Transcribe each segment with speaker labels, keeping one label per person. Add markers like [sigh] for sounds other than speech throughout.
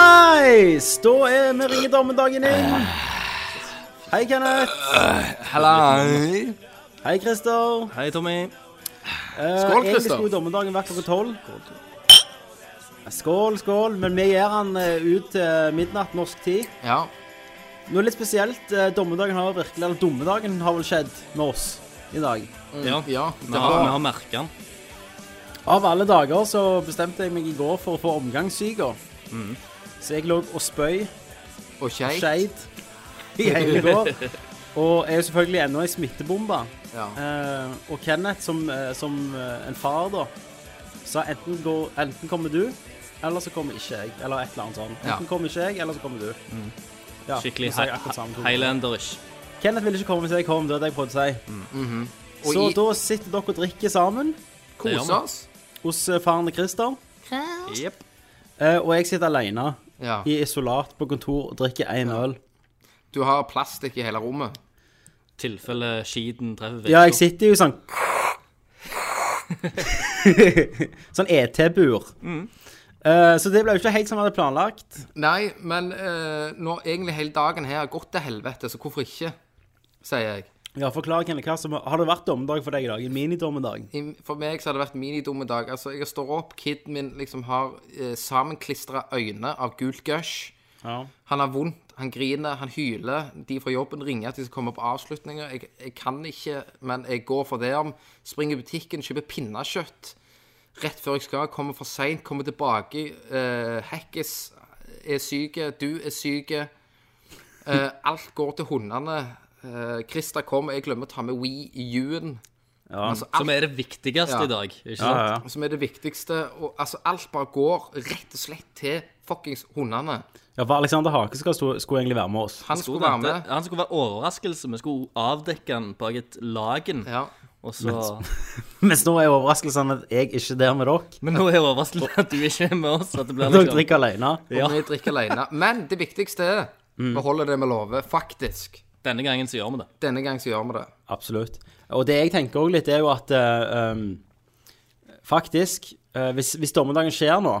Speaker 1: Hallais! Da er vi ringer dommedagen inn.
Speaker 2: Eh.
Speaker 1: Hei, Kenneth.
Speaker 2: Hallei!
Speaker 1: Hei, Christer.
Speaker 3: Hei, Tommy.
Speaker 1: Eh,
Speaker 2: Skål, Christer.
Speaker 1: Egentlig skulle dommedagen vært klokka tolv. Skål, skål. Men vi gjør den eh, ut til midnatt norsk tid.
Speaker 2: Ja.
Speaker 1: Noe litt spesielt. eh, Dommedagen har virkelig, eller dommedagen har vel skjedd med oss i dag.
Speaker 3: Ja.
Speaker 2: ja.
Speaker 3: Vi
Speaker 2: Det
Speaker 3: har, vi
Speaker 2: var
Speaker 3: har merket den.
Speaker 1: Av alle dager så bestemte jeg meg i går for å få omgangssyke.
Speaker 2: Mm.
Speaker 1: Så jeg lå og spøy
Speaker 2: Og skei.
Speaker 1: skeid i hele går. Og er jo selvfølgelig ennå ei smittebombe.
Speaker 2: Ja.
Speaker 1: Eh, og Kenneth, som, eh, som eh, en far, da, sa enten, går, enten kommer du, eller så kommer ikke jeg. Eller et eller annet sånt.
Speaker 2: Ja. Mm.
Speaker 1: Enten kommer ikke jeg, eller så kommer du. Ja,
Speaker 3: Skikkelig
Speaker 1: nå sa jeg akkurat samme to ganger.
Speaker 3: highlanderish.
Speaker 1: Kenneth ville ikke komme, så jeg kom. Det var det jeg prøvde å si.
Speaker 2: Mm. Og
Speaker 1: Så
Speaker 2: i-
Speaker 1: da sitter dere og drikker sammen
Speaker 3: Det gjør vi.
Speaker 2: Kose oss.
Speaker 1: hos eh, faren til Christer.
Speaker 3: Jepp.
Speaker 1: eh, og jeg sitter alene
Speaker 2: Ja.
Speaker 1: i isolat på kontor og drikker én øl.
Speaker 2: Du har plastikk i hele rommet.
Speaker 3: Tilfelle skiten treffer vekk.
Speaker 1: Ja, jeg sitter jo i sånn [laughs]
Speaker 2: [laughs]
Speaker 1: Sånn ET-bur.
Speaker 2: Mm.
Speaker 1: Eh, så det ble jo ikke helt som jeg hadde planlagt.
Speaker 2: Nei, men eh, når egentlig hele dagen her har gått til helvete, så hvorfor ikke? Sier jeg.
Speaker 1: Ja, forklar, Kenneth, hva som har det vært dommedag for deg i dag? En minidommedag?
Speaker 2: I, for meg så har det vært minidummedag. Altså, jeg står opp, kiden min liksom har uh, sammenklistra øyne av gult gush.
Speaker 1: Ja.
Speaker 2: Han har vondt, han griner, han hyler. De fra jobben ringer at de skal komme på avslutninger. Jeg, jeg kan ikke, men jeg går for det om. Springer i butikken, kjøper pinnekjøtt rett før jeg skal. Kommer for seint, kommer tilbake. eh, hekkes er syke, du er syke. Eh, alt går til hundene. Uh, Christer kommer, jeg glemmer å ta med We i juen.
Speaker 1: Ja.
Speaker 2: Altså, alt
Speaker 3: Som er det viktigste
Speaker 2: Ja.
Speaker 3: i dag. Ikke
Speaker 1: Ja,
Speaker 3: sant?
Speaker 1: ja.
Speaker 2: som er det viktigste. Og, altså, alt bare går rett og slett til fuckings hundene.
Speaker 1: ja, for Alexander Hake skal, sto- skulle egentlig være med oss. [laughs]
Speaker 2: Han skulle være
Speaker 3: Det-
Speaker 2: med.
Speaker 3: Han skulle være overraskelse. Vi skulle avdekke han bak et laken.
Speaker 2: Ja.
Speaker 3: Og så
Speaker 1: Mens nå er overraskelsen at jeg ikke er der med dere.
Speaker 3: [laughs] Men nå er overraskelsen at du ikke er med oss. At det
Speaker 1: [laughs]
Speaker 3: blir
Speaker 1: Dere
Speaker 3: liksom
Speaker 1: drikker alene.
Speaker 3: Ja.
Speaker 2: Og vi drikker alene. Men det viktigste er vi holder det vi lover, faktisk.
Speaker 3: sånn, Denne gangen så gjør vi det.
Speaker 2: Denne gang så gjør vi det.
Speaker 1: Absolutt. Og det jeg tenker også litt, er jo at eh, um, Faktisk, eh, hvis, hvis dommedagen skjer nå,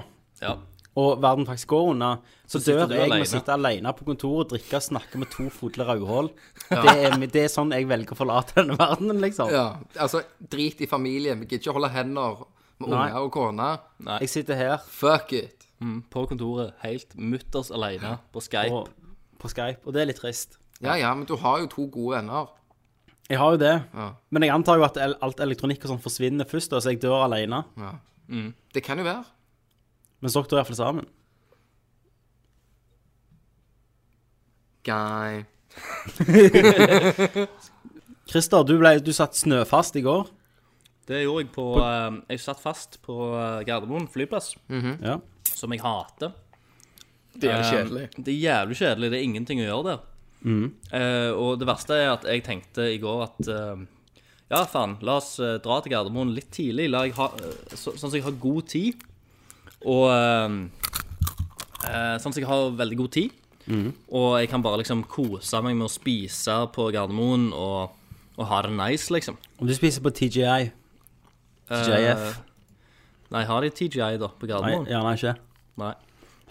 Speaker 3: Ja.
Speaker 1: og verden faktisk går unna, så,
Speaker 3: sitter
Speaker 1: dør
Speaker 3: du
Speaker 1: jeg med å
Speaker 3: alene.
Speaker 1: sitte alene på kontoret, drikke og snakke med to fodler rødhål. Det, er, det er sånn jeg velger å forlate denne verdenen, liksom.
Speaker 2: Ja, altså, drit i familien. Vi gidder ikke holde hender med
Speaker 1: Nei.
Speaker 2: unger og kone.
Speaker 1: Jeg sitter her
Speaker 2: Fuck it.
Speaker 3: Mm, på kontoret, helt mutters alene på Skype.
Speaker 1: og, på Skype, og det er litt trist.
Speaker 2: Ja, ja, men du har jo to gode venner.
Speaker 1: Jeg har jo det,
Speaker 2: Ja.
Speaker 1: men jeg antar jo at el- alt elektronikk og sånn forsvinner først, da, så jeg dør alene.
Speaker 2: Det kan jo være.
Speaker 1: Mens dere dør iallfall sammen.
Speaker 2: Guy.
Speaker 1: Christer, du, ble, du satt snøfast i går.
Speaker 3: Det gjorde jeg på, eh, Jeg satt fast på eh, Gardermoen flyplass,
Speaker 1: Ja.
Speaker 3: som jeg hater.
Speaker 2: Det er
Speaker 3: Eh, Det er jævlig kjedelig. Det er ingenting å gjøre der. Eh, og det verste er at jeg tenkte i går at eh, ja, faen, la oss eh, dra til Gardermoen litt tidlig, la jeg ha, eh, så, sånn at jeg har god tid. Og eh, eh, sånn at jeg har veldig god tid. Og jeg kan bare liksom kose meg med å spise på Gardermoen og, og ha det nice, liksom.
Speaker 1: Om du spiser på TGI TGIF.
Speaker 3: Eh, nei, har de TGI da på
Speaker 1: Nei,
Speaker 3: Gardermoen?
Speaker 1: gjerne ikke.
Speaker 3: Nei,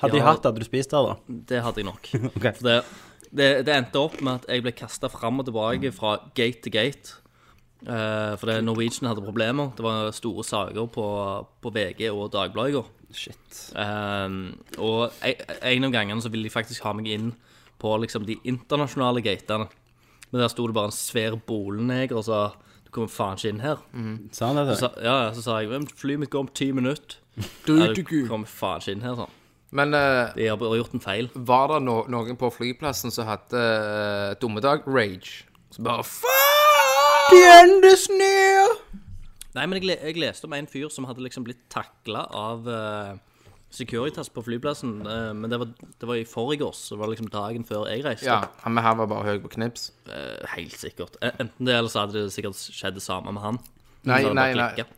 Speaker 1: Hadde de
Speaker 3: Ja.
Speaker 1: hatt det, hadde du spist der,
Speaker 3: [laughs]
Speaker 1: da?
Speaker 3: det hadde jeg nok.
Speaker 1: Ok.
Speaker 3: For det, det, det endte opp med at jeg ble kasta fram og tilbake fra gate til gate. Eh, for det, Norwegian hadde problemer. Det var store saker på, på VG og Dagbladet i går.
Speaker 1: Shit.
Speaker 3: Eh, og en- en av gangene så ville de faktisk ha meg inn på liksom de internasjonale gatene. Men der sto det bare en svær boleneger og sa du kommer faen ikke inn her.
Speaker 1: Sa han det til
Speaker 3: Så, ja, ja, så sa jeg "Men flyet mitt går om ti minutter. Ja, du kommer faen ikke inn her, sånn.
Speaker 2: Men eh,
Speaker 3: De har bare gjort en feil.
Speaker 2: var det no noen på flyplassen som hadde uh, dummedag? Rage. Så bare faen!
Speaker 3: Nei, men jeg, le- jeg leste om en fyr som hadde liksom blitt takla av eh, Securitas på flyplassen. eh, men det var, det var i forgårs. så Det var liksom dagen før jeg reiste.
Speaker 2: Ja, han med her var bare høy på knips.
Speaker 3: Eh, helt sikkert. Eh, Enten det, eller så hadde det sikkert skjedd det samme med han.
Speaker 2: Nei,
Speaker 3: Så hadde det
Speaker 2: nei,
Speaker 3: bare
Speaker 2: nei.
Speaker 3: klikket.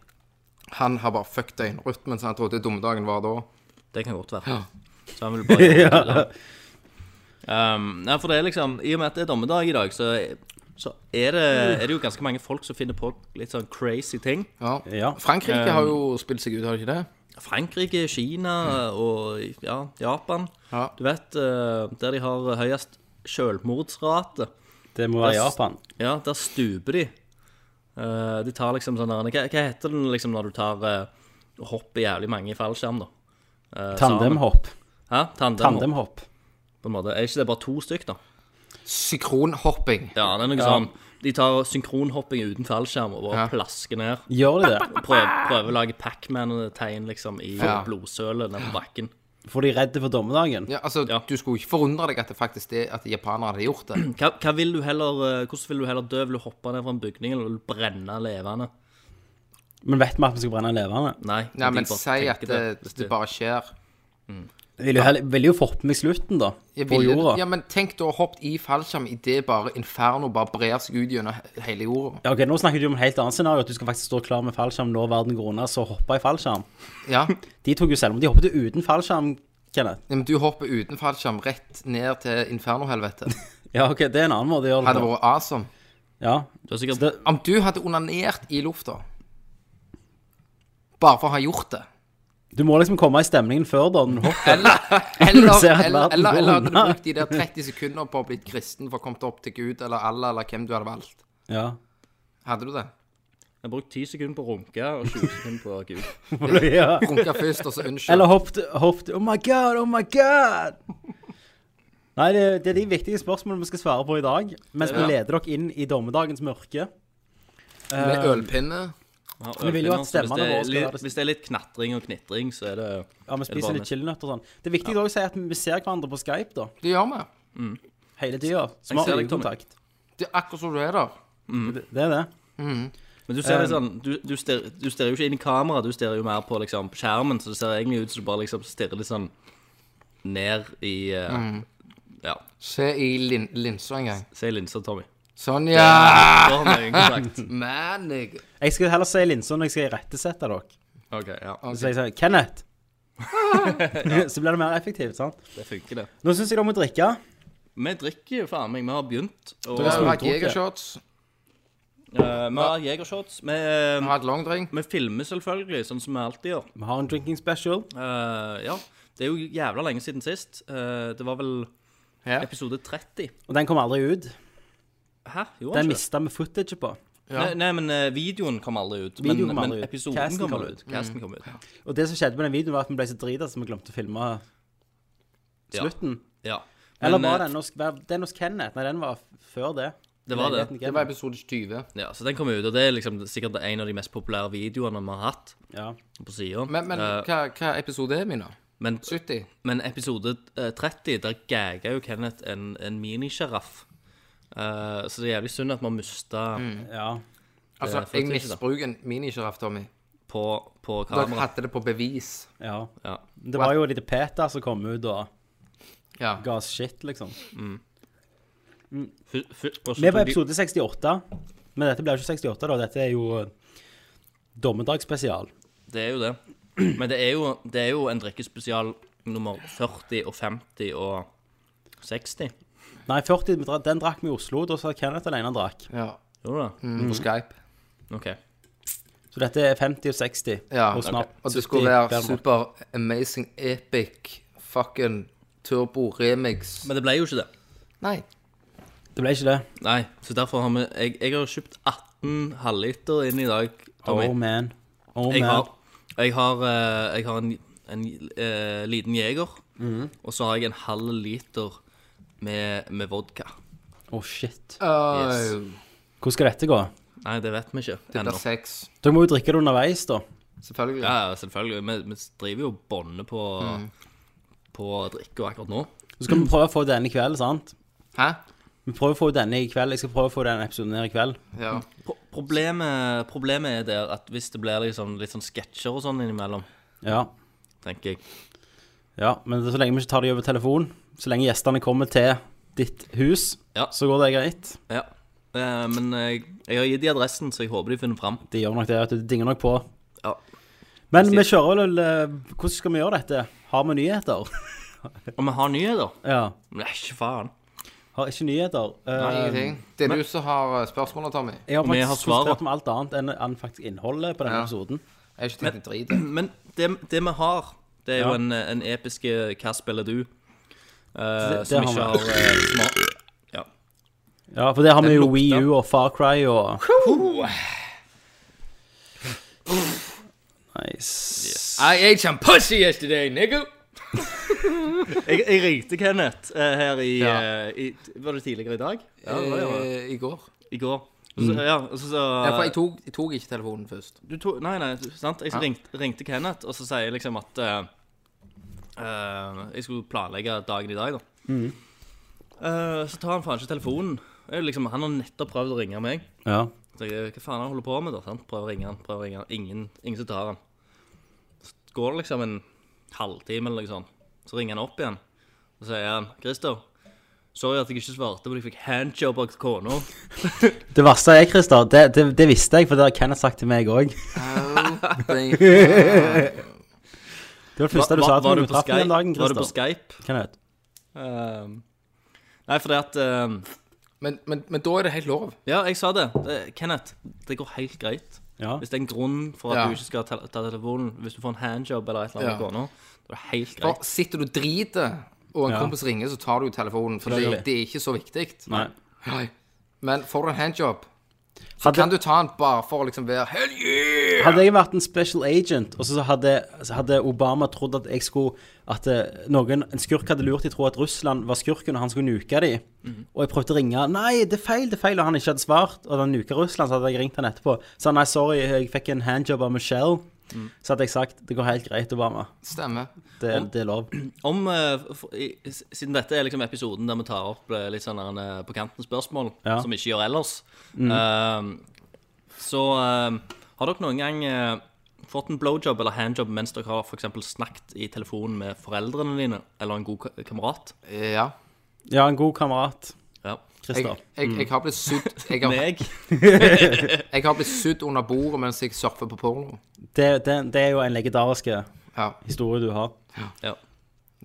Speaker 2: Han har bare fucked døgnrytmen, så han trodde dummedagen var da.
Speaker 3: Det kan godt være. Så han ville
Speaker 2: [laughs]
Speaker 3: bare gjøre det. Um, nei, for det er liksom I og med at det er dommedag i dag, så, så er, det, er det jo ganske mange folk som finner på litt sånn crazy ting.
Speaker 2: Ja.
Speaker 1: Ja.
Speaker 2: Frankrike har jo spilt seg ut, har de ikke det?
Speaker 3: Frankrike, Kina
Speaker 2: Mm.
Speaker 3: og ja, Japan.
Speaker 2: Ja.
Speaker 3: Du vet, eh, der de har høyest selvmordsrate,
Speaker 1: Det må være
Speaker 3: Best-
Speaker 1: Japan.
Speaker 3: ja, der stuper de. Eh, De tar liksom sånn der, hva, hva heter den liksom når du tar eh, hopp i jævlig mange i fallskjerm, da? Eh, sammen.
Speaker 1: Tandemhopp.
Speaker 3: Hæ? Tandemhopp.
Speaker 1: Tandemhopp.
Speaker 3: På en måte. Er ikke det bare to stykk, da?
Speaker 2: Synkronhopping.
Speaker 3: Ja, det er noe sånn. De tar synkronhopping uten fallskjerm og bare
Speaker 2: Ja.
Speaker 3: plasker ned.
Speaker 1: Gjør de det?
Speaker 3: Prøver, prøver å lage Pacman-tegn liksom i
Speaker 2: Ja.
Speaker 3: blodsølet nede på bakken.
Speaker 1: For de er redde for dommedagen.
Speaker 2: Ja, altså,
Speaker 3: Ja.
Speaker 2: Du skulle ikke forundre deg at det faktisk det, at japanere hadde gjort det.
Speaker 3: Hva, hva vil du heller, eh, hvordan vil du heller dø? Vil du hoppe ned fra en bygning, eller vil du brenne levende?
Speaker 1: Men vet vi at vi skal brenne levende?
Speaker 3: Nei,
Speaker 2: Nei, men
Speaker 3: de bare
Speaker 2: si
Speaker 3: tenker
Speaker 2: at det,
Speaker 3: hvis
Speaker 2: det bare skjer.
Speaker 1: Vil jo, heller, vil jo forpe meg slutten, da.
Speaker 2: Jeg
Speaker 1: På
Speaker 2: ville-
Speaker 1: jorda.
Speaker 2: Ja, men tenk da å hoppe i fallskjerm idet bare inferno bare brer seg ut gjennom he- hele jorda.
Speaker 1: Ja, ok, Nå snakker du om et helt annet scenario, at du skal faktisk stå klar med fallskjerm når verden går unna, så hoppe i fallskjerm.
Speaker 2: Ja,
Speaker 1: De tok jo selvmord. De hoppet jo uten fallskjerm, Kenneth.
Speaker 2: men du hopper uten fallskjerm rett ned til infernohelvete.
Speaker 1: Ja, ok, det er en annen måte å gjøre
Speaker 2: Hadde
Speaker 1: det på.
Speaker 2: vært awesome.
Speaker 1: Ja.
Speaker 3: Du er sikkert
Speaker 1: Så det,
Speaker 2: Om du hadde onanert i lufta bare for å ha gjort det
Speaker 1: du må liksom komme i stemningen før, da. Når du hopper.
Speaker 2: Eller, eller,
Speaker 1: Du ser at
Speaker 2: eller,
Speaker 1: verden
Speaker 2: eller,
Speaker 1: går
Speaker 2: eller hadde du
Speaker 1: unna.
Speaker 2: brukt de der 30 sekundene på å bli kristen for å komme opp til Gud eller Allah eller hvem du hadde valgt.
Speaker 1: Ja.
Speaker 2: Hadde du det?
Speaker 3: Jeg har brukt 10 sekunder på å runke og 20 sekunder på Gud.
Speaker 1: [laughs] ja.
Speaker 2: Runka først, og så unnskyld.
Speaker 1: Eller hoppet, hoppet Oh my god, oh my god! Nei, det, det er de viktige spørsmålene vi skal svare på i dag. Mens vi
Speaker 2: Ja.
Speaker 1: leder dere inn i dommedagens mørke.
Speaker 2: Med ølpinne.
Speaker 3: Ja,
Speaker 1: Vi vil jo at
Speaker 3: ølpinner, så hvis
Speaker 1: stemmene
Speaker 3: det er
Speaker 1: våre skal
Speaker 3: litt-
Speaker 1: være det-
Speaker 3: Hvis det er litt knatring og knitring, så er det
Speaker 1: Ja, vi spiser
Speaker 3: bare
Speaker 1: litt chilinøtter og sånn. Det er viktig å si at vi ser hverandre på Skype, da.
Speaker 2: Det gjør vi.
Speaker 1: Hele tida. Så vi
Speaker 3: Jeg ser
Speaker 1: har
Speaker 3: deg, Tommy.
Speaker 1: øyekontakt.
Speaker 2: Det er akkurat som du er der.
Speaker 1: Det det er det.
Speaker 3: Men du ser
Speaker 1: Um,
Speaker 3: litt sånn Du, du, stirrer, du stirrer jo ikke inn i kamera, du stirrer jo mer på liksom på skjermen, så det ser egentlig ut som du bare liksom stirrer litt sånn ned i eh,
Speaker 2: Mm.
Speaker 3: Ja,
Speaker 2: Se i lin linsa en gang.
Speaker 3: se i linsa, Tommy.
Speaker 2: Sånn, ja!
Speaker 3: Da har vi øyekontakt.
Speaker 1: [laughs]
Speaker 2: Man, nigga.
Speaker 1: Jeg skal heller si linser når jeg skal irettesette dere.
Speaker 3: OK, ja.
Speaker 1: Så sier jeg sånn
Speaker 3: [laughs]
Speaker 1: Kenneth! [laughs] Så blir det mer effektivt, sant?
Speaker 3: Det funker, det.
Speaker 1: Nå syns jeg dere må drikke.
Speaker 3: Vi drikker jo faen meg. Vi har begynt. Og,
Speaker 2: Vi har
Speaker 1: smakte
Speaker 2: hatt jegershots.
Speaker 3: eh, vi har jegershots. Vi, eh,
Speaker 2: Vi har hatt longdrink.
Speaker 3: vi filmer selvfølgelig, sånn som vi alltid gjør.
Speaker 1: Vi har en drinking special.
Speaker 3: Eh, ja. Det er jo jævla lenge siden sist. Eh, det var vel
Speaker 2: Ja.
Speaker 3: episode 30.
Speaker 1: Og den kom aldri ut.
Speaker 3: Hæ? Jo,
Speaker 1: Den
Speaker 3: ikke.
Speaker 1: mista vi footage på.
Speaker 3: Nei, nei, men eh, videoen kom aldri ut. Men,
Speaker 1: Videoen kom aldri
Speaker 3: men
Speaker 1: ut. Mm.
Speaker 3: episoden
Speaker 1: Casten
Speaker 3: kom
Speaker 1: kom
Speaker 3: aldri ut. Casten kom ut.
Speaker 1: Og det som skjedde med den videoen, var at vi ble så drita at vi glemte å filme
Speaker 3: Ja.
Speaker 1: slutten.
Speaker 3: Ja.
Speaker 1: Eller
Speaker 3: Men,
Speaker 1: var
Speaker 3: eh,
Speaker 1: den hos, var den hos Kenneth? Nei, den var f- før det.
Speaker 3: Det var det.
Speaker 2: Det var episode 20.
Speaker 3: Ja, så den kom ut, og det er liksom sikkert en av de mest populære videoene vi har hatt
Speaker 1: Ja.
Speaker 3: på siden
Speaker 2: Men, men
Speaker 3: Eh,
Speaker 2: hva, hva episode er vi nå?
Speaker 3: men,
Speaker 2: 70?
Speaker 3: men episode eh, 30, der gagga jo Kenneth en, en minisjiraff. Eh, så det er jævlig synd at vi har mista
Speaker 1: ja.
Speaker 2: Altså,
Speaker 3: Det er
Speaker 2: jeg
Speaker 3: 40, da.
Speaker 2: misbruker en minisjiraff, Tommy.
Speaker 3: på, på
Speaker 2: Dere
Speaker 3: kamera.
Speaker 2: hadde det på bevis.
Speaker 1: ja.
Speaker 3: Ja.
Speaker 1: Det var jo et lite Peter som kom ut og
Speaker 2: Ja.
Speaker 1: ga oss shit, liksom.
Speaker 3: Fu- fu- og så
Speaker 1: Vi er på
Speaker 3: tok de-
Speaker 1: episode 68, men dette blir jo ikke 68, da. Dette er jo eh, dommedagsspesial.
Speaker 3: Det er jo det. Men det er jo, det er jo en drikkespesial nummer 40 og 50 og 60.
Speaker 1: Nei, 40, vi dra- den drakk vi i Oslo. Da sa Kenneth alene han drakk.
Speaker 2: ja. Mm.
Speaker 3: Gjorde du det?
Speaker 2: På Skype.
Speaker 3: OK.
Speaker 1: Så dette er 50 og 60.
Speaker 2: Ja.
Speaker 1: og snart
Speaker 2: Og det skulle
Speaker 1: 70
Speaker 2: være
Speaker 1: hver måned.
Speaker 2: super amazing epic fucking turbo remix.
Speaker 3: Men det ble jo ikke det.
Speaker 2: Nei.
Speaker 1: Det ble ikke det.
Speaker 3: Nei, så derfor har vi Jeg, jeg har kjøpt 18 halvliter inn i dag, Tommy.
Speaker 1: Oh man. Oh
Speaker 3: jeg,
Speaker 1: man.
Speaker 3: har, jeg har eh, Jeg har en, en eh, liten jeger, og så har jeg en halv liter med, med vodka.
Speaker 1: Oh shit.
Speaker 2: Yes.
Speaker 1: Hvordan skal dette gå?
Speaker 3: Nei, det vet vi ikke
Speaker 2: Det blir
Speaker 3: ennå.
Speaker 2: sex.
Speaker 1: Dere må jo drikke det underveis, da.
Speaker 2: Selvfølgelig.
Speaker 3: Ja, ja, selvfølgelig. Vi, vi driver jo og bånder på, på drikke akkurat nå.
Speaker 1: Så skal vi prøve å få denne i kveld, sant?
Speaker 2: Hæ?
Speaker 1: Vi prøver å få denne i kveld. Jeg skal prøve å få denne episoden her i kveld.
Speaker 2: Ja.
Speaker 3: Pro problemet, problemet er der at hvis det blir liksom, litt sånn sketsjer og sånn innimellom,
Speaker 1: Ja.
Speaker 3: tenker jeg
Speaker 1: ja. Men så lenge vi ikke tar det over telefon, så lenge gjestene kommer til ditt hus,
Speaker 3: Ja.
Speaker 1: så går det greit.
Speaker 3: Ja. Eh, men jeg, jeg har gitt de adressen, så jeg håper de finner fram.
Speaker 1: Det gjør nok det, at du dinger nok på.
Speaker 3: Ja.
Speaker 1: Men vi kjører vel eh, Hvordan skal vi gjøre dette? Har vi nyheter? [laughs]
Speaker 3: Og vi har nyheter.
Speaker 1: ja.
Speaker 3: Nei, ikke faen. [clears throat]
Speaker 1: Har ikke nyheter. Eh,
Speaker 2: Ingenting. Det er du som har eh, spørsmålet, Tommy.
Speaker 1: jeg har
Speaker 3: Vi
Speaker 1: faktisk
Speaker 3: har svaret.
Speaker 1: konsentrert meg om alt annet enn, enn faktisk innholdet på denne
Speaker 2: Ja.
Speaker 1: episoden.
Speaker 2: Jeg har ikke tenkt en drit. [clears throat] jeg.
Speaker 3: Men det, det vi har, det er
Speaker 1: Ja.
Speaker 3: jo en, en episk eh, Hva spiller du? eh,
Speaker 1: Det- det
Speaker 3: som
Speaker 1: har
Speaker 3: ikke
Speaker 1: vi.
Speaker 3: har eh, smart ja.
Speaker 1: Ja, for der har vi
Speaker 3: Den
Speaker 1: jo
Speaker 3: lukta.
Speaker 1: Wii U og Far Cry og Nice.
Speaker 2: I ate some pussy yesterday, nigga!
Speaker 3: [laughs] Jeg, jeg ringte Kenneth eh, her i,
Speaker 2: Ja.
Speaker 3: eh, i Var det tidligere i dag? Ja, det var det, ja. Mm.
Speaker 2: Eh, I går. Eh.
Speaker 3: I går. Og Så, ja, og så, så,
Speaker 2: Ja, for jeg tok, jeg tok ikke telefonen [laughs] først.
Speaker 3: du tok, Nei, nei, du- sant? Jeg ringte, ringte Kenneth, og så sier jeg liksom at eh, eh, Jeg skulle planlegge dagen i dag, da.
Speaker 1: Mm.
Speaker 3: Eh, så tar han faen ikke telefonen. Jeg, liksom, han har nettopp prøvd å ringe meg.
Speaker 1: Ja.
Speaker 3: Så jeg, Hva faen han holder på med, da? Sant? Prøver å ringe han, prøver å ringe han. Ingen, ingen som tar han. Så går det liksom en halvtime eller noe sånt. Så ringer han opp igjen. Så sier han 'Christer, sorry at jeg ikke svarte, men jeg fikk handjob av kona'.
Speaker 1: Det verste er, Christer, det, det, det visste jeg, for det har Kenneth sagt til meg òg. Det var det første du sa til
Speaker 3: Var-
Speaker 1: meg
Speaker 3: var
Speaker 1: du traff
Speaker 3: Skype?
Speaker 1: meg den dagen,
Speaker 3: Var du på
Speaker 1: Christer.
Speaker 3: Skype?
Speaker 1: Kenneth.
Speaker 3: Ehm, nei, fordi at ehm,
Speaker 2: Men, men, men da er det helt lov.
Speaker 3: Ja, jeg sa det. det. Kenneth, det går helt greit.
Speaker 1: Ja.
Speaker 3: Hvis det er en grunn for
Speaker 2: Ja.
Speaker 3: at du ikke skal ta, ta telefonen, hvis du får en handjob eller et eller
Speaker 2: Ja.
Speaker 3: annet ja. gående, da er det helt
Speaker 2: For
Speaker 3: greit.
Speaker 2: sitter du og driter, og en
Speaker 1: Ja.
Speaker 2: kompis ringer, så tar du jo telefonen. For
Speaker 1: Selvfølgelig.
Speaker 2: det, det er ikke så viktig.
Speaker 1: Nei.
Speaker 2: Nei. Men får du en handjob, så
Speaker 1: Hadde-
Speaker 2: kan du ta den bare for å liksom være Hell yeah!
Speaker 1: Hadde jeg vært en special agent, og så hadde, så hadde Obama trodd at jeg skulle At eh, noen, en skurk hadde lurt de tro at Russland var skurken, og han skulle nuke de Og jeg prøvde å ringe Nei, det er feil, det er feil, og han ikke hadde svart. Og han nuka Russland, så hadde jeg ringt han etterpå. Så han nei, sorry, jeg fikk en handjob av Michelle. Så hadde jeg sagt det går helt greit, Obama.
Speaker 2: Stemmer.
Speaker 1: Det, det er lov.
Speaker 3: Om, eh, for, i, s- siden dette er liksom episoden der vi tar opp eh, litt sånn eh, på kanten spørsmål
Speaker 1: Ja.
Speaker 3: som vi ikke gjør ellers,
Speaker 2: Mm.
Speaker 3: ehm, så ehm, har dere noen gang eh, fått en blowjob eller handjob mens dere har for eksempel snakket i telefonen med foreldrene dine eller en god ka- kamerat?
Speaker 2: Ja.
Speaker 1: Ja, en god kamerat.
Speaker 3: Ja.
Speaker 2: Jeg,
Speaker 1: Christer.
Speaker 2: jeg, jeg har blitt sudd jeg, har-
Speaker 3: Meg?
Speaker 2: jeg har blitt sudd under bordet mens jeg surfer på porno.
Speaker 1: Det, det, det er jo en legendarisk eh,
Speaker 2: Ja.
Speaker 1: historie du har.
Speaker 3: Ja.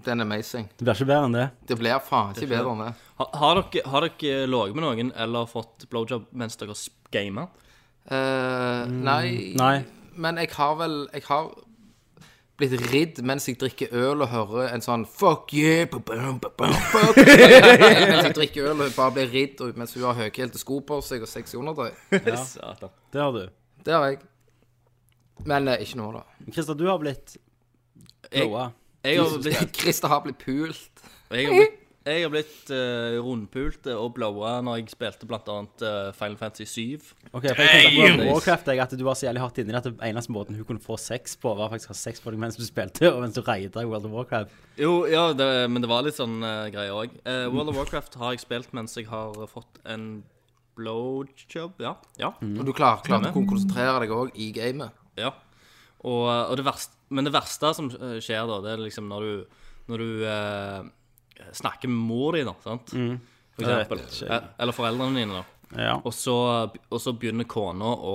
Speaker 2: Den er amazing.
Speaker 1: Det blir ikke bedre enn det.
Speaker 2: Det blir faen ikke bedre enn det.
Speaker 3: Har, har dere, har dere ligget med noen eller fått blowjob mens dere gamer?
Speaker 2: Eh, nei,
Speaker 1: Nei.
Speaker 2: Men jeg har vel Jeg har blitt ridd mens jeg drikker øl og hører en sånn Fuck yeah! ba bam, ba bam, fuck yeah. [laughs] mens jeg drikker øl og bare blir ridd og- mens hun har høyhælte sko på seg og sexy undertøy.
Speaker 3: Satan.
Speaker 1: Det har du.
Speaker 2: Det har jeg. Men eh, ikke nå, da.
Speaker 1: Christer, du har blitt
Speaker 3: Jeg,
Speaker 1: blåa.
Speaker 3: jeg har blitt,
Speaker 2: Christer har blitt pult.
Speaker 3: jeg har blitt, jeg har blitt eh, rundpult og blowa når jeg spilte blant annet eh, Final Fantasy 7.
Speaker 1: Ok, for jeg tenkte på Warcraft jeg, at du var så jævlig hardt inni det at den eneste måten hun kunne få sex på, var faktisk å ha sex på deg mens du spilte, og mens du raida i World of Warcraft.
Speaker 3: Jo, ja, det, men det var litt sånn eh, greier òg. World of Warcraft har jeg spilt mens jeg har fått en blowjob. Ja. ja.
Speaker 2: Og du klarer klart å konsentrere deg òg i gamet.
Speaker 3: Ja. Og, og det verste, men det verste som eh, skjer da, det er liksom når du, når du eh, snakker med mor di, da, sant? For
Speaker 1: Mm. Jeg vet
Speaker 3: eksempel.
Speaker 1: ikke.
Speaker 3: Eh, Eller foreldrene dine, da.
Speaker 1: Ja.
Speaker 3: Og så, og så begynner kona å,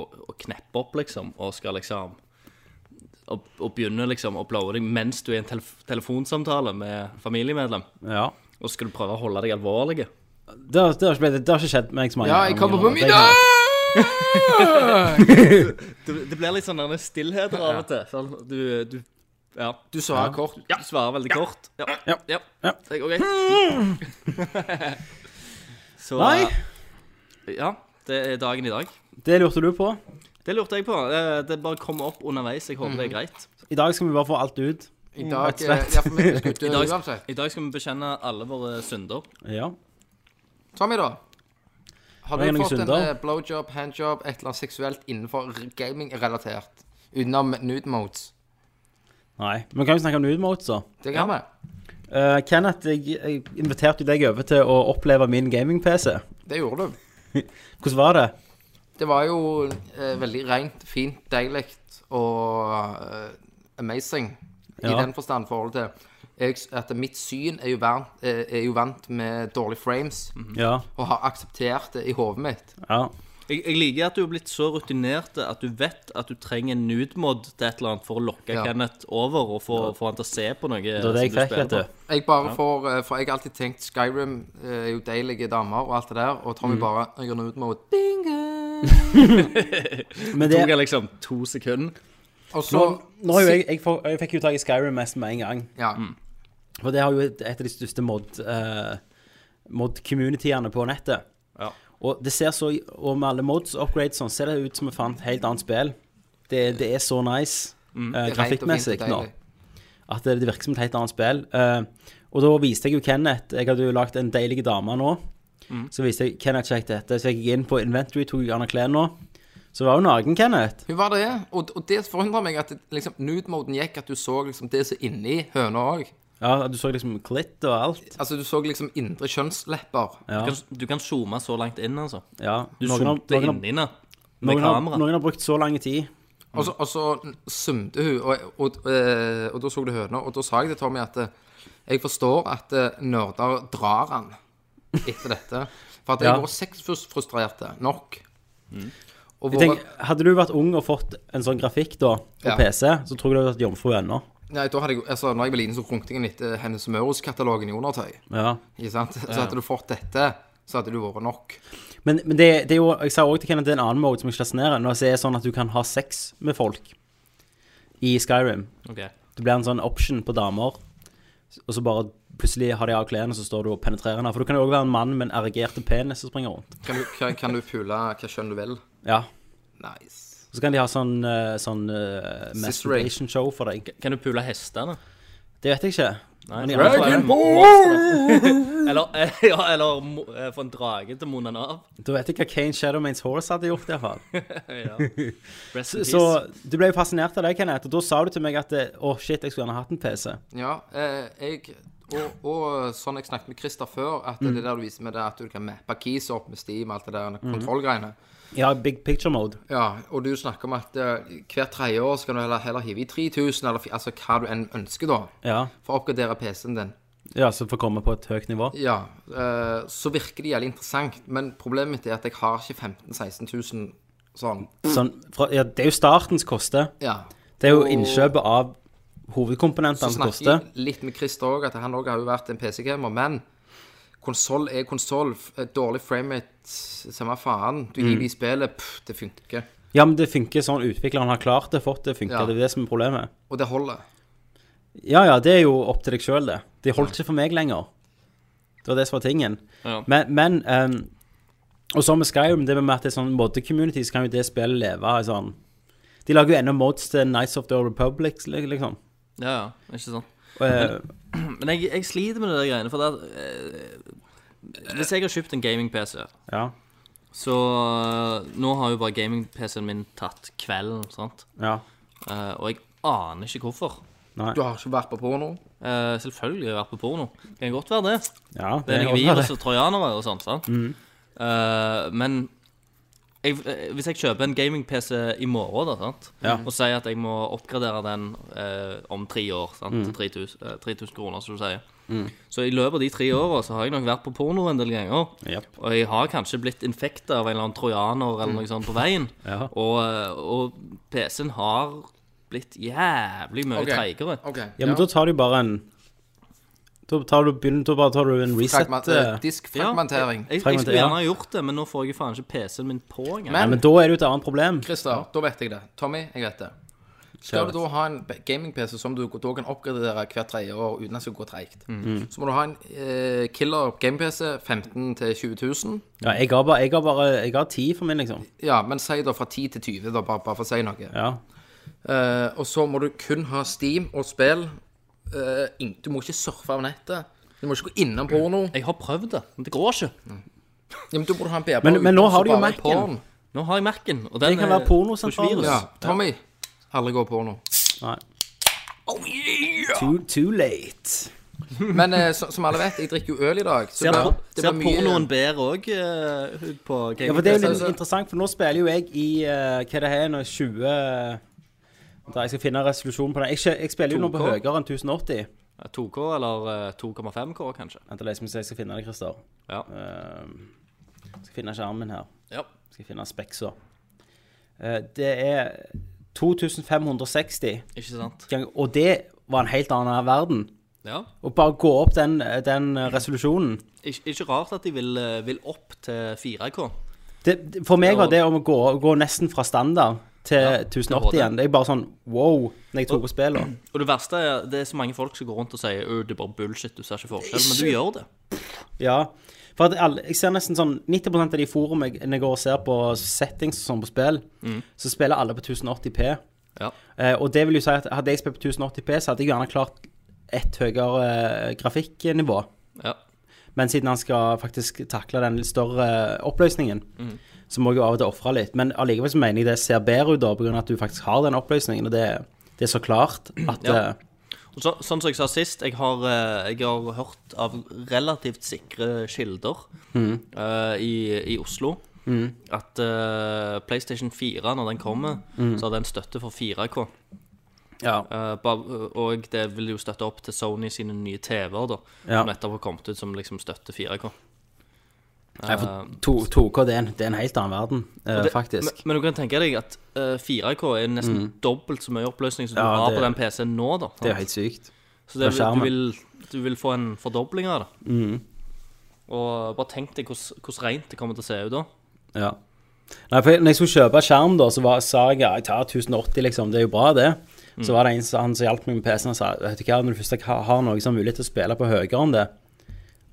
Speaker 3: å, å kneppe opp, liksom, og skal liksom og, og begynner liksom å blowe deg mens du er i en telef telefonsamtale med familiemedlem.
Speaker 1: ja.
Speaker 3: Og skal du prøve å holde deg alvorlig.
Speaker 1: Det, har, det, har ikke, blitt- det har ikke skjedd meg så mange
Speaker 2: Ja, jeg kommer på
Speaker 1: Det er-
Speaker 2: middag!
Speaker 3: Det, det blir litt sånn der stillhet av og til. Sånn, du, du Ja.
Speaker 2: [laughs] Du svarer kort.
Speaker 3: Ja. Du svarer veldig kort. Ja.
Speaker 1: Ja.
Speaker 3: ja.
Speaker 1: Ja.
Speaker 3: Det går greit. [laughs] Så
Speaker 1: Nei.
Speaker 3: eh, Ja, det er dagen i dag.
Speaker 1: Det lurte du på.
Speaker 3: Det lurte jeg på. Eh, Det bare kom opp underveis. Jeg håper det er greit.
Speaker 1: I dag skal vi bare få alt ut.
Speaker 2: I dag
Speaker 1: rett og
Speaker 2: eh,
Speaker 1: slett.
Speaker 2: Ja, for vi skal
Speaker 3: I
Speaker 2: dø
Speaker 3: dag,
Speaker 2: uansett.
Speaker 3: I dag skal vi bekjenne alle våre synder.
Speaker 1: Ja.
Speaker 2: Tommy, da? Har
Speaker 1: Har jeg
Speaker 2: du
Speaker 1: noen
Speaker 2: fått en
Speaker 1: synder?
Speaker 2: eh, blowjob, handjob, et eller annet seksuelt innenfor r- gaming-relatert? Utenom nude modes.
Speaker 1: Nei. Men kan vi snakke om nude mode, så?
Speaker 2: Det kan vi.
Speaker 1: Eh, Kenneth, jeg, jeg inviterte jo deg over til å oppleve min gaming-PC.
Speaker 2: Det gjorde du.
Speaker 1: Hvordan var det?
Speaker 2: Det var jo eh, veldig rent, fint, deilig og eh, amazing i
Speaker 1: Ja.
Speaker 2: den forstand forhold til jeg, s- at mitt syn er jo, vant, eh, er jo vant med dårlige frames,
Speaker 1: Ja.
Speaker 2: og har akseptert det i hodet mitt.
Speaker 1: Mhm. Ja.
Speaker 3: Jeg, jeg liker at du er blitt så rutinert at du vet at du trenger en nude-mod til et eller annet for å lokke
Speaker 2: Ja.
Speaker 3: Kenneth over og få, få han til å se på noe.
Speaker 1: Det var det jeg fikk, vet du.
Speaker 2: Jeg bare får eh, For jeg har alltid
Speaker 1: Mm. [laughs]
Speaker 2: tenkt Skyrim eh, er jo deilige damer og alt det der, og Tommy bare Jeg har nude mode. Bingo!
Speaker 1: Men
Speaker 3: Det
Speaker 1: det,
Speaker 3: tok jeg liksom to sekunder.
Speaker 2: Og så
Speaker 1: nå, nå har jo jeg, jeg, får, jeg fikk jo tak i Skyrim mest med en gang.
Speaker 2: Ja.
Speaker 1: For det har jo et, et av de største mod, eh, mod-communityene på nettet.
Speaker 3: Ja.
Speaker 1: Og det ser så, og med alle mods og upgrades sånn, ser det ut som vi fant et helt annet spill. Det, det er så nice eh,
Speaker 2: Mm. det er rent og fint
Speaker 1: grafikkmessig
Speaker 2: og
Speaker 1: nå.
Speaker 2: deilig.
Speaker 1: At det, det virker som et helt annet spill. Eh, og da viste jeg jo Kenneth Jeg hadde jo lagd en deilig dame nå.
Speaker 2: Mm.
Speaker 1: Så viste jeg Kenneth sjekk dette. Så jeg gikk inn på Inventory, tok gjerne klærne nå. Så var hun naken, Kenneth.
Speaker 2: Hun var det, og, og det forundrer meg at det, liksom, nude-moden gikk, at du så liksom det som er inni høna òg.
Speaker 1: Ja, Du så liksom klitt og alt.
Speaker 2: Altså, du så liksom indre kjønnslepper.
Speaker 1: Ja,
Speaker 3: Du kan- Du kan zoome så langt inn, altså.
Speaker 1: ja.
Speaker 3: Du
Speaker 1: Noen har-
Speaker 3: zoomte
Speaker 1: noen har-
Speaker 3: inn inne med
Speaker 1: noen har,
Speaker 3: kamera.
Speaker 1: noen har brukt så lang tid.
Speaker 2: Og så, og så sumte hun, og, og, eh, og da så du høna, og da sa jeg til Tommy at eh, jeg forstår at eh, nerder drar han etter dette. For at jeg
Speaker 1: Ja. Mm.
Speaker 2: var sexfrustrert nok. Og
Speaker 1: Jeg
Speaker 2: våre,
Speaker 1: tenker, hadde du vært ung og fått en sånn grafikk da, på
Speaker 2: Ja.
Speaker 1: PC, så tror jeg du hadde vært jomfru ennå.
Speaker 2: nei, da hadde jeg, altså, når jeg var liten, så runket jeg litt eh, Hennes Møros-katalogen i undertøy.
Speaker 1: Ja.
Speaker 2: Ikke sant? Så hadde du fått dette, så hadde du vært nok.
Speaker 1: Men, men det, det er jo, jeg sa også til Kenneth, det er en annen mode som jeg slasnerer, når det er sånn at du kan ha sex med folk i Skyrim.
Speaker 3: Ok.
Speaker 1: Det blir en sånn option på damer, og så bare plutselig har de av klærne, så står du og penetrerer henne. For du kan jo også være en mann med en erigerte penis som springer rundt.
Speaker 2: Kan du, kan, kan du pule hva kjønn du vil?
Speaker 1: Ja.
Speaker 2: Nice.
Speaker 1: Og så kan de ha sånn, eh, sånn eh,
Speaker 2: Sister ring.
Speaker 1: masturbation show for deg.
Speaker 3: Kan du pule hestene?
Speaker 1: Det vet jeg ikke.
Speaker 3: Nei.
Speaker 1: Men i alle fall er det-
Speaker 3: Eller, ja, eller mo- eh, få en drage til munnen av. [laughs]
Speaker 1: Da vet jeg hva Kane Shadowmanes Horse hadde gjort, i hvert fall.
Speaker 3: Ja. Rest in
Speaker 1: Så
Speaker 3: peace.
Speaker 1: du ble jo fascinert av det, Kenneth, og da sa du til meg at eh, å shit, jeg skulle gjerne hatt en PC.
Speaker 2: Ja, eh, jeg og, og sånn jeg snakket med Christer før, at det der du viser med det at du kan mappe keys opp med Steam, alt det der kontrollgreiene.
Speaker 1: Ja, big picture mode.
Speaker 2: Ja, og du snakker om at eh, hvert tredje år så kan du heller, heller hive i 3000, eller fi- altså hva du enn ønsker da,
Speaker 1: Ja,
Speaker 2: for å oppgradere PC-en din.
Speaker 1: ja så for å komme på et høyt nivå.
Speaker 2: Ja, eh, så virker det jævlig interessant, men problemet mitt er at jeg har ikke 15 000-16 000 sånn.
Speaker 1: Sånn, fra, ja, det er jo startens koste.
Speaker 2: Ja,
Speaker 1: Det er jo
Speaker 2: Og-
Speaker 1: innkjøpet av
Speaker 2: så
Speaker 1: hovedkomponentene som
Speaker 2: snakker
Speaker 1: koster.
Speaker 2: jeg litt med Christer òg, at han òg har jo vært en PC-gamer. Men konsoll er konsoll. Dårlig framerate, samme faen.
Speaker 1: Mm.
Speaker 2: Du hiver i spillet, pff, det funker.
Speaker 1: Ja, men det funker sånn utvikleren har klart det, fått det, funker.
Speaker 2: Ja.
Speaker 1: Det er det som er problemet.
Speaker 2: Og det holder.
Speaker 1: Ja, ja, det er jo opp til deg sjøl, det. De holdt ikke for meg lenger. Det var det som var tingen.
Speaker 3: Ja.
Speaker 1: Men, men ehm, Og så med Skyrim, det med at det er sånn modde-community, så kan jo det spillet leve av sånn De lager jo ennå mods til Nights of the Old Republic, li- liksom.
Speaker 3: Ja, ja, ikke sant.
Speaker 1: Og, eh,
Speaker 3: Men jeg, jeg sliter med det der greiene, for det at, eh, Hvis jeg har kjøpt en gaming-PC,
Speaker 1: [laughs] ja,
Speaker 3: så eh, Nå har jo bare gaming-PC-en min tatt kvelden, sant.
Speaker 1: ja.
Speaker 3: Eh, og jeg aner ikke hvorfor.
Speaker 1: Nei.
Speaker 2: Du har ikke vært på porno.
Speaker 3: Eh, selvfølgelig har jeg vært på porno. Det kan godt være det.
Speaker 1: Ja,
Speaker 3: Det er
Speaker 1: kan
Speaker 3: noen
Speaker 1: godt være
Speaker 3: virus altså. og trojanere og sånn, sant?
Speaker 1: Mm.
Speaker 3: Eh, men jeg, eh, hvis jeg kjøper en gaming-PC i morgen, da, sant?
Speaker 1: Ja.
Speaker 3: og sier at jeg må oppgradere den eh, om tre år, sant?
Speaker 1: Mm.
Speaker 3: til 3000, eh, 3000 kroner, som du sier Så i løpet av de tre åra så har jeg nok vært på porno en del ganger.
Speaker 1: Japp.
Speaker 3: Og jeg har kanskje blitt infekta av en eller annen trojaner eller noe sånt på veien.
Speaker 1: Mm. [laughs] Ja.
Speaker 3: Og, eh, og PC-en har blitt jævlig mye
Speaker 2: Ok.
Speaker 3: treigere.
Speaker 2: Ok,
Speaker 1: Ja, men da tar du bare en Da tar du, begynner, da bare tar du en reset.
Speaker 2: Fragma-
Speaker 1: eh,
Speaker 2: eh, Diskfragmentering.
Speaker 3: Jeg, jeg, jeg
Speaker 1: Fragmenter-
Speaker 3: skulle
Speaker 1: ja.
Speaker 3: gjerne ha gjort det, men nå får jeg faen ikke PC-en min på engang.
Speaker 1: Nei,
Speaker 2: Men
Speaker 1: men da er det jo et annet problem.
Speaker 2: Christer, da vet jeg det. Tommy, jeg vet det. Skal du da ha en b- gaming-PC som du da kan oppgradere hvert tredje år uten at det skal gå treigt,
Speaker 1: Mm.
Speaker 2: så må du ha en eh, killer gaming-PC 15 til 20 000.
Speaker 1: Ja, jeg har bare, jeg har bare jeg har ti for min, liksom.
Speaker 2: Ja, men si da fra 10 til 20, da, bare, bare for å si noe.
Speaker 1: Ja.
Speaker 2: Eh, og så må du kun ha Steam og spill. Eh, ing- du må ikke surfe av nettet. Du må ikke gå innom porno.
Speaker 3: Jeg har prøvd det, men det går ikke.
Speaker 2: Ja, men da må du ha en BB.
Speaker 1: Men- men nå
Speaker 2: uten,
Speaker 1: har
Speaker 2: så
Speaker 1: du jo
Speaker 2: bare
Speaker 1: Mac-en.
Speaker 2: porn.
Speaker 3: Nå har jeg Mac-en, og
Speaker 1: Det
Speaker 3: den eh,
Speaker 1: kan
Speaker 3: er-
Speaker 1: være pornosentralen.
Speaker 3: får ikke virus.
Speaker 2: Ja, Tommy. Aldri
Speaker 1: [laughs]
Speaker 2: gå porno.
Speaker 1: Nei. Too, too late.
Speaker 2: Men eh, så, som alle vet, jeg drikker jo øl i dag. Så
Speaker 3: Ser,
Speaker 2: det,
Speaker 3: por-
Speaker 2: det
Speaker 3: ser
Speaker 2: blir mye-
Speaker 3: pornoen bedre òg uh, ut på gaming?
Speaker 1: Ja, for det er jo
Speaker 3: PC-en?
Speaker 1: litt interessant, for nå spiller jo jeg i eh, Hva det her nå 20 da, Jeg skal finne resolusjonen på det. Jeg, skje- jeg spiller jo nå på
Speaker 3: 2K.
Speaker 1: høyere enn 1080.
Speaker 3: 2K eller eh, 2,5K, kanskje.
Speaker 1: Vent, jeg skal jeg skal finne det, Christer.
Speaker 3: Ja.
Speaker 1: Eh, skal finne skjermen her.
Speaker 3: ja.
Speaker 1: Skal finne speksa. Eh, det er 2560.
Speaker 3: Ikke sant?
Speaker 1: gang, og det var en helt annen verden.
Speaker 3: Ja.
Speaker 1: Å bare gå opp eh, den, den resolusjonen.
Speaker 3: Ikke, ikke rart at de vil, eh, vil opp til 4K.
Speaker 1: Det, det- for meg var det om å gå, gå nesten fra standard til
Speaker 3: Ja, det var
Speaker 1: 1080
Speaker 3: det.
Speaker 1: igjen. Det er bare sånn wow, når jeg tok på spillet.
Speaker 3: Og det verste er det er så mange folk som går rundt og sier «Ø, det er bare bullshit, du ser ikke forskjell, men du gjør det.
Speaker 1: Ja. For at alle, jeg ser nesten sånn 90 av de forum jeg, når jeg går og ser på settings og sånn på spill, så spiller alle på 1080P.
Speaker 3: Mm. Ja.
Speaker 1: Eh, og det vil jo si at hadde jeg spilt på 1080P, så hadde jeg gjerne klart et høyere eh, grafikknivå.
Speaker 3: ja.
Speaker 1: Men siden han skal faktisk takle den litt større oppløsningen,
Speaker 3: Mm.
Speaker 1: så må jeg jo av og til ofre litt. Men allikevel så mener jeg det ser bedre ut da, pga. at du faktisk har den oppløsningen. Og det, det er så klart at
Speaker 3: Ja.
Speaker 1: eh,
Speaker 3: Og Så, sånn som jeg sa sist, jeg har, eh, jeg har hørt av relativt sikre kilder
Speaker 1: Mm.
Speaker 3: eh, i, i Oslo at eh, PlayStation 4, når den kommer,
Speaker 1: Mm.
Speaker 3: så har den støtte for 4K.
Speaker 1: ja.
Speaker 3: Eh, ba- og det vil jo støtte opp til Sony sine nye TV-er, da,
Speaker 1: Ja.
Speaker 3: som nettopp har kommet ut som liksom støtter 4K.
Speaker 1: Nei, for to- 2K det er, en, det er en helt annen verden, eh,
Speaker 3: Det-
Speaker 1: faktisk.
Speaker 3: Eh,
Speaker 1: Mm.
Speaker 3: Men, men du kan tenke deg at eh, 4K er nesten dobbelt så mye oppløsning som du
Speaker 1: Ja,
Speaker 3: har
Speaker 1: det-
Speaker 3: på den PC-en nå, da.
Speaker 1: Det er jo helt sykt.
Speaker 3: Så
Speaker 1: På
Speaker 3: det, vil-
Speaker 1: skjermen. Mm.
Speaker 3: du, vil, du vil få en fordobling av det. Og bare tenk deg hvordan hvordan rent det kommer til å se ut da.
Speaker 1: Ja. Nei, for når jeg skulle kjøpe skjerm, da, så var, sa jeg ja, jeg tar 1080, liksom. Det er jo bra, det.
Speaker 3: Mm.
Speaker 1: Så var det en som- han som hjalp meg med PC-en og sa vet du hva, når du først har har noe som har mulighet til å spille på høyere enn det,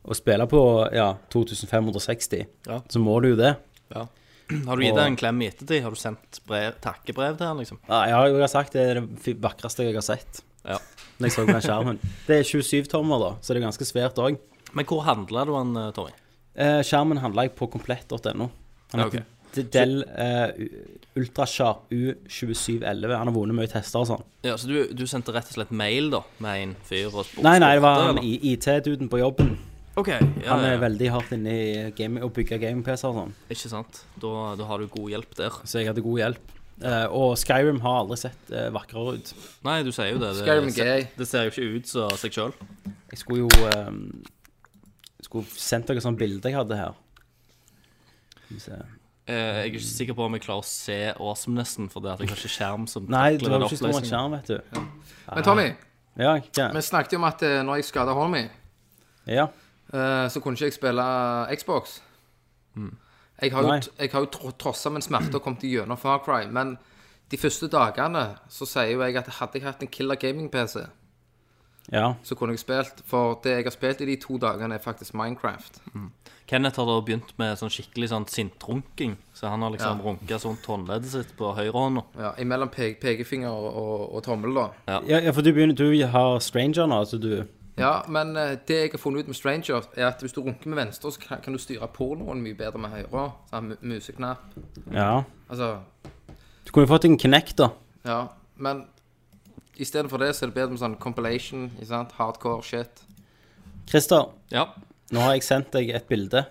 Speaker 1: og spille på ja, 2560,
Speaker 3: Ja.
Speaker 1: så må du jo det.
Speaker 3: [clears throat] Har du gitt
Speaker 1: Og-
Speaker 3: deg en klem i ettertid? Har du sendt brev, takkebrev til han, liksom?
Speaker 1: Ja, jeg har jo sagt det er det fi- vakreste jeg har sett
Speaker 3: Ja.
Speaker 1: når jeg så på den
Speaker 3: [laughs]
Speaker 1: skjermen. Det er 27 tommer, da, så det er ganske svært òg.
Speaker 3: Men hvor handla du han, eh, Tommy?
Speaker 1: Eh, skjermen handla jeg på komplett.no. Han heter
Speaker 3: Ok.
Speaker 1: Del eh, Ultrasharp U2711. Han har vunnet mye tester og sånn.
Speaker 3: Ja, så du, du sendte rett og slett mail da, med en fyr og spurte?
Speaker 1: Nei, nei, det var han
Speaker 3: eller?
Speaker 1: i- IT-duden på jobben.
Speaker 3: Ok, ja,
Speaker 1: Han
Speaker 3: ja,
Speaker 1: er
Speaker 3: ja.
Speaker 1: veldig hardt inne i gaming, å bygge gaming-PC-er og sånn,
Speaker 3: Ikke sant? Da, da har du god hjelp der.
Speaker 1: så jeg hadde god hjelp. Eh, og Skyrim har aldri sett eh, vakrere ut.
Speaker 3: Nei, du sier jo det.
Speaker 2: Skyrim er
Speaker 3: Det,
Speaker 2: gay.
Speaker 3: det ser jo ikke ut som seg sjøl.
Speaker 1: Jeg skulle jo eh, Skulle sendt dere sånn bilde jeg hadde her. Skal vi se.
Speaker 3: Eh, Jeg er ikke sikker på om jeg klarer å se awesomenessen, for det at jeg har ikke skjerm som
Speaker 1: Nei,
Speaker 3: takler
Speaker 1: du har
Speaker 3: den
Speaker 1: jo ikke stor
Speaker 3: oppløsningen.
Speaker 1: skjerm, vet du.
Speaker 2: Men Tommy,
Speaker 1: Ja, ikke?
Speaker 2: vi snakket jo om at eh, når jeg skada hånden min,
Speaker 1: ja.
Speaker 2: eh, så kunne ikke jeg spille eh, Xbox. Jeg har jo,
Speaker 1: Mm. Nei.
Speaker 2: jeg har jo tro- trossa min smerte og kommet gjennom Far Cry, men de første dagene så sier jo jeg at hadde jeg hatt en killer gaming-PC,
Speaker 1: ja.
Speaker 2: så kunne jeg spilt. For det jeg har spilt i de to dagene, er faktisk Minecraft.
Speaker 3: Kenneth har da begynt med sånn skikkelig sånn sintrunking. Så han har liksom
Speaker 2: Ja.
Speaker 3: runka sånn håndleddet sitt på høyrehånda.
Speaker 2: Ja, Imellom pe pekefinger og, og, og tommel, da.
Speaker 1: Ja, ja, for du begynner Du har Stranger nå, altså du
Speaker 2: Ja, men eh, det jeg har funnet ut med Stranger, er at hvis du runker med venstre, så kan, kan du styre pornoen mye bedre med høyre. Sånn mu- museknapp.
Speaker 1: Ja.
Speaker 2: Altså,
Speaker 1: Du kunne jo fått en Kinect, da.
Speaker 2: ja. Men i stedet for det, så er det bedre med sånn compilation, ikke sant? Hardcore shit.
Speaker 1: Christer,
Speaker 3: Ja,
Speaker 1: nå har jeg sendt deg et bilde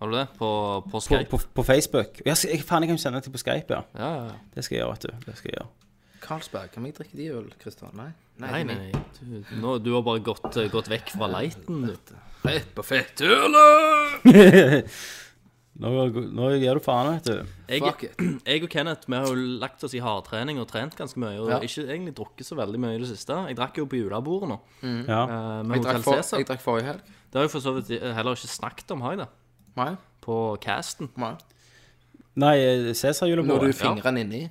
Speaker 3: har du det? På, på
Speaker 1: på,
Speaker 3: Skype?
Speaker 1: på, på Facebook. Ja, skal- jeg, faen, jeg kan jo sende det til på Skype, ja.
Speaker 3: Ja, ja, ja.
Speaker 1: Det skal jeg gjøre, vet du. Det skal jeg gjøre.
Speaker 2: Carlsberg, kan vi drikke de øl, Kristian? Nei?
Speaker 3: Nei, nei, nei. Du, nå, du har bare gått, eh, gått vekk fra leiten, du.
Speaker 2: Rett på fetthullet!
Speaker 1: [laughs] Nå, nå gjør du faen, vet du.
Speaker 3: Jeg,
Speaker 2: Fuck it.
Speaker 3: [clears throat] jeg og Kenneth vi har jo lagt oss i hardtrening og trent ganske mye. Og
Speaker 2: Ja.
Speaker 3: ikke egentlig drukket så veldig mye i det siste. Jeg drakk jo på julebordet nå.
Speaker 1: Ja.
Speaker 3: eh,
Speaker 2: Jeg
Speaker 3: Med
Speaker 2: drakk
Speaker 3: Hotell
Speaker 2: for,
Speaker 3: Cæsar.
Speaker 2: jeg drakk forrige helg.
Speaker 3: Det har jeg for så vidt eh, heller ikke snakket om, har jeg det?
Speaker 2: Nei?
Speaker 3: På casten.
Speaker 2: Nei.
Speaker 1: Nei,
Speaker 2: Når du
Speaker 1: Cæsar-julebordet.
Speaker 2: fingrene inni.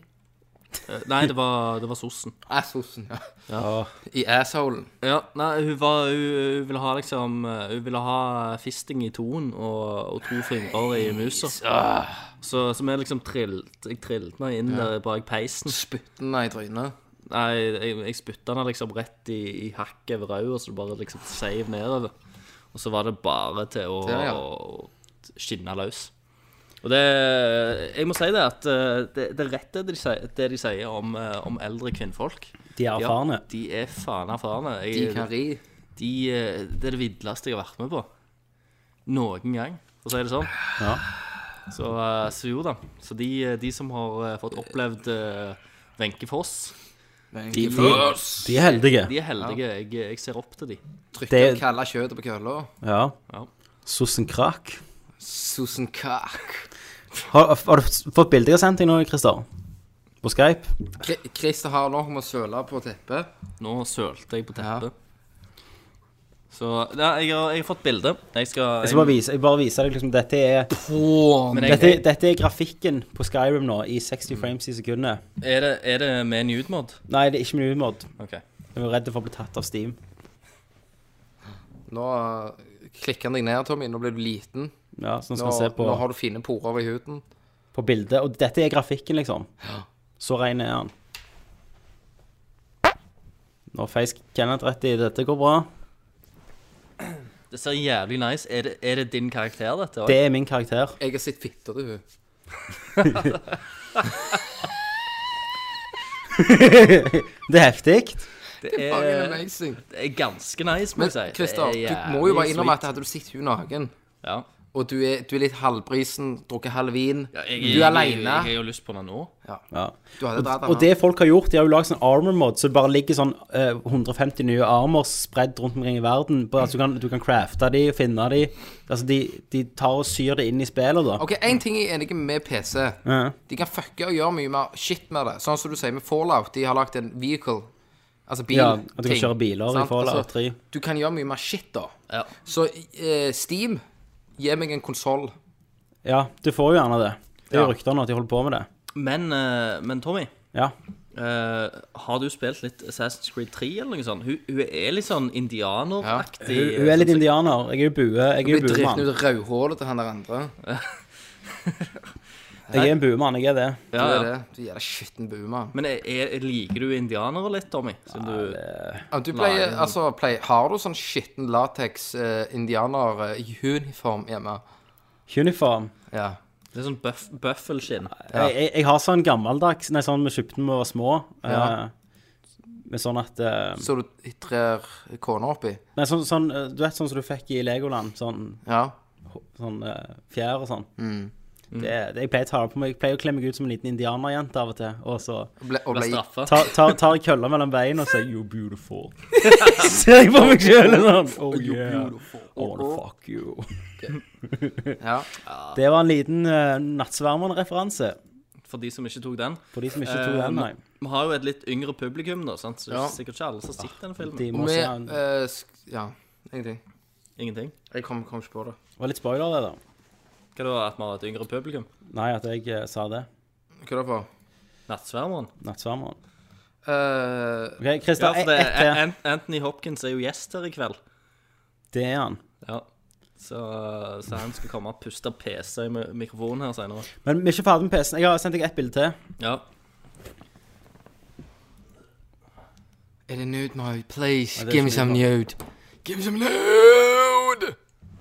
Speaker 3: Eh, Nei, det var, det var sossen.
Speaker 2: Assosen, ja.
Speaker 1: Åh,
Speaker 2: I assholen.
Speaker 3: Ja, nei, hun, var, hun, hun ville ha liksom eh, Hun ville ha fisting i toen og, og to fingre i musa.
Speaker 2: Ah.
Speaker 3: Så, så vi liksom trillt Jeg trillte meg inn der bak peisen.
Speaker 2: Spytten i trynet.
Speaker 3: Nei, jeg, jeg spytta henne liksom rett i, i hakket over øyet, så det bare liksom seiv nedover. Og så var det bare til å,
Speaker 2: Ja, ja.
Speaker 3: å skinne løs. Og det Jeg må si det at eh, det, det er rett det de sier, det de sier om, eh, om eldre kvinnfolk.
Speaker 1: de er erfarne.
Speaker 3: Ja, de er faen erfarne.
Speaker 2: De
Speaker 3: Jeg-
Speaker 2: kan ri.
Speaker 3: de, eh, det er det villeste jeg har vært med på. Noen gang, for å si det sånn.
Speaker 1: Ja.
Speaker 3: Så, eh, så jo da. Så de, eh, de som har eh, fått opplevd eh, Wenche Foss,
Speaker 1: De, de,
Speaker 2: Først!
Speaker 1: de er heldige.
Speaker 3: de er heldige. Jeg, jeg ser opp til de.
Speaker 2: Trykke
Speaker 1: Det-
Speaker 2: og kalle kjøttet på kølla.
Speaker 1: Ja.
Speaker 3: Ja.
Speaker 1: Sossen Krak.
Speaker 2: Susan Kak.
Speaker 1: Har, har du fått bilde jeg har sendt deg nå, Christer? På Skype?
Speaker 2: Kri- Christer har nok med å søle på teppet.
Speaker 3: Nå sølte jeg på teppet. Så ja, jeg, har, jeg har fått bilde. Jeg skal
Speaker 1: Jeg skal bare vise, jeg bare vise deg liksom, dette, er,
Speaker 2: Prom.
Speaker 3: men jeg,
Speaker 1: dette, dette er grafikken på Skyrim nå, i 60 frames i sekundet.
Speaker 3: er, det, er det med nude-mod?
Speaker 1: Nei, det er ikke min umod.
Speaker 3: OK.
Speaker 1: Jeg var redd for å bli tatt av Steam.
Speaker 2: Nå eh, klikker han deg ned, Tommy. Nå blir du liten.
Speaker 1: Ja, sånn så nå
Speaker 2: Nå,
Speaker 1: skal vi se på,
Speaker 2: nå har du fine porer over i huden.
Speaker 1: på bildet. Og dette er grafikken, liksom. Så ren er han. Nå feis Kenneth rett i dette går bra.
Speaker 3: Det ser jævlig nice Er det, er det din karakter, dette? også?
Speaker 1: Det er min
Speaker 2: [laughs]
Speaker 1: karakter.
Speaker 2: Jeg har sett fitter til hun.
Speaker 1: Det er heftig.
Speaker 3: det,
Speaker 2: Fucking
Speaker 3: er,
Speaker 2: amazing.
Speaker 3: det er ganske nice, må
Speaker 2: Men
Speaker 3: jeg si. Det er
Speaker 2: Christer, du må
Speaker 3: jævlig
Speaker 2: jo bare innrømme
Speaker 3: sweet.
Speaker 2: at hadde du sett hun naken
Speaker 3: ja.
Speaker 2: og du er, du er litt halvbrisen, drukket halv vin.
Speaker 3: Ja, jeg,
Speaker 2: du er
Speaker 3: Jeg, jeg,
Speaker 2: aleine.
Speaker 3: jeg har jo lyst på den nå.
Speaker 1: Ja.
Speaker 2: Du hadde dratt
Speaker 1: Og
Speaker 2: den.
Speaker 1: det folk har gjort, de har jo lagd sånn armor mod, så det bare ligger sånn eh, 150 nye armor spredd rundt omkring i verden. Bare, altså, du, kan, du kan crafte de, finne de. Altså, de, de tar og syr det inn i spillet, da.
Speaker 2: OK, én ting jeg er enig med PC.
Speaker 1: Ja.
Speaker 2: De kan fucke og gjøre mye mer shit med det. Sånn som du sier med Fallout. De har lagd en vehicle. Altså bil.
Speaker 1: Ja, at du kan
Speaker 2: ting,
Speaker 1: kjøre biler i
Speaker 2: sant? Altså-
Speaker 1: Fallout 3.
Speaker 2: Du kan gjøre mye mer shit, da.
Speaker 3: Ja.
Speaker 2: Så eh, Steam, gi meg en konsoll.
Speaker 1: Ja, du får jo gjerne det. Det er jo
Speaker 2: Ja.
Speaker 1: rykter nå at de holder på med det.
Speaker 3: Men, eh, men Tommy,
Speaker 1: Ja.
Speaker 3: eh, har du spilt litt Assassin's Creed 3 eller noe sånt? Hun, hun er litt sånn indianeraktig.
Speaker 1: Hun, hun er litt
Speaker 3: sånn som-
Speaker 1: indianer. Jeg er jo bue. Jeg er
Speaker 2: Blir
Speaker 1: jo
Speaker 2: drept
Speaker 1: buemann.
Speaker 2: ut rødhålet til han der andre.
Speaker 1: Jeg er en buemann, jeg er det.
Speaker 2: Du
Speaker 3: Ja,
Speaker 2: er
Speaker 3: ja.
Speaker 2: det. Du gjelder skitten boomer.
Speaker 3: Men er, er, liker du indianere litt, Tommy? Siden du
Speaker 2: Ja, du pleier, altså, pleier, har du sånn skitten latex-indianer-uniform hjemme?
Speaker 1: Uniform.
Speaker 2: Ja.
Speaker 3: Det er sånn bøff, bøffelskinn.
Speaker 1: Jeg, jeg, jeg har sånn gammeldags Nei, sånn vi kjøpte da vi var små. eh,
Speaker 2: Ja.
Speaker 1: med sånn at eh,
Speaker 2: Så du trer kona oppi?
Speaker 1: Nei, sånn, sånn eh, Du vet sånn som du fikk i Legoland? Sånn,
Speaker 2: Ja. Mm.
Speaker 1: sånn eh, fjær og sånn. Det, det jeg pleier å ta det på meg Jeg pleier å kle meg ut som en liten indianerjente av og til. Og så
Speaker 2: Ble, og
Speaker 3: Ble
Speaker 2: ble
Speaker 3: straffa.
Speaker 1: tar, tar, tar jeg kølla mellom beina og sier 'you're beautiful'. [laughs] Ser jeg på meg sjøl sånn. Oh yeah. I wanna fuck you.
Speaker 2: Ja.
Speaker 1: Det var en liten uh, nattsvermerne-referanse.
Speaker 3: For de som ikke tok den.
Speaker 1: For de som ikke tok
Speaker 3: Eh,
Speaker 1: den, nei.
Speaker 3: Vi har jo et litt yngre publikum, da, sant? så det er
Speaker 2: Ja.
Speaker 3: sikkert ikke alle som har sett den filmen.
Speaker 1: De
Speaker 2: Og
Speaker 1: må
Speaker 2: vi
Speaker 1: se den. Det
Speaker 2: eh, sk- Ja, ingenting.
Speaker 3: Ingenting.
Speaker 2: Jeg kom, kom ikke på det.
Speaker 1: var litt spoiler, det, da.
Speaker 3: Hva da, at vi har et yngre publikum?
Speaker 1: Nei, at jeg eh, sa det.
Speaker 2: Hva er det for?
Speaker 3: Nattsvermeren?
Speaker 1: Nattsvermeren.
Speaker 2: Eh,
Speaker 1: OK, Christer.
Speaker 3: Ja,
Speaker 1: Ja,
Speaker 3: for det,
Speaker 1: ett til.
Speaker 3: Ant- Anthony Hopkins er jo gjest her i kveld.
Speaker 1: Det er han.
Speaker 3: Ja. Så, så han skal komme og puste PC i mi- mikrofonen her senere.
Speaker 1: Men vi er ikke ferdig med PC-en. Jeg har sendt deg ett bilde til.
Speaker 3: Ja.
Speaker 2: er det nude, my please?
Speaker 1: det er
Speaker 2: Give me
Speaker 1: ikke
Speaker 2: some
Speaker 1: mye
Speaker 2: nude. Give me some nude!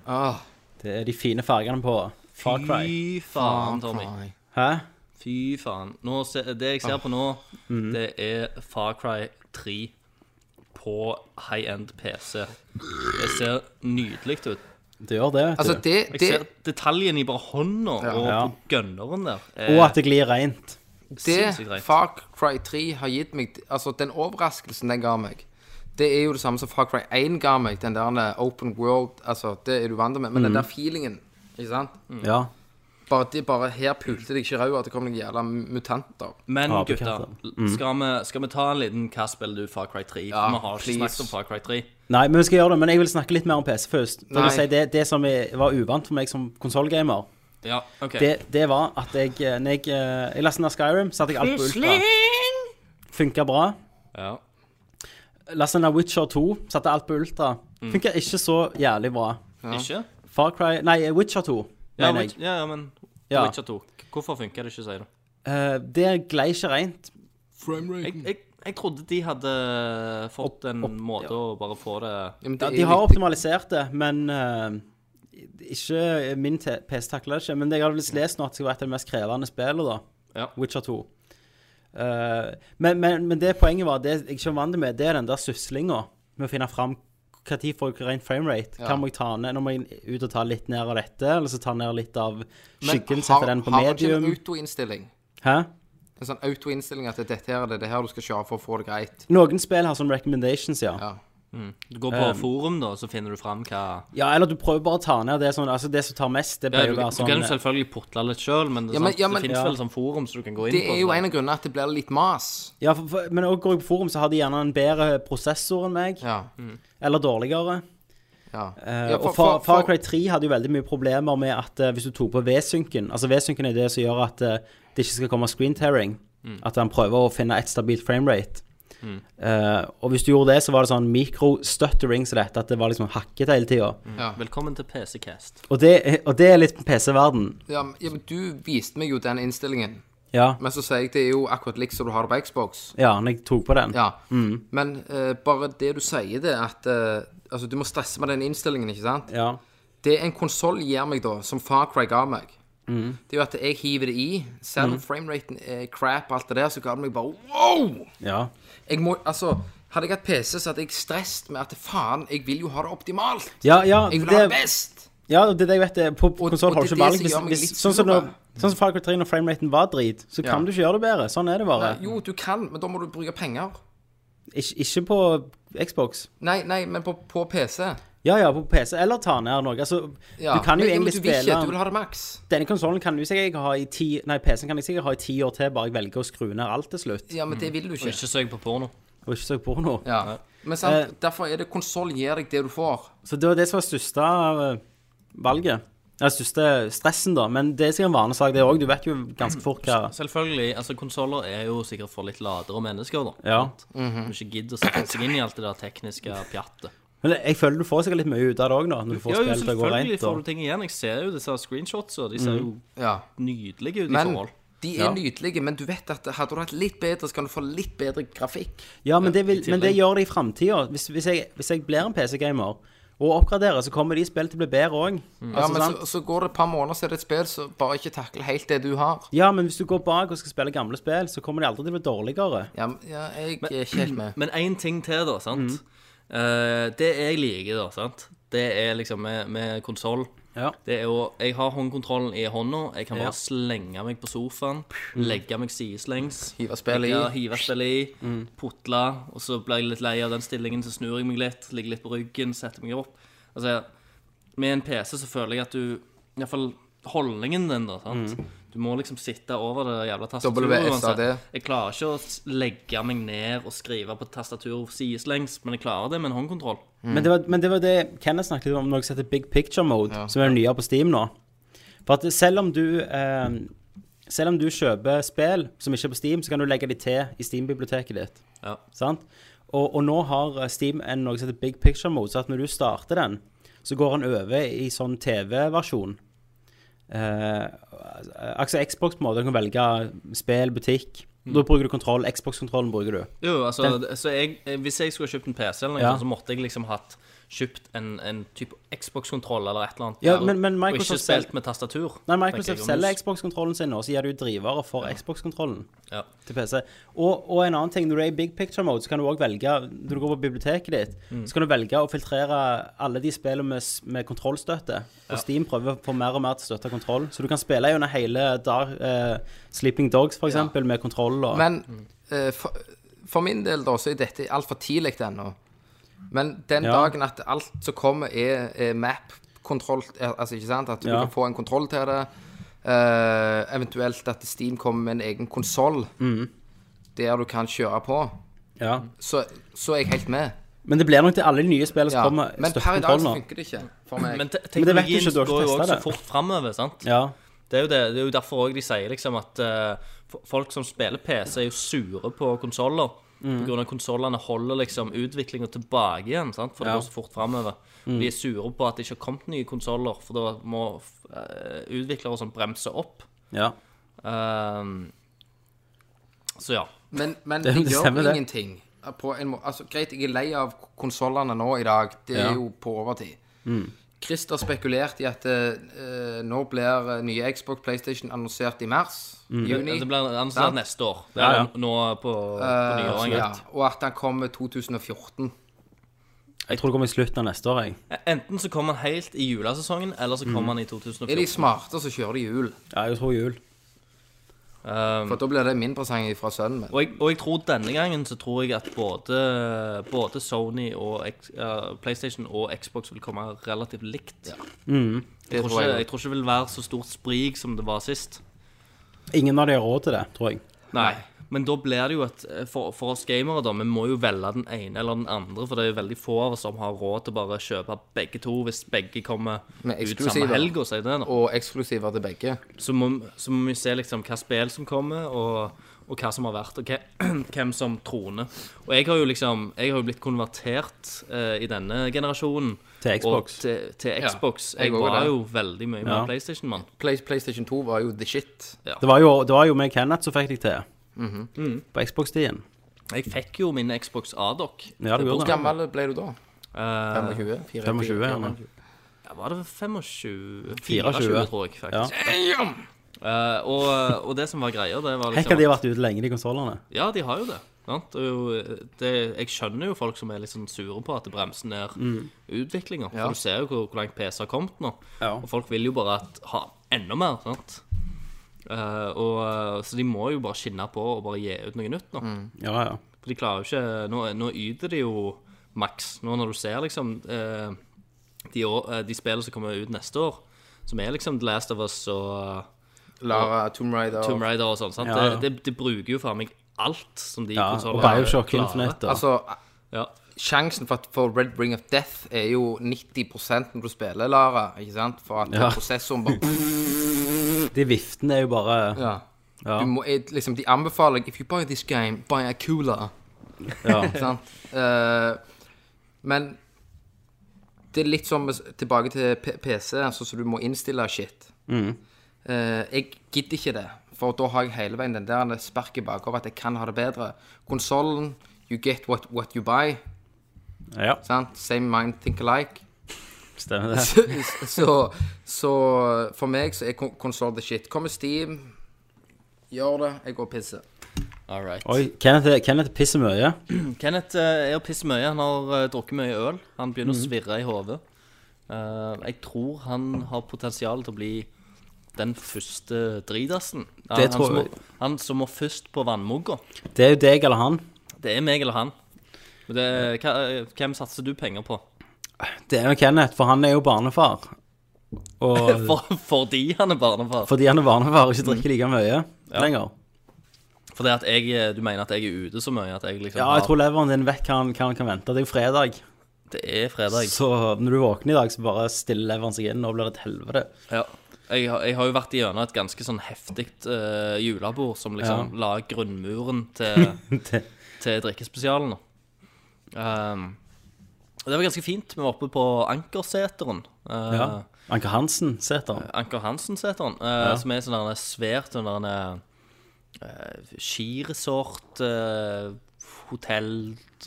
Speaker 2: Ah,
Speaker 1: Det er de fine fargene på Far Cry.
Speaker 3: Fy faen, Tommy.
Speaker 2: nei.
Speaker 1: Hæ?
Speaker 3: Fy faen. Nå se, det jeg
Speaker 2: Ah.
Speaker 3: ser på nå,
Speaker 2: Mhm.
Speaker 3: det er Far Cry 3 på high-end PC. Det ser nydelig ut.
Speaker 1: Det gjør det, vet
Speaker 2: Altså,
Speaker 1: du.
Speaker 2: det,
Speaker 3: Jeg
Speaker 2: det,
Speaker 3: ser detaljen i bare hånda og
Speaker 1: Ja.
Speaker 3: på gunneren der.
Speaker 1: Og at det glir rent.
Speaker 3: sinnssykt
Speaker 2: det
Speaker 3: rent.
Speaker 2: Far Cry 3 har gitt meg Altså, den overraskelsen den ga meg, det er jo det samme som Far Cry 1 ga meg. Den der eh, open world Altså, det er du vant med, men den
Speaker 3: Mhm.
Speaker 2: der feelingen, ikke sant?
Speaker 3: Mm.
Speaker 1: Ja.
Speaker 2: Bare, det, bare her pulte deg ikke rau at det kom noen jævla mutanter.
Speaker 3: Men
Speaker 1: Ja,
Speaker 3: gutta,
Speaker 1: Mm.
Speaker 3: skal, vi, skal vi ta en liten Hva spiller du Far Cry 3?
Speaker 2: Ja,
Speaker 3: For vi har
Speaker 2: please.
Speaker 3: ikke snakket om Far Cry 3.
Speaker 1: Nei, men vi skal gjøre det. Men jeg vil snakke litt mer om PC først. Det,
Speaker 2: Nei.
Speaker 1: vil si, det, det som er- var uvant for meg som konsollgamer,
Speaker 3: Ja, ok
Speaker 1: det, det var at jeg eh, Når jeg, eh, jeg lastet ned Skyrim, satte jeg alt på ultra. Funka bra.
Speaker 3: Ja.
Speaker 1: Lastet ned Witcher 2, satte alt på ultra.
Speaker 3: Mm.
Speaker 1: Funka ikke så jævlig bra.
Speaker 3: Ikke?
Speaker 1: Far Cry Nei, Witcher 2,
Speaker 3: Ja,
Speaker 1: mener jeg.
Speaker 3: Witch- ja, ja, men
Speaker 1: Ja.
Speaker 3: Witcher 2. Hvorfor funker det ikke, sier du?
Speaker 1: Eh, det glei ikke rent.
Speaker 3: Jeg, jeg, jeg trodde de hadde fått en måte å bare få det
Speaker 2: Ja, men det
Speaker 1: Ja,
Speaker 2: er
Speaker 1: de har
Speaker 2: litt-
Speaker 1: optimalisert det, men eh, ikke eh, Min te- PC takla det ikke. Men jeg hadde visst lest nå at det skal være et av de mest krevende spillene, da.
Speaker 3: Ja.
Speaker 1: Witcher 2. Eh, men, men, men det poenget var, det jeg ikke er vant med, det er den der suslinga med å finne fram hva tid får jeg rent framerate. Hva
Speaker 2: Ja.
Speaker 1: må jeg ta ned? Nå må jeg ut og ta litt ned av dette, eller så ta ned litt av
Speaker 2: Men
Speaker 1: skyggen,
Speaker 2: har-
Speaker 1: sette den på
Speaker 2: Har du
Speaker 1: medium.
Speaker 2: ikke en autoinnstilling?
Speaker 1: Hæ?
Speaker 2: En sånn autoinnstilling at det er dette her det er det her du skal se for å få det greit.
Speaker 1: Noen spill har sånne recommendations, ja.
Speaker 2: Ja.
Speaker 3: Du går på forum, da, så finner du fram hva
Speaker 1: Ja, eller du prøver bare å ta ned det som, altså det som tar mest. Det
Speaker 3: ja,
Speaker 1: pleier
Speaker 3: du,
Speaker 1: å være
Speaker 3: du
Speaker 1: sånn
Speaker 3: kan jo selvfølgelig putle litt sjøl, men, det,
Speaker 2: Ja,
Speaker 3: ja,
Speaker 2: men- ja, men-
Speaker 3: det
Speaker 1: Ja.
Speaker 3: finnes vel sånn forum som du kan gå inn
Speaker 2: Det
Speaker 3: på.
Speaker 2: er jo
Speaker 3: sånn.
Speaker 2: en av grunnene at det blir litt mas.
Speaker 1: ja, for, for, Men også går jeg på forum, så har de gjerne en bedre prosessor enn meg.
Speaker 2: Ja.
Speaker 1: Eller dårligere.
Speaker 2: Ja.
Speaker 1: Eh,
Speaker 2: Ja,
Speaker 1: og
Speaker 2: for-
Speaker 1: Far,
Speaker 2: for-
Speaker 1: Far Cry 3 hadde jo veldig mye problemer med at eh, hvis du tok på V-synken Altså V-synken er det som gjør at eh, det ikke skal komme screen tearing.
Speaker 2: Mm.
Speaker 1: At han prøver å finne et stabilt framerate. Eh, og hvis du gjorde det, så var det sånn mikrostuttering som dette, at det var liksom hakket hele tida.
Speaker 2: ja.
Speaker 3: Velkommen til PC-cast.
Speaker 1: Og, det- og det er litt PC-verden.
Speaker 2: Ja, men- ja, men du viste meg jo den innstillingen.
Speaker 1: Ja.
Speaker 2: Men så sier jeg det er jo akkurat likt som du har det på Xbox.
Speaker 1: ja, når jeg tok på den.
Speaker 2: Ja.
Speaker 1: Mm.
Speaker 2: Men eh, bare det du sier, det er at eh, Altså, du må stresse med den innstillingen, ikke sant?
Speaker 1: Ja.
Speaker 2: Det en konsoll gir meg, da, som Far Cry ga meg,
Speaker 1: Mm.
Speaker 2: det er jo at jeg hiver det i. Selv om frameraten er crap og alt det der, så ga det meg bare wow!
Speaker 1: ja.
Speaker 2: Jeg må, altså, hadde jeg hatt PC, så hadde jeg stresset med at faen, jeg vil jo ha det optimalt.
Speaker 1: Ja, ja,
Speaker 2: Jeg vil ha det
Speaker 1: det,
Speaker 2: best.
Speaker 1: ja, det er det jeg vet. det- På konsoll
Speaker 2: og
Speaker 1: har
Speaker 2: det
Speaker 1: du
Speaker 2: er
Speaker 1: ikke valg.
Speaker 2: det
Speaker 1: Hvis,
Speaker 2: som gjør meg
Speaker 1: hvis,
Speaker 2: litt
Speaker 1: sånn som
Speaker 2: sure.
Speaker 1: når, sånn som Far Cry 3 når frameraten var drit, så
Speaker 2: Ja.
Speaker 1: kan du ikke gjøre det bedre. Sånn er det bare.
Speaker 2: Jo, du kan, men da må du bruke penger.
Speaker 1: Ikke, ikke på Xbox.
Speaker 2: Nei, nei, men på, på PC.
Speaker 1: Ja, ja, på PC. Eller ta ned noe. Altså,
Speaker 2: Ja.
Speaker 1: du kan jo
Speaker 2: men,
Speaker 1: egentlig
Speaker 2: men du vil
Speaker 1: spille
Speaker 2: Ikke, du vil ha det maks.
Speaker 1: Denne konsollen kan du sikkert ha i ti Nei, PC-en kan jeg sikkert ha i ti år til, bare jeg velger å skru ned alt til slutt.
Speaker 2: Ja, men det vil du
Speaker 3: Og
Speaker 2: ikke.
Speaker 3: ikke søk på porno.
Speaker 1: Og ikke så porno.
Speaker 2: Ja. Men sant,
Speaker 1: Eh.
Speaker 2: derfor er det konsoll gir deg det du får.
Speaker 1: Så det var det som var største av eh, valget. Eller største stressen, da. Men det er sikkert en vanesak, det òg. Du vet jo ganske fort hva
Speaker 3: Selvfølgelig. altså Konsoller er jo sikkert for litt ladere mennesker, da.
Speaker 1: Ja.
Speaker 3: Som ikke gidder å sette seg inn i alt det der tekniske pjattet.
Speaker 1: Men jeg føler du får sikkert litt mye ut av det òg, nå. Når du får
Speaker 3: Ja, jo,
Speaker 1: spill til å gå
Speaker 3: selvfølgelig
Speaker 1: rent.
Speaker 3: får du
Speaker 1: Og...
Speaker 3: ting igjen. Jeg ser jo disse screenshotsa. De ser jo
Speaker 2: Ja.
Speaker 3: nydelige ut i
Speaker 2: Men
Speaker 3: forhold.
Speaker 2: de er nydelige, men du vet at hadde du hatt litt bedre, så kan du få litt bedre grafikk.
Speaker 1: Ja, men det, vil,
Speaker 3: i
Speaker 1: men det
Speaker 3: tillegg.
Speaker 1: gjør det i framtida. Hvis, hvis, jeg- hvis jeg blir en PC-gamer og oppgraderer, så kommer de spillene til å bli bedre Altså, òg.
Speaker 2: Ja, Altså, men så, så går det et par måneder, så er det et spill som bare ikke takler helt det du har.
Speaker 1: Ja, men hvis du går bak og skal spille gamle spill, så kommer de aldri til å bli dårligere.
Speaker 2: Ja, men- ja jeg er ikke helt med.
Speaker 3: Men én ting til, da. sant? Eh, det jeg liker, da, sant? det er liksom med, med konsoll.
Speaker 1: Ja.
Speaker 3: Det er jo, Jeg har håndkontrollen i hånda. Jeg kan
Speaker 1: Ja.
Speaker 3: bare slenge meg på sofaen, legge meg sideslengs.
Speaker 2: Hive spillet i.
Speaker 3: Ja, hive spillet i, putle. Og så blir jeg litt lei av den stillingen, så snur jeg meg litt, ligger litt på ryggen, setter meg opp. Altså, Med en PC så føler jeg at du Iallfall holdningen din, da. sant? Du må liksom sitte over det jævla tastaturet.
Speaker 2: WSAD.
Speaker 3: uansett. Jeg klarer ikke å s- legge meg ned og skrive på tastatur sideslengs, men jeg klarer det med en håndkontroll.
Speaker 1: Men, det var, men det var det Kenneth snakket om, noe som heter Big Picture Mode, som er nyere på Steam nå. For at selv om du eh, Selv om du kjøper spill som ikke er på Steam, så kan du legge de til i Steam-biblioteket ditt.
Speaker 3: Ja.
Speaker 1: Sant? Og, og nå har eh, Steam en noe som heter Big Picture Mode, så at når du starter den, så går den over i sånn TV-versjon. Eh, altså Xbox-mode. Du kan velge spill, butikk. Da bruker du kontroll. Xbox-kontrollen bruker du.
Speaker 3: Jo, altså, så jeg, eh, Hvis jeg skulle ha kjøpt en PC, eller noe,
Speaker 1: Ja.
Speaker 3: sånt, så måtte jeg liksom hatt kjøpt en, en type Xbox-kontroll eller et eller annet.
Speaker 1: Ja,
Speaker 3: der,
Speaker 1: men- men
Speaker 3: og ikke
Speaker 1: Microsoft selv-
Speaker 3: spilt med
Speaker 1: Nei,
Speaker 3: tastatur. tenker jeg,
Speaker 1: Microsoft
Speaker 3: og
Speaker 1: selger
Speaker 3: mus.
Speaker 1: Xbox-kontrollen sin nå, så gir du drivere for Xbox-kontrollen
Speaker 3: Ja.
Speaker 1: til PC. Og, og en annen ting, når du er i big picture mode, så kan du også velge Når du går på biblioteket ditt,
Speaker 3: Mm.
Speaker 1: så kan du velge å filtrere alle de spillene med, s- med kontrollstøtte. Og Steam prøver å få mer og mer til å støtte kontroll. Så du kan spille gjennom hele dar, eh, Sleeping Dogs, for eksempel, med kontroll og
Speaker 2: Men eh, for, for min del, da, så er dette altfor tidlig ennå. Men den
Speaker 1: Ja.
Speaker 2: dagen at alt som kommer, er, er map-kontroll eh, Altså, ikke sant? At du
Speaker 1: Ja.
Speaker 2: kan få en kontroll til det. eh, eventuelt at Steam kommer med en egen konsoll der du kan kjøre på.
Speaker 1: ja.
Speaker 2: Så, så er jeg helt med.
Speaker 1: Men det blir nok til alle de nye spillene som
Speaker 2: Ja.
Speaker 1: kommer
Speaker 2: Men
Speaker 1: støtter
Speaker 2: per i dag
Speaker 1: kontroll
Speaker 2: så
Speaker 1: nå.
Speaker 2: funker det ikke for meg.
Speaker 3: Men te
Speaker 1: Men det vet du
Speaker 3: teknologien
Speaker 1: ikke, du har ikke
Speaker 3: går jo
Speaker 1: testet
Speaker 3: også så
Speaker 1: det.
Speaker 3: fort framover, sant?
Speaker 1: Ja.
Speaker 3: Det er jo, det, det er jo derfor også de sier liksom at eh, fo- folk som spiller PC, er jo sure på konsoller.
Speaker 1: Mm.
Speaker 3: På grunn av konsollene holder liksom utviklinga tilbake igjen, sant? for det
Speaker 1: Ja. Mm.
Speaker 3: går så fort framover. De er sure på at det ikke har kommet nye konsoller, for da må eh, utviklere som bremser opp.
Speaker 1: ja.
Speaker 3: Ehm, så ja.
Speaker 2: Men, men
Speaker 1: Det-
Speaker 2: det,
Speaker 1: det
Speaker 2: gjør
Speaker 1: stemmer det.
Speaker 2: ingenting. På en må altså, greit, jeg er lei av konsollene nå i dag. Det
Speaker 1: Ja. Mm.
Speaker 2: er jo på overtid. Christer spekulerte i at eh, nå blir eh, nye Xbox PlayStation annonsert i mars.
Speaker 1: Mm.
Speaker 2: Juni. Eh,
Speaker 3: Det blir
Speaker 2: Sant?
Speaker 3: ansatt neste år. Det
Speaker 1: Ja,
Speaker 3: er
Speaker 1: ja.
Speaker 3: nå på, på nyåringen.
Speaker 2: ja, og at han kommer 2014.
Speaker 1: Jeg tror det kommer i slutten av neste år, jeg.
Speaker 3: Enten så kommer han helt i julesesongen, eller så kommer han i 2014.
Speaker 2: Er de smarte, så kjører de jul.
Speaker 1: Ja, jeg tror jul.
Speaker 3: Ehm,
Speaker 2: For da blir det min presang fra sønnen min.
Speaker 3: og, jeg, og jeg tror denne gangen så tror jeg at både, både Sony og X, eh, PlayStation og Xbox vil komme relativt likt.
Speaker 2: Det
Speaker 3: Jeg, tror ikke, jeg tror ikke det vil være så stort sprik som det var sist.
Speaker 1: Ingen av de har råd til det, tror jeg.
Speaker 3: Nei. Men da blir det jo et For, for oss gamere, da, vi må jo velge den ene eller den andre. For det er jo veldig få av oss som har råd til bare å kjøpe begge to hvis begge kommer
Speaker 2: Med
Speaker 3: ut samme
Speaker 2: eksklusiver.
Speaker 3: helg. Og så, det, da.
Speaker 2: Og eksklusiver til begge.
Speaker 3: så, må, så må vi se liksom hva spill som kommer, og, og hva som har vært, og hva, [clears throat] hvem som troner. Og jeg har jo liksom Jeg har jo blitt konvertert eh, i denne generasjonen.
Speaker 1: Til Xbox.
Speaker 3: Og til, til
Speaker 2: Ja,
Speaker 3: Xbox.
Speaker 2: jeg
Speaker 3: jeg
Speaker 2: også
Speaker 3: var
Speaker 2: det.
Speaker 3: jo veldig mye med
Speaker 1: Ja.
Speaker 3: PlayStation, mann.
Speaker 2: Play, PlayStation 2 var jo the shit.
Speaker 1: Det var jo, det var jo meg og Kenneth som fikk deg til.
Speaker 3: Mhm.
Speaker 2: Mm.
Speaker 1: På Xbox-tiden.
Speaker 3: Jeg fikk jo min Xbox Adoc.
Speaker 1: Ja, du
Speaker 2: Hvor
Speaker 1: gjorde det. Eh,
Speaker 2: gammel ble du da?
Speaker 3: Eh,
Speaker 2: 25?
Speaker 1: 25, gjerne.
Speaker 3: Ja, var det 25?
Speaker 1: 24,
Speaker 3: 24, tror jeg, faktisk. Eh, og, og det som var greia, det var liksom
Speaker 1: Hekk at de har vært ute lenge, de konsollene.
Speaker 3: Ja, de har jo det. Sant? Og det, jeg skjønner jo folk som er litt sånn sure på at det bremser ned utviklinga. For
Speaker 2: Ja.
Speaker 3: du ser jo hvor, hvor langt PC har kommet nå.
Speaker 1: Mm. Ja.
Speaker 3: Og folk vil jo bare at, ha enda mer. sant? Eh, og, eh, så de må jo bare skinne på og bare gi ut noe nytt nå.
Speaker 1: Ja, ja.
Speaker 3: For de klarer jo ikke Nå, nå yter de jo maks. Nå når du ser liksom eh, de, år, eh, de spillene som kommer ut neste år, som er liksom The Last of Us og eh,
Speaker 2: Lara, Tomb Raider
Speaker 3: Tomb Raider og sånn, sant?
Speaker 1: Ja, ja.
Speaker 3: Det, det, det bruker jo faen meg alt som de
Speaker 1: ja. Og
Speaker 3: konsollene
Speaker 1: Bioshock Infinite. da.
Speaker 2: Altså,
Speaker 3: Ja.
Speaker 2: sjansen for, at- for Red Ring of Death er jo 90 når du spiller Lara, ikke sant? For at
Speaker 1: Ja.
Speaker 2: [laughs] prosessoren bare
Speaker 1: Altså, De viftene er jo bare
Speaker 2: ja.
Speaker 1: Ja.
Speaker 2: Du må, eh, liksom, De anbefaler If you buy this game, buy a cooler. [laughs]
Speaker 1: ja.
Speaker 2: sant? Eh, men det er litt som tilbake til P- PC, altså, så du må innstille shit. Eh, jeg gidder ikke det, for da har jeg hele veien den der sparket bakover at jeg kan ha det bedre. Konsollen, you get what, what you buy.
Speaker 1: ja.
Speaker 2: Sant? Same mind, think alike. [laughs]
Speaker 1: Stemmer det. [laughs]
Speaker 2: så, så for meg så er kon- konsoll the shit. Kommer Steam, gjør det, jeg går og pisser.
Speaker 3: All right.
Speaker 1: Oi, Kenneth, Kenneth pisser mye.
Speaker 3: Kenneth eh, er å pisse mye. Han har eh, drukket mye øl. Han begynner
Speaker 1: Mhm.
Speaker 3: å svirre i hodet. Eh, jeg tror han har potensial til å bli den første dritassen. Ja,
Speaker 1: Det
Speaker 3: han
Speaker 1: tror
Speaker 3: som
Speaker 1: jeg.
Speaker 3: Må, han som må først på vannmugga.
Speaker 1: Det er jo deg eller han.
Speaker 3: Det er meg eller han. Men Det, hva, hvem satser du penger på?
Speaker 1: Det er jo Kenneth, for han er jo barnefar. [laughs] Og
Speaker 3: For, fordi han er barnefar?
Speaker 1: fordi han er barnefar og ikke drikker like mye lenger.
Speaker 3: Fordi at jeg, eh, du mener at jeg er ute så mye at jeg liksom
Speaker 1: Ja, jeg tror leveren din vet hva han, hva han kan vente. Det er jo fredag.
Speaker 3: har Det er fredag.
Speaker 1: Så når du våkner i dag, så bare stiller leveren seg inn. Nå blir det et helvete. [laughs]
Speaker 3: Ja. Jeg, har- jeg har jo vært igjennom et ganske sånn heftig eh, julebord som liksom la grunnmuren
Speaker 1: [laughs]
Speaker 3: til,
Speaker 1: Til-
Speaker 3: til drikkespesialen. da. Um, og det var ganske fint. Vi var oppe på Ankerseteren. eh,
Speaker 1: Ja. Anker Hansen seter han.
Speaker 3: Anker Hansen-seteren, eh, som er sånn der svært sånn der en, eh, skiresort, eh, hotell,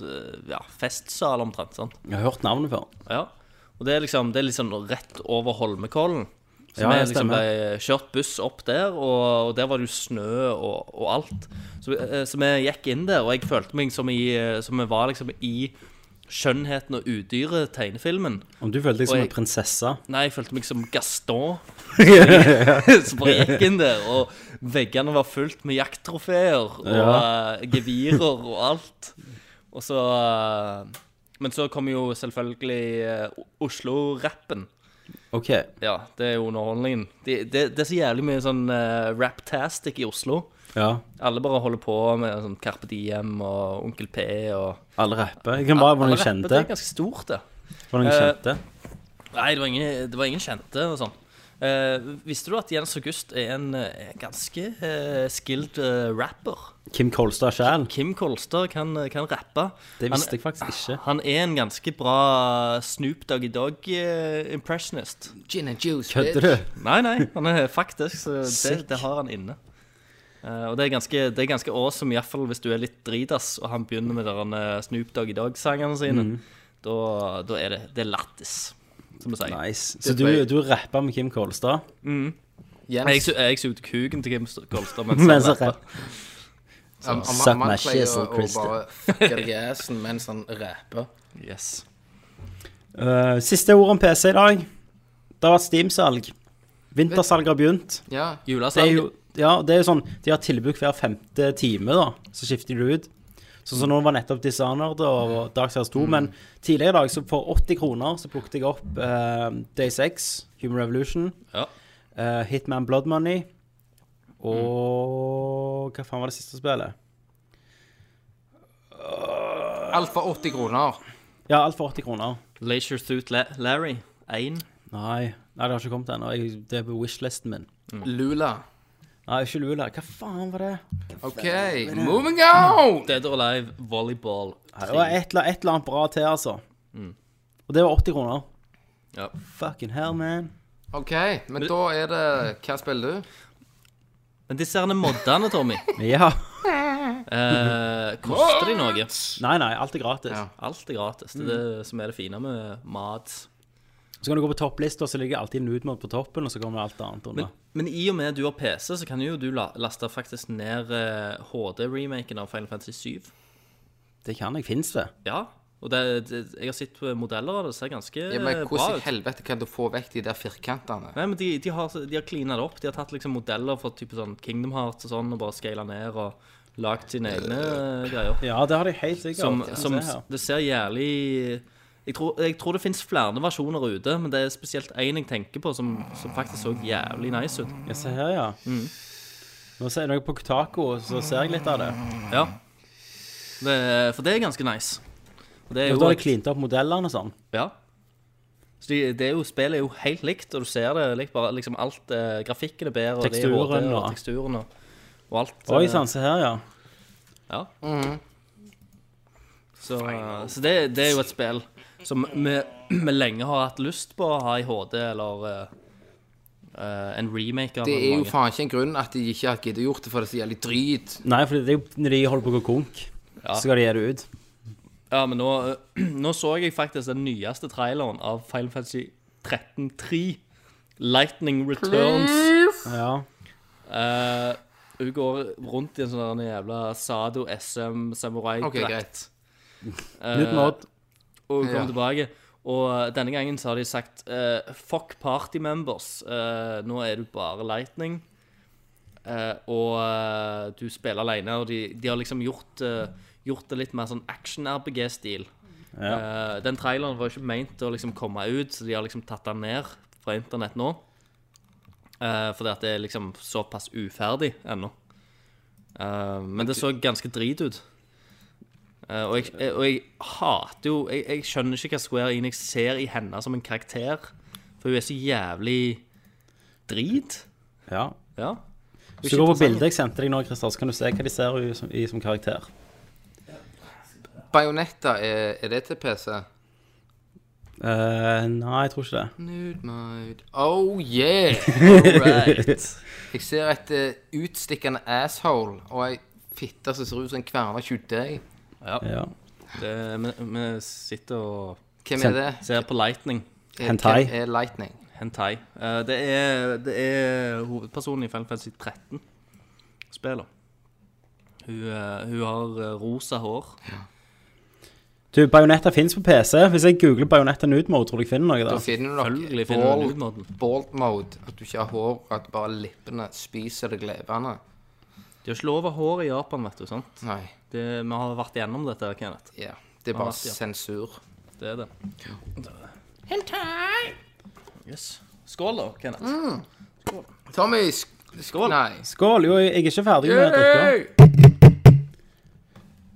Speaker 3: eh, ja, festsal omtrent, sant?
Speaker 1: Jeg har hørt navnet før.
Speaker 3: Ja. Og det er liksom, det er liksom rett over Holmenkollen. Så
Speaker 1: Ja,
Speaker 3: vi
Speaker 1: det
Speaker 3: liksom
Speaker 1: stemmer.
Speaker 3: ble kjørt buss opp der, og, og der var det jo snø og, og alt. Så, eh, så vi gikk inn der, og jeg følte meg som, i, eh, som vi var liksom i Skjønnheten og udyret tegnefilmen.
Speaker 1: Om du følte deg som
Speaker 3: Og
Speaker 1: en
Speaker 3: jeg-
Speaker 1: prinsesse.
Speaker 3: Nei, jeg følte meg som
Speaker 1: [laughs]
Speaker 3: Gaston. Så bare gikk inn der, og veggene var fullt med jakttrofeer og eh, gevirer og alt. Og så eh, Men så kom jo selvfølgelig eh, O- Oslo-rappen.
Speaker 1: OK.
Speaker 3: Ja, det er jo underholdningen. Det, det, det er så jævlig mye sånn uh, rap-tastic i Oslo.
Speaker 1: Ja.
Speaker 3: Alle bare holder på med sånn Carpe Diem og Onkel P og
Speaker 1: Alle rapper. Jeg kan bare hvordan
Speaker 3: Alle
Speaker 1: jeg
Speaker 3: rapper,
Speaker 1: kjente.
Speaker 3: Det er ganske stort, det.
Speaker 1: Hvordan jeg
Speaker 3: Eh,
Speaker 1: kjente.
Speaker 3: Nei, det var ingen, det var ingen kjente og sånn. Eh, visste du at Jens August er en eh, ganske eh, skilled eh, rapper?
Speaker 1: Kim Kolstad sjæl.
Speaker 3: Kim Kolstad kan, eh, kan rappe.
Speaker 1: Det
Speaker 3: Han-
Speaker 1: visste jeg faktisk ikke.
Speaker 3: Han er en ganske bra eh, Snoop Doggy Dog-impressionist.
Speaker 2: Gin and juice,
Speaker 1: Kødder
Speaker 2: bitch.
Speaker 1: du?
Speaker 3: Nei, nei, han er faktisk så det,
Speaker 1: Sick.
Speaker 3: det har han inne. Eh, og det er ganske, det er ganske awesome, iallfall hvis du er litt dritass og han begynner med den eh, Snoop Doggy Dog-sangene sine.
Speaker 1: Mhm.
Speaker 3: Da, da er det, det er lattis, som vi sier.
Speaker 1: Nice. Så
Speaker 2: Det
Speaker 1: du,
Speaker 2: tror jeg.
Speaker 1: du rappa med Kim Kolstad?
Speaker 2: Jens,
Speaker 3: Nei,
Speaker 2: Altså-
Speaker 3: Jeg, su- jeg sugde kuken til Kim St-
Speaker 1: [laughs]
Speaker 3: Kolstad mens
Speaker 1: Mens
Speaker 3: han
Speaker 1: han
Speaker 3: rappet.
Speaker 2: am- am-
Speaker 1: Suck
Speaker 2: man
Speaker 1: my
Speaker 2: pleier
Speaker 1: shit, son
Speaker 2: å- å
Speaker 1: Christian. [laughs]
Speaker 2: bare fucke deg i assen mens han rapper.
Speaker 3: Yes.
Speaker 1: Eh, siste ord om PC i dag. Det har vært Steam-salg. Vintersalget har begynt.
Speaker 2: Ja.
Speaker 1: Det er
Speaker 3: Julesalget.
Speaker 1: jo, ja, det er jo sånn, De har tilbud hver femte time, da. Så skifter de ut. Sånn som nå var nettopp Dishonored og Dark Souls 2. Men tidligere i dag, så for 80 kroner, så plukket jeg opp eh, Day 6, Human Revolution,
Speaker 3: Ja.
Speaker 1: Mm. eh, Hitman Blood Money og Hva faen var det siste spillet? Eh,
Speaker 2: Alt for 80 kroner.
Speaker 1: Ja, alt for 80 kroner.
Speaker 3: Leisure Suit La Larry 1.
Speaker 1: Nei, nei det har ikke kommet ennå. Jeg- Det er på wishlisten min.
Speaker 2: Lula.
Speaker 1: Nei, ikke Lula. Hva faen var det?
Speaker 2: OK, moving on!
Speaker 3: Dead or Alive Volleyball
Speaker 1: Det var
Speaker 3: 3.
Speaker 1: et, eller- et eller annet bra til, altså. Og det var 80 kroner.
Speaker 3: Ja.
Speaker 1: Fucking hell, man.
Speaker 2: OK, men da er det Hva spiller du?
Speaker 3: Men disse herne moddene, Tommy,
Speaker 1: [laughs] Ja.
Speaker 3: eh, koster de noe?
Speaker 1: Nei, nei, alt er gratis.
Speaker 2: Ja.
Speaker 3: Alt er gratis. Det er det som er det fine med mat.
Speaker 1: Så kan du gå på topplista, så ligger alltid Nudemod på toppen, og så kommer alt annet under.
Speaker 3: Men, men i og med du har PC, så kan jo du la, laste faktisk ned eh, HD-remaken av Final Fantasy 7.
Speaker 1: det kan jeg. Fins det?
Speaker 3: Ja. Og det, det, jeg har sett modeller av det, det ser ganske
Speaker 2: Ja, men
Speaker 3: eh, bra
Speaker 2: hvordan i
Speaker 3: ut.
Speaker 2: helvete kan du få vekk de der firkantene?
Speaker 3: Nei, men de, de har, de har cleanet det opp. De har tatt liksom modeller fra type sånn Kingdom Hearts og sånn, og bare scala ned og lagd sine egne eh, greier.
Speaker 1: Ja, det har de helt sikkert.
Speaker 3: Som,
Speaker 1: Ja,
Speaker 3: som
Speaker 1: se her.
Speaker 3: det ser jævlig jeg tror, jeg tror det fins flere versjoner ute, men det er spesielt én jeg tenker på, som, som faktisk så jævlig nice ut.
Speaker 1: Ja, se her, ja. Nå ser jeg noe på Kotako, så ser jeg litt av det.
Speaker 3: Ja. Det, for det er ganske nice. Og det er
Speaker 1: Og
Speaker 3: jo
Speaker 1: da har
Speaker 3: et-
Speaker 1: de klint opp modellene og sånn.
Speaker 3: Ja. Så de, det er jo, spillet er jo helt likt, og du ser det likt bare liksom alt eh, Grafikken er bedre, og det er
Speaker 1: Teksturen
Speaker 3: HD, og
Speaker 1: og-
Speaker 3: teksturen og, og alt. eh,
Speaker 1: Oi sann, se her, ja.
Speaker 3: Ja.
Speaker 2: Mm.
Speaker 3: Så, så det, det er jo et spill som vi, vi lenge har hatt lyst på å ha i HD, eller eh, eh, en remake av
Speaker 2: Det er jo
Speaker 3: mange.
Speaker 2: faen ikke en grunn at de ikke har giddet gjort det, for det er så jævlig drit.
Speaker 1: Nei, for det er jo når de holder på å gå konk, så skal de gi det ut.
Speaker 3: Ja, men nå, [clears throat] nå så jeg faktisk den nyeste traileren av Final Fantasy 13.3. Lightning Returns.
Speaker 1: Ja.
Speaker 3: Eh, hun går rundt i en sånn der jævla Sado SM samurai
Speaker 2: OK, greit.
Speaker 1: Nudemod.
Speaker 3: Eh, og hun kom
Speaker 2: Ja.
Speaker 3: tilbake. Og eh, denne gangen så har de sagt eh, Fuck party members. Eh, nå er du bare Lightning. Eh, og eh, du spiller alene. Og de, de har liksom gjort, eh, gjort det litt mer sånn action-RPG-stil. Eh, den traileren var ikke meint å liksom komme ut, så de har liksom tatt den ned fra internett nå. Eh, fordi at det er liksom såpass uferdig ennå. Eh, men det så ganske drit ut. Eh, og, jeg, jeg, og jeg hater jo jeg, jeg skjønner ikke hva Square Enix ser i henne som en karakter. For hun er så jævlig drit.
Speaker 1: ja.
Speaker 3: Ja.
Speaker 1: Hvis du går på bildet jeg sendte deg nå, Christer, så kan du se hva de ser ut som, i som karakter.
Speaker 2: Bajonetta, er, er det til PC?
Speaker 1: Eh, nei, jeg tror ikke det.
Speaker 2: Nude mode. Oh yeah!
Speaker 3: Right.
Speaker 2: Jeg ser et eh, utstikkende asshole og ei fitte som ser ut som en kverna tjuvdeig.
Speaker 1: [laughs] Ja.
Speaker 3: Det, Eh, vi, vi sitter og
Speaker 2: Hvem
Speaker 1: Sen-
Speaker 2: er det?
Speaker 3: ser på Lightning.
Speaker 2: Eh,
Speaker 1: Hentai.
Speaker 2: Hvem er Lightning?
Speaker 3: Hentai. Eh, det, er, det er hovedpersonen i Final Fantasy 13 spiller. Hun, eh, hun har eh, rosa hår.
Speaker 1: Du, Bajonetta fins på PC. Hvis jeg googler Bajonetta Nudemode, tror du jeg finner noe
Speaker 2: Da
Speaker 1: der?
Speaker 2: finner du
Speaker 3: Selvfølgelig
Speaker 2: nok
Speaker 3: finner du
Speaker 2: bald-
Speaker 3: nude-moden.
Speaker 2: bald mode. At du ikke har hår, at bare lippene spiser deg levende.
Speaker 3: De har ikke lov av hår i Japan, vet du. sant?
Speaker 2: Nei.
Speaker 3: Det, vi har vært igjennom dette, Kenneth.
Speaker 2: Ja. Det er
Speaker 3: Ja,
Speaker 2: bare
Speaker 3: ja.
Speaker 2: sensur.
Speaker 3: Det er det. Hentai! Yes. Skål, da, Kenneth.
Speaker 2: Mm, Tommy sk-
Speaker 3: Skål.
Speaker 2: Nei.
Speaker 1: Skål. Jo, jeg er ikke ferdig med drikka.
Speaker 2: Yay!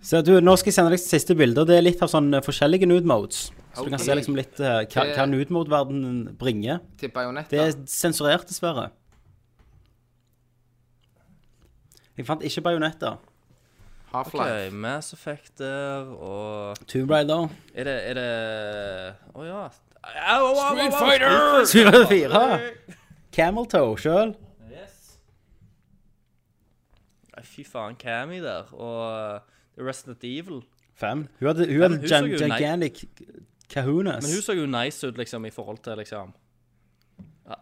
Speaker 1: Se, du, nå skal jeg sende deg siste bilde, og det er litt av sånn eh, forskjellige nudemodes. Så du kan
Speaker 2: Ok.
Speaker 1: se liksom litt eh, hva, hva nudemode-verdenen bringer.
Speaker 2: Til Bajonetta.
Speaker 1: Det er sensurert, dessverre. Jeg fant ikke Bajonetta.
Speaker 3: Ok,
Speaker 2: Half-life.
Speaker 3: Mass Effect der, og
Speaker 1: Tomb
Speaker 3: [laughs]
Speaker 1: Raider.
Speaker 3: Er det Er det Å ja. Au, au, au, au, au.
Speaker 2: Street Fighter!
Speaker 1: 404. Camel Toe sjøl.
Speaker 3: Yes. Nei, Fy faen, Cammy der, og uh, Resident Evil.
Speaker 1: Fem. Hun hadde, hun hadde
Speaker 3: men hun så
Speaker 1: gin-
Speaker 3: jo nei.
Speaker 1: gigantic kahunas.
Speaker 3: Men hun så jo nice ut, liksom, i forhold til, liksom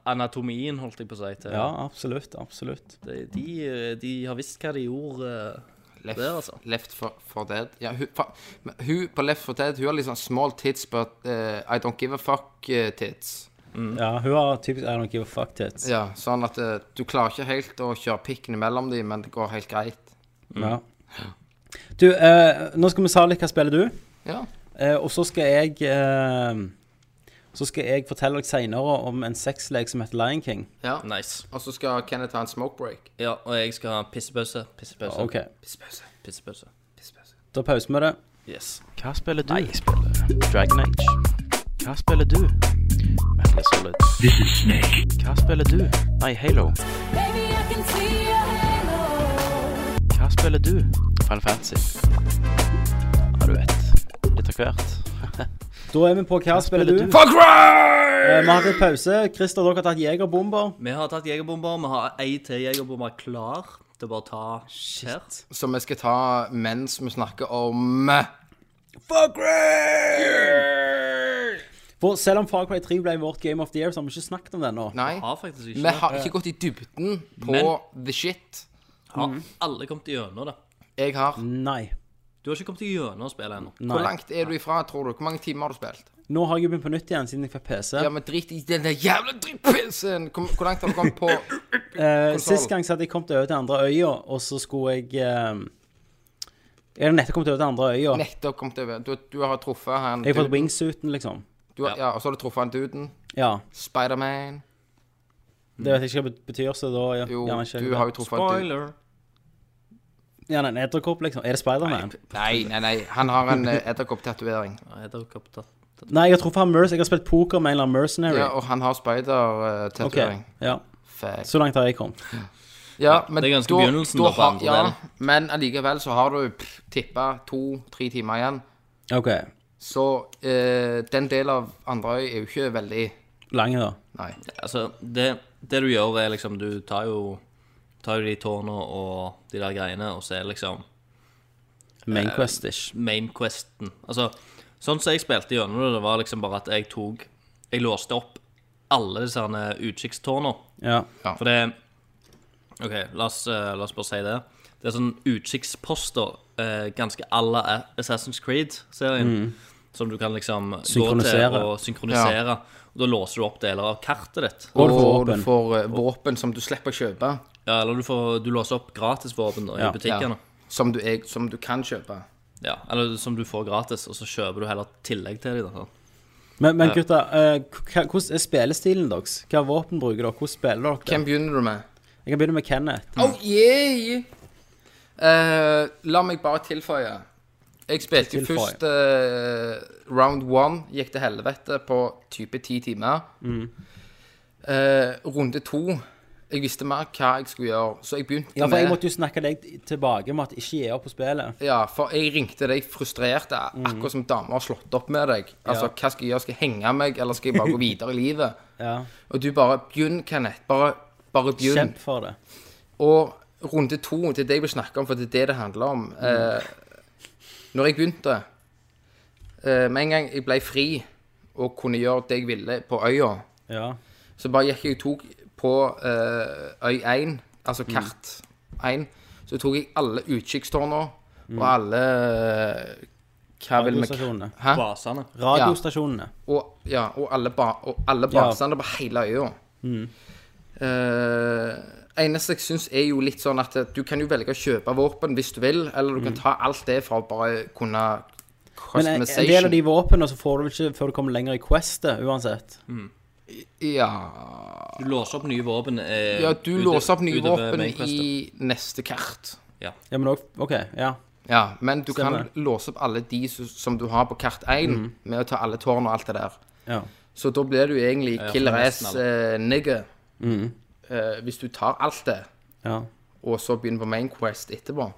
Speaker 3: Anatomien, holdt jeg på å si. Til.
Speaker 1: Ja, absolutt. Absolutt.
Speaker 3: De, de, eh, de har visst hva de gjorde. eh.
Speaker 2: Left,
Speaker 3: Der, altså.
Speaker 2: left for, for Dead. Ja, hun, fa, men hun på Left for Dead Hun har liksom small tits, but eh, I don't give a fuck eh, tits.
Speaker 3: Mm.
Speaker 1: Ja, hun har typisk I don't give a fuck tits. Ja.
Speaker 2: Ja, Sånn at eh, du klarer ikke helt å kjøre pikken mellom dem, men det går helt greit.
Speaker 1: Du, eh, nå skal vi sa litt hva spiller du,
Speaker 2: Ja.
Speaker 1: eh, og så skal jeg eh, Så skal jeg fortelle dere seinere om en sexlek som heter Lion King.
Speaker 2: ja.
Speaker 3: Nice.
Speaker 2: Og så skal Kenneth ha en smoke break.
Speaker 3: Ja, og jeg skal ha en pissepause. Pissepause.
Speaker 1: Ok.
Speaker 2: Pissepause.
Speaker 3: Pissepause.
Speaker 2: Pissepause.
Speaker 1: Da pauser vi det.
Speaker 3: Yes.
Speaker 4: Hva spiller du? Jeg spiller Dragon Age. Hva spiller du? Metal Gear Solid. Hva spiller du? Nei, Halo.
Speaker 5: Baby, I can see your halo.
Speaker 4: Hva spiller du? Final Fantasy. Ja, du vet. Litt av hvert. [laughs]
Speaker 1: Da er vi på Hva spiller du?
Speaker 4: spiller
Speaker 1: Fuck right! Vi har hatt en pause. Christer, dere har tatt jegerbomber.
Speaker 3: Vi har tatt jegerbomber. Vi har ei til jegerbomber klar til å bare ta her.
Speaker 2: Som vi skal ta mens vi snakker om eh,
Speaker 1: For selv om Far Cry 3 ble vårt Game of the Year, så har vi ikke snakket om det ennå.
Speaker 2: Nei,
Speaker 3: Har faktisk ikke
Speaker 2: vi har ikke gått i dybden på the shit.
Speaker 3: Har
Speaker 2: Mm.
Speaker 3: alle kommet gjennom det.
Speaker 2: Jeg har.
Speaker 1: Nei.
Speaker 3: Du har ikke kommet gjennom spillet ennå.
Speaker 2: Hvor
Speaker 1: Nei.
Speaker 2: langt er du ifra, tror du? Hvor mange timer har du spilt?
Speaker 1: Nå har jeg begynt på nytt igjen siden jeg fikk PC.
Speaker 2: Ja, men drit i den der jævla drittpilsen! Hvor hvor langt har du kommet på
Speaker 1: Eh,
Speaker 2: konsol.
Speaker 1: sist gang så hadde jeg kommet over til andre øya, og så skulle jeg eh, Jeg hadde nettopp kommet over til andre øya.
Speaker 2: nettopp kommet over? Du, du har truffet han
Speaker 1: Jeg har fått
Speaker 2: duden.
Speaker 1: wingsuiten, liksom.
Speaker 2: Du har, ja, og så har du truffet han duden.
Speaker 1: Ja.
Speaker 2: Spiderman.
Speaker 1: Det vet jeg ikke hva det betyr, så da ja,
Speaker 2: Jo,
Speaker 1: gjerne ikke.
Speaker 2: du har jo truffet han duden.
Speaker 3: Spoiler.
Speaker 1: Ja, nei, en edderkopp, liksom. Er det Spiderman?
Speaker 2: Nei, nei, nei. Han har en eh, edderkopptatovering.
Speaker 3: Nei, det er jo ikke opptatt.
Speaker 1: Nei, jeg har truffet han Merce. Jeg har spilt poker med en eller annen mercenary.
Speaker 2: Ja, og han har
Speaker 1: Ok,
Speaker 2: spidertatovering.
Speaker 1: ja.
Speaker 2: Fact.
Speaker 1: Så langt har jeg kommet.
Speaker 2: Ja, men
Speaker 3: det er ganske
Speaker 2: da-
Speaker 3: begynnelsen
Speaker 2: da
Speaker 3: da på
Speaker 2: har-
Speaker 3: andre
Speaker 2: ja,
Speaker 3: delen.
Speaker 2: Men allikevel så har du tippa to-tre timer igjen.
Speaker 1: OK.
Speaker 2: Så eh, den delen av Andrøy er jo ikke veldig
Speaker 1: Lange, da.
Speaker 2: Nei.
Speaker 3: Altså, det, det du gjør, er liksom Du tar jo, tar jo de tårna og de der greiene, og så er det liksom
Speaker 2: Eh.
Speaker 1: Mainquest-ish.
Speaker 3: mainquesten. Altså, sånn som jeg spilte gjennom det, det var liksom bare at jeg tok Jeg låste opp alle disse herne utkikkstårna.
Speaker 1: Ja.
Speaker 3: For det OK, la oss, eh, la oss bare si det. Det er sånn utkikksposter eh, ganske à la Assassin's Creed-serien. Som du kan liksom gå til
Speaker 1: Synkronisere.
Speaker 3: og synkronisere. Og da låser du opp deler av kartet ditt.
Speaker 1: Og du får
Speaker 2: Og du
Speaker 1: våpen.
Speaker 2: får eh, våpen som du slipper å kjøpe,
Speaker 3: Ja, eller du, får, du låser opp gratisvåpen da,
Speaker 1: Ja.
Speaker 3: i butikkene.
Speaker 2: som du, er, som du kan kjøpe.
Speaker 3: Ja. Eller som du får gratis, og så kjøper du heller tillegg til sånn. dem.
Speaker 1: Men, men gutta, eh, hva- hvordan er spillestilen deres? Hva våpen bruker dere? Hvordan spiller dere?
Speaker 2: Hvem begynner du med?
Speaker 1: Jeg kan begynne med Kenneth.
Speaker 2: Oh, yeah! Eh, la meg bare tilføye. Jeg spilte jo
Speaker 1: Tilføye.
Speaker 2: først eh, round one, gikk til helvete på type ti timer.
Speaker 1: Mm.
Speaker 2: Eh, runde to Jeg visste mer hva jeg skulle gjøre, så jeg begynte
Speaker 1: Ja, for jeg
Speaker 2: med
Speaker 1: måtte jo snakke deg tilbake med at ikke gi opp på spillet.
Speaker 2: Ja, for jeg ringte deg frustrert, akkurat som damer har slått opp med deg. Altså,
Speaker 1: Mm. Ja.
Speaker 2: hva skal jeg gjøre? Skal jeg henge meg, eller skal jeg bare gå videre i livet?
Speaker 1: Ja.
Speaker 2: Og du bare Begynn, Kenneth. Bare, bare begynn.
Speaker 1: Kjemp for det.
Speaker 2: Og runde to, det er det jeg vil snakke om, for det er det det handler om. Eh, når jeg begynte eh, Med en gang jeg ble fri og kunne gjøre det jeg ville på øya,
Speaker 1: Ja.
Speaker 2: så bare gikk jeg og tok på eh, øy 1, altså kart 1, så tok jeg alle utkikkstårna og alle eh, Hva vil vi
Speaker 1: Radiostasjonene.
Speaker 2: Hæ?
Speaker 3: Basene.
Speaker 1: Radiostasjonene.
Speaker 2: og, ja, og alle, ba og alle basene på hele øya.
Speaker 1: Mm.
Speaker 2: Eh, eneste jeg syns er jo litt sånn at eh, du kan jo velge å kjøpe våpen hvis du vil, eller du kan ta alt det for å bare kunne
Speaker 1: Mm. Men en, en del av de våpnene så får du vel ikke før du kommer lenger i questet, uansett.
Speaker 2: Ja.
Speaker 3: Du låser opp nye våpen. eh,
Speaker 2: ja, du
Speaker 3: ute-
Speaker 2: låser opp nye
Speaker 3: utover
Speaker 2: våpen
Speaker 3: mainquestet.
Speaker 2: i neste kart.
Speaker 3: Ja.
Speaker 1: Ja, men òg OK, ja.
Speaker 2: Ja, men du
Speaker 1: Stemmer. Mm.
Speaker 2: kan låse opp alle de som, som du har på kart 1, med å ta alle tårn og alt det der.
Speaker 1: ja.
Speaker 2: Så da blir du egentlig
Speaker 3: Ja,
Speaker 2: killer
Speaker 3: for
Speaker 2: ass
Speaker 3: nesten
Speaker 2: eh, nigger.
Speaker 1: Mm.
Speaker 2: Eh, hvis du tar alt det,
Speaker 1: ja.
Speaker 2: og så begynner på main quest etterpå.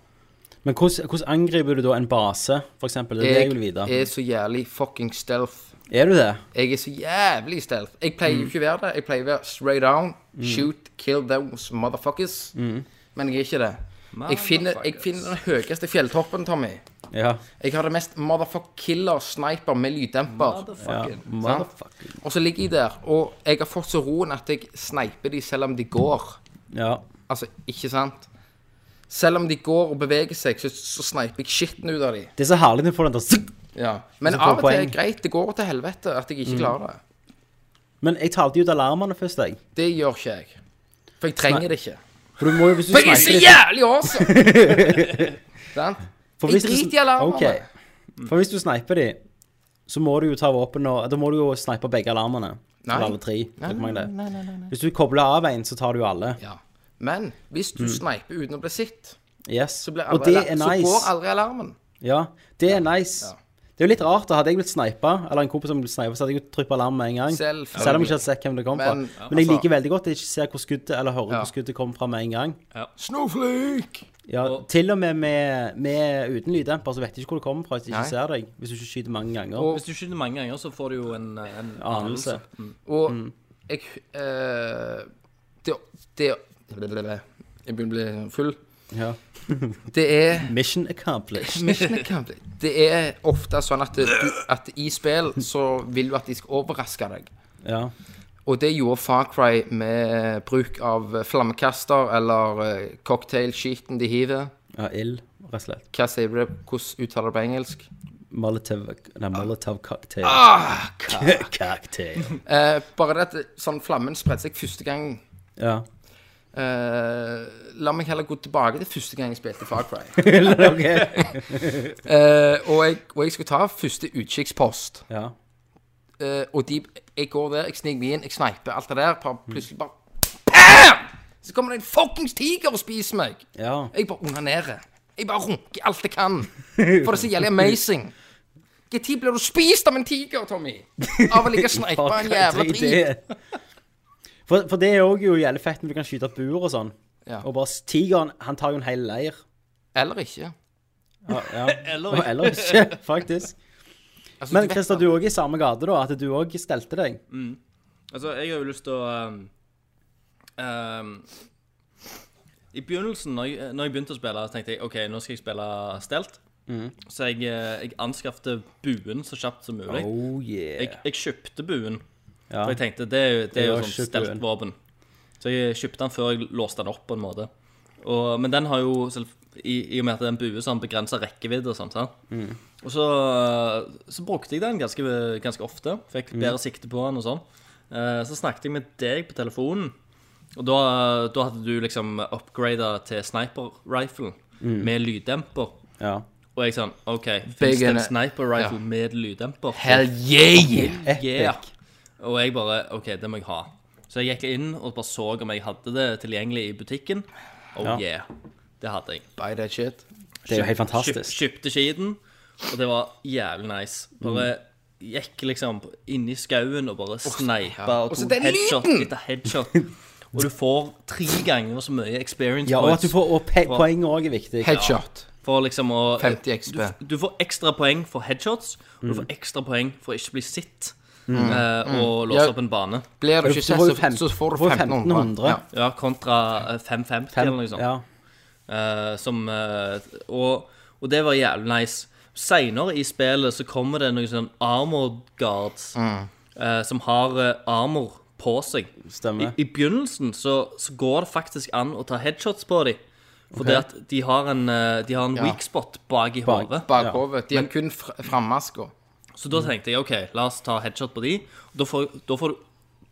Speaker 1: Men hvordan, hvordan angriper du da en base, for eksempel? Det er det jeg vil vite.
Speaker 2: er så jævlig fucking stealth.
Speaker 1: Er du det?
Speaker 2: Jeg er så jævlig stealth. Jeg pleier jo ikke å være det. Jeg pleier å være straight down, shoot, kill those motherfuckers. Men jeg er ikke det. Jeg finner, jeg finner den høyeste fjelltoppen, Tommy.
Speaker 1: Ja.
Speaker 2: Jeg har det mest motherfuck-killer-sniper med lyddemper.
Speaker 1: ja.
Speaker 3: Motherfucking.
Speaker 1: Motherfucker.
Speaker 2: Og så ligger jeg der, og jeg har fått så roen at jeg sniper de selv om de går.
Speaker 1: Ja.
Speaker 2: Altså, ikke sant? Selv om de går og beveger seg, så, så sniper jeg skitten ut av de.
Speaker 1: Det er så herlig når du får den der zzzz.
Speaker 2: Ja. Men
Speaker 1: Så får
Speaker 2: av og til er
Speaker 1: poeng. Mm.
Speaker 2: det greit. Det går til helvete at jeg ikke klarer det.
Speaker 1: Men jeg talte jo ut alarmene først, jeg.
Speaker 2: Det gjør ikke jeg. For jeg trenger det ikke.
Speaker 1: For du må jo, hvis du
Speaker 2: For jeg er så
Speaker 1: sniper litt
Speaker 2: jævlig
Speaker 1: [laughs]
Speaker 2: awesome! Sant?
Speaker 1: for
Speaker 2: Jeg
Speaker 1: hvis du-
Speaker 2: driter i alarmene.
Speaker 1: Ok. For hvis du sniper de, så må du jo ta våpen og Da må du jo snipe begge alarmene.
Speaker 2: Nei.
Speaker 1: Eller alle tre. vet du hvor mange det er. Hvis du kobler av en, så tar du jo alle.
Speaker 2: Ja. Men hvis du sniper uten å bli sett,
Speaker 1: Yes.
Speaker 2: så, blir
Speaker 1: Mm. Og
Speaker 2: aldri
Speaker 1: det
Speaker 2: alar-
Speaker 1: er
Speaker 2: så
Speaker 1: nice.
Speaker 2: går aldri alarmen.
Speaker 1: Ja, det er nice.
Speaker 2: Ja.
Speaker 1: Det er jo litt rart, da hadde jeg blitt sneipa, eller en kompis som ble sneipa, så hadde jeg jo tryppa alarm med en gang.
Speaker 2: Selv-
Speaker 1: Selv om jeg ikke hadde sett hvem det kom fra.
Speaker 2: Men-
Speaker 1: Men,
Speaker 2: ja,
Speaker 1: jeg
Speaker 2: altså-
Speaker 1: liker veldig godt at jeg ikke ser hvor skuddet, eller hører
Speaker 2: Ja.
Speaker 1: hvor skuddet kommer fra med en gang.
Speaker 2: Snowflake!
Speaker 1: Ja,
Speaker 3: Og-
Speaker 1: Til og med, med, med uten lyddemper, så vet jeg ikke hvor det kommer fra hvis jeg
Speaker 2: Nei.
Speaker 1: ikke ser deg. Hvis du ikke skyter mange ganger.
Speaker 2: Og-
Speaker 3: Hvis du skyter mange ganger, så får du jo en, eh, en
Speaker 1: Anelse.
Speaker 2: Og
Speaker 1: Mm.
Speaker 2: jeg eh, Det Det Jeg begynner å bli full.
Speaker 1: Ja.
Speaker 2: Det er
Speaker 1: Mission accomplished.
Speaker 2: Mission accomplished. Det er ofte sånn at, du, at i spill så vil du at de skal overraske deg.
Speaker 1: Ja.
Speaker 2: Og det gjorde Far Cry med bruk av flammekaster eller eh, cocktail-skiten de hiver.
Speaker 1: ja ild, rett og slett.
Speaker 2: Hva sier du det? Hvordan uttaler du det på engelsk?
Speaker 1: Molotov, nei, Molotov cocktail. cocktail.
Speaker 2: Eh, bare det at det- sånn flammen spredte seg første gang
Speaker 1: Ja.
Speaker 2: eh, La meg heller gå tilbake til første gang jeg spilte Far Cry.
Speaker 1: [laughs] ok.
Speaker 2: Eh, og, jeg, og jeg skulle ta første utkikkspost.
Speaker 1: Ja.
Speaker 2: Eh, og de, jeg går der, jeg sniker meg inn, jeg sneiper alt det der. Bare,
Speaker 1: Mm.
Speaker 2: plutselig bare Bam! Så kommer det en fuckings tiger og spiser meg.
Speaker 1: Ja.
Speaker 2: Jeg bare onanerer. Jeg bare runker alt jeg kan. For det er så jævlig amazing. Når blir du spist av en tiger, Tommy? Av å ligge og sneipe
Speaker 1: Fuck,
Speaker 2: en jævla
Speaker 1: drit i
Speaker 2: drit.
Speaker 1: det. For, for det er òg jo jævlig fett når du kan skyte opp bur og sånn.
Speaker 2: Ja.
Speaker 1: Og bare s- Tigeren, han tar jo en hel leir.
Speaker 2: Eller ikke.
Speaker 1: Ja, ja.
Speaker 3: Eller-
Speaker 1: Og- Eller ikke, [laughs] faktisk.
Speaker 2: Altså,
Speaker 1: Men
Speaker 2: du vet
Speaker 1: Christer, du òg i samme gate, da? At du òg stelte deg?
Speaker 3: Altså, jeg har jo lyst til å um, um, I begynnelsen, når jeg, når jeg begynte å spille, så tenkte jeg OK, nå skal jeg spille stelt.
Speaker 2: Mm.
Speaker 3: Så jeg, eh, jeg anskaffte buen så kjapt som mulig.
Speaker 1: Oh
Speaker 3: Jeg,
Speaker 1: yeah.
Speaker 3: jeg kjøpte buen,
Speaker 1: Ja.
Speaker 3: for jeg tenkte det er jo, det
Speaker 1: Jeg
Speaker 3: er jo
Speaker 1: har
Speaker 3: sånn
Speaker 1: kjøpt buen.
Speaker 3: steltvåpen. Så jeg kjøpte den før jeg låste den opp, på en måte. Og, men den har jo selv, i, I og med at det er en bue, så har den begrensa rekkevidde og sånt. sant?
Speaker 2: Mm.
Speaker 3: Og så, så brukte jeg den ganske, ganske ofte. Fikk
Speaker 2: Mm.
Speaker 3: bedre sikte på den og sånn. Eh, Så snakket jeg med deg på telefonen, og da, da hadde du liksom upgrada til sniper rifle
Speaker 2: Mm.
Speaker 3: med lyddemper.
Speaker 1: ja.
Speaker 3: Og jeg sånn OK,
Speaker 2: Big
Speaker 3: fins det
Speaker 2: in
Speaker 3: en
Speaker 2: it.
Speaker 3: sniper rifle
Speaker 2: Ja.
Speaker 3: med lyddemper?
Speaker 2: Hell yeah!
Speaker 1: Epic.
Speaker 3: Yeah. Og jeg bare OK, det må jeg ha. Så jeg gikk inn og bare så om jeg hadde det tilgjengelig i butikken. Oh
Speaker 1: Ja.
Speaker 3: yeah. Det hadde jeg.
Speaker 2: Buy that shit.
Speaker 1: Det er jo helt
Speaker 3: Kjøp-
Speaker 1: fantastisk.
Speaker 3: Kjøpte skiten, og det var jævlig nice. Bare gikk liksom inni skauen og bare sneipa
Speaker 2: ja.
Speaker 3: og
Speaker 2: Og så
Speaker 3: tok
Speaker 2: den
Speaker 3: headshot
Speaker 2: lyden!
Speaker 3: etter headshot. Og du får tre ganger så mye experience
Speaker 1: Ja, og at du får og pe
Speaker 3: for-
Speaker 1: poeng òg er viktig.
Speaker 2: Headshot.
Speaker 3: for liksom å
Speaker 2: 50 XP.
Speaker 3: Du, f- du får ekstra poeng for headshots, og du får
Speaker 1: Mm.
Speaker 3: ekstra poeng for å ikke bli sitt eh, og låse
Speaker 2: Mm. Ja.
Speaker 3: opp en bane.
Speaker 2: Blir du
Speaker 1: Du
Speaker 2: ikke
Speaker 1: får jo
Speaker 2: sett,
Speaker 1: fem-
Speaker 2: så, så får du
Speaker 1: får
Speaker 2: 1500.
Speaker 1: 1500.
Speaker 2: Ja.
Speaker 3: Ja, kontra eh, 550
Speaker 1: Fem-
Speaker 3: eller noe sånt.
Speaker 1: Ja.
Speaker 3: Eh, som, eh, og, og det var jævlig nice. Seinere i spillet så kommer det noen sånn armored guards
Speaker 1: Mm.
Speaker 3: eh, som har eh, armor på seg. I,
Speaker 1: Stemmer.
Speaker 3: I begynnelsen så, så går det faktisk an å ta headshots på dem. Fordi at de har en, eh, de har en
Speaker 2: Ja.
Speaker 3: weak spot bak i
Speaker 1: Bak.
Speaker 3: hodet.
Speaker 2: Bakhovet. De har kun fr frammaska.
Speaker 3: Så da tenkte jeg OK, la oss ta headshot på de. Da får, da får du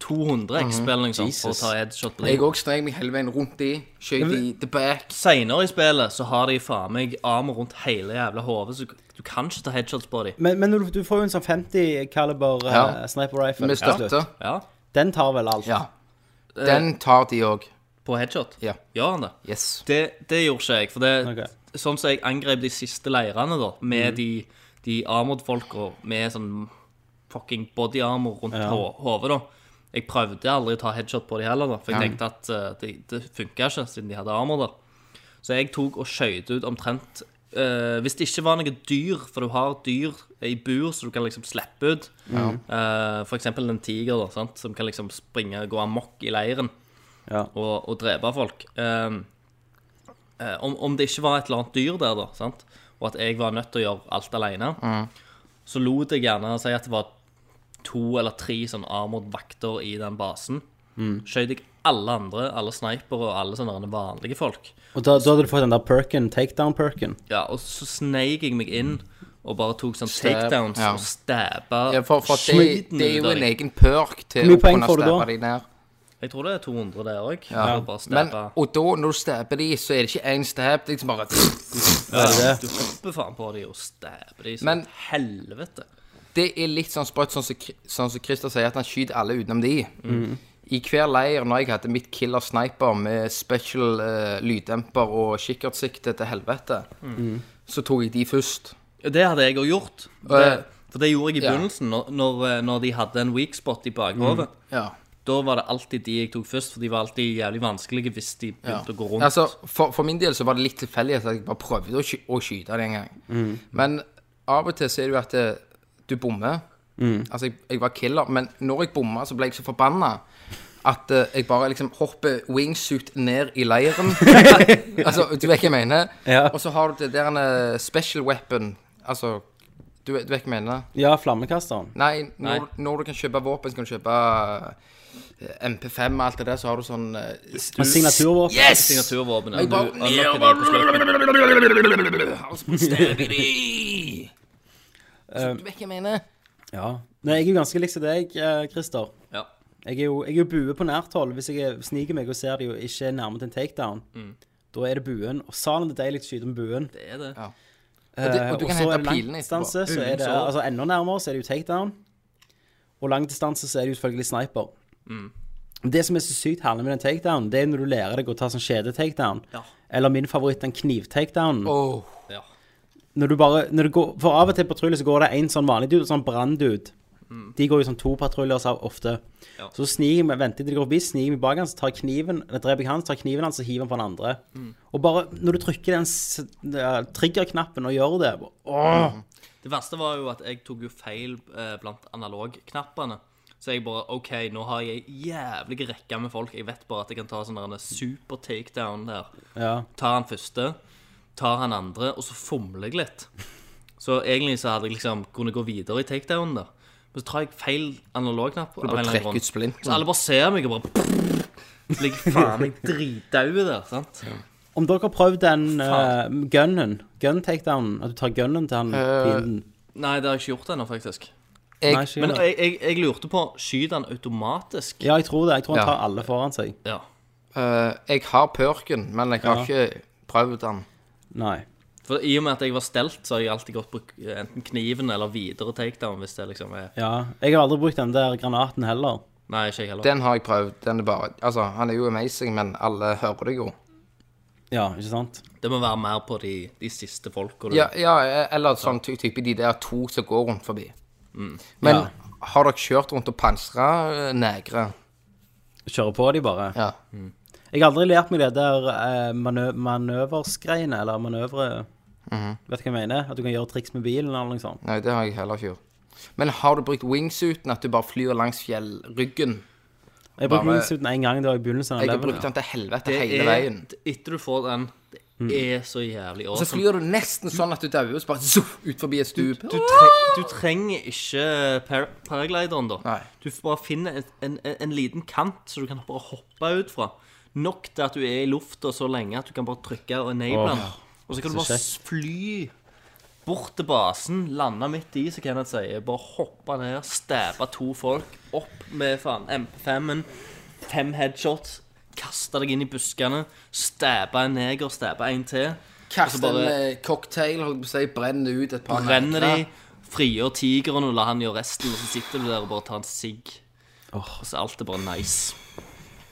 Speaker 3: 200 XP eller noe sånt for å
Speaker 1: Jesus.
Speaker 3: ta headshot på de.
Speaker 2: Jeg òg strek meg hele veien rundt de. Skjøt i the back.
Speaker 3: Seinere i spillet så har de faen meg armer rundt hele jævla hodet, så du kan ikke ta headshots på dem.
Speaker 1: Men, men du- du får jo en sånn 50 caliber eh,
Speaker 2: Ja.
Speaker 1: sniper rifle.
Speaker 2: Med
Speaker 1: til
Speaker 2: støtte.
Speaker 1: slutt.
Speaker 3: Ja,
Speaker 1: Den tar vel alt.
Speaker 2: Ja. Den tar de òg.
Speaker 3: på headshot.
Speaker 2: Ja.
Speaker 3: Gjør han det?
Speaker 2: Yes.
Speaker 3: det? Det gjorde ikke jeg. For det,
Speaker 1: Ok. Mm.
Speaker 3: sånn som jeg angrep de siste leirene, da, med de, de armored-folka med sånn fucking body armor rundt ho- hodet, da. Jeg prøvde aldri å ta headshot på de heller, da, for jeg tenkte at eh, det, det funka ikke, siden de hadde armor der. Så jeg tok og skjøt ut omtrent eh, Hvis det ikke var noe dyr, for du har dyr i bur så du kan liksom slippe ut eh, For eksempel en tiger, da, sant? som kan liksom springe gå amok i leiren
Speaker 1: Ja.
Speaker 3: og, og drepe folk. Ehm, eh, om, om det ikke var et eller annet dyr der, da, sant? og at jeg var nødt til å gjøre alt alene,
Speaker 2: Mm.
Speaker 3: så lot jeg gjerne si at det var to eller tre sånn armored vakter i den basen.
Speaker 2: Mm.
Speaker 3: Skjøt jeg alle andre, alle snipere og alle sånne vanlige folk.
Speaker 1: Og da, da hadde du fått den der perken, takedown-perken.
Speaker 3: Ja, og så sneik jeg meg inn og bare tok sånn
Speaker 2: Stab,
Speaker 3: takedowns
Speaker 2: ja.
Speaker 3: og stabba
Speaker 2: Ja, for, for det,
Speaker 3: skiten
Speaker 2: det er
Speaker 3: ut
Speaker 2: jo
Speaker 3: av
Speaker 2: en
Speaker 3: dem.
Speaker 2: egen perk til
Speaker 1: Hvor mye
Speaker 2: å
Speaker 1: poeng
Speaker 2: kunne
Speaker 1: får du da?
Speaker 2: stabbe de ned.
Speaker 3: Jeg tror det er 200 der òg.
Speaker 2: Ja.
Speaker 3: Bare
Speaker 2: Men,
Speaker 3: stabba.
Speaker 2: og da, når du stabber de, så er det ikke én stab. Det er liksom bare
Speaker 3: Ja, du hopper faen på de og stabber de som
Speaker 2: Men-
Speaker 3: et helvete.
Speaker 2: Det er litt sånn sprøtt, sånn som Kri- sånn som Christer sier, at han skyter alle utenom de.
Speaker 1: Mm.
Speaker 2: I hver leir, når jeg hadde mitt killer sniper med
Speaker 1: Mm.
Speaker 2: special eh, lyddemper og kikkertsikte til helvete, så tok jeg de først.
Speaker 3: Det hadde jeg òg gjort. Det,
Speaker 2: Eh,
Speaker 3: for det gjorde jeg i
Speaker 2: ja.
Speaker 3: begynnelsen, når, når, når de hadde en weak spot i bakhodet.
Speaker 2: Ja.
Speaker 3: Da var det alltid de jeg tok først, for de var alltid jævlig vanskelige hvis de
Speaker 2: Ja.
Speaker 3: begynte å gå rundt.
Speaker 2: Altså, for, for min del så var det litt tilfeldighet at jeg bare prøvde å, sky å skyte det en gang.
Speaker 3: Mm.
Speaker 2: Men av og til så er det jo at det, du bommer.
Speaker 3: Mm.
Speaker 2: Altså, jeg, jeg var killer, men når jeg bomma, så ble jeg så forbanna at eh, jeg bare liksom hopper wingsuit ned i
Speaker 3: [laughs]
Speaker 2: leiren. altså, du vet hva jeg mener?
Speaker 1: Ja.
Speaker 2: Og så har du det der eh, special weapon. Altså, du, vet- du vet hva jeg mener?
Speaker 1: Ja, flammekasteren.
Speaker 2: Nei, når,
Speaker 3: Nei.
Speaker 2: når du kan kjøpe våpen, så kan du kjøpe eh, MP5 og alt det der, så har du sånn eh,
Speaker 1: Men signaturvåpen.
Speaker 2: Yes!
Speaker 3: Signaturvåpenet.
Speaker 2: Jeg bare-
Speaker 3: Du unlocker det på slutten.
Speaker 2: Så Du vet hva jeg mener?
Speaker 1: Ja. Nei, jeg er jo ganske lik som deg, eh, Christer.
Speaker 3: Ja.
Speaker 1: Jeg er jo, jeg er jo bue på nært hold. Hvis jeg er- sniker meg og ser det jo ikke er nærmet en takedown,
Speaker 2: Mm.
Speaker 1: da er det buen. Og salen det er deilig å skyte med buen.
Speaker 3: Det er det.
Speaker 2: Og, det,
Speaker 1: Eh,
Speaker 2: og du kan
Speaker 1: så er
Speaker 2: hente
Speaker 1: det
Speaker 2: pilene
Speaker 1: langdistanse,
Speaker 2: etterpå.
Speaker 1: så er det
Speaker 3: Buensår.
Speaker 1: altså enda nærmere, så er det jo takedown. Og lang distanse så er det jo selvfølgelig sniper.
Speaker 2: Mm.
Speaker 1: Det som er så sykt herlig med den takedown, det er når du lærer deg å ta sånn kjede-takedown.
Speaker 3: Ja.
Speaker 1: Eller min favoritt, den kniv-takedown.
Speaker 2: Åh,
Speaker 3: Ja.
Speaker 1: Når du bare når du går, For av og til på patrulje så går det en sånn vanlig dude og sånn branndude. De går jo sånn to patruljer så ofte.
Speaker 3: Ja.
Speaker 1: Så sniker vi, venter til de går forbi, sniker vi bak han, så tar jeg kniven, eller dreper jeg han, så tar jeg kniven hans og hiver han på den andre. Og bare når du trykker den s- eh, trigger-knappen og gjør det
Speaker 3: Det verste var jo at jeg tok jo feil eh, blant analogknappene. Så jeg bare OK, nå har jeg ei jævlig rekke med folk. Jeg vet bare at jeg kan ta sånn der en super takedown der.
Speaker 1: Ja.
Speaker 3: Tar han første, tar han andre, og så fomler jeg litt. Så egentlig så hadde jeg liksom kunnet gå videre i takedownen der. Men så tar jeg feil analogknapp. av en eller annen
Speaker 2: trekker
Speaker 3: grunn.
Speaker 2: ut splinten.
Speaker 3: Så alle bare ser meg og bare [laughs] Så ligger faen meg dritdau der, sant?
Speaker 1: Om dere har prøvd den uh, gunnen, gun takedownen, at du tar gunnen til han fienden
Speaker 3: Nei, det har jeg ikke gjort ennå, faktisk.
Speaker 2: jeg-
Speaker 1: Nei, ikke
Speaker 3: Men
Speaker 1: gjør det.
Speaker 3: Eh, jeg, jeg, jeg lurte på Skyter han automatisk?
Speaker 1: Ja, jeg tror det. Jeg tror han
Speaker 2: Ja.
Speaker 1: tar alle foran seg.
Speaker 3: Ja.
Speaker 2: eh, jeg har perken, men jeg har ikke prøvd den.
Speaker 1: Nei.
Speaker 3: For i og med at jeg var stelt, så har jeg alltid gått brukt enten kniven eller videre takedown hvis det liksom er
Speaker 1: Ja. Jeg har aldri brukt den der granaten heller.
Speaker 3: Nei, ikke jeg heller.
Speaker 2: Den har jeg prøvd. Den er bare Altså, han er jo amazing, men alle hører det jo.
Speaker 1: Ja, ikke sant?
Speaker 3: Det må være mer på de, de siste folka. liksom. du-
Speaker 2: Ja, ja eller sånn ty- type de der to som går rundt forbi. Men
Speaker 1: Ja.
Speaker 2: har dere kjørt rundt og pansra negre?
Speaker 1: Kjører på de bare.
Speaker 2: Ja.
Speaker 1: Jeg har aldri lært meg det der eh, manø manøversgreiene, eller manøvre Vet du hva jeg mener? At du kan gjøre triks med bilen eller noe sånt.
Speaker 2: Nei, det har jeg heller ikke gjort. Men har du brukt wingsuiten, at du bare flyr langs fjellryggen?
Speaker 1: Jeg brukte
Speaker 2: Bare-
Speaker 1: wingsuiten én gang, det var i begynnelsen av
Speaker 2: Jeg har
Speaker 1: levelet.
Speaker 2: brukt den til helvete
Speaker 3: Det
Speaker 2: hele
Speaker 3: er-
Speaker 2: veien. Mm.
Speaker 3: Etter du får den, det er så jævlig
Speaker 2: Så
Speaker 3: awesome.
Speaker 2: flyr du nesten sånn at du dauer, og så bare zoff, ut forbi et stup.
Speaker 3: Du, tre, du trenger ikke par paraglideren, da.
Speaker 2: Nei.
Speaker 3: Du får bare finne en, en, en liten kant så du kan bare hoppe ut fra. Nok til at du er i lufta så lenge at du kan bare trykke og enable den. Og så kan du bare s- fly bort til basen, lande midt i, som Kenneth sier. Bare hoppe ned, stabbe to folk, opp med faen MP5-en, fem headshots, kaste deg inn i buskene, stabbe en neger, stabbe en til.
Speaker 2: Kaster
Speaker 3: Og så bare-
Speaker 2: en eh, cocktail, holdt på å si, brenner ut et par
Speaker 3: Brenner de,
Speaker 2: negler.
Speaker 3: frigjør tigeren og lar han gjøre resten, og så sitter du der og bare tar en sigg. Og så er alt er bare nice.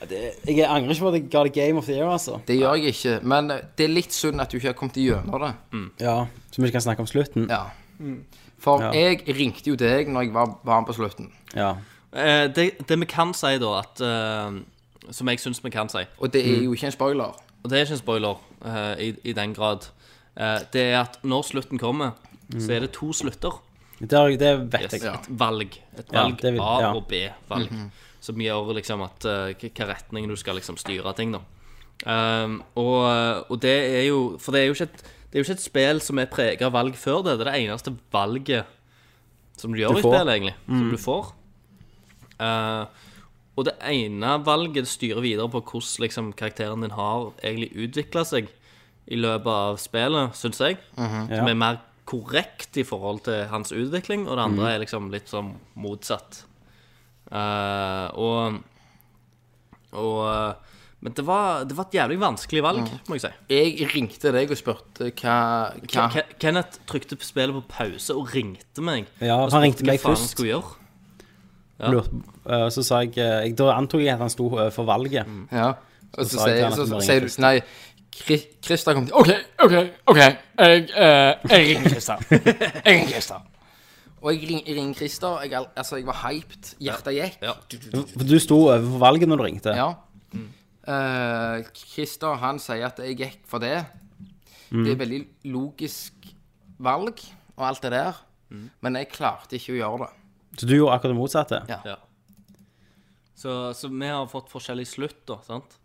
Speaker 1: Jeg angrer ikke på at jeg ga det Game of the Year, altså.
Speaker 2: Det gjør jeg ikke, men eh, det er litt synd at du ikke har kommet gjennom det.
Speaker 3: Mm.
Speaker 1: Ja, Så vi ikke kan snakke om slutten.
Speaker 2: Ja. For
Speaker 1: Ja.
Speaker 2: jeg ringte jo deg når jeg var, var med på slutten,
Speaker 1: Ja.
Speaker 3: Eh, det, det vi kan si, da, at eh, Som jeg syns vi kan si,
Speaker 2: og det er jo ikke en spoiler.
Speaker 3: og det er ikke en spoiler eh, i, i den grad, eh, det er at når slutten kommer, så er det to slutter.
Speaker 1: Det, har jeg- det vet
Speaker 3: Yes,
Speaker 1: jeg.
Speaker 3: Et valg. Et
Speaker 1: Ja,
Speaker 3: valg
Speaker 1: det vil-
Speaker 3: A
Speaker 1: ja.
Speaker 3: og B-valg. Som gjør liksom at eh, hva- hva retning du skal liksom styre ting, da. Ehm, og, og det er jo For det er jo ikke et, det er jo ikke et spill som er prega av valg før det. Det er det eneste valget som du gjør
Speaker 1: Du
Speaker 3: i
Speaker 1: får. Mm.
Speaker 3: spillet, egentlig. Som du får. Eh, og det ene valget styrer videre på hvordan liksom, karakteren din har egentlig utvikla seg i løpet av spillet, syns jeg. Som
Speaker 1: Ja.
Speaker 3: er mer korrekt i forhold til hans utvikling, og
Speaker 1: Mhm.
Speaker 3: det andre er liksom litt sånn motsatt. Eh, og og eh, Men det var, det var et jævlig vanskelig valg, må jeg si.
Speaker 2: Jeg ringte deg og spurte hva, hva
Speaker 3: Ke- Ke- Kenneth trykte på spillet på pause og ringte meg.
Speaker 1: Ja,
Speaker 3: og
Speaker 1: han
Speaker 3: spurte
Speaker 1: ringte meg
Speaker 3: hva faen
Speaker 1: først.
Speaker 3: jeg skulle gjøre.
Speaker 1: Lurt- eh, Så sa jeg, eh, jeg Da antok jeg at han sto eh, for valget.
Speaker 2: Ja. Og så
Speaker 1: sa jeg til
Speaker 2: sier
Speaker 1: han at
Speaker 2: så-
Speaker 1: du må
Speaker 2: så
Speaker 1: ringe
Speaker 2: sier du
Speaker 1: først.
Speaker 2: Nei, Kri Christer kom til OK, OK, OK. Jeg, eh, jeg ringer Christer. Jeg ringer Christer. Og jeg ring- jeg ringer Christer. Jeg, al- altså, jeg var hyped. Hjertet gikk.
Speaker 3: Ja.
Speaker 1: For Du sto overfor valget når du ringte.
Speaker 2: Ja. Eh, Christer han sier at jeg gikk for det.
Speaker 3: Mm.
Speaker 2: Det er et veldig logisk valg og alt det der.
Speaker 3: Mm.
Speaker 2: Men jeg klarte ikke å gjøre det.
Speaker 1: Så du gjorde akkurat det motsatte.
Speaker 2: Ja.
Speaker 3: Ja. Så, så vi har fått forskjellig slutt, da. sant?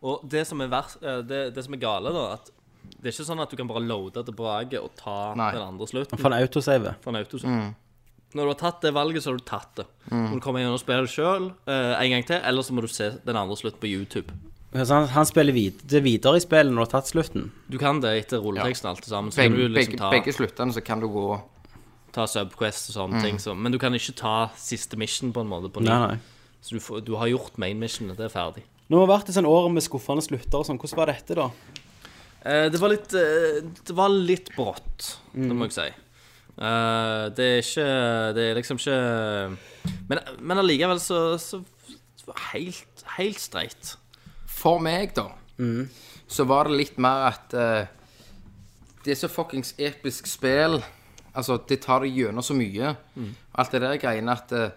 Speaker 3: Og det som er, vers, eh, det, det som er gale, da, at det er ikke sånn at du kan bare loade tilbake og ta
Speaker 2: Nei.
Speaker 3: den andre slutten
Speaker 1: For en autosave.
Speaker 3: fra en autosum.
Speaker 2: Mm.
Speaker 3: Når du har tatt det valget, så har du tatt det. Må du komme inn og spille sjøl eh, en gang til, eller så må du se den andre slutten på YouTube.
Speaker 1: Så han, han spiller vid det videre i spillet når du har tatt slutten.
Speaker 3: Du kan det etter rulleteksten og alt det sammen. Så kan
Speaker 2: Begge,
Speaker 3: du liksom
Speaker 2: begge,
Speaker 3: ta,
Speaker 2: begge Mm. sluttene så kan du gå
Speaker 3: ta Subquest og sånne ting. Så, men du kan ikke ta siste mission på en måte på ny.
Speaker 1: Nei, nei.
Speaker 3: Så du, får, du har gjort main missionet. Det er ferdig.
Speaker 1: Nå har det vært et sånt år med skuffende slutter og sånn. Hvordan var dette, da?
Speaker 3: Eh, det var litt eh, Det var litt brått, det
Speaker 1: Mm.
Speaker 3: må jeg si. Eh, det er ikke Det er liksom ikke Men, men allikevel så, så så Helt, helt streit.
Speaker 2: For meg, da,
Speaker 1: Mm.
Speaker 2: så var det litt mer at eh, Det er så fuckings episk spill. Altså, det tar deg gjennom så mye.
Speaker 1: Mm.
Speaker 2: Alt det der greiene at eh,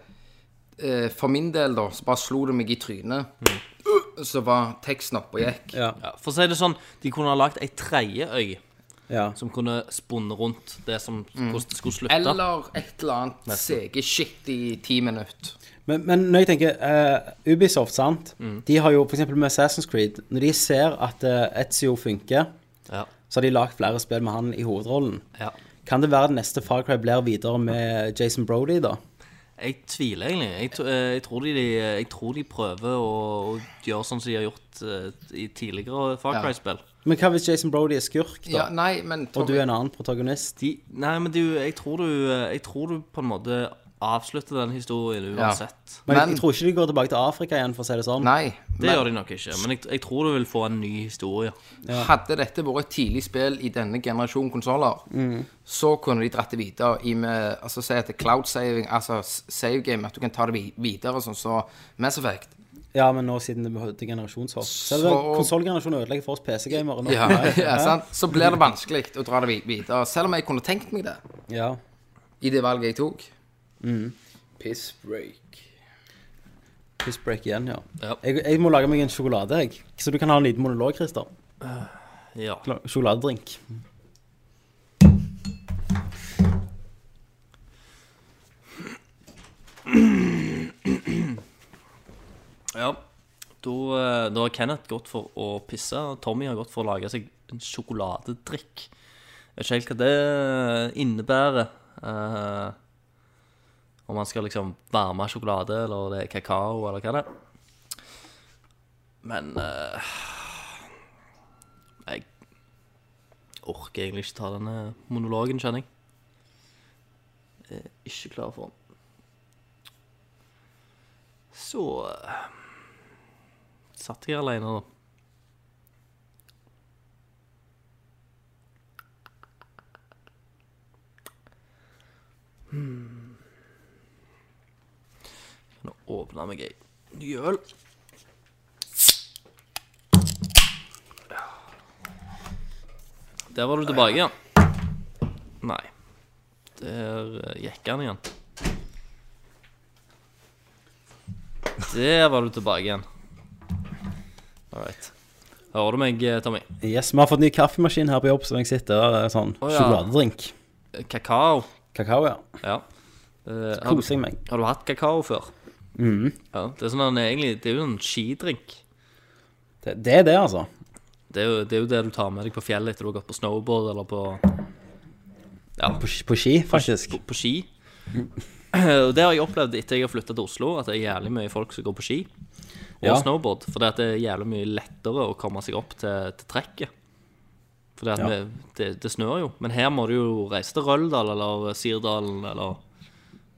Speaker 2: eh, For min del, da, så bare slo det meg i trynet.
Speaker 1: Mm.
Speaker 2: Uh, Så var teksten oppe og gikk.
Speaker 1: Ja.
Speaker 3: Ja, for å si det sånn, de kunne ha lagd ei tredje øy
Speaker 1: ja.
Speaker 3: som kunne spunnet rundt det som hvordan det skulle slutte.
Speaker 2: Mm. Eller et eller annet CG-shit i ti minutter.
Speaker 1: Men, men når jeg tenker eh, Ubisoft, sant. De har jo f.eks. med Assassin's Creed Når de ser at eh, Ezio funker,
Speaker 3: Ja.
Speaker 1: så har de lagd flere spill med han i hovedrollen.
Speaker 3: ja.
Speaker 1: Kan det være det neste Far Cry blir videre med Jason Brody, da?
Speaker 3: Jeg tviler egentlig. Jeg, t- eh, jeg, tror, de, jeg tror de prøver å, å gjøre sånn som de har gjort eh, i tidligere Far
Speaker 2: Ja.
Speaker 3: Cry-spill.
Speaker 1: Men hva hvis Jason Brody er skurk, da?
Speaker 2: Ja, nei, men
Speaker 1: og du
Speaker 2: Tommy-
Speaker 1: er en annen protagonist?
Speaker 3: De, nei, men du, jeg, tror du, eh, jeg tror du på en måte avslutter den historien uansett.
Speaker 1: Men,
Speaker 2: Men-
Speaker 1: jeg tror ikke de går tilbake til Afrika igjen, for å si det sånn.
Speaker 2: Nei.
Speaker 3: Det gjør de nok ikke, men jeg, jeg tror du vil få en ny historie.
Speaker 2: Hadde dette vært et tidlig spill i denne generasjonen konsoller,
Speaker 1: Mm.
Speaker 2: så kunne de dratt det videre i med altså si at det er cloud saving, altså s- save game, at du kan ta det vi- videre sånn så Mass Effect.
Speaker 1: Ja, men nå siden det behøvde generasjonshopp. Så er det
Speaker 2: Så-
Speaker 1: konsollgenerasjonen ødelegger for oss PC-gamere nå.
Speaker 2: Ja, [laughs] ja, sant? Så blir det vanskelig å dra det vi- videre, selv om jeg kunne tenkt meg det
Speaker 1: ja.
Speaker 2: i det valget jeg tok. Piss break.
Speaker 1: Piss break igjen, ja.
Speaker 3: Ja.
Speaker 1: Jeg, jeg må lage meg en sjokolade, jeg. Så du kan ha en liten monolog, Christer.
Speaker 3: Ja.
Speaker 1: La- Sjokoladedrink.
Speaker 3: ja. Da, eh, da har Kenneth gått for å pisse, og Tommy har gått for å lage seg en sjokoladedrikk. Jeg vet ikke helt hva det innebærer. eh, om han skal liksom varme sjokolade, eller det er kakao, eller hva det er. Men eh, Jeg orker egentlig ikke ta denne monologen, kjenner jeg. Jeg er ikke klar for den. Så eh, satt jeg aleine, da. Hmm. Nå åpner meg ei ny øl. Der var du tilbake igjen. Nei. Der eh, gikk han igjen. Der var du tilbake igjen. All right. Hører du meg, eh, Tommy?
Speaker 1: Yes, vi har fått ny kaffemaskin her på jobb, så jeg sitter eh, sånn.
Speaker 3: Å, ja.
Speaker 1: Sjokoladedrink.
Speaker 3: Eh, Kakao.
Speaker 1: Kakao, ja.
Speaker 3: Ja. Eh, har, du,
Speaker 1: Koser jeg meg.
Speaker 3: har du hatt kakao før? Ja, det er sånn han er egentlig Det er jo en skidrink.
Speaker 1: Det, det er det, altså.
Speaker 3: Det er, jo, det er jo det du tar med deg på fjellet etter du har gått på snowboard eller på Ja,
Speaker 1: På, sk- på ski, faktisk.
Speaker 3: på, på ski. Eh, Og det har jeg opplevd etter jeg har flytta til Oslo, at det er jævlig mye folk som går på ski og
Speaker 1: Ja.
Speaker 3: snowboard. For det, at det er jævlig mye lettere å komme seg opp til, til trekket. For det, at
Speaker 1: Ja.
Speaker 3: vi- det, det snør jo. Men her må du jo reise til Røldal eller Sirdalen eller,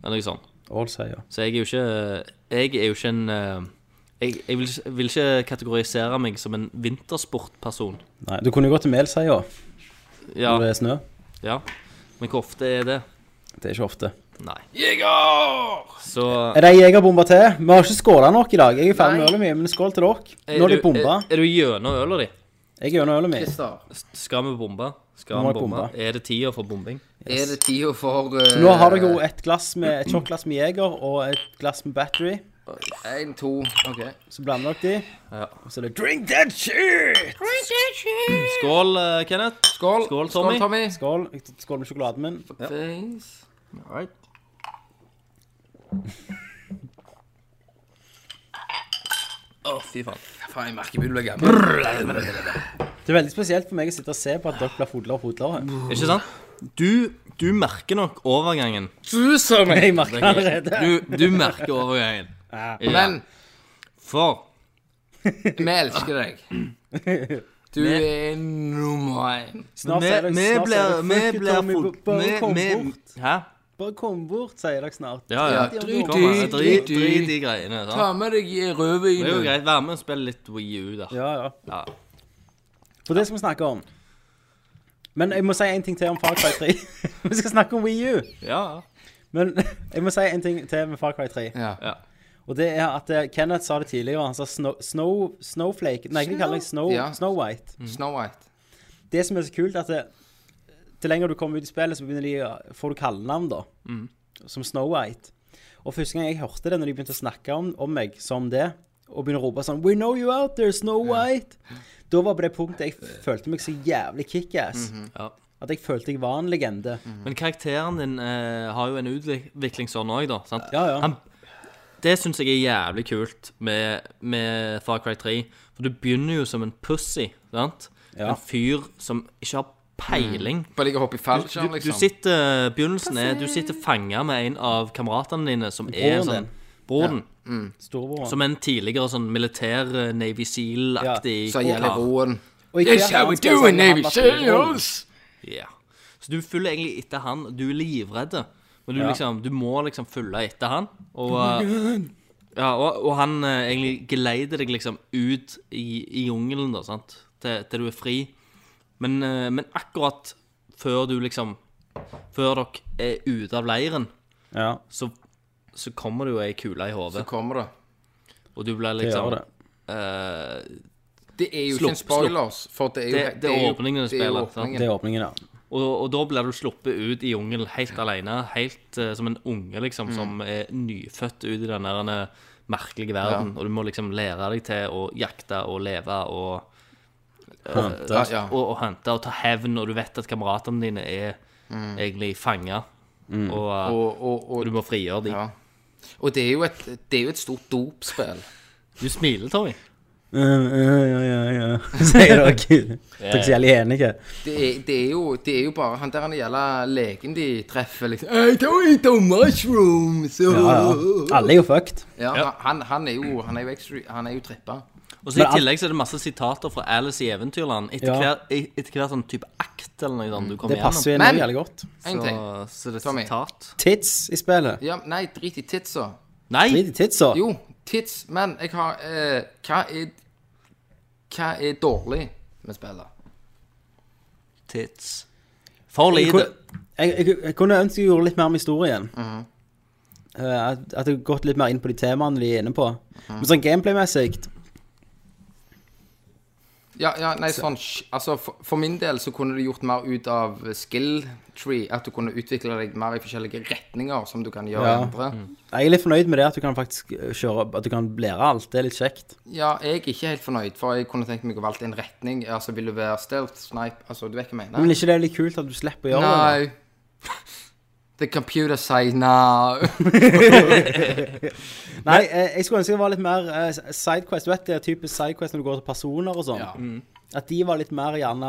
Speaker 3: eller noe sånt.
Speaker 1: Allsay, ja.
Speaker 3: Så jeg er jo ikke Jeg er jo ikke en eh, Jeg, jeg vil, ikke- vil ikke kategorisere meg som en vintersportperson.
Speaker 1: Nei, du kunne jo gått til Melseia når
Speaker 3: Ja,
Speaker 1: det er snø.
Speaker 3: ja. Men hvor ofte er det?
Speaker 1: Det er ikke ofte.
Speaker 3: Nei.
Speaker 2: Jeger!
Speaker 3: Så
Speaker 1: Er det ei jegerbombe til? Vi har ikke skåla nok i dag. Jeg er ferdig med
Speaker 2: Nei.
Speaker 1: ølet mitt, men skål til dere. Eh, Nå er de
Speaker 3: du-
Speaker 1: bomba.
Speaker 3: Er, er du gjennom øla di?
Speaker 1: Jeg er gjennom ølet mitt.
Speaker 2: Christer,
Speaker 3: Skal vi bombe? Skal
Speaker 1: Må
Speaker 3: vi
Speaker 1: jeg
Speaker 3: bombe?
Speaker 1: bombe?
Speaker 3: Er det tida for bombing?
Speaker 2: er det tida for uh,
Speaker 1: Nå har dere jo et glass med et tjokk glass med Jeger og et glass med Battery.
Speaker 2: En, to OK.
Speaker 1: Så blander dere de.
Speaker 3: Ja.
Speaker 1: Og så er det Drink that shit!
Speaker 3: Skål, eh, Kenneth.
Speaker 2: Skål,
Speaker 3: Skål, Tommy.
Speaker 1: Skål. Skål med sjokoladen min.
Speaker 2: Thanks. All right.
Speaker 3: Å, fy faen.
Speaker 2: Faen, jeg merker jeg blir gammel.
Speaker 1: Det er veldig spesielt for meg å sitte og se på at dere blir fodler og fodler.
Speaker 3: Ikke sant? Du, du merker nok overgangen.
Speaker 2: Du som
Speaker 1: Jeg merker allerede.
Speaker 3: Du, du merker overgangen. Ja.
Speaker 2: Men
Speaker 3: For
Speaker 2: vi elsker deg. Du er nummer én.
Speaker 1: Snart
Speaker 3: vi
Speaker 1: sier dere
Speaker 3: vi
Speaker 1: snart
Speaker 3: blir
Speaker 1: sier dere, «Fuck
Speaker 3: Vi
Speaker 1: you,
Speaker 3: blir
Speaker 1: Tommy,
Speaker 3: fort-
Speaker 1: Bare
Speaker 3: vi-
Speaker 1: kom
Speaker 3: vi-
Speaker 1: bort.
Speaker 3: Hæ?
Speaker 1: Bare kom bort, sier dere snart.
Speaker 3: Ja, ja.
Speaker 2: Ja,
Speaker 3: Drit
Speaker 2: drit
Speaker 3: kom,
Speaker 2: i-
Speaker 3: altså, drit-
Speaker 2: drit i-
Speaker 3: drit i greiene. sant?
Speaker 2: Ta med deg
Speaker 3: Det er jo
Speaker 2: rødvinen.
Speaker 3: greit. Vær med og spill litt Wii U, da.
Speaker 1: Ja, ja.
Speaker 3: Ja.
Speaker 1: For det skal vi snakke om. Men jeg må si en ting til om Far Cry 3. [laughs] vi skal snakke om Wii U.
Speaker 3: Ja.
Speaker 1: Men [laughs] jeg må si en ting til med Far Cry 3.
Speaker 2: Ja.
Speaker 3: ja.
Speaker 1: Og det er at eh, Kenneth sa det tidligere. Han sa snow, snow, Snowflake Nei, hva kaller jeg snow,
Speaker 2: Ja.
Speaker 1: snow White?
Speaker 2: Mm. Snow White.
Speaker 1: Det som er så kult, er at det, til lenger du kommer ut i spillet, så begynner de, å- får du kallenavn, da.
Speaker 2: Mm.
Speaker 1: Som Snow White. Og første gang jeg hørte det, når de begynte å snakke om, om meg som det, og begynner å rope sånn We know you out there, Snow White! Da var på det punktet jeg f- følte meg så jævlig kickass.
Speaker 2: Mhm.
Speaker 3: ja.
Speaker 1: At jeg følte jeg var en legende.
Speaker 2: Mm.
Speaker 3: Men karakteren din eh, har jo en utvikling sånn òg, da. Sant?
Speaker 1: Ja, ja.
Speaker 3: Han, det syns jeg er jævlig kult med, med Far Cry 3. For du begynner jo som en pussy. Sant?
Speaker 1: Ja. Mm.
Speaker 3: En fyr som ikke har peiling.
Speaker 2: Bare ligge og hoppe i
Speaker 3: Du,
Speaker 2: fallskjerm,
Speaker 3: du
Speaker 2: liksom.
Speaker 3: sitter Begynnelsen er du sitter fanga med en av kameratene dine som er
Speaker 1: Broren
Speaker 3: sånn
Speaker 1: din.
Speaker 3: Broren.
Speaker 1: Storebror.
Speaker 3: Som en tidligere sånn militær eh, Navy Seal-aktig
Speaker 2: Så gjelder
Speaker 3: kar.
Speaker 2: roen.
Speaker 1: Og i
Speaker 2: This
Speaker 1: hvert
Speaker 2: how we
Speaker 1: annet spill
Speaker 2: do
Speaker 1: så
Speaker 2: in
Speaker 1: handler
Speaker 2: Navy
Speaker 1: det om at-
Speaker 2: Seals!
Speaker 3: Ja. Så du følger egentlig etter han. Du er livredd. Men du,
Speaker 1: Ja.
Speaker 3: liksom, du må liksom følge etter han. Og, eh, ja, og, og han eh, egentlig geleider deg liksom ut i, i jungelen, da, sant? Til, til du er fri. Men, eh, men akkurat før du liksom Før dere er ute av leiren,
Speaker 1: Ja,
Speaker 3: så, så kommer det jo ei kule i
Speaker 2: Så
Speaker 3: hodet,
Speaker 2: kommer det.
Speaker 3: og du blir
Speaker 1: det
Speaker 3: liksom
Speaker 1: gjør det.
Speaker 3: eh,
Speaker 2: Det er jo
Speaker 3: Slupp,
Speaker 2: ikke en spoilers, for det er jo
Speaker 3: Det- det er
Speaker 2: jo-
Speaker 3: åpningen du
Speaker 2: det er jo
Speaker 3: spiller,
Speaker 1: Det
Speaker 2: åpningen.
Speaker 1: er åpningen, ja.
Speaker 3: Og, og da blir du sluppet ut i jungel helt alene, helt eh, som en unge liksom,
Speaker 2: Mm.
Speaker 3: som er nyfødt ut i den der eh, merkelige verden. Og du må liksom lære deg til å jakte og leve og,
Speaker 2: Ja,
Speaker 1: Hunter.
Speaker 2: ja.
Speaker 3: og, og hunte og ta hevn, og du vet at kameratene dine er egentlig fanga. Og, eh,
Speaker 2: Mm. Og, og, og,
Speaker 3: og du må frigjøre dem.
Speaker 2: ja. og det er jo et, det er jo et stort dopspill.
Speaker 3: Du smiler, Tommy.
Speaker 1: Ja, ja, ja, ja. [laughs] Sier dere. Dere er så jævlig enige.
Speaker 2: Det er, det, er jo, det er jo bare han der han gjelder legen de treffer, liksom I don't eat the mushrooms!
Speaker 1: Ja, ja. Alle er jo fucked.
Speaker 2: Ja, han, han er jo Han er jo, ekstra, han er jo trippa.
Speaker 3: Og så I
Speaker 1: Men alt-
Speaker 3: tillegg så er det masse sitater fra Alice i Eventyrland. Etter,
Speaker 1: Ja.
Speaker 3: hver, i- etter hver sånn type akt eller noe sånt du kommer
Speaker 1: Det passer
Speaker 3: gjennom.
Speaker 1: jo inn
Speaker 2: Men-
Speaker 1: jævlig godt.
Speaker 2: Mm. En ting.
Speaker 3: Så, så det er
Speaker 2: Tommy.
Speaker 3: sitat.
Speaker 1: Tits i spillet.
Speaker 2: Ja, nei, drit i titsa.
Speaker 3: Nei!
Speaker 1: Drit i titsa.
Speaker 2: Jo, tits, men jeg har eh, Hva er Hva er dårlig med spillet?
Speaker 3: Tits. For
Speaker 1: Jeg,
Speaker 3: lite.
Speaker 1: kunne- jeg, jeg, jeg kunne ønske jeg gjorde litt mer om historien.
Speaker 2: Mhm.
Speaker 1: Eh, at, at jeg hadde gått litt mer inn på de temaene de er inne på.
Speaker 2: Mhm.
Speaker 1: Men sånn gameplay-messig
Speaker 2: Ja, ja, nei, sånn sj- Altså, for, for min del så kunne du gjort mer ut av skill tree. At du kunne utvikle deg mer i forskjellige retninger, som du kan gjøre
Speaker 1: Ja.
Speaker 2: andre.
Speaker 1: Jeg er litt fornøyd med det at du kan faktisk eh, kjøre At du kan lære alt. Det er litt kjekt.
Speaker 2: Ja, jeg er ikke helt fornøyd, for jeg kunne tenkt meg å valgt en retning. Altså, vil du være stealth, snipe Altså, du vet hva jeg
Speaker 1: Men
Speaker 2: mener?
Speaker 1: ikke det er litt kult at du slipper å gjøre det?
Speaker 2: Nei. [laughs] The computer say no.
Speaker 1: Nei, eh, jeg skulle ønske det var litt mer eh, sidequest. Du vet det er typisk sidequest når du går til personer og sånn.
Speaker 2: Ja.
Speaker 1: At de var litt mer gjerne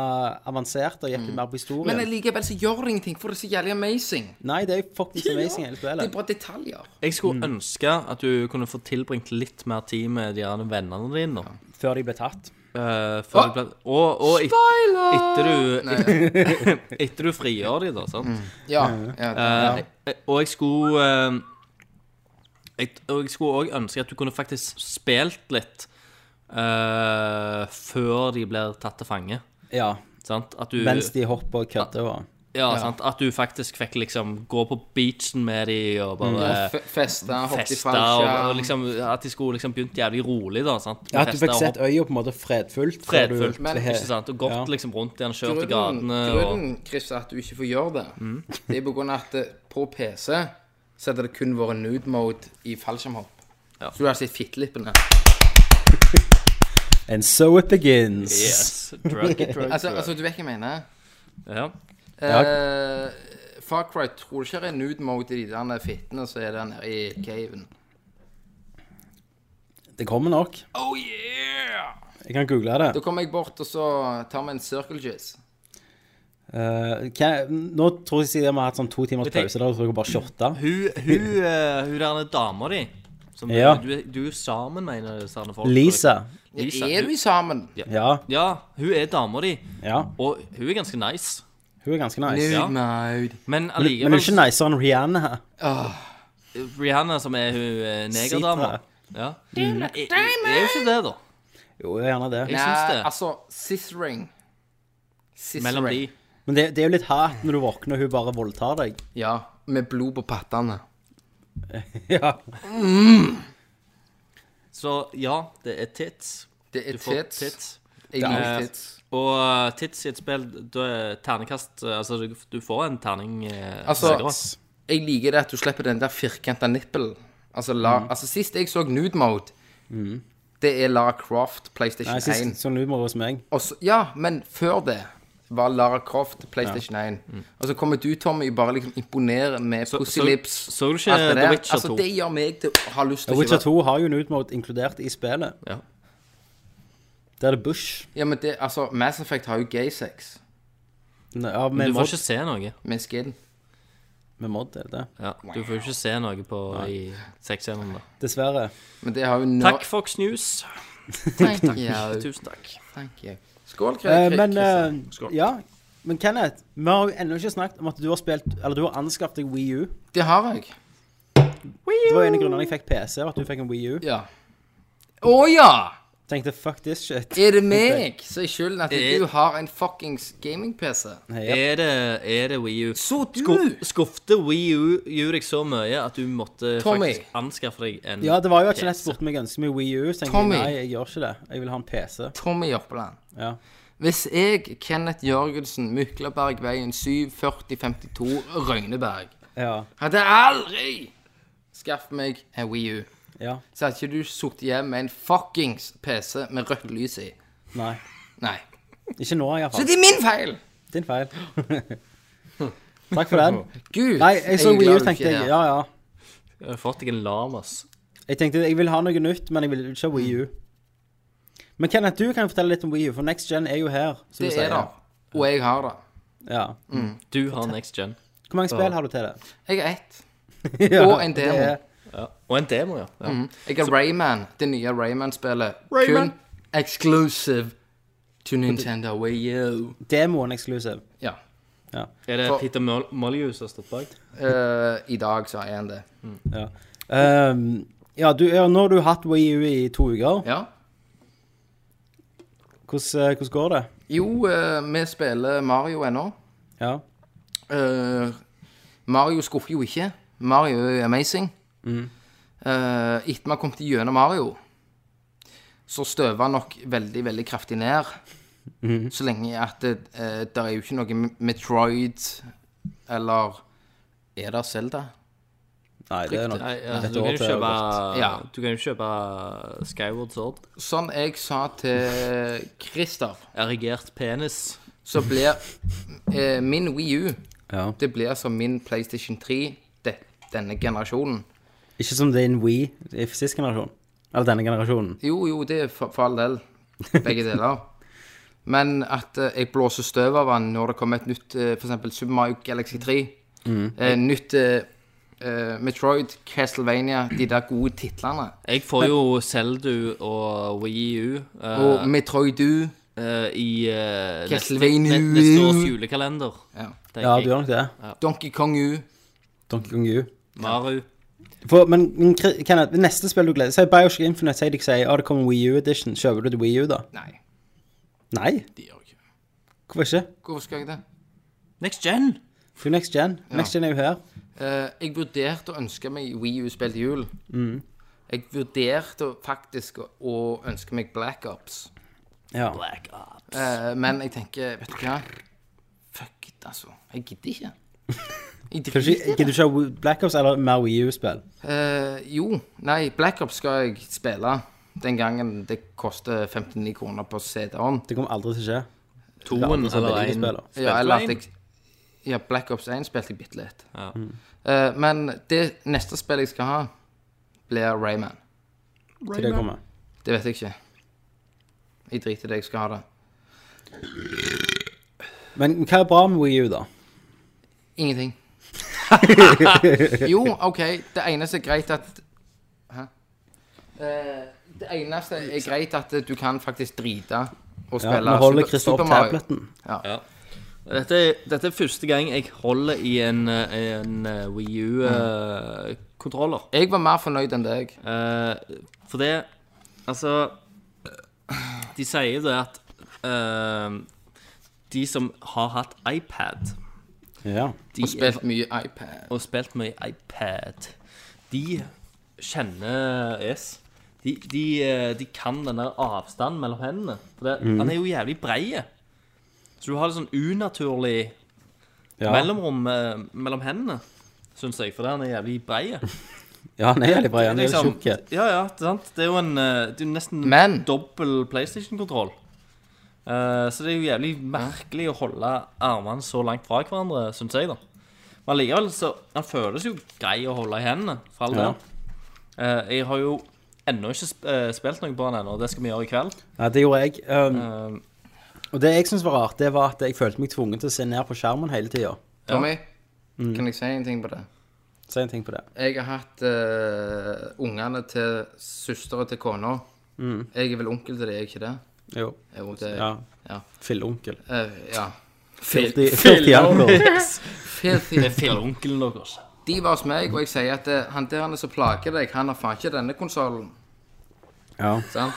Speaker 1: avanserte og gikk litt mer på historien.
Speaker 2: Men likevel så gjør det ingenting, for det er så jævlig amazing.
Speaker 1: Nei, det er jo fuckings amazing hele
Speaker 2: Det er
Speaker 1: spillet.
Speaker 2: bare detaljer.
Speaker 3: Jeg skulle ønske at du kunne få tilbringt litt mer tid med de andre vennene dine. nå.
Speaker 1: Før de ble tatt.
Speaker 3: Eh, før du ble- og og et, etter du Etter du frigjør de, da. sant?
Speaker 2: Ja. ja, ja.
Speaker 3: Eh, eh, Og jeg skulle eh, jeg, Og jeg skulle òg ønske at du kunne faktisk spilt litt eh, før de blir tatt til fange.
Speaker 1: Ja.
Speaker 3: Sant? At du
Speaker 1: Mens de hopper og kødder og
Speaker 3: Ja, sant? At du faktisk fikk liksom gå på beachen med de og bare
Speaker 2: Fe- Feste, hoppe i
Speaker 3: feste og, eh, og
Speaker 2: fallskjerm.
Speaker 3: liksom At de skulle liksom begynt jævlig rolig, da. sant?
Speaker 1: Ja, at du
Speaker 3: Feste
Speaker 1: fikk
Speaker 3: og
Speaker 1: sett
Speaker 3: hoppe
Speaker 1: øya på en måte fredfullt. før du-
Speaker 3: fredfullt,
Speaker 2: Men-
Speaker 3: ikke sant? Og gått
Speaker 1: Ja.
Speaker 3: liksom rundt igjen, kjørt i
Speaker 2: Grunnen,
Speaker 3: gatene og Mm.
Speaker 2: grunnen Chris, at du ikke får gjøre det, det er på grunn av at eh, på PC så hadde det kun vært nude mode i fallskjermhopp.
Speaker 3: Ja.
Speaker 2: Så du har sett fittelippene.
Speaker 1: And so it begins.
Speaker 3: Yes. Druggy, drug,
Speaker 2: Altså,
Speaker 3: drug.
Speaker 2: altså, du vet hva jeg mener?
Speaker 3: Ja.
Speaker 2: Eh, Far Cry tror du ikke det er nude mode i de der fittene som er der nede i caven.
Speaker 1: Det kommer nok.
Speaker 2: Oh yeah!
Speaker 1: Jeg kan google det.
Speaker 2: Da kommer jeg bort, og så tar vi en circle jizz.
Speaker 1: Eh, hva- nå tror jeg siden vi har hatt sånn to timers
Speaker 3: Jeg tenk-
Speaker 1: pause, da tror jeg bare shotta.
Speaker 3: Hun, hun, eh, hun der dama di som
Speaker 1: Ja.
Speaker 3: du, du er jo sammen med en av disse andre folk.
Speaker 1: Lisa.
Speaker 3: Lisa,
Speaker 2: Er
Speaker 3: hun-
Speaker 2: vi sammen?
Speaker 1: Ja,
Speaker 3: Ja, hun er dama di,
Speaker 1: ja.
Speaker 3: og hun er ganske nice.
Speaker 1: Hun er ganske nice.
Speaker 3: Ja.
Speaker 2: mode. Ah.
Speaker 3: Men
Speaker 1: Men men hun er
Speaker 3: allikevel
Speaker 1: ikke nicere enn Rihanna. her.
Speaker 3: Rihanna, som er hun eh,
Speaker 1: Sitra.
Speaker 3: negerdama ja. Er, er jo ikke det, da.
Speaker 1: Jo, gjerne det.
Speaker 3: Jeg
Speaker 2: Nei,
Speaker 3: syns det.
Speaker 2: altså, scissoring. Scissoring.
Speaker 3: Mellom de.
Speaker 1: Men det, det er jo litt hat når du våkner og hun bare voldtar deg. [laughs]
Speaker 2: Ja, med blod på pattene.
Speaker 1: Ja.
Speaker 3: Så ja, det er tits.
Speaker 2: Det er
Speaker 3: Du får
Speaker 2: tits.
Speaker 3: tits.
Speaker 2: Jeg liker
Speaker 3: er-
Speaker 2: tits.
Speaker 3: Og eh, tits i et spill, da er ternekast eh, Altså, du, du får en terning eh,
Speaker 2: Altså,
Speaker 3: sikkert.
Speaker 2: Jeg liker det at du slipper den der firkanta nippelen. Altså, la,
Speaker 3: Mm.
Speaker 2: altså, sist jeg så nude mode, det er Lara Croft, PlayStation
Speaker 1: Nei,
Speaker 2: 1.
Speaker 1: sist sånn humor hos meg.
Speaker 2: Og så- ja, men før det var Lara Croft, PlayStation 1. Og så kommer du, Tommy, bare liksom imponerer med pussy
Speaker 3: Mm. så-
Speaker 2: lips.
Speaker 3: så du ikke
Speaker 2: alt det
Speaker 3: The
Speaker 2: der.
Speaker 3: Witcher
Speaker 2: Altså,
Speaker 3: 2?
Speaker 2: det gjør meg til å ha lyst til å
Speaker 1: Witcher
Speaker 2: ikke være-
Speaker 1: 2 har jo nude mode inkludert i spillet.
Speaker 3: Ja.
Speaker 1: Der er det Bush.
Speaker 2: Ja, men det, altså, Mass Effect har jo gay sex
Speaker 1: Nei, Ja, med
Speaker 3: Men du
Speaker 1: mod,
Speaker 3: får ikke se noe.
Speaker 2: med skin.
Speaker 1: med mod er det det.
Speaker 3: Ja, du får jo ikke se noe på i sexscenen. da.
Speaker 1: Dessverre.
Speaker 2: Men det har jo nå
Speaker 3: Takk, Fox News.
Speaker 2: Takk, takk. Ja,
Speaker 3: Tusen takk.
Speaker 2: takk. ja. Skål, Kri-
Speaker 1: Eh,
Speaker 2: Kri-
Speaker 1: men
Speaker 2: Kristian.
Speaker 1: eh, Ja. Men Kenneth, vi har jo ennå ikke snakket om at du har spilt Eller du har anskaffet deg Wii U.
Speaker 2: Det har jeg.
Speaker 1: Det var en av grunnene jeg fikk PC, var at du fikk en Wii U.
Speaker 2: Ja. Å ja!
Speaker 1: Tenkte fuck this shit.
Speaker 2: Er det meg som er skylden at
Speaker 3: Er-
Speaker 2: du har en fuckings gaming-PC?
Speaker 1: Nei, ja.
Speaker 3: Er det, er det Wii U?
Speaker 2: Så du!
Speaker 3: Sku- Skuffte Wii U gjør deg så mye at du måtte
Speaker 2: Tommy.
Speaker 3: faktisk anskaffe deg en
Speaker 1: Ja, det var jo at Jeanette
Speaker 3: PC.
Speaker 1: spurte meg ganske mye Wii U. Så tenkte
Speaker 2: Tommy.
Speaker 1: jeg nei, jeg gjør ikke det. Jeg vil ha en PC.
Speaker 2: Tommy Jørpeland.
Speaker 1: Ja.
Speaker 2: Hvis jeg, Kenneth Jørgensen, Myklabergveien 74052, Røyneberg,
Speaker 1: Ja.
Speaker 2: hadde aldri skaffet meg en Wii U,
Speaker 1: ja.
Speaker 2: så hadde ikke du sittet hjemme med en fuckings PC med rødt lys i.
Speaker 1: Nei.
Speaker 2: Nei.
Speaker 1: Ikke nå,
Speaker 2: Så
Speaker 1: iallfall.
Speaker 2: det er min feil!
Speaker 1: Din
Speaker 2: [laughs]
Speaker 1: feil. Takk for den.
Speaker 2: Gud,
Speaker 1: Nei, jeg så
Speaker 2: er
Speaker 1: Wii U,
Speaker 2: glad du ikke
Speaker 1: tenkte
Speaker 2: er
Speaker 1: jeg.
Speaker 2: her.
Speaker 1: Ja, ja.
Speaker 3: Jeg har Eh, fått deg en lamas.
Speaker 1: Jeg tenkte jeg vil ha noe nytt, men jeg vil ikke ha Wii U. Men Kenneth, du kan fortelle litt om Wii U, for Next Gen er jo her. Som
Speaker 2: Det
Speaker 1: du sier.
Speaker 2: er det. Og jeg har det.
Speaker 1: Ja.
Speaker 3: Du har next gen.
Speaker 1: Hvor mange spill har du til det?
Speaker 2: Jeg er ett.
Speaker 1: [laughs] ja,
Speaker 2: Og en
Speaker 1: det
Speaker 2: demo.
Speaker 1: er-
Speaker 3: Ja. Og en demo, ja. ja.
Speaker 2: Mhm. Jeg har Rayman, det nye Rayman-spillet.
Speaker 3: Rayman.
Speaker 2: Kun exclusive to Nintendo Wii U.
Speaker 1: Demoen exclusive.
Speaker 2: Ja.
Speaker 3: Er det
Speaker 2: For-
Speaker 3: Peter Mol- Molyneux som har stått bak?
Speaker 2: eh, I dag så er han det.
Speaker 1: Ja. Ehm, ja, du, ja, nå har du hatt Wii U i to uker.
Speaker 2: Ja.
Speaker 1: Hvordan, eh, hvordan går det?
Speaker 2: Jo, eh, vi spiller Mario ennå.
Speaker 1: Ja.
Speaker 2: Eh, Mario skuffer jo ikke. Mario er amazing. Eh, etter vi har kommet gjennom Mario, så støver han nok veldig, veldig kraftig ned. Så lenge at det, eh, der er jo ikke noe Metroid eller Er det Zelda?
Speaker 1: Nei, det er nok
Speaker 3: Nei, altså,
Speaker 1: et
Speaker 3: du kan
Speaker 1: år
Speaker 3: jo
Speaker 1: til. det har
Speaker 3: kjøpe,
Speaker 1: gått.
Speaker 2: Ja.
Speaker 3: du kan jo kjøpe Skyward Sword.
Speaker 2: Sånn jeg sa til Christer,
Speaker 3: Erigert penis.
Speaker 2: så blir eh, min Wii U
Speaker 1: Ja.
Speaker 2: Det blir som min PlayStation 3 de, denne generasjonen.
Speaker 1: Ikke som din Wii i sist generasjon. Eller denne generasjonen.
Speaker 2: Jo, jo, det er for, for all del. Begge deler. Men at eh, jeg blåser støv av den når det kommer et nytt eh, for eksempel Super Mario Galaxy 3. Eh, nytt eh, eh, Metroid, Castlevania, de der gode titlene.
Speaker 3: Jeg får jo Seldu og Wii U eh,
Speaker 2: Og Metroid U.
Speaker 3: eh, i eh, neste,
Speaker 2: Castlevania.
Speaker 3: ne- neste års julekalender.
Speaker 2: Ja.
Speaker 3: tenker
Speaker 1: Ja,
Speaker 3: jeg.
Speaker 1: du gjør nok det.
Speaker 2: Donkey Kong U.
Speaker 1: Donkey Kong U.
Speaker 3: Maru.
Speaker 1: For, men men Kri- Kenneth, neste spill du gleder deg til Bioshock Infinite sier deg sier, «Å, det kommer en Wii U Edition. Kjøper du til Wii U, da?
Speaker 2: Nei,
Speaker 1: Nei,
Speaker 2: det gjør jeg ikke.
Speaker 1: hvorfor ikke?
Speaker 2: Hvorfor skal jeg det?
Speaker 6: Next gen.
Speaker 1: Det er jo Next Gen. Next Gen er jo her.
Speaker 2: Eh, jeg vurderte å ønske meg Wii U-spill til jul.
Speaker 3: Mm.
Speaker 2: Jeg vurderte faktisk å- å ønske meg Black Ops.
Speaker 1: Ja.
Speaker 2: Eh, men jeg tenker, vet du hva? Fuck it, altså. Jeg gidder ikke. Jeg
Speaker 1: Kanskje,
Speaker 2: driter i
Speaker 1: gidder du
Speaker 2: det.
Speaker 1: ikke ha Black Ops eller mer Wii U-spill?
Speaker 2: Eh, jo. Nei, Black Ops skal jeg spille. Den gangen det koster 59 kroner på CD-en.
Speaker 1: Det kommer aldri til å skje.
Speaker 3: Toen eller
Speaker 1: billige
Speaker 3: en
Speaker 1: spiller.
Speaker 3: spilte
Speaker 2: Ja, eller
Speaker 3: en.
Speaker 2: at jeg Ja, Black Ops 1 spilte jeg bitte litt.
Speaker 3: Mm.
Speaker 2: Eh, men det neste spillet jeg skal ha, blir Rayman.
Speaker 1: Til det kommer.
Speaker 2: Det vet jeg ikke. Jeg driter i det, jeg skal ha det.
Speaker 1: Men hva er bra med Wii U, da? [laughs]
Speaker 2: Ingenting. jo, OK. Det eneste er greit at Hæ? Eh, det eneste er greit at du kan faktisk drite og
Speaker 1: Ja,
Speaker 2: spille
Speaker 1: Nå holder
Speaker 2: Super-
Speaker 1: Christer opp
Speaker 2: Super Mario.
Speaker 1: tableten.
Speaker 3: Dette, er- dette er første gang jeg holder i en, eh, en eh, Wii eh, U-kontroller.
Speaker 2: Jeg var mer fornøyd enn deg.
Speaker 3: Eh, for det Altså De sier det at eh, de som har hatt iPad
Speaker 1: Ja.
Speaker 3: de
Speaker 2: Og spilte mye iPad.
Speaker 3: og spilt mye iPad De kjenner es de, de, eh, de kan den der avstanden mellom hendene For det, han er jo jævlig breie Så du har det sånn unaturlig
Speaker 1: Ja.
Speaker 3: mellomrom eh, mellom hendene Synes jeg, for det han er jævlig breie
Speaker 1: ja, han er jævlig bra. Han er
Speaker 3: Liksom,
Speaker 1: liksom... tjukk.
Speaker 3: Ja, ja, det er sant Det er jo en, eh, det er jo nesten
Speaker 2: Men-
Speaker 3: dobbelt Playstation-kontroll Eh, Så det er jo jævlig merkelig å holde armene så langt fra hverandre, synes jeg da Men likevel, så han føles jo grei å holde i hendene For all
Speaker 1: Ja.
Speaker 3: del Eh, Jeg har jo ennå ikke sp eh, spilt noe på han ennå, og det skal vi gjøre i kveld
Speaker 1: Ja, det gjorde jeg. Um,
Speaker 3: Eh,
Speaker 1: og det jeg syntes var rart, det var at jeg følte meg tvunget til å se ned på skjermen hele tida.
Speaker 2: Tommy,
Speaker 1: Mm.
Speaker 2: kan jeg si en ting på det?
Speaker 1: Si en ting på det.
Speaker 2: Jeg har hatt eh, ungene til søstera til kona. Jeg er vel onkel til dem, er jeg ikke det?
Speaker 1: Jo.
Speaker 2: Jo, det
Speaker 1: Mm. Ja.
Speaker 2: eh, Ja.
Speaker 1: Filleonkel.
Speaker 2: Eh, ja.
Speaker 1: Filthy- filthy uncle.
Speaker 2: Filthy
Speaker 3: Det er altså. filleonkelen deres
Speaker 2: De var hos meg, og jeg sier at eh, han der han er som plager deg, han har faen ikke denne konsollen.
Speaker 1: Ja.
Speaker 2: Sant?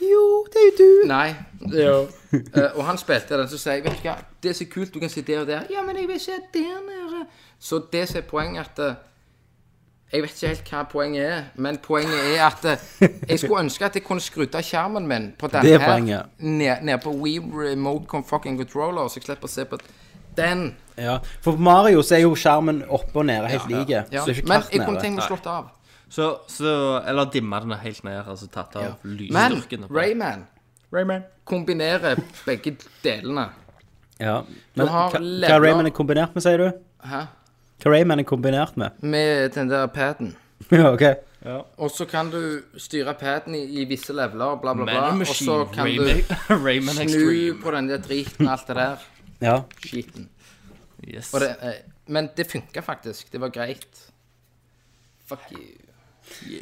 Speaker 1: Jo, det er jo du.
Speaker 2: Nei. Eh, og han spilte den, så sier jeg, vet du hva, det er så kult, du kan se der og der. Ja, men jeg vil se der nede. Så det som er poenget at eh, Jeg vet ikke helt hva poenget er, men poenget er at eh, jeg skulle ønske at jeg kunne skrudd av skjermen min på denne
Speaker 1: Det er
Speaker 2: her,
Speaker 1: poenget.
Speaker 2: ned, ned på Wii Remote Con Fucking Controller, så jeg slipper å se på den.
Speaker 1: Ja, for på Mario så er jo skjermen oppe og nede helt like.
Speaker 2: Ja.
Speaker 1: Så det er ikke
Speaker 2: Men
Speaker 1: kart
Speaker 2: jeg kunne
Speaker 1: nede.
Speaker 2: tenkt meg å slått av.
Speaker 3: Så, så eller dimma den helt ned, altså tatt av
Speaker 2: Men
Speaker 3: lysstyrken.
Speaker 2: Rayman kombinerer begge delene.
Speaker 1: Ja. Men hva
Speaker 2: har
Speaker 1: hva
Speaker 2: leveler-
Speaker 1: Rayman er kombinert med, sier du?
Speaker 2: Hæ?
Speaker 1: Hva Rayman er kombinert med? [laughs]
Speaker 2: Med den der paden.
Speaker 1: ja, ok.
Speaker 2: Og så kan du styre paden i, i visse leveler, bla, bla, bla.
Speaker 3: Man
Speaker 2: Og så kan du
Speaker 3: Rayman, [laughs] Rayman Extreme.
Speaker 2: snu på den der driten og alt det der.
Speaker 1: Ja.
Speaker 2: Skiten.
Speaker 3: Yes.
Speaker 2: Og det, eh, men det funka faktisk. Det var greit. Fuck you.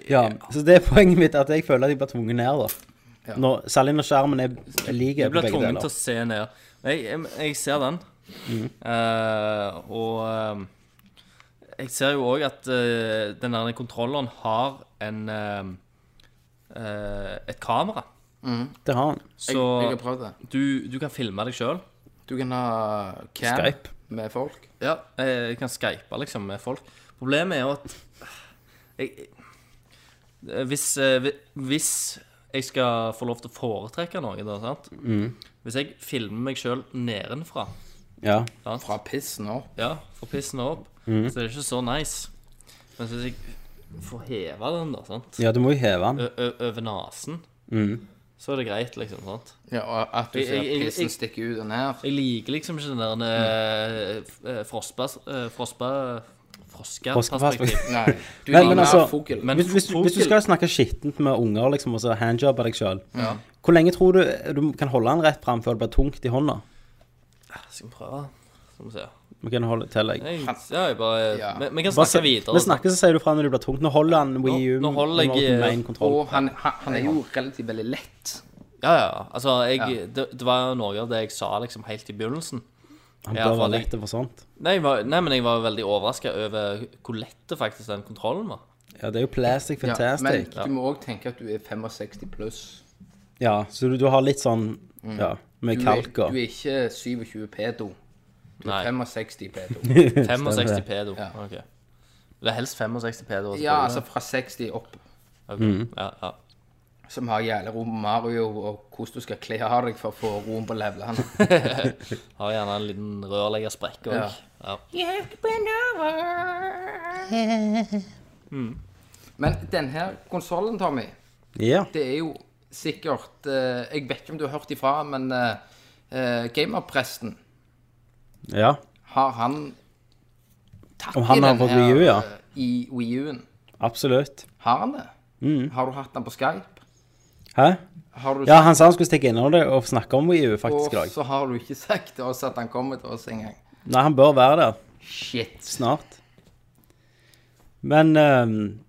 Speaker 1: ja. Så det er poenget mitt, at jeg føler at jeg blir tvunget ned, da.
Speaker 2: Ja.
Speaker 1: Når, særlig når skjermen er lik
Speaker 3: Jeg
Speaker 1: på
Speaker 3: blir
Speaker 1: begge
Speaker 3: tvunget
Speaker 1: deler.
Speaker 3: til å
Speaker 1: Mm.
Speaker 3: se ned. Jeg, jeg, jeg ser den. Eh, og eh, jeg ser jo òg at eh, den der kontrolleren har en eh, eh, et kamera.
Speaker 1: Det har han.
Speaker 3: Så
Speaker 2: Jeg, jeg har prøvd det.
Speaker 3: du, du kan filme deg sjøl.
Speaker 2: Du kan ha cam
Speaker 1: Skype.
Speaker 2: med folk.
Speaker 3: Ja, jeg kan skype liksom med folk. Problemet er jo at eh, jeg, jeg- hvis, eh, hvi- hvis jeg skal få lov til å foretrekke noe, da, sant?
Speaker 1: Mm.
Speaker 3: Hvis jeg filmer meg sjøl nedenfra,
Speaker 1: Ja.
Speaker 2: Fra pissen opp.
Speaker 3: ja, får pissen opp,
Speaker 1: Mm.
Speaker 3: så er det ikke så nice. Men hvis jeg får heva den, da, sant?
Speaker 1: ja, du må jo heve den.
Speaker 3: Ø ø over nesen,
Speaker 1: Mm.
Speaker 3: så er det greit, liksom. sant?
Speaker 2: Ja, og at du
Speaker 3: Jeg-
Speaker 2: ser
Speaker 3: jeg- jeg-
Speaker 2: pissen
Speaker 3: jeg-
Speaker 2: stikke ut og ned.
Speaker 3: Jeg liker liksom ikke den der eh, frospa... eh, Frospa... Froskeperspektiv.
Speaker 2: Nei. Du
Speaker 1: Men,
Speaker 2: er
Speaker 1: men [laughs]
Speaker 2: mer
Speaker 1: altså,
Speaker 2: fugl.
Speaker 3: Men
Speaker 1: hvis, hvis, du- hvis du
Speaker 3: fugl-
Speaker 1: skal snakke skittent med unger, liksom, og så handjobbe deg sjøl, hvor lenge tror du du kan holde den rett fram før det blir tungt i hånda?
Speaker 3: Skal vi prøve? Skal vi se.
Speaker 1: Vi kan holde til deg.
Speaker 3: Jeg, ja, jeg bare
Speaker 2: Ja.
Speaker 3: vi, vi kan
Speaker 1: Bare
Speaker 3: snakke
Speaker 1: se-
Speaker 3: videre. altså.
Speaker 1: Vi snakker, så sier du fra når du blir tungt. Nå holder han Wii U.
Speaker 3: Nå- nå holder jeg,
Speaker 1: remote
Speaker 3: eh,
Speaker 1: main control.
Speaker 2: Og han, han, han er jo relativt veldig lett.
Speaker 3: Ja, ja. Altså, jeg, Det, det var jo noe av det jeg sa liksom helt i begynnelsen.
Speaker 1: Han
Speaker 3: ja,
Speaker 1: bør
Speaker 3: for
Speaker 1: være
Speaker 3: det-
Speaker 1: lett for sånt.
Speaker 3: Nei, jeg var, nei men jeg var veldig overraska over hvor lett det faktisk den kontrollen var.
Speaker 1: Ja, det er jo plastic
Speaker 2: Ja, men
Speaker 1: fantastic. Ja,
Speaker 2: du må òg tenke at du er 65 pluss.
Speaker 3: Mm.
Speaker 1: så du, du har litt sånn Ja, med
Speaker 2: Du, er-
Speaker 1: kalk og
Speaker 2: du er ikke 27 pedo.
Speaker 3: Nei.
Speaker 2: 65 P2.
Speaker 1: [laughs]
Speaker 3: 65
Speaker 1: det.
Speaker 3: pedo.
Speaker 2: Ja.
Speaker 3: Ok. Det er helst 65 pedo.
Speaker 2: Ja, altså fra 60 opp.
Speaker 3: Ok. ja, ja.
Speaker 2: Som har jævla rom med Mario, og hvordan du skal kle av deg for å få roen på levelene.
Speaker 3: Har gjerne en liten rørleggersprekk òg.
Speaker 2: Ja.
Speaker 3: Ja.
Speaker 2: Men denne konsollen, Tommy,
Speaker 1: Ja.
Speaker 2: det er jo sikkert eh, Jeg vet ikke om du har hørt ifra, men eh, eh, gamerpresten,
Speaker 1: ja.
Speaker 2: har han tatt
Speaker 1: Om han
Speaker 2: i
Speaker 1: har
Speaker 2: den
Speaker 1: fått
Speaker 2: her,
Speaker 1: Wii U, ja.
Speaker 2: eh, I Wii U-en.
Speaker 1: Absolutt.
Speaker 2: Har han det? Har du hatt den på Skype?
Speaker 1: Hæ?
Speaker 2: Har du
Speaker 1: Mm. Ja, han sa han skulle stikke innom det og snakke om EU, faktisk, i
Speaker 2: og
Speaker 1: dag.
Speaker 2: så har du ikke sagt til oss at han kommer til oss engang.
Speaker 1: Nei, han bør være der
Speaker 2: Shit.
Speaker 1: snart. Men ehm,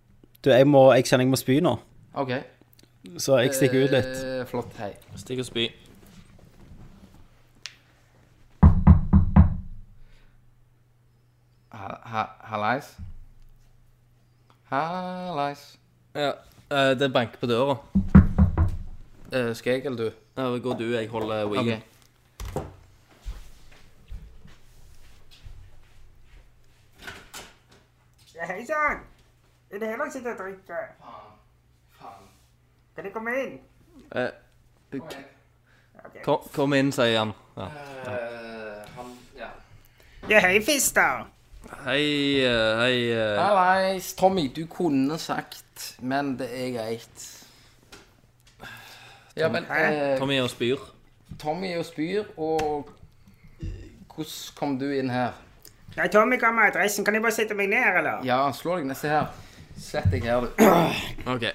Speaker 1: du, jeg, må, jeg kjenner jeg må spy nå,
Speaker 2: OK.
Speaker 1: så jeg stikker ut litt.
Speaker 2: Eh, flott. Hei.
Speaker 3: Stikk og spy.
Speaker 2: Ha- ha- Hallais. Hallais.
Speaker 3: Ja. eh, Det banker på døra.
Speaker 2: Eh, skal jeg eller du?
Speaker 3: Ja, Går du, jeg holder wingen.
Speaker 2: Ok.
Speaker 6: Ja, hei sann! Er det her dere sitter og drikker? Kan jeg komme inn?
Speaker 3: Eh, Kom, kom inn, sier han. Ja.
Speaker 2: Eh, han, ja.
Speaker 6: Ja, hei, fister!
Speaker 3: Hei, eh, hei eh,
Speaker 2: Hallais, Tommy. Du kunne sagt, men det er greit. Ja, men eh,
Speaker 3: Kom igjen og spyr.
Speaker 2: Tommy er jo spyr, og eh, hvordan kom du inn her?
Speaker 6: Nei, Tommy ga meg adressen. Kan jeg bare sette meg ned, eller?
Speaker 2: Ja, slå deg ned. Se her. Sett deg her, du.
Speaker 3: Ok.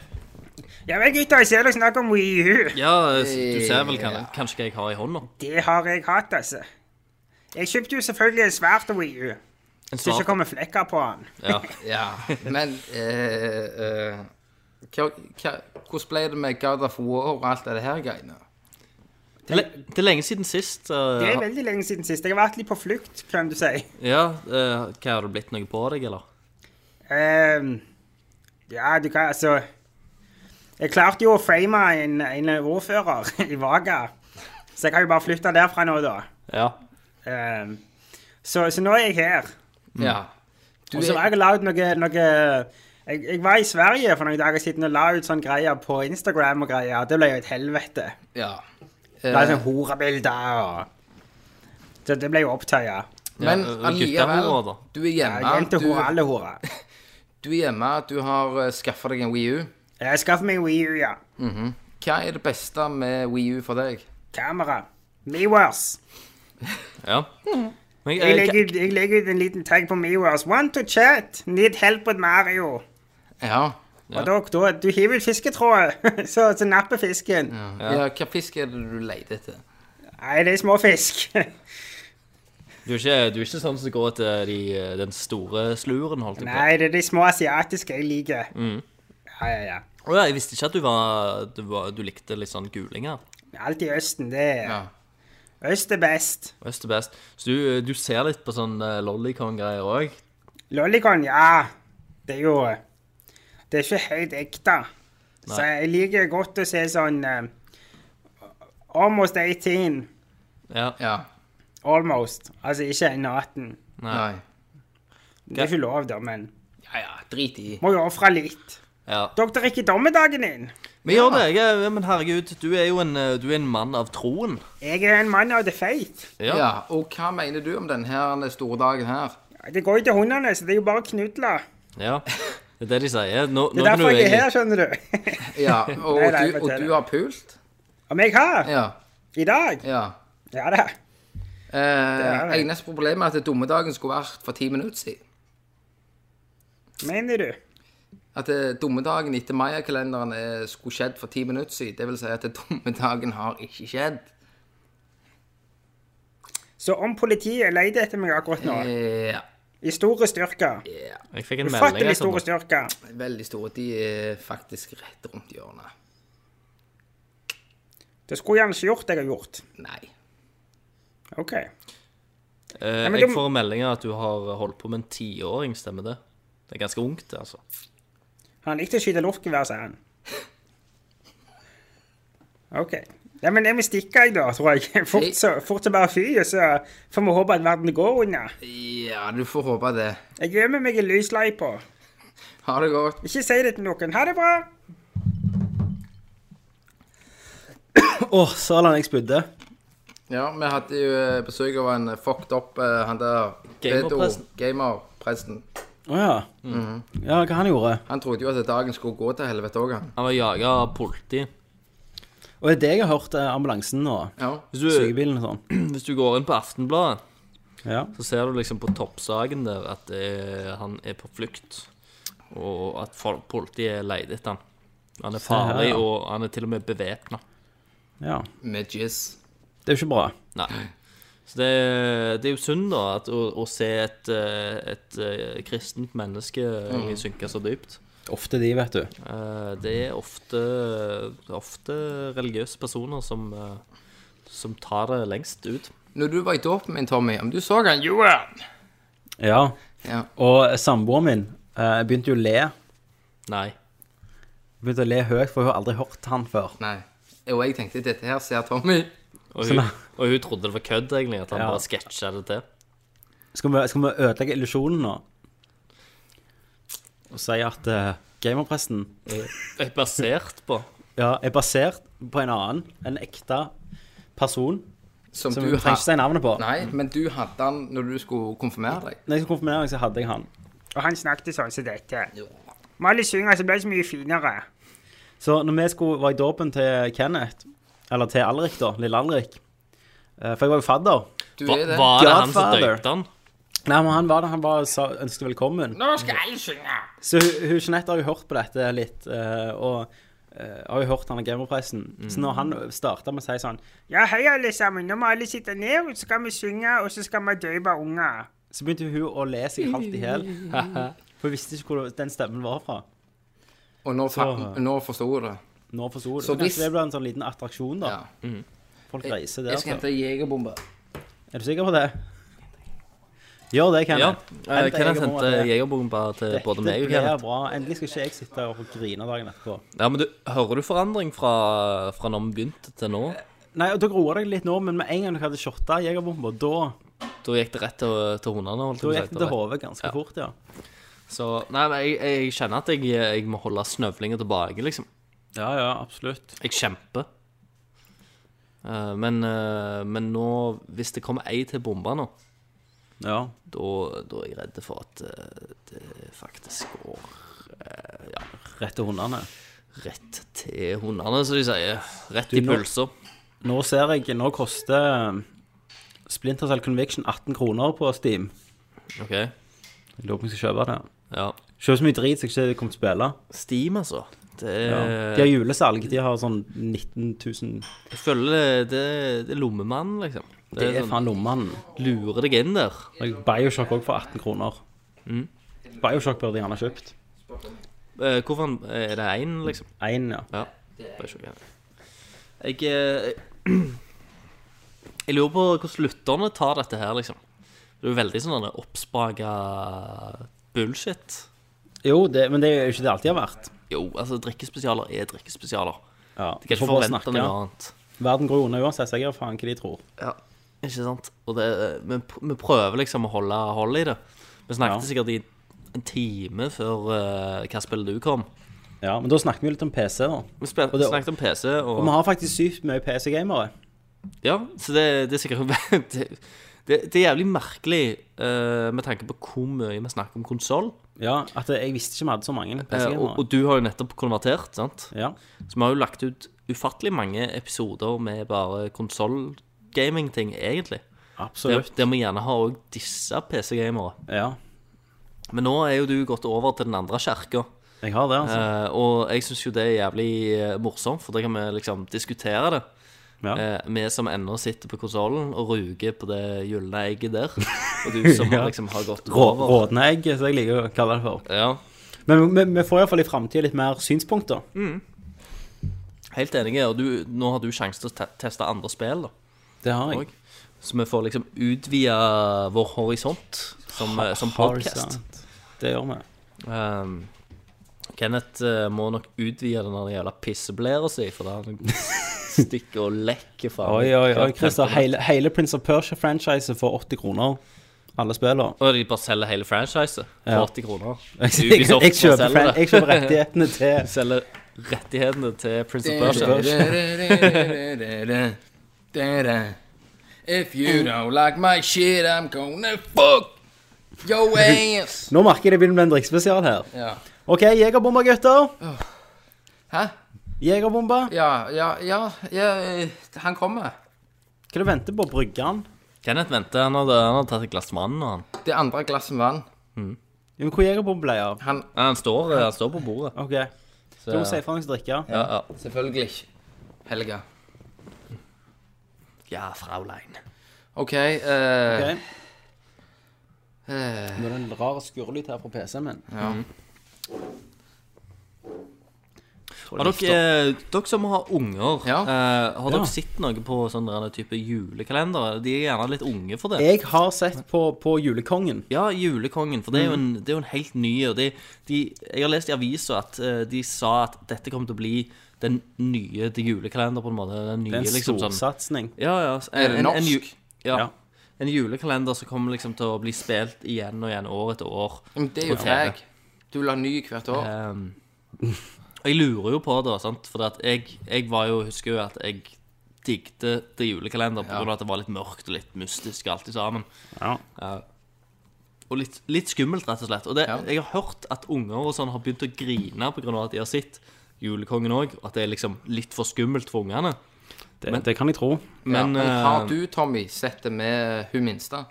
Speaker 6: Ja vel, gutter, jeg ser dere snakker om Wii U.
Speaker 3: Ja, eh, du ser vel kan, kanskje hva jeg har i hånda?
Speaker 6: Det har jeg hatt, altså. Jeg kjøpte jo selvfølgelig en svart Wii U,
Speaker 3: En
Speaker 6: så ikke
Speaker 3: svart?
Speaker 6: kommer flekker på den.
Speaker 3: Ja.
Speaker 2: Ja, men eh, eh, hva, hva, Hvordan ble det med God of War og alt det her greiene?
Speaker 3: Det er le- det er lenge siden sist. eh,
Speaker 6: Det er veldig lenge siden sist. Jeg har vært litt på flukt, kan du si.
Speaker 3: Ja, eh, hva Har det blitt noe på deg, eller?
Speaker 6: Ehm, ja, du kan altså Jeg klarte jo å frame en, en [laughs] ordfører i Vaga, så jeg kan jo bare flytte derfra nå, da.
Speaker 3: Ja.
Speaker 6: Ehm, så, så nå er jeg her.
Speaker 2: Ja. Du
Speaker 6: Og så har
Speaker 2: er,
Speaker 6: jeg lagd noe, noe jeg, jeg var i Sverige for noen dager siden og la ut sånn greier på Instagram og greier. Det ble jo et helvete.
Speaker 2: ja.
Speaker 6: Det var
Speaker 2: Eh,
Speaker 6: sånn horebilder og Så det ble jo opptøyer.
Speaker 2: Eh, men
Speaker 3: Ja, og
Speaker 2: allikevel,
Speaker 3: guttehora, da.
Speaker 2: du er hjemme. Du,
Speaker 6: Jentehore, alle horer.
Speaker 2: du er hjemme, du har uh, skaffa deg en Wii U.
Speaker 6: Jeg skaffer meg Wii U, ja.
Speaker 2: Hva er det beste med Wii U for deg?
Speaker 6: Kamera. Meworse.
Speaker 3: ja. Men,
Speaker 6: Jeg
Speaker 3: eh,
Speaker 6: legger, ut, jeg legger ut en liten tag på MeWars. Want to chat? Need help with Mario.
Speaker 2: Ja.
Speaker 6: Og da, da du hiver ut fisketrådet, [laughs] så, så napper fisken.
Speaker 2: Ja. Hva fisk er det du leter etter?
Speaker 6: Nei, det er småfisk. [laughs]
Speaker 3: Du er, ikke, du er ikke sånn som går etter de, eh, den store sluren, holdt jeg på.
Speaker 6: Nei, det er de små asiatiske jeg liker. Ja, ja, ja.
Speaker 3: Å ja, jeg visste ikke at du, var, du, var, du likte litt sånn gulinger.
Speaker 6: Alt i Østen, det er
Speaker 2: Ja.
Speaker 6: Øst er best.
Speaker 3: Øst er best. Så du, du ser litt på sånn eh, lollicon-greier òg?
Speaker 6: Lollicon, ja. Det er jo Det er ikke helt ekte. Så jeg liker godt å se sånn eh, Almost 18.
Speaker 3: Ja.
Speaker 2: ja.
Speaker 6: Almost. Altså ikke en 18.
Speaker 3: Nei.
Speaker 2: Nei.
Speaker 6: Det er ikke lov, da, men
Speaker 2: Ja ja, drit i.
Speaker 6: må jo ofre litt.
Speaker 3: Ja.
Speaker 6: Dere er ikke dommedagen din.
Speaker 3: Vi gjør det. Jeg, er- men herregud, du er jo en, eh, du er en mann av troen.
Speaker 6: Jeg er en mann av the faith.
Speaker 2: Ja. Og hva mener du om denne her store dagen her?
Speaker 6: Det går jo til hundene, så det er jo bare å knudle.
Speaker 3: Ja. Det er det de sier. Nå,
Speaker 6: Det
Speaker 3: nå
Speaker 6: er
Speaker 3: kan du
Speaker 6: derfor jeg er her,
Speaker 3: egentlig
Speaker 6: skjønner du. [laughs]
Speaker 2: Ja, Og, du,
Speaker 6: Nei, nei, jeg
Speaker 2: og
Speaker 6: vet
Speaker 2: du
Speaker 6: det.
Speaker 2: har pult?
Speaker 6: Om jeg har?
Speaker 2: Ja.
Speaker 6: I dag?
Speaker 2: ja.
Speaker 6: Ja da.
Speaker 2: Eh,
Speaker 6: det.
Speaker 2: eneste problemet er at dummedagen skulle vært for ti minutter siden.
Speaker 6: Mener du?
Speaker 2: At eh, dummedagen etter mayakalenderen eh, skulle skjedd for ti minutter siden. Det vil si at dummedagen har ikke skjedd.
Speaker 6: Så om politiet leter etter meg akkurat nå,
Speaker 2: Eh, Ja.
Speaker 6: i store styrker
Speaker 2: ja.
Speaker 3: Jeg fikk en melding.
Speaker 6: Ufattelig
Speaker 3: jeg,
Speaker 6: store
Speaker 3: Sondre.
Speaker 6: styrker.
Speaker 2: Veldig store. De er faktisk rett rundt hjørnet.
Speaker 6: Det skulle gjerne ikke gjort det jeg har gjort.
Speaker 2: Nei.
Speaker 6: OK.
Speaker 3: Eh,
Speaker 6: Nei, men
Speaker 3: jeg
Speaker 6: du-
Speaker 3: får meldinger at du har holdt på med en tiåring, stemmer det? Det er ganske ungt, det, altså.
Speaker 6: Han likte å skyte luftgevær, sa han. OK. Ja, men jeg må stikke, jeg, da, tror jeg. [laughs] Fort, så, fort som bare fy, og så får vi håpe at verden går unna.
Speaker 2: Ja, du får håpe det.
Speaker 6: Jeg gjemmer meg i lysløypa.
Speaker 2: Ha det godt.
Speaker 6: Ikke si det til noen. Ha det bra.
Speaker 3: Eh.
Speaker 1: Å, Salan, jeg spydde.
Speaker 2: Ja, vi hadde jo eh, besøk av en eh, fucked up eh, han der Bedo,
Speaker 3: Gamerpresten.
Speaker 2: Gamerpresten.
Speaker 1: Å ja.
Speaker 3: Mm.
Speaker 1: Ja, hva han gjorde?
Speaker 2: Han trodde jo at dagen skulle gå til helvete òg, han.
Speaker 3: Han var jaga av politi. [clears throat]
Speaker 1: Og det er det jeg har hørt eh, ambulansen og
Speaker 2: Ja.
Speaker 3: Hvis du,
Speaker 1: sykebilen og sånn.
Speaker 3: hvis du går inn på Aftenbladet,
Speaker 1: Ja.
Speaker 3: så ser du liksom på toppsaken der at det er, han er på flukt, og at folk, politiet er leid etter han. Han er
Speaker 1: her,
Speaker 3: farlig,
Speaker 1: ja.
Speaker 3: og han er til og med bevæpna.
Speaker 1: ja.
Speaker 2: Med jizz.
Speaker 1: Det er jo ikke bra.
Speaker 3: Nei. Så det, det er jo synd, da, at, å, å se et, eh, et, eh, kristent menneske
Speaker 1: Mm.
Speaker 3: egentlig synke så dypt.
Speaker 1: Ofte de, vet du.
Speaker 3: Eh, Det er ofte, det er ofte religiøse personer som, eh, som tar det lengst ut.
Speaker 2: Når du var i dåpen min, Tommy, om du så han Johan
Speaker 1: Ja.
Speaker 2: Ja.
Speaker 1: Og samboeren min eh, begynte jo å le.
Speaker 3: Nei.
Speaker 1: Begynte å le høyt, for hun har aldri hørt han før.
Speaker 2: Nei. Og jeg tenkte dette her ser Tommy.
Speaker 3: Og
Speaker 1: Så
Speaker 3: hun,
Speaker 1: nei.
Speaker 3: og hun trodde det var kødd, egentlig, at han
Speaker 1: Ja.
Speaker 3: bare sketsja det til.
Speaker 1: Skal vi, skal vi ødelegge illusjonen nå? Og si at eh, gamerpresten
Speaker 3: Jeg er Eh, Basert på.
Speaker 1: ja, er basert på en annen, en ekte person,
Speaker 2: Som,
Speaker 1: som
Speaker 2: du
Speaker 1: vi trenger
Speaker 2: ha-
Speaker 1: ikke si navnet på.
Speaker 2: Nei, men du hadde han når du skulle konfirmere deg.
Speaker 1: Når jeg skulle konfirmere meg, så hadde jeg han.
Speaker 6: Og han snakket sånn som dette. Molly synger, så ble det så mye finere.
Speaker 1: Så når vi skulle, var i dåpen til Kenneth, eller til Alrik, da, lille Alrik eh, For jeg var jo fadder.
Speaker 2: Du
Speaker 3: Hva,
Speaker 2: er det.
Speaker 3: var det han som
Speaker 1: Godfather.
Speaker 3: døpte han?
Speaker 1: Nei, men han var der, han bare sa, ønsket velkommen.
Speaker 6: Nå skal jeg synge.
Speaker 1: Så hun, hun Jeanette har jo hørt på dette litt, eh, og eh, har jo hørt han av gamerpressen. Så når han starta med å si sånn,
Speaker 6: Ja, hei alle sammen. Nå må alle sitte ned, og så skal vi synge, og så skal vi døpe unger.
Speaker 1: så begynte hun å le seg halvt i hjel. [laughs] For hun visste ikke hvor den stemmen var fra.
Speaker 2: Og nå, fa- nå forsto du det.
Speaker 1: Nå forsto hun det.
Speaker 2: Så
Speaker 1: Så
Speaker 2: hvis-
Speaker 1: kanskje det ble en sånn liten attraksjon, da.
Speaker 2: Ja.
Speaker 1: Folk reiser der.
Speaker 2: Jeg skal
Speaker 1: Altså.
Speaker 2: hente jegerbombe.
Speaker 1: Er du sikker på det? Gjør det,
Speaker 3: Ja.
Speaker 1: Kenneth.
Speaker 3: eh, Kenneth
Speaker 1: Jegerbombene
Speaker 3: hente
Speaker 1: til-
Speaker 3: jegerbomba til
Speaker 1: Dette
Speaker 3: både meg og
Speaker 1: blir
Speaker 3: Kenneth.
Speaker 1: bra. Endelig skal ikke jeg sitte og grine dagen etterpå.
Speaker 3: Ja, men du, Hører du forandring fra, fra når vi begynte til nå?
Speaker 1: Nei, og da groer jeg litt nå, men med en gang dere hadde shotta jegerbomba, da
Speaker 3: Da gikk det rett til, til hundene.
Speaker 1: da
Speaker 3: holdt jeg på å si,
Speaker 1: gikk det til
Speaker 3: eller?
Speaker 1: hodet ganske
Speaker 3: Ja.
Speaker 1: fort, ja.
Speaker 3: Så, nei, men jeg, jeg kjenner at jeg, jeg må holde snøvlinga tilbake, liksom.
Speaker 1: Ja, ja, absolutt.
Speaker 3: Jeg kjemper. Eh, men, eh, men nå, hvis det kommer ei til bombe nå,
Speaker 1: Ja.
Speaker 3: da da er jeg redd for at eh, det faktisk går
Speaker 1: Rett til hundene.
Speaker 3: rett til hundene, som de sier. Rett
Speaker 1: Du,
Speaker 3: i
Speaker 1: nå-
Speaker 3: pølser.
Speaker 1: Nå ser jeg Nå koster um, Splinter Cell Conviction 18 kroner på Steam.
Speaker 3: OK.
Speaker 1: Jeg lurer på om jeg skal kjøpe det.
Speaker 3: Ja.
Speaker 1: Kjøper så mye drit så jeg ikke kommer til å spille.
Speaker 3: Steam, altså. Det
Speaker 1: Ja.
Speaker 3: er
Speaker 1: De har julesalg. De har sånn 19 000
Speaker 3: Jeg føler det, det er lommemannen, liksom. Det,
Speaker 1: Det er
Speaker 3: sånn,
Speaker 1: faen lommemannen.
Speaker 3: Lurer deg inn der.
Speaker 1: Og Bioshock òg for 18 kroner.
Speaker 3: Mm.
Speaker 1: Bioshock burde jeg gjerne kjøpt.
Speaker 3: Eh, hvorfor han- er det én, liksom?
Speaker 1: Én, ja.
Speaker 3: Ja. Bare sjokk igjen. Jeg eh, Jeg lurer på hvordan lytterne tar dette her, liksom. Det er jo veldig sånn denne oppspaka bullshit.
Speaker 1: Jo, det, men det er jo ikke det det alltid har vært.
Speaker 3: Jo, altså, drikkespesialer er drikkespesialer.
Speaker 1: Ja.
Speaker 3: De kan
Speaker 1: Får
Speaker 3: ikke
Speaker 1: bare
Speaker 3: forvente
Speaker 1: snakke.
Speaker 3: noe annet.
Speaker 1: Verden går unna uansett, så jeg gir faen hva de tror.
Speaker 3: Ja, ikke sant? Og det, men pr- vi prøver liksom å holde hold i det. Vi snakket sikkert i en time før eh, hva spill du kom.
Speaker 1: Ja, Men da snakker vi jo litt om PC, da.
Speaker 3: Vi spil,
Speaker 1: Og det-
Speaker 3: snakket om PC, og,
Speaker 1: Og vi har faktisk sykt mye PC-gamere.
Speaker 3: Ja, så det, det er sikkert [laughs] det, det, det er jævlig merkelig eh, med tanke på hvor mye vi snakker om konsoll.
Speaker 1: Ja, at jeg visste ikke vi hadde så mange
Speaker 3: Eh, og,
Speaker 1: PC-gamere.
Speaker 3: og du har jo nettopp konvertert, sant?
Speaker 1: Ja.
Speaker 3: Så vi har jo lagt ut ufattelig mange episoder med bare konsoll-gaming-ting, egentlig. Der,
Speaker 1: Absolutt.
Speaker 3: der vi gjerne har òg disse PC-gamere.
Speaker 1: Ja.
Speaker 3: Men nå er jo du gått over til den andre kjerka.
Speaker 1: Jeg har det, altså.
Speaker 3: Eh, og jeg syns jo det er jævlig eh, morsomt, for da kan vi liksom diskutere det.
Speaker 1: Ja.
Speaker 3: Eh, vi som ennå sitter på konsollen og ruger på det gylne
Speaker 1: [laughs]
Speaker 3: egget der. Og du som har liksom har gått
Speaker 1: Rå,
Speaker 3: over.
Speaker 1: Rådneegg, som jeg liker å kalle det for.
Speaker 3: Ja,
Speaker 1: Men vi, vi får iallfall i framtida litt mer synspunkter.
Speaker 3: Mm. Helt enig. Og du, nå har du sjanse til å te teste andre spill, da.
Speaker 1: Det har jeg.
Speaker 3: Og- Så vi får liksom utvide vår horisont som, eh, som podkast.
Speaker 1: Horisont. Det gjør vi.
Speaker 3: Um,
Speaker 1: [laughs]
Speaker 3: Kenneth eh, må nok utvide den der jævla pisseblæra si, for det har han slapstick og lekker, faen.
Speaker 1: Oi, oi, oi, Christer. Hele, hele Prince of Persia-franchiset for 80 kroner. Alle spillene.
Speaker 3: Og de bare selger hele franchiset for
Speaker 1: Ja.
Speaker 3: 80 [laughs] kroner.
Speaker 1: [laughs] Jeg,
Speaker 3: Ubisoft
Speaker 1: jeg, kjøper,
Speaker 3: bare selger
Speaker 1: fran
Speaker 3: det.
Speaker 1: jeg kjøper rettighetene
Speaker 3: [laughs]
Speaker 1: til
Speaker 3: Selger rettighetene til Prince of Persia.
Speaker 2: If you don't like my shit, I'm gonna fuck your ass.
Speaker 1: Nå merker jeg det begynner å bli en drikkspesial her.
Speaker 2: Ja.
Speaker 1: OK, jegerbomber, gutter.
Speaker 2: Hæ?
Speaker 1: Jegerbomber.
Speaker 2: Ja, ja, ja, ja eh, Han kommer.
Speaker 1: Hva du venter på? Bryggen?
Speaker 3: Kenneth venter, han hadde, han hadde tatt et glass vann, og han
Speaker 2: Det andre glasset vann.
Speaker 1: Jo, Hvor jegerbomber ble av?
Speaker 2: Han
Speaker 3: Han står, eh, han står på bordet.
Speaker 1: OK. Du må si fra hvis du drikker.
Speaker 3: Ja, ja.
Speaker 2: Selvfølgelig ikke. Helga.
Speaker 3: ja Fraulein.
Speaker 2: OK. eh,
Speaker 1: Ok.
Speaker 2: eh,
Speaker 1: Nå er det en rar skurrelyd her fra PC-en min.
Speaker 2: ja.
Speaker 3: Mhm. Har dere, eh, dere som har unger,
Speaker 2: Ja.
Speaker 3: eh, har
Speaker 1: Ja.
Speaker 3: dere sett noe på sånne der type julekalendere? De er gjerne litt unge for det.
Speaker 1: Jeg har sett på, på Julekongen.
Speaker 3: Ja, Julekongen, for det er jo en, det er jo en helt ny og de, de, Jeg har lest i avisa at eh, de sa at dette kommer til å bli den nye til julekalender, på en måte. Den
Speaker 1: Det er
Speaker 3: nye,
Speaker 1: en
Speaker 3: liksom sånn
Speaker 1: storsatsing.
Speaker 3: Ja, ja.
Speaker 2: Er det norsk?
Speaker 3: ju- ja.
Speaker 1: Ja.
Speaker 3: En julekalender som kommer liksom til å bli spilt igjen og igjen, år etter år.
Speaker 2: Men det er jo
Speaker 3: på TV.
Speaker 2: treg. Du vil ha ny hvert år.
Speaker 3: Ehm, og jeg lurer jo på det, sant? for at jeg, jeg var jo, husker jo at jeg digte det julekalender på grunn av at det var litt mørkt og litt mystisk alt i sammen.
Speaker 1: Ja.
Speaker 3: Eh, og litt, litt skummelt, rett og slett. Og det,
Speaker 2: Ja.
Speaker 3: jeg har hørt at unger og sånn har begynt å grine pga. at de har sett Julekongen òg, og at det er liksom litt for skummelt for ungene.
Speaker 1: Det, det kan jeg tro.
Speaker 2: Men,
Speaker 3: Men,
Speaker 2: ja. men
Speaker 3: eh,
Speaker 2: har du, Tommy, sett det med eh, hun minste?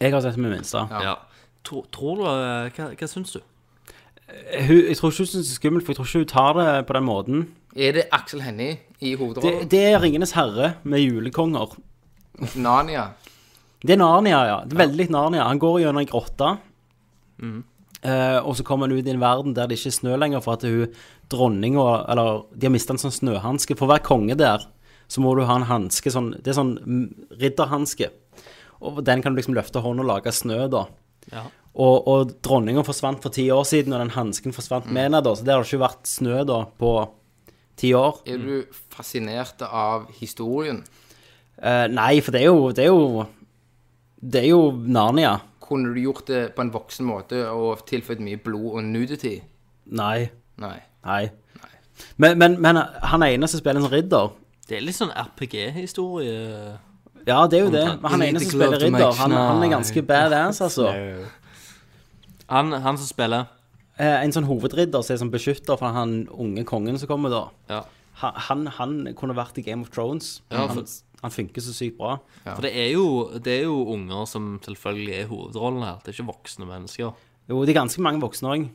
Speaker 1: Jeg har sett det med minste.
Speaker 2: Ja.
Speaker 3: Ja. Tro, tror du eh, Hva, hva syns du?
Speaker 1: Hun, jeg tror ikke hun syns det er skummelt, for jeg tror ikke hun tar det på den måten.
Speaker 2: Er det Aksel Hennie i
Speaker 1: Det,
Speaker 2: hovedrollen?
Speaker 1: det er Ringenes herre med julekonger.
Speaker 2: Narnia?
Speaker 1: Det er Narnia, ja. Det er veldig likt Narnia. Han går gjennom ei grotte. Eh, og så kommer han ut i en verden der det ikke er snø lenger, for at hun dronninga Eller de har mista en sånn snøhanske. For å være konge der, så må du ha en hanske sånn Det er sånn mm, ridderhanske. Og den kan du liksom løfte hånden og lage snø, da.
Speaker 3: Ja.
Speaker 1: Og, og dronninga forsvant for ti år siden, og den hansken forsvant med henne, da. Så det har ikke vært snø da på ti år.
Speaker 2: Er du fascinert av historien?
Speaker 1: Eh, nei, for det er jo Det er jo, det er jo Narnia.
Speaker 2: Kunne du gjort det på en voksen måte og tilføyd mye blod og nudity?
Speaker 1: Nei.
Speaker 2: Nei.
Speaker 1: Nei. Men, men, men han ene som spiller en ridder
Speaker 3: Det er litt sånn RPG-historie.
Speaker 1: Ja, det er jo det. Men han
Speaker 2: Omtrent.
Speaker 1: ene som
Speaker 2: Lite glove
Speaker 1: spiller
Speaker 2: to
Speaker 1: ridder,
Speaker 2: make
Speaker 1: han, han er
Speaker 2: snow.
Speaker 1: ganske badass, altså.
Speaker 3: Han, han som spiller
Speaker 1: Eh, en sånn hovedridder som er sånn beskytter fra han unge kongen som kommer, da.
Speaker 3: Ja.
Speaker 1: Han, han, han kunne vært i Game of Thrones. han, han funker så sykt bra.
Speaker 3: For det er, jo, det er jo unger som selvfølgelig er hovedrollen her. Det er ikke voksne mennesker.
Speaker 1: Jo, det er ganske mange voksne òg.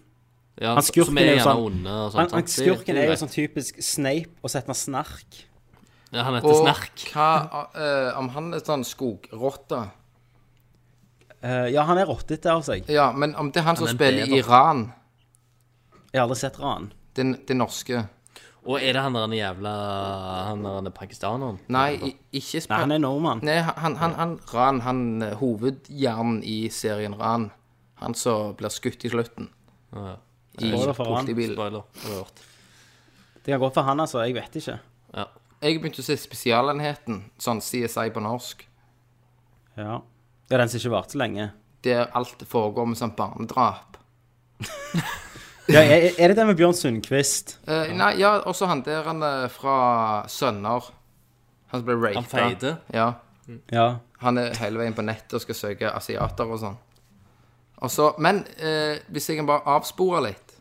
Speaker 3: Ja,
Speaker 1: Han skurken
Speaker 3: som er
Speaker 1: er jo
Speaker 3: gjerne
Speaker 1: sånn-
Speaker 3: onde og
Speaker 1: Han,
Speaker 3: sånt.
Speaker 1: han,
Speaker 3: sant? Det-
Speaker 1: skurken
Speaker 3: det
Speaker 1: er jo
Speaker 3: greit.
Speaker 1: sånn typisk Snape og setter med snark. sånn-
Speaker 3: ja, Han heter
Speaker 2: Og
Speaker 3: Snerk.
Speaker 2: hva eh, om han er sånn skogrotte?
Speaker 1: Eh, ja, han er altså. rottete av seg.
Speaker 2: Ja, men om det er han som
Speaker 3: er en
Speaker 2: spiller
Speaker 3: bever.
Speaker 2: Iran,
Speaker 1: Jeg har aldri sett Ran.
Speaker 2: den, det norske
Speaker 3: Og er det han der den jævla Han der den pakistaneren?
Speaker 2: Nei, i- ikke
Speaker 1: Nei,
Speaker 2: spa...
Speaker 1: han er nordmann.
Speaker 2: Nei, han, han, han Ran, han eh, hovedhjernen i serien Ran. Han som blir skutt i slutten. I
Speaker 1: Spoiler for Ran.
Speaker 2: politibilen.
Speaker 3: Spoiler. Rørt.
Speaker 1: Det kan godt være han, altså. Jeg vet ikke.
Speaker 3: Ja.
Speaker 2: Jeg begynte å se Spesialenheten, sånn CSI på norsk,
Speaker 1: Ja, ja den som ikke varte lenge.
Speaker 2: der alt foregår med sånn barnedrap.
Speaker 1: Ja, er, er det det med Bjørn Sundquist?
Speaker 2: Eh, nei, ja, også han der han eh, fra Sønner. Han som ble rapet.
Speaker 3: Han feide.
Speaker 2: Ja.
Speaker 1: Ja.
Speaker 2: Han er hele veien på nettet og skal søke asiater og sånn. Og så, men eh, hvis jeg kan bare avspore litt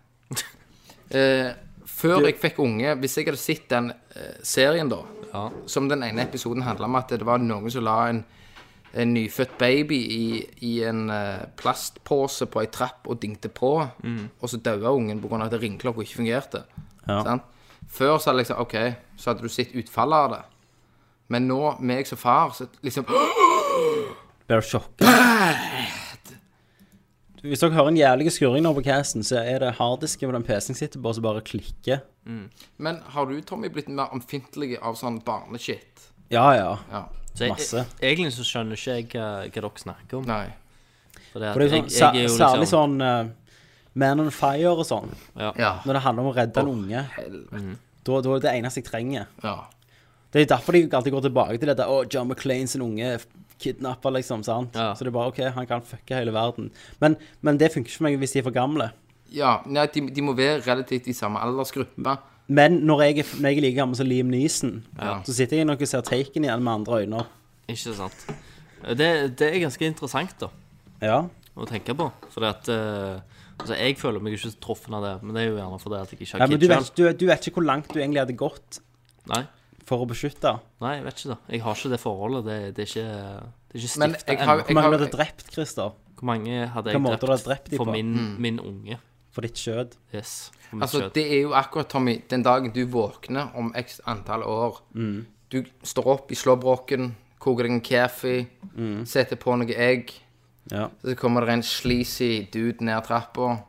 Speaker 2: eh, Før jeg fikk unge, hvis jeg hadde sett den eh, serien, da,
Speaker 3: Ja.
Speaker 2: som den ene episoden handla om at det var noen som la en, en nyfødt baby i, i en eh, plastpose på ei trapp og dingte på, og så daua ungen pga. at ringeklokka ikke fungerte.
Speaker 1: Ja.
Speaker 2: Sant? Før så hadde jeg liksom, ok, så hadde du sett utfallet av det. Men nå, meg som far, så liksom [gasps]
Speaker 1: Ble du sjokka? Hvis dere hører en jævlig skurring nå på casten, så er det harddisken på den PC-en sitter på, som bare klikker.
Speaker 2: Men har du, Tommy, blitt mer omfintlig av sånn barneshit?
Speaker 1: Ja, ja.
Speaker 2: Ja.
Speaker 3: Så jeg,
Speaker 1: Masse.
Speaker 3: egentlig så skjønner ikke jeg eh, hva, hva dere snakker om.
Speaker 2: Nei.
Speaker 3: For det, at
Speaker 1: For det er jo
Speaker 3: jeg-
Speaker 1: sånn,
Speaker 3: jeg er jo
Speaker 1: sa- særlig
Speaker 3: liksom-
Speaker 1: sånn eh, Man on fire og sånn.
Speaker 3: Ja.
Speaker 2: Ja. Mm.
Speaker 1: Når det handler om å redde en unge.
Speaker 2: Helvete.
Speaker 1: Da da er det det eneste jeg trenger.
Speaker 2: Ja.
Speaker 1: Det er derfor de alltid går tilbake til dette. Å, John McClain sin unge kidnapper, liksom. sant?
Speaker 3: Ja.
Speaker 1: Så det er bare OK, han kan fucke hele verden. Men, men det funker ikke for meg hvis de er for gamle.
Speaker 2: Ja, nei, de, de må være relativt i samme aldersgruppe.
Speaker 1: Men når jeg, er- når jeg er like gammel som Liam Neeson,
Speaker 3: Ja.
Speaker 1: så sitter jeg nok og ser Taken igjen med andre øyne.
Speaker 3: Ikke sant. Det, det er ganske interessant, da,
Speaker 1: Ja.
Speaker 3: å tenke på. Fordi at eh, Altså, jeg føler meg ikke så truffet av det, men det er jo gjerne fordi at jeg ikke
Speaker 1: ja
Speaker 3: har
Speaker 1: men
Speaker 3: kids
Speaker 1: du vet,
Speaker 3: selv.
Speaker 1: du, du vet ikke hvor langt du egentlig hadde gått
Speaker 3: Nei,
Speaker 1: for å beskytte.
Speaker 3: nei, jeg vet ikke, da. Jeg har ikke det forholdet. Det, det er ikke, det er ikke
Speaker 2: Men
Speaker 3: stiftet
Speaker 2: jeg har-
Speaker 3: ennå.
Speaker 1: Hvor mange
Speaker 2: har-
Speaker 1: du hadde drept, Christer,
Speaker 3: Hvor mange hadde
Speaker 1: Hva
Speaker 3: jeg
Speaker 1: måte
Speaker 3: drept,
Speaker 1: du hadde drept de på?
Speaker 3: for min, min unge?
Speaker 1: for ditt skjød.
Speaker 3: Yes. For min
Speaker 2: Mm. Altså,
Speaker 3: kjøtt.
Speaker 2: det er jo akkurat, Tommy, den dagen du våkner om x antall år. Du står opp i slåbroken, koker deg en kaffe, setter på noe egg.
Speaker 1: Ja.
Speaker 2: Så kommer det en sleazy dude ned trappa.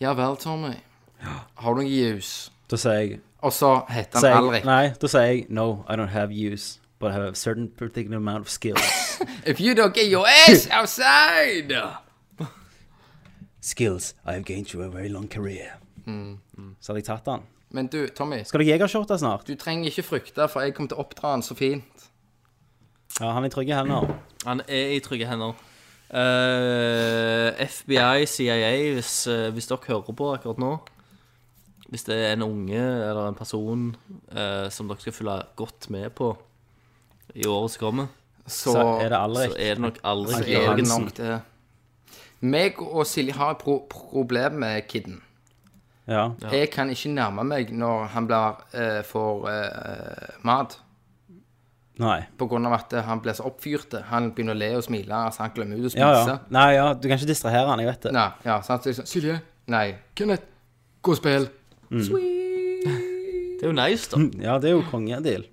Speaker 2: Ja vel, Tommy. Har du noe juice?
Speaker 1: Da sier jeg,
Speaker 2: Og så heter
Speaker 1: sier
Speaker 2: han
Speaker 1: jeg
Speaker 2: Alrik.
Speaker 1: Nei, da sier jeg No, I don't have use, but I have a certain particular amount of skills.
Speaker 2: If you don't get your ass outside!
Speaker 1: Skills I have gained through a very long career. Så hadde jeg tatt han.
Speaker 2: Men du, Tommy,
Speaker 1: Skal du jegershorte snart?
Speaker 2: du trenger ikke frykte, for jeg kommer til å oppdra han så fint.
Speaker 1: Ja, han er i trygge hender.
Speaker 3: Han er i trygge hender. Eh, FBI, CIA, hvis, eh, hvis dere hører på akkurat nå Hvis det er en unge eller en person eh, som dere skal følge godt med på i året som kommer,
Speaker 2: Så,
Speaker 1: Så er det
Speaker 3: så
Speaker 1: Alrik.
Speaker 3: er det nok aldri
Speaker 2: så er det nok det. Meg og Silje har et pro problem med kidden.
Speaker 1: Ja.
Speaker 2: Jeg kan ikke nærme meg når han blir, eh, får eh, mat.
Speaker 1: Nei.
Speaker 2: På grunn av at han blir så oppfyrt. Han begynner å le og smile. Altså, han glemmer ut å spise.
Speaker 1: Ja, ja. Nei, ja, du kan ikke distrahere han, jeg vet det.
Speaker 2: Nei, ja, sant? Så liksom, Silje? Nei. Kenneth? Gå og spill.
Speaker 3: Det er jo nice, da.
Speaker 1: Ja, det er jo kongedeal.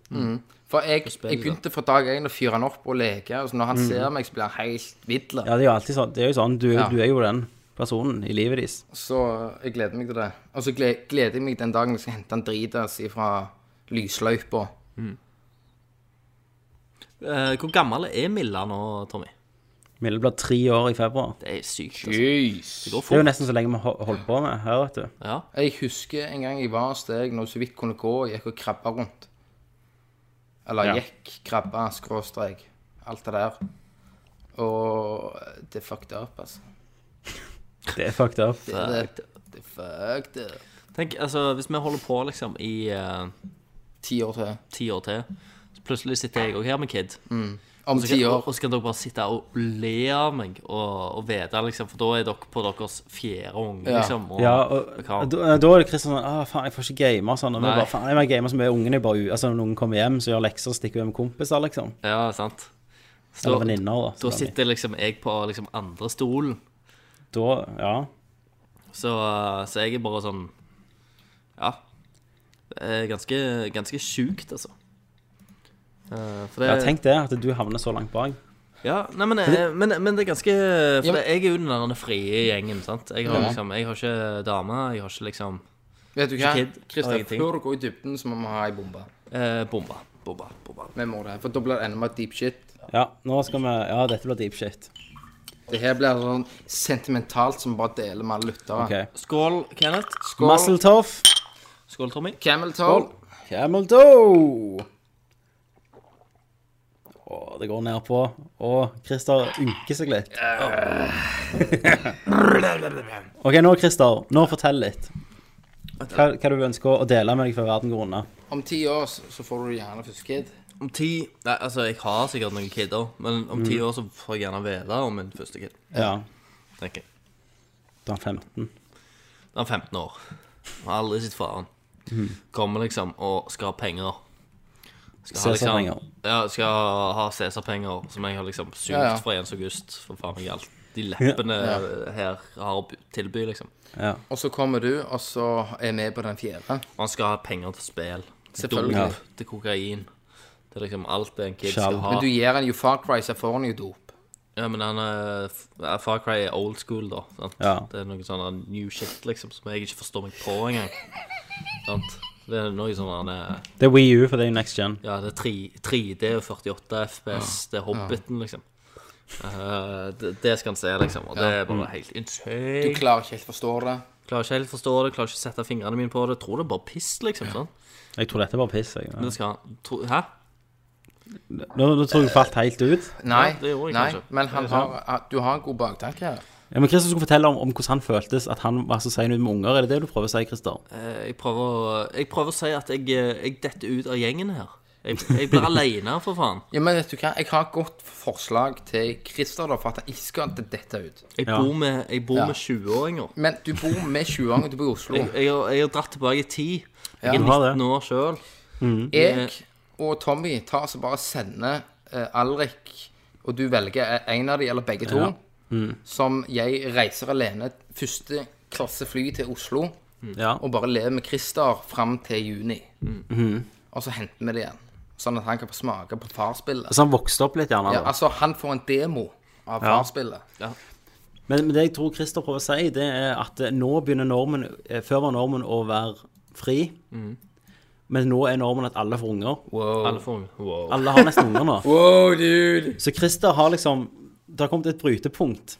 Speaker 2: For jeg,
Speaker 3: spill,
Speaker 2: jeg begynte fra dag én å fyre han opp og leke. Og så når han ser meg, så blir han helt vidle.
Speaker 1: Mm. Ja, det er jo alltid sånn. Det er jo sånn, du,
Speaker 2: Ja.
Speaker 1: du er jo den personen i livet ditt.
Speaker 2: Så jeg gleder meg til det. Og så gle- gleder jeg meg den dagen jeg skal hente han dritas ifra lysløypa.
Speaker 3: Eh, hvor gammel er Milla nå, Tommy?
Speaker 1: Mille blir tre år i februar.
Speaker 3: Det er sykt. Altså. Det
Speaker 2: Jeez.
Speaker 3: går
Speaker 1: Det er jo
Speaker 3: fort.
Speaker 1: nesten så lenge vi ho- holdt på med her, vet du.
Speaker 3: Ja.
Speaker 2: Jeg husker en gang jeg var hos deg når du så vidt kunne gå, og gikk og krabba rundt. Eller
Speaker 1: Ja.
Speaker 2: gikk, krabba, skråstrek. Alt det der. Og det fucked up, altså.
Speaker 1: Det er fucked up.
Speaker 2: Det, det, det fucked up.
Speaker 3: Tenk, altså, hvis vi holder på liksom i eh,
Speaker 2: Ti år til.
Speaker 3: ti år til, så plutselig sitter jeg òg her med kid.
Speaker 2: Om
Speaker 3: Og så
Speaker 2: Mm, ti
Speaker 3: kan-
Speaker 2: år.
Speaker 3: Og, og så kan dere bare sitte og le av meg og, og vite, liksom, for da er dere på deres fjerde unge,
Speaker 2: Ja.
Speaker 3: liksom. Og,
Speaker 1: Ja, og
Speaker 3: hva?
Speaker 1: da, da er det Kristian sånn ah, faen, jeg får ikke game og sånn. Og vi
Speaker 3: Nei.
Speaker 1: bare, faen, jeg må game så mye ungene er bare u... Altså, når noen kommer hjem, så gjør lekser og stikker ut med kompiser, liksom.
Speaker 3: ja sant. Så
Speaker 1: Eller
Speaker 3: da,
Speaker 1: venninner, da.
Speaker 3: da sitter liksom jeg på liksom andre stolen,
Speaker 1: Da, ja.
Speaker 3: så, så jeg er bare sånn Ja. Det er ganske, ganske sjukt, altså. Eh, for det,
Speaker 1: ja. Tenk det, at du havner så langt bak.
Speaker 3: Ja, nei, men, eh, men, men det er ganske For
Speaker 2: Ja, men-
Speaker 3: jeg er jo den der frie gjengen, sant. Jeg har liksom Jeg har ikke dame, jeg har ikke liksom
Speaker 2: Vet du hva,
Speaker 3: Ikke kid, og
Speaker 2: Kristian,
Speaker 3: ingenting.
Speaker 2: før du går i dybden, så må vi ha ei bombe.
Speaker 3: eh, bomba. Bomba. Bomba.
Speaker 2: Vi må det, for da blir det enda mer deep shit.
Speaker 1: Ja, nå skal vi Ja, dette blir deep shit.
Speaker 2: Det her blir sånn sentimentalt som vi bare deler med alle lyttere.
Speaker 1: OK.
Speaker 3: Skål, Kenneth.
Speaker 2: Skål.
Speaker 1: Muscle tough.
Speaker 3: Skål, Tommy.
Speaker 2: Camel toe.
Speaker 1: Camel toe. Å, det går ned på. Å, Christer ynker seg litt. OK, nå, Christer. Nå fortell litt. Hva, hva du ønsker å dele med deg før verden går unna.
Speaker 2: Om ti år så så får du gjerne første kid.
Speaker 3: Om ti Nei, altså, jeg har sikkert noen kidder, men om ti år så får jeg gjerne vite om min første kid.
Speaker 1: Ja.
Speaker 3: tenker jeg.
Speaker 1: Da er han 15.
Speaker 3: Da er han 15 år. Han Har aldri sett faren. Kommer liksom og skal ha penger. Skal ha liksom-
Speaker 1: Cæsarpenger.
Speaker 3: Ja, skal ha Cæsar-penger, som jeg har liksom sugd
Speaker 2: Ja, ja.
Speaker 3: fra 1. august. For faen meg alt. De leppene her har å by- tilby, liksom.
Speaker 1: Ja.
Speaker 2: Og så kommer du, og så er vi på den fjerde.
Speaker 3: Og han skal ha penger til spill. Til
Speaker 2: Selvfølgelig.
Speaker 3: dop, til kokain. Til liksom alt det en kid
Speaker 1: Skjall.
Speaker 3: skal ha.
Speaker 2: Men du gir en jo Far Cry, så får han jo dop.
Speaker 3: Ja, men han er, ja, Far Cry er old school, da. Sant?
Speaker 1: Ja.
Speaker 3: Det er noe sånn eh, new shit, liksom, som jeg ikke forstår meg på engang. sant? Det er noe sånn han er
Speaker 1: Det er Wii U, for det er jo next gen.
Speaker 3: Ja, det er 3, 3D og 48 FPS, det er Hobbiten, liksom. Eh, det, det skal han se, liksom. Og det er bare helt
Speaker 2: Mm. Du
Speaker 3: insane.
Speaker 2: klarer ikke helt å forstå det.
Speaker 3: Klarer ikke helt forstå det, klarer ikke sette fingrene mine på det. Tror det er bare piss, liksom. sånn.
Speaker 1: Jeg tror dette er bare piss. Jeg.
Speaker 3: Men det skal han tro, Hæ?
Speaker 1: Nå, nå tror jeg jeg falt helt ut.
Speaker 2: Nei,
Speaker 4: Ja, det gjorde jeg
Speaker 2: nei
Speaker 4: kanskje.
Speaker 2: men han har, du har en god baktanke her.
Speaker 1: Ja, men Christer skulle fortelle om, om hvordan han føltes at han var så sein ut med unger. Er det det du prøver å si, Christer?
Speaker 3: Eh, Jeg prøver, å- jeg prøver å si at jeg, eh, jeg detter ut av gjengen her. Jeg, jeg blir aleine, for faen.
Speaker 2: Ja, men vet du hva? Jeg har et godt forslag til Christer, da, for at han ikke skal dette ut.
Speaker 3: Jeg
Speaker 1: Ja.
Speaker 3: bor med, jeg bor
Speaker 2: Ja.
Speaker 3: med 20-åringer.
Speaker 2: Men du bor med 20-åringer, du bor i Oslo.
Speaker 3: Jeg, jeg, har- jeg har dratt tilbake i tid.
Speaker 2: Ja.
Speaker 3: Jeg
Speaker 1: Du
Speaker 3: er
Speaker 1: har det.
Speaker 3: 19 år sjøl.
Speaker 2: Jeg og Tommy tar altså bare og sender eh, Alrik, og du velger eh, en av de, eller begge to, som jeg reiser alene første klasse fly til Oslo,
Speaker 1: Ja.
Speaker 2: og bare lever med Christer fram til juni. Og så henter vi det igjen, sånn at han kan få smake på farspillet.
Speaker 1: Altså, han vokste opp litt, gjerne.
Speaker 2: Ja,
Speaker 1: da.
Speaker 2: altså, han får en demo av farspillet.
Speaker 1: Men, men det jeg tror Christer prøver å si, det er at eh, nå begynner normen eh, Før var normen å være fri. Men nå er normen at alle får unger.
Speaker 3: Alle får wow.
Speaker 1: Alle har nesten unger nå.
Speaker 2: Wow, dude!
Speaker 1: Så Christer har liksom Det har kommet et brytepunkt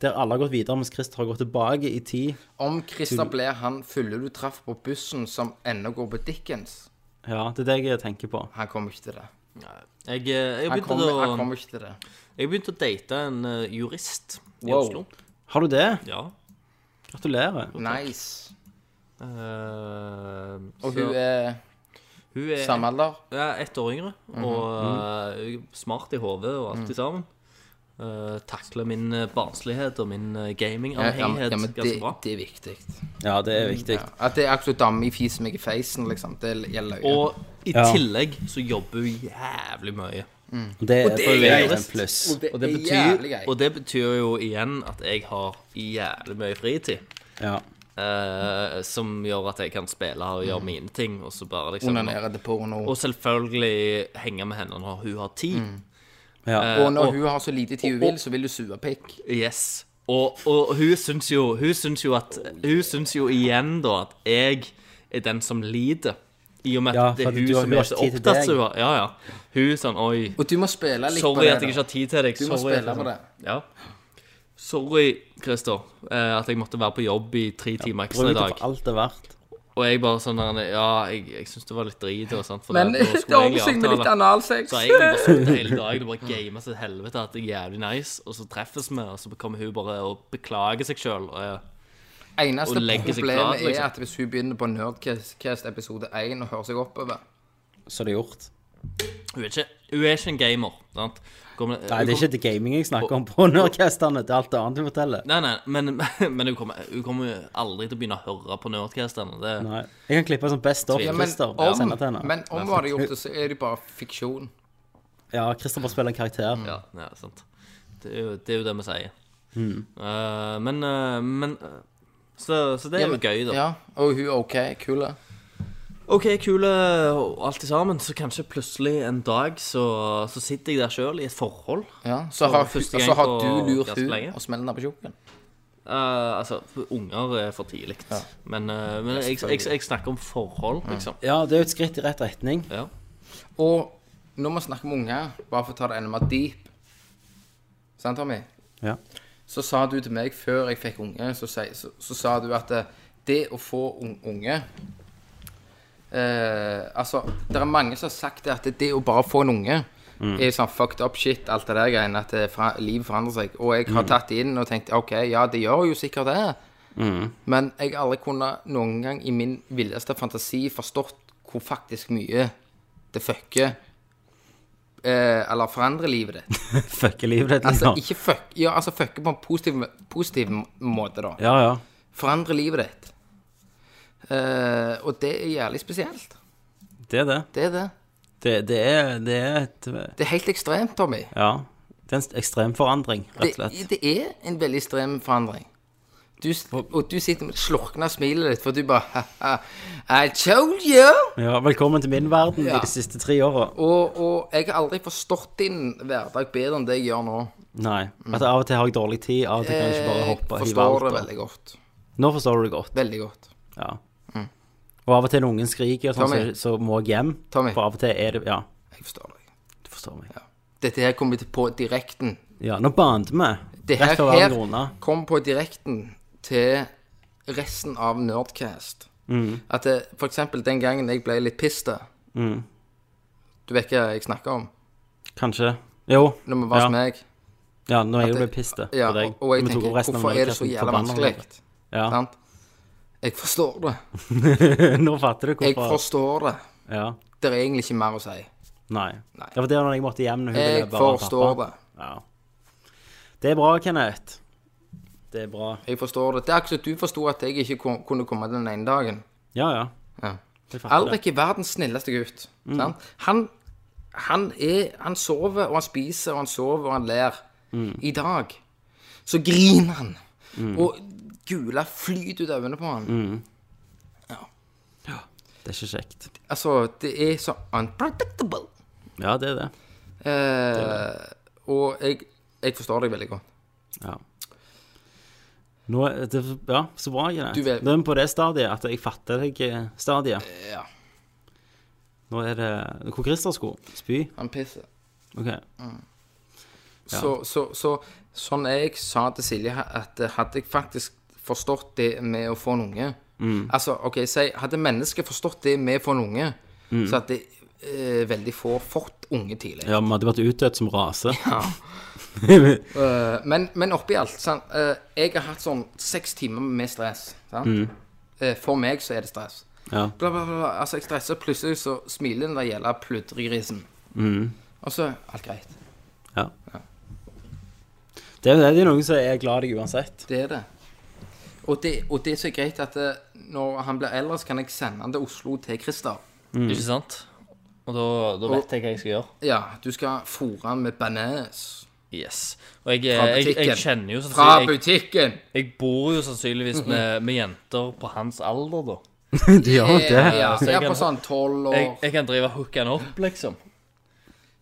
Speaker 1: der alle har gått videre, mens Christer har gått tilbake i tid.
Speaker 2: Om Christer ble han fulle du traff på bussen som ennå går på Dickens,
Speaker 1: Ja, det er det jeg tenker på.
Speaker 2: han kommer ikke til det.
Speaker 3: Jeg, eh, jeg,
Speaker 2: Han
Speaker 3: begynte
Speaker 2: kommer, han
Speaker 3: å,
Speaker 2: kommer ikke til det.
Speaker 3: jeg begynte å date en eh, jurist i
Speaker 2: Wow.
Speaker 3: Oslo.
Speaker 1: Har du det?
Speaker 3: Ja.
Speaker 1: Gratulerer.
Speaker 2: Nice.
Speaker 3: Eh,
Speaker 2: Og
Speaker 3: så-
Speaker 2: hun er
Speaker 3: hun er
Speaker 2: samme Mhm. alder?
Speaker 3: Ja, ett år yngre. Og eh, smart i hodet og
Speaker 2: Mhm.
Speaker 3: alt sammen. Eh, takler min eh, barnslighet og min eh, gamingavhengighet
Speaker 2: men
Speaker 3: ganske
Speaker 2: det,
Speaker 3: bra.
Speaker 2: det er viktig.
Speaker 1: Ja, det er viktig.
Speaker 2: Ja. At det er akkurat damme i fisen meg i feisen, liksom. Det gjelder jo.
Speaker 3: Og i
Speaker 1: Ja.
Speaker 3: tillegg så jobber hun jævlig mye.
Speaker 1: Det er, for det er en
Speaker 3: greit.
Speaker 1: pluss.
Speaker 3: Og det, betyr, og det betyr jo igjen at jeg har jævlig mye fritid.
Speaker 1: Ja.
Speaker 3: eh, som gjør at jeg kan spille og
Speaker 2: Mhm.
Speaker 3: gjøre mine ting, og så bare liksom
Speaker 2: Onanere til porno.
Speaker 3: Og selvfølgelig henge med henne når hun har tid. Eh,
Speaker 1: ja.
Speaker 2: Mm. Og når hun har så lite tid hun vil, så vil du suge pikk.
Speaker 3: Yes. Og, og hun syns jo Hun syns jo at Hun syns jo igjen da at jeg er den som lider. I og med at
Speaker 1: Ja,
Speaker 3: det
Speaker 1: for
Speaker 3: er
Speaker 1: at
Speaker 3: hun
Speaker 1: du har-
Speaker 3: som
Speaker 1: hun
Speaker 3: er
Speaker 1: har
Speaker 3: så
Speaker 1: ikke tid til
Speaker 3: opptatt
Speaker 1: deg.
Speaker 3: som hun er. Ja, ja. Hun er sånn Oi,
Speaker 2: Og du må spille litt
Speaker 3: sorry at
Speaker 2: på
Speaker 3: jeg
Speaker 2: det.
Speaker 3: ikke har tid til deg.
Speaker 2: Du må
Speaker 3: sorry at
Speaker 2: spille
Speaker 3: jeg-
Speaker 2: på det.
Speaker 3: Ja. Sorry, Christer, eh, at jeg måtte være på jobb i tre timer ekstra
Speaker 1: Bruk
Speaker 3: i
Speaker 1: det
Speaker 3: dag.
Speaker 1: for alt det er verdt.
Speaker 3: Og jeg bare sånn der, Ja, jeg, jeg syns det var litt drit og sånt. For
Speaker 2: Men
Speaker 3: det, da
Speaker 2: det
Speaker 3: skulle jeg
Speaker 2: ordner
Speaker 3: egentlig
Speaker 2: seg med litt
Speaker 3: avtale.
Speaker 2: analsex.
Speaker 3: Så har jeg egentlig bare sittet
Speaker 1: [laughs]
Speaker 3: hele dagen og bare gamet seg til helvete at jeg er jævlig nice, og så treffes vi, og så kommer hun bare og beklager seg sjøl.
Speaker 2: Eneste
Speaker 3: og legger seg
Speaker 2: problemet
Speaker 3: flat, liksom.
Speaker 2: er at hvis hun begynner på Nerdcast episode 1 og hører seg oppover
Speaker 1: Så det er gjort.
Speaker 3: Hun, er ikke- hun er ikke en gamer. Sant? Kommer,
Speaker 1: Nei, det er ikke til gaming jeg snakker om på Nerdcastene. Det er alt det annet du forteller.
Speaker 3: Nei, nei, men, [laughs] men hun, kommer, hun kommer jo aldri til å begynne å høre på Nerdcastene. Det,
Speaker 1: Nei. Jeg kan klippe som best
Speaker 3: Ja,
Speaker 1: opp,
Speaker 2: Men
Speaker 1: Christer. og
Speaker 2: om,
Speaker 1: sende til henne.
Speaker 2: men om hun hadde gjort det, så er det jo bare fiksjon.
Speaker 1: Ja, Christer bare spiller en karakter.
Speaker 3: ja, ja, sant. Det, er jo, det er jo det vi sier.
Speaker 1: Mm.
Speaker 3: Eh, men eh, men eh, så, så det er jo gøy, da.
Speaker 2: Ja, Og hun er OK, kul. da.
Speaker 3: OK, kule og alt i sammen. Så kanskje plutselig en dag så, så sitter jeg der sjøl i et forhold.
Speaker 2: Ja. Så
Speaker 3: Og
Speaker 2: har, hun-
Speaker 3: første gang
Speaker 2: så har
Speaker 3: på
Speaker 2: du lurt
Speaker 3: ganske lenge.
Speaker 2: hun og smeller henne på tjukken.
Speaker 3: Eh, altså, unger er for tidlig. Men, eh, men jeg, jeg, jeg snakker om forhold, liksom.
Speaker 1: Ja, det er jo et skritt i rett [laughs] retning.
Speaker 3: Ja.
Speaker 2: Og når vi snakker med unger, bare for å ta det enda mer deep Sant, Tommy?
Speaker 1: Ja.
Speaker 2: Så sa du til meg før jeg fikk unge, så, si- så, så sa du at eh, det å få un- unge eh, Altså, det er mange som har sagt det at det å bare få en unge er sånn fucked up shit, alt det der greiene, at det fra, livet forandrer seg. Og jeg har tatt det inn og tenkt OK, ja, det gjør jo sikkert det. Men jeg har aldri kunne noen gang i min villeste fantasi forstått hvor faktisk mye det fucker eh, Eller forandrer livet
Speaker 1: [laughs]
Speaker 2: ditt.
Speaker 1: Fucker livet ditt.
Speaker 2: Altså
Speaker 1: liksom.
Speaker 2: ikke fuck, ja, altså fucke på en positiv, positiv måte, da.
Speaker 1: Ja, ja.
Speaker 2: Forandre livet ditt. Eh, og det er jævlig spesielt.
Speaker 1: Det er det.
Speaker 2: Det er det.
Speaker 1: Det, det, er, det er et
Speaker 2: Det er helt ekstremt, Tommy.
Speaker 1: Ja. Det er en ekstrem forandring, rett og slett.
Speaker 2: Det, det er en veldig ekstrem forandring. Du, s- og du sitter med et slurkende smilet ditt, for du bare [laughs] «Haha, I told you!
Speaker 1: Ja, velkommen til min verden
Speaker 2: Ja.
Speaker 1: de siste tre åra.
Speaker 2: Og, og jeg har aldri forstått din hverdag bedre enn det jeg gjør nå.
Speaker 1: Nei. At av og til har jeg dårlig tid, av og til kan jeg ikke bare
Speaker 2: Jeg
Speaker 1: hoppe og hive
Speaker 2: forstår det
Speaker 1: alt.
Speaker 2: veldig godt.
Speaker 1: og- Nå forstår du det godt.
Speaker 2: Veldig godt.
Speaker 1: Ja.
Speaker 2: Mm.
Speaker 1: Og av og til når ungen skriker, og sånn,
Speaker 2: Tommy.
Speaker 1: så, så må jeg hjem.
Speaker 2: Tommy.
Speaker 1: For av og til er det Ja,
Speaker 2: Jeg forstår deg.
Speaker 1: du forstår meg.
Speaker 2: Dette her kommer vi til på direkten
Speaker 1: Ja, nå bandet vi.
Speaker 2: Det her,
Speaker 1: Rett før verden
Speaker 2: her
Speaker 1: går unna.
Speaker 2: kom på direkten til resten av
Speaker 1: Mm.
Speaker 2: eh,
Speaker 1: Mm.
Speaker 2: Nerdcast. At det, for eksempel den gangen jeg ble litt piste, Du vet ikke hva jeg snakker om?
Speaker 1: Kanskje. Jo.
Speaker 2: Når vi var
Speaker 1: ja.
Speaker 2: hos meg.
Speaker 1: Ja, når jeg
Speaker 2: At
Speaker 1: ble
Speaker 2: det-
Speaker 1: pissed på
Speaker 2: Ja,
Speaker 1: deg.
Speaker 2: og, og jeg
Speaker 1: Vi tok
Speaker 2: tenker
Speaker 1: opp resten av
Speaker 2: Hvorfor er det så
Speaker 1: podcasten
Speaker 2: jævla
Speaker 1: forbannet
Speaker 2: vanskelig?
Speaker 1: over det.
Speaker 2: Sant? Jeg forstår det.
Speaker 1: Ja. [laughs] Nå fatter du
Speaker 2: Jeg
Speaker 1: hvorfor.
Speaker 2: forstår det.
Speaker 1: Ja.
Speaker 2: Det er egentlig ikke mer å si.
Speaker 1: Nei.
Speaker 2: Nei.
Speaker 1: Det var det når jeg måtte hjem når hun
Speaker 2: Jeg
Speaker 1: ville bare være
Speaker 2: forstår
Speaker 1: pappa.
Speaker 2: det.
Speaker 1: Ja. Det er bra, Kenneth. Det er bra.
Speaker 2: Jeg forstår det. Det er akkurat som du forsto at jeg ikke kon- kunne komme den ene dagen.
Speaker 1: Ja, ja.
Speaker 2: Ja.
Speaker 1: Jeg fatter det. Mm.
Speaker 2: Alrik er verdens snilleste gutt. Sant? Han, han er Han sover, og han spiser, og han sover, og han ler.
Speaker 1: Mm.
Speaker 2: I dag så griner han. Og gula flyter ut av øynene på han.
Speaker 1: Mm. Det er ikke kjekt.
Speaker 2: Altså, det er så unpredictable.
Speaker 1: Ja, det er det.
Speaker 2: Eh, og jeg, jeg forstår deg veldig godt.
Speaker 1: Ja. Nå, er det, ja, så bra, Kenneth.
Speaker 2: Du vet-
Speaker 1: Nå er vi på det stadiet at jeg fatter deg-stadiet.
Speaker 2: Ja.
Speaker 1: Nå er det Hvor Christer skulle spy.
Speaker 2: Han pisser.
Speaker 1: OK.
Speaker 2: Så, så, så sånn jeg sa til Silje her, at eh, hadde jeg faktisk forstått det med å få en unge Altså, ok, si, hadde mennesket forstått det med å få en unge, så hadde eh, veldig få fått unge tidlig.
Speaker 1: Ja, vi hadde vært utdødd som rase.
Speaker 2: Eh, men, men oppi alt, sant, eh, jeg har hatt sånn seks timer med stress. Sant? Eh, for meg så er det stress.
Speaker 1: [laughs] Ja.
Speaker 2: Bla, bla, bla. Altså, jeg stresser, plutselig så smiler den der gjelda pludregrisen. Og så alt greit.
Speaker 1: Ja. Det, er- det er noen som er glad i deg uansett.
Speaker 2: Det er det. Og det, og det som er greit, at eh, når han blir eldre, så kan jeg sende han til Oslo til Christer.
Speaker 3: Ikke sant? Og da, da vet jeg hva jeg skal gjøre.
Speaker 2: Ja, du skal fôre han med bananas.
Speaker 3: Yes. Og jeg, eh,
Speaker 2: Fra
Speaker 3: jeg, jeg
Speaker 2: butikken.
Speaker 3: kjenner jo
Speaker 2: Fra
Speaker 3: sannsynligvis Altså, jeg,
Speaker 2: butikken!
Speaker 3: jeg bor jo sannsynligvis med, med jenter på hans alder, da.
Speaker 1: De gjør nok
Speaker 2: Ja,
Speaker 1: det.
Speaker 2: ja,
Speaker 3: så jeg
Speaker 2: på
Speaker 3: kan-
Speaker 2: sånn tolv
Speaker 3: Jeg,
Speaker 2: år.
Speaker 3: jeg kan drive og hooke han opp, liksom.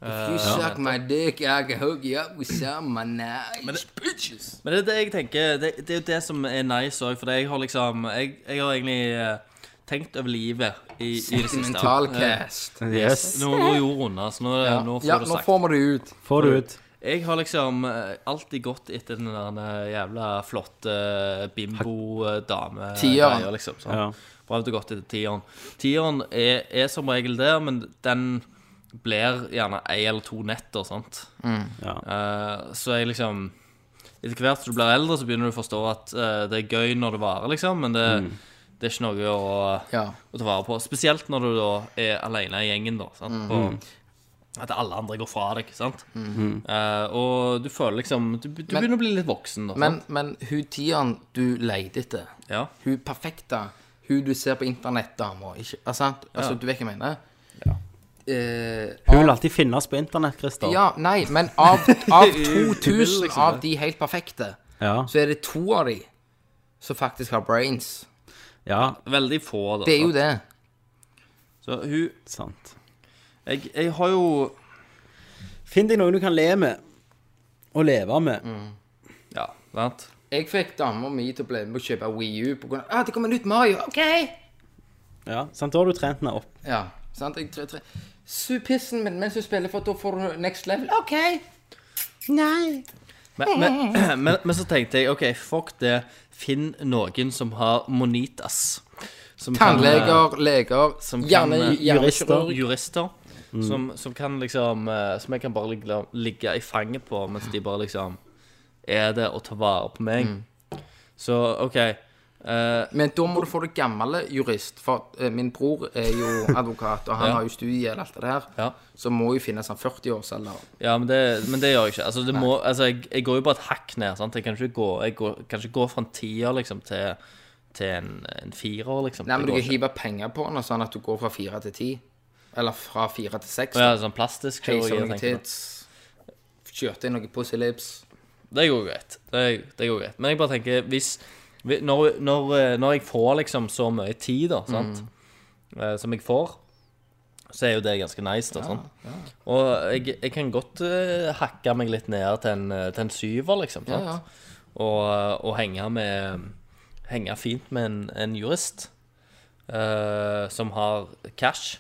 Speaker 2: You suck my dick, I can hook you up with some bananas, bitches.
Speaker 3: Men det er det jeg tenker, det, det er jo det som er nice òg, for jeg har liksom Jeg, jeg har egentlig eh, tenkt over livet i, i det siste.
Speaker 2: Mental
Speaker 3: Eh,
Speaker 2: cast.
Speaker 1: Yes.
Speaker 3: Nå nå er jorda unna, så nå, er det- nå får
Speaker 2: Ja,
Speaker 3: du
Speaker 2: nå
Speaker 3: sagt.
Speaker 2: får vi det ut.
Speaker 1: Får du ut
Speaker 3: Jeg har liksom eh, alltid gått etter den der eh, jævla flotte eh, bimbo-dame
Speaker 2: Tieren.
Speaker 3: greia, liksom. Sånn.
Speaker 1: Ja.
Speaker 3: Prøvd å gå etter tieren. Tieren er, er som regel der, men den blir gjerne ei eller to netter, sant.
Speaker 1: Ja.
Speaker 3: Eh, så jeg liksom Etter hvert som du blir eldre, så begynner du å forstå at eh, det er gøy når det varer, liksom, men det,
Speaker 1: Mm.
Speaker 3: det er ikke noe å,
Speaker 2: Ja.
Speaker 3: å ta vare på. Spesielt når du da er alene i gjengen, da. Sant?
Speaker 2: Mm.
Speaker 3: Og at alle andre går fra deg, sant. Eh, og du føler liksom Du, du
Speaker 2: Men-
Speaker 3: begynner å bli litt voksen, da.
Speaker 2: Men, men hun tieren du leide etter,
Speaker 3: sant? Ja.
Speaker 2: hun perfekte, hun du ser på internett, damer, ikke altså, sant? Altså,
Speaker 3: Ja.
Speaker 2: du vet hva jeg mener? Eh,
Speaker 1: Hun vil alltid finnes på internett, Christer.
Speaker 2: Ja, nei, men
Speaker 3: [laughs]
Speaker 2: av, av 2000
Speaker 3: liksom,
Speaker 2: av de helt perfekte,
Speaker 1: Ja.
Speaker 2: så er det to av de som faktisk har brains.
Speaker 1: ja.
Speaker 3: Veldig få, da.
Speaker 2: Det er jo
Speaker 3: sant?
Speaker 2: det.
Speaker 3: Så hun
Speaker 1: Sant.
Speaker 3: jeg, jeg har jo
Speaker 1: Finn deg noen du kan le med. Og leve med.
Speaker 3: Ja, sant?
Speaker 2: Jeg fikk dama mi til å bli med på å kjøpe Wii U på grunn av ah, 'Det kommer nytt Mario'. OK!
Speaker 1: Ja, sant? Da har du trent henne opp.
Speaker 2: Ja, sant? Jeg tre, tre. Su pissen min mens du spiller, for da får du next level. OK!
Speaker 3: Men, men, [clears throat] men, men så tenkte jeg OK, fuck det. Finn noen som har monitas. Som kan, eh,
Speaker 2: Tannleger, leger,
Speaker 3: som kan,
Speaker 2: gjerne
Speaker 3: eh,
Speaker 2: hjernekirurg.
Speaker 3: Jurister. Som, som kan liksom eh, Som jeg kan bare ligge, ligge i fanget på mens de bare liksom Er det å ta vare på meg?
Speaker 2: Mm.
Speaker 3: Så OK. eh,
Speaker 2: Men da må du få det gamle jurist, for eh, min bror er jo advokat, og han
Speaker 3: Ja.
Speaker 2: har jo studiegjeld, alt det der.
Speaker 3: Ja.
Speaker 2: Så må jo finnes sånn han 40-årsalder.
Speaker 3: ja, men det, men det gjør jeg ikke. Altså, det må, altså jeg, jeg går jo bare et hakk ned. Sant? Jeg kan ikke gå, jeg går, kan ikke gå fra en tier liksom, til, til en, en firer, liksom.
Speaker 2: Nei,
Speaker 3: Det
Speaker 2: men du
Speaker 3: går
Speaker 2: kan
Speaker 3: ikke.
Speaker 2: hive penger på den, sånn at du går fra fire til ti. Eller fra fire til seks.
Speaker 3: Å Ja, sånn plastisk
Speaker 2: Keiser
Speaker 3: kirurgi.
Speaker 2: noen
Speaker 3: jeg tenker på.
Speaker 2: tits. Kjørte inn noen pussy lips.
Speaker 3: Det går greit. Det, det går greit. Men jeg bare tenker hvis, vi- når, når, eh, når jeg får liksom så mye tid, da, sant, eh, som jeg får, så er jo det ganske nice, da, sant. Og jeg, jeg kan godt eh, hakke meg litt ned til en, eh, til en syver, liksom, sant.
Speaker 2: Ja, ja.
Speaker 3: Og, eh, og henge med Henge fint med en, en jurist eh, som har cash,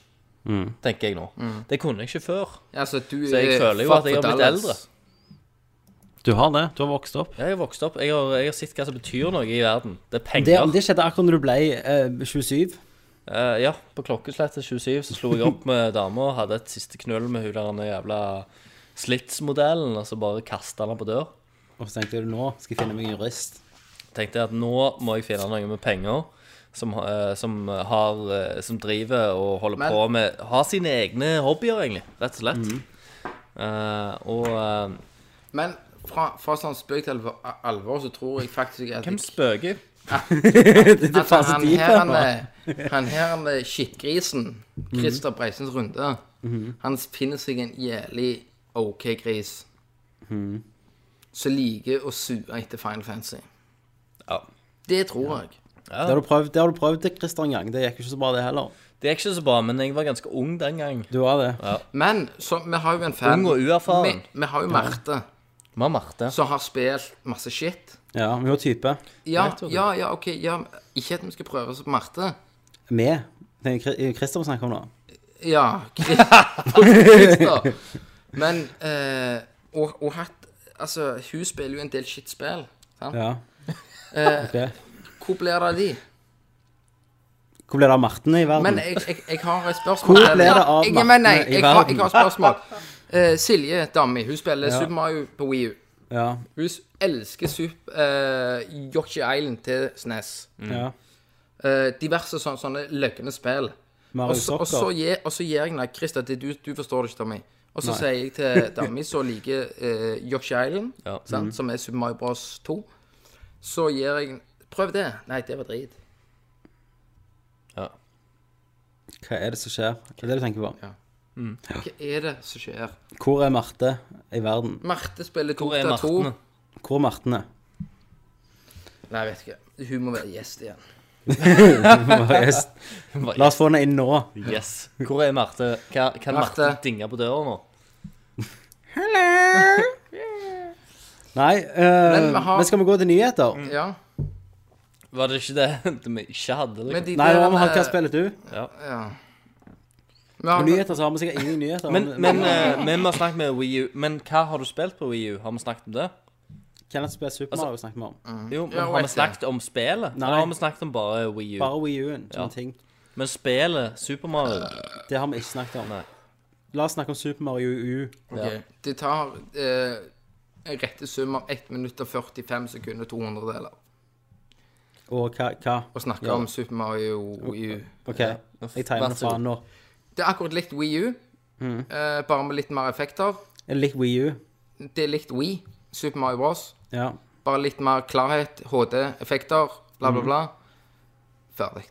Speaker 3: tenker jeg nå. Det kunne jeg ikke før.
Speaker 2: Altså, du
Speaker 3: Så jeg
Speaker 2: er
Speaker 3: føler jo
Speaker 2: fuck
Speaker 3: at jeg
Speaker 2: for
Speaker 3: har blitt
Speaker 2: Dallas.
Speaker 3: eldre.
Speaker 1: Du har det. Du har vokst opp.
Speaker 3: Ja, Jeg har vokst opp. Jeg har, jeg har sett hva som betyr noe i verden. Det er
Speaker 1: Det,
Speaker 3: penger.
Speaker 1: det skjedde akkurat når du ble eh, 27.
Speaker 3: Eh, ja, på klokkeslettet 27 så slo jeg opp med dama og hadde et siste knull med hun der den jævla Slits-modellen, og så bare kasta han på dør.
Speaker 1: Og så tenkte jeg nå skal jeg finne meg en jurist.
Speaker 3: tenkte jeg at nå må jeg finne noe med penger som, eh, som, har, eh, som driver og holder
Speaker 2: Men-
Speaker 3: på med Har sine egne hobbyer, egentlig, rett og slett. Eh, og eh,
Speaker 2: Men fra, fra sånn spøk til alvor, alvor så tror jeg faktisk at
Speaker 3: hvem spøker?
Speaker 2: at
Speaker 1: faen så
Speaker 2: han
Speaker 1: dyp
Speaker 2: her,
Speaker 1: den
Speaker 2: han, er- han her han er skittgrisen, Christer Breisens Runde, han finner seg en jævlig OK gris som liker å sue etter Final Fantasy.
Speaker 3: Ja.
Speaker 2: Det tror jeg.
Speaker 1: Det har du prøvd, det har du prøvd Christer, en gang. Det gikk jo ikke så bra, det heller.
Speaker 3: Det gikk ikke så bra, men jeg var ganske ung den gang.
Speaker 1: Du var det.
Speaker 2: Men så, vi har jo en fan
Speaker 3: Ung og uerfaren.
Speaker 2: Vi, vi har jo Marte,
Speaker 3: Vi har Marte.
Speaker 2: som har spilt masse shit.
Speaker 1: Ja, vi var type.
Speaker 2: Ja,
Speaker 3: Jeg tror det.
Speaker 2: ja, ja, OK. Ja, ikke at vi skal prøve oss på Marte.
Speaker 1: Vi. Det er jo Chri- Christer vi snakker om nå.
Speaker 2: Ja,
Speaker 1: [laughs]
Speaker 2: Christer. Men eh, og, og hatt Altså, hun spiller jo en del skittspill. sant?
Speaker 1: [laughs] Ja.
Speaker 2: Eh,
Speaker 1: ok.
Speaker 2: Hvor blir det av de?
Speaker 1: Hvor ble det av Marten i verden?
Speaker 2: Men jeg, jeg, jeg har et spørsmål.
Speaker 1: Hvor ble det av
Speaker 2: jeg, men, nei,
Speaker 1: Martene i
Speaker 2: jeg, har,
Speaker 1: verden?
Speaker 2: jeg har et spørsmål. Eh, Silje Dammi, hun spiller
Speaker 1: Ja.
Speaker 2: Super Mario på Wii U.
Speaker 1: Ja.
Speaker 2: Hun s- elsker Sup eh, Yoshi Island til E SNES.
Speaker 3: Mm.
Speaker 1: ja.
Speaker 2: Eh, diverse sånne, sånne løgne spill. Og
Speaker 1: Mario
Speaker 2: så- og så
Speaker 1: Sokker.
Speaker 2: gir og så gir jeg henne Christer, det- du, du forstår det ikke, Tommy. Og så sier jeg
Speaker 1: [laughs]
Speaker 2: til Dammy, som liker eh, Yoshi Island,
Speaker 3: Ja.
Speaker 1: Mhm.
Speaker 2: sant, som er Super Mario Bros. 2, så gir jeg Prøv det. Nei, det var drit.
Speaker 3: Ja.
Speaker 1: Hva er det som skjer? Det er det du tenker på.
Speaker 2: Hva er det som skjer?
Speaker 1: Hvor er Marte i verden?
Speaker 2: Marte spiller
Speaker 3: Hvor er
Speaker 2: Dota
Speaker 1: Hvor
Speaker 2: 2.
Speaker 3: Martene?
Speaker 1: er [laughs] Martene?
Speaker 2: Nei, jeg vet ikke. Hun må være gjest igjen.
Speaker 1: La oss få henne inn nå.
Speaker 3: Yes. Hvor er Marte? Hva, kan Marte,
Speaker 2: Marte.
Speaker 3: dinge på døra nå?
Speaker 1: Nei, eh,
Speaker 2: Men vi
Speaker 1: men,
Speaker 2: har-
Speaker 1: skal vi Mm. gå til nyheter?
Speaker 3: Mm.
Speaker 2: Ja.
Speaker 3: Var det [laughs] ikke det vi ikke hadde? Liksom?
Speaker 2: Men de
Speaker 1: Nei,
Speaker 2: der,
Speaker 1: nå har vi hatt Hva
Speaker 2: eh,
Speaker 1: spiller du?
Speaker 2: Ja. Vi har,
Speaker 1: På nyheter så har vi sikkert ingen nyheter.
Speaker 3: Men, men, eh, men vi har snakket med Wii U. Men hva har du spilt på Wii U? Har vi snakket om det?
Speaker 1: Kenneth spiller Super
Speaker 3: Altså-
Speaker 1: Mario, snakker vi om.
Speaker 3: Jo, men
Speaker 2: Ja,
Speaker 3: har
Speaker 2: vet
Speaker 3: vi
Speaker 2: det.
Speaker 3: snakket om spillet?
Speaker 1: Nei.
Speaker 3: Eller har vi snakket om bare Wii U?
Speaker 1: Bare Wii U-en.
Speaker 3: Ja.
Speaker 1: Sånne ting.
Speaker 3: Men spillet Super Mario
Speaker 1: Det har vi ikke snakket om.
Speaker 3: Nei.
Speaker 1: La oss snakke om Super Mario U.
Speaker 2: Ok. Det tar eh, en rette sum av 1 minutt og 45 sekunder, 200 deler,
Speaker 1: Og hva, hva?
Speaker 2: å snakke
Speaker 1: Ja.
Speaker 2: om Super Mario Wii U.
Speaker 1: OK, jeg timer
Speaker 3: Vær så
Speaker 1: faen nå.
Speaker 2: Det er akkurat likt Wii U,
Speaker 1: Mm.
Speaker 2: eh, bare med litt mer effekter.
Speaker 1: Jeg liker Wii U.
Speaker 2: Det er likt Wii, Super Mario Bros.
Speaker 1: Ja.
Speaker 2: Bare litt mer klarhet, HD, effekter, bla,
Speaker 1: Mm.
Speaker 2: bla, bla. Ferdig.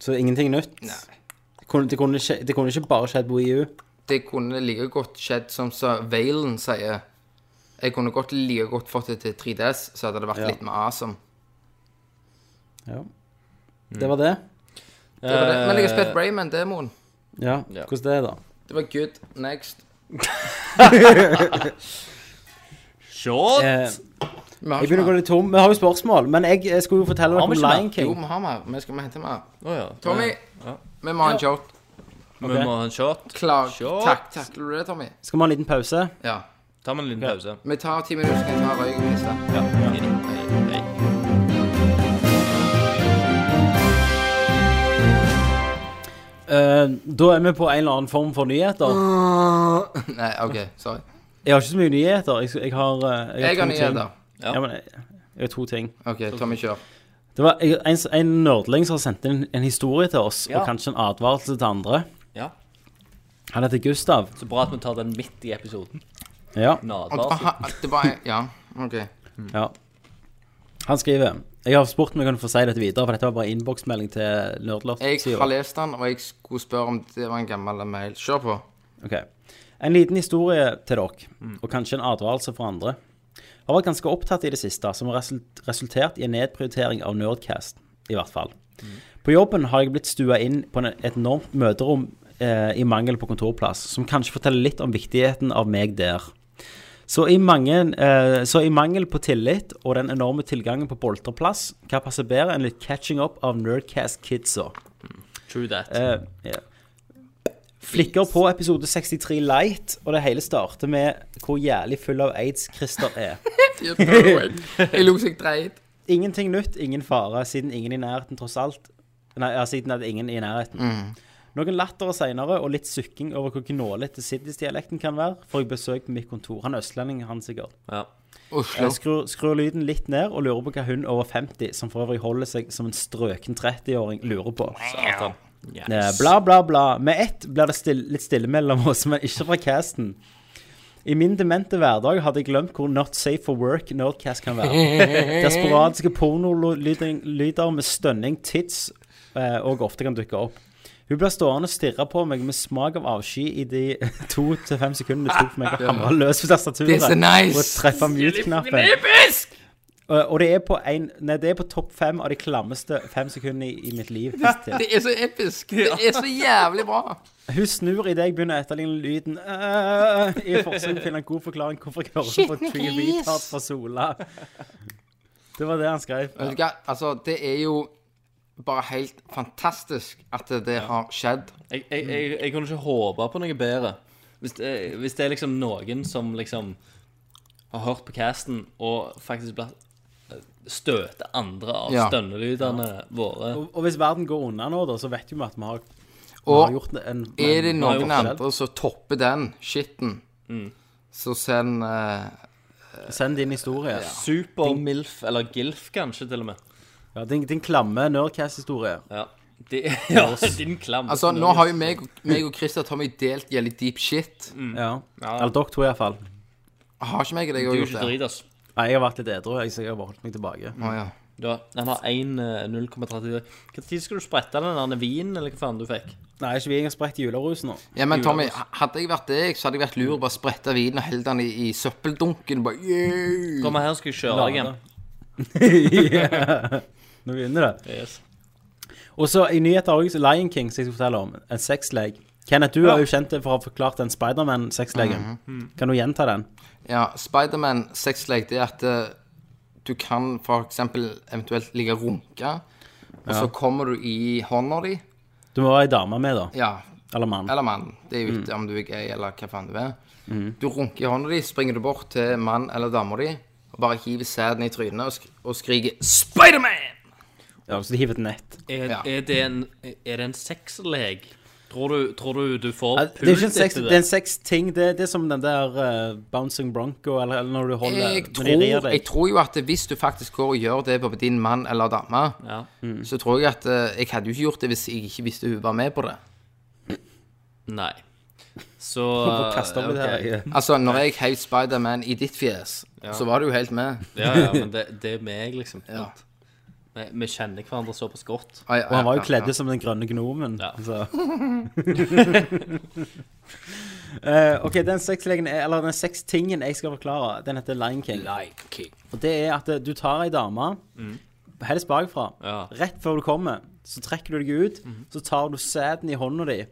Speaker 1: Så ingenting nytt?
Speaker 2: Nei.
Speaker 1: Det kunne, det, kunne ikke, det kunne ikke bare skjedd på Wii U.
Speaker 2: Det kunne like godt skjedd som så Valen sier. Jeg kunne godt like godt fått det til 3DS, så hadde det vært
Speaker 1: Ja.
Speaker 2: litt mer awesome.
Speaker 1: Ja.
Speaker 2: Mm.
Speaker 1: Det var det?
Speaker 2: Det var
Speaker 1: Eh,
Speaker 2: det. Men jeg har spilt Rayman Demoen.
Speaker 1: Ja. Hvordan det er, da?
Speaker 2: Det var good. Next.
Speaker 3: Shot!
Speaker 1: Eh,
Speaker 2: Vi har
Speaker 1: jeg begynner å gå litt tom. Vi har jo spørsmål, men jeg, jeg skulle jo fortelle dere
Speaker 3: vi
Speaker 1: om
Speaker 3: ikke
Speaker 1: Lion
Speaker 2: Jo,
Speaker 1: King.
Speaker 2: vi har mer. Vi skal vi hente mer.
Speaker 3: Åja,
Speaker 2: Tommy, vi må ha en joke.
Speaker 3: Eh, Vi må ha en shot.
Speaker 2: Klar.
Speaker 3: Shot.
Speaker 2: Takk, takler du det, Tommy?
Speaker 1: Skal vi ha en liten pause?
Speaker 2: Ja.
Speaker 3: Ta med en liten pause.
Speaker 2: Vi tar ti minutter, så kan vi ta røyk og pisse.
Speaker 3: Ja. Hei, hei.
Speaker 1: Eh, da er vi på en eller annen form for nyheter.
Speaker 2: [laughs] Mm. Nei, OK. Sorry.
Speaker 1: Jeg har ikke så mye nyheter. Jeg, jeg har eh,
Speaker 2: Jeg har
Speaker 1: to ting.
Speaker 2: nyheter.
Speaker 1: Ja. men jeg, jeg har to ting.
Speaker 2: OK, Tommy, kjør.
Speaker 1: Det var jeg- en, en nerdling som har sendt inn en historie til oss,
Speaker 3: Ja.
Speaker 1: og kanskje en advarsel til andre.
Speaker 3: Ja.
Speaker 1: Han heter Gustav.
Speaker 3: Så bra at vi tar den midt i episoden.
Speaker 1: Ja.
Speaker 3: En
Speaker 2: Og det var,
Speaker 3: advarsel.
Speaker 2: han- det var en- Ja, OK.
Speaker 1: Ja. Han skriver Jeg har spurt om jeg kunne få si dette videre, for dette var bare innboksmelding til
Speaker 2: Jeg
Speaker 1: Nerdlert.
Speaker 2: har lest den, og jeg skulle spørre om det var en gammel mail. Kjør [laughs] på.
Speaker 1: Ok. En liten historie til dere, og kanskje en advarelse for andre. Jeg har vært ganske opptatt i det siste, som har result- resultert i en nedprioritering av Nerdcast, i hvert fall. På jobben har jeg blitt stua inn på en, et enormt møterom eh, i mangel på kontorplass, som kanskje forteller litt om viktigheten av meg der. Så i, mange, eh, så i mangel på tillit og den enorme tilgangen på bolterplass, hva passer bedre enn litt catching up av Nerdcast-kidsa?
Speaker 3: True that.
Speaker 1: Eh, ja. Flikker på episode 63 Light, og det hele starter med hvor jævlig full av aids Christer er.
Speaker 2: Jeg lo seg dreit. [laughs]
Speaker 1: Ingenting nytt, ingen fare, siden ingen i nærheten tross alt Nei, ja, siden det er ingen i nærheten. Noen latter seinere, og litt sukking over hvor gnålete Siddis-dialekten kan være, får jeg besøk på mitt kontor. Han er østlending, han sikkert.
Speaker 3: Ja.
Speaker 2: Oslo.
Speaker 1: Jeg skrur, skrur lyden litt ned og lurer på hva hun over 50, som for øvrig holder seg som en strøken 30-åring, lurer på.
Speaker 3: Satan.
Speaker 1: Eh, Bla, bla, bla. Med ett blir det still, litt stille mellom oss, men ikke fra casten. I min demente hverdag hadde jeg glemt hvor not safe for work Nerdcast kan være.
Speaker 2: [laughs]
Speaker 1: Desperatiske pornolyder med stønning, tits eh, og ofte kan dukke opp. Hun ble stående og stirre på meg med smak av avsky i de [laughs] to til fem sekundene det tok for meg å
Speaker 2: [laughs]
Speaker 1: hamre løs på
Speaker 2: This is
Speaker 1: tastaturet
Speaker 2: nice.
Speaker 1: og treffe mute-knappen. Eh, Og det er på, en- nei, det er på topp fem av de klammeste fem sekundene i, i mitt liv hittil.
Speaker 2: Det er så episk. Det er så jævlig bra.
Speaker 1: Hun snur idet jeg begynner å etterligne lyden «Æ», i forsøk på å finne en god forklaring hvorfor jeg hører på Tree Retard fra Sola. Det var det han skrev.
Speaker 2: Vet du hva? Altså, det er jo bare helt fantastisk at det har skjedd.
Speaker 3: Jeg, jeg, jeg, jeg kunne ikke håpe på noe bedre. Hvis det, hvis det er liksom noen som liksom har hørt på casten og faktisk blir eh, støter andre av
Speaker 2: Ja.
Speaker 3: stønnelydene våre
Speaker 1: Og, og hvis verden går unna nå, da, så vet vi at vi har, vi har
Speaker 2: Og
Speaker 1: gjort en, en
Speaker 2: er det
Speaker 1: vi
Speaker 2: noen
Speaker 1: har gjort
Speaker 2: andre som topper den shitten, så send eh,
Speaker 1: det. Send din historie.
Speaker 3: Super-MILF, eller GILF kanskje, til og med.
Speaker 1: Ja, din, din klamme Nerdcast-historie.
Speaker 3: Ja. De, [laughs] ja, din klam.
Speaker 2: Altså, nå har jo meg, og- meg og Christer Tommy delt gjeldig deep shit.
Speaker 3: Mm.
Speaker 1: Ja. Eller dere to, iallfall.
Speaker 2: Har ikke meg og deg
Speaker 3: Du er
Speaker 2: gjort
Speaker 3: ikke
Speaker 2: det?
Speaker 3: drit, ass.
Speaker 1: Nei, jeg har vært litt edru, jeg, så jeg har bare holdt meg tilbake.
Speaker 2: Å, ja.
Speaker 3: Du har, han har eh, 1,33. Når skal du sprette den der vinen, eller hva faen du fikk?
Speaker 1: Nei, ikke vi jeg har spredt julerus
Speaker 2: [laughs]
Speaker 1: nå. [laughs]
Speaker 2: ja, men Tommy, hadde jeg vært deg, så hadde jeg vært lur og bare spretta vinen og helle den i, i søppeldunken. Bare, yeah.
Speaker 3: Kom her, skal jeg kjøre deg hjem.
Speaker 1: Ja. Nå begynner det.
Speaker 3: Yes.
Speaker 1: Og så i nyheter også Lion King, som jeg skal fortelle om. En sexlek. Kenneth, du er jo kjent for å ha forklart den Spiderman-sexlegen. Kan du gjenta den?
Speaker 2: Ja, Spiderman sexlek, det er at eh, du kan for eksempel eventuelt ligge og runke, og så kommer du i hånda di.
Speaker 1: Du må være ei dame med, da.
Speaker 2: Ja,
Speaker 1: Eller
Speaker 3: Mm.
Speaker 1: mann.
Speaker 2: eller mann. Det er jo ikke om du er gay eller hva faen du er.
Speaker 3: Mm.
Speaker 2: Du runker i hånda di, springer du bort til mann eller dama di, og bare hiver sæden i trynet og, sk og skriker Spiderman!
Speaker 1: Ja, så de hiver et nett.
Speaker 3: Er,
Speaker 2: Ja.
Speaker 3: er det en, er det en sexleg? Tror du, tror du du får
Speaker 1: Ja, Det
Speaker 3: puls
Speaker 1: er jo ikke en sex,
Speaker 3: etter
Speaker 1: det er en sexting. Det, det er som den der eh, Bouncing Bronco, eller, eller når du holder
Speaker 2: Jeg
Speaker 1: når eh, de rir
Speaker 2: tror, jeg
Speaker 1: deg.
Speaker 2: tror jo at hvis du faktisk går og gjør det på din mann eller dame,
Speaker 3: Ja.
Speaker 1: Mm.
Speaker 2: så tror jeg at eh, Jeg hadde jo ikke gjort det hvis jeg ikke visste hun var med på det.
Speaker 3: Nei.
Speaker 1: [laughs]
Speaker 3: Så
Speaker 1: Hvorfor kaster vi det
Speaker 3: ok.
Speaker 1: her?
Speaker 2: Altså, når jeg heiv Spider-Man i ditt fjes, så var du jo helt med.
Speaker 3: Ja, ja, men det, det er meg, liksom.
Speaker 2: Ja.
Speaker 3: Vi, vi kjenner hverandre såpass godt.
Speaker 2: Ai,
Speaker 1: Og han var jo
Speaker 2: ai,
Speaker 1: kledd
Speaker 2: ai,
Speaker 1: som den grønne gnomen. altså.
Speaker 3: Ja.
Speaker 1: Så. Eh, OK, den sexlegen, er- eller den sextingen jeg skal forklare, den heter Lion King.
Speaker 2: Lion King.
Speaker 1: Og det er at eh, du tar ei dame,
Speaker 3: Mm.
Speaker 1: helst bakfra,
Speaker 3: Ja.
Speaker 1: rett før du kommer. Så trekker du deg ut,
Speaker 3: Mm.
Speaker 1: så tar du sæden i hånda di.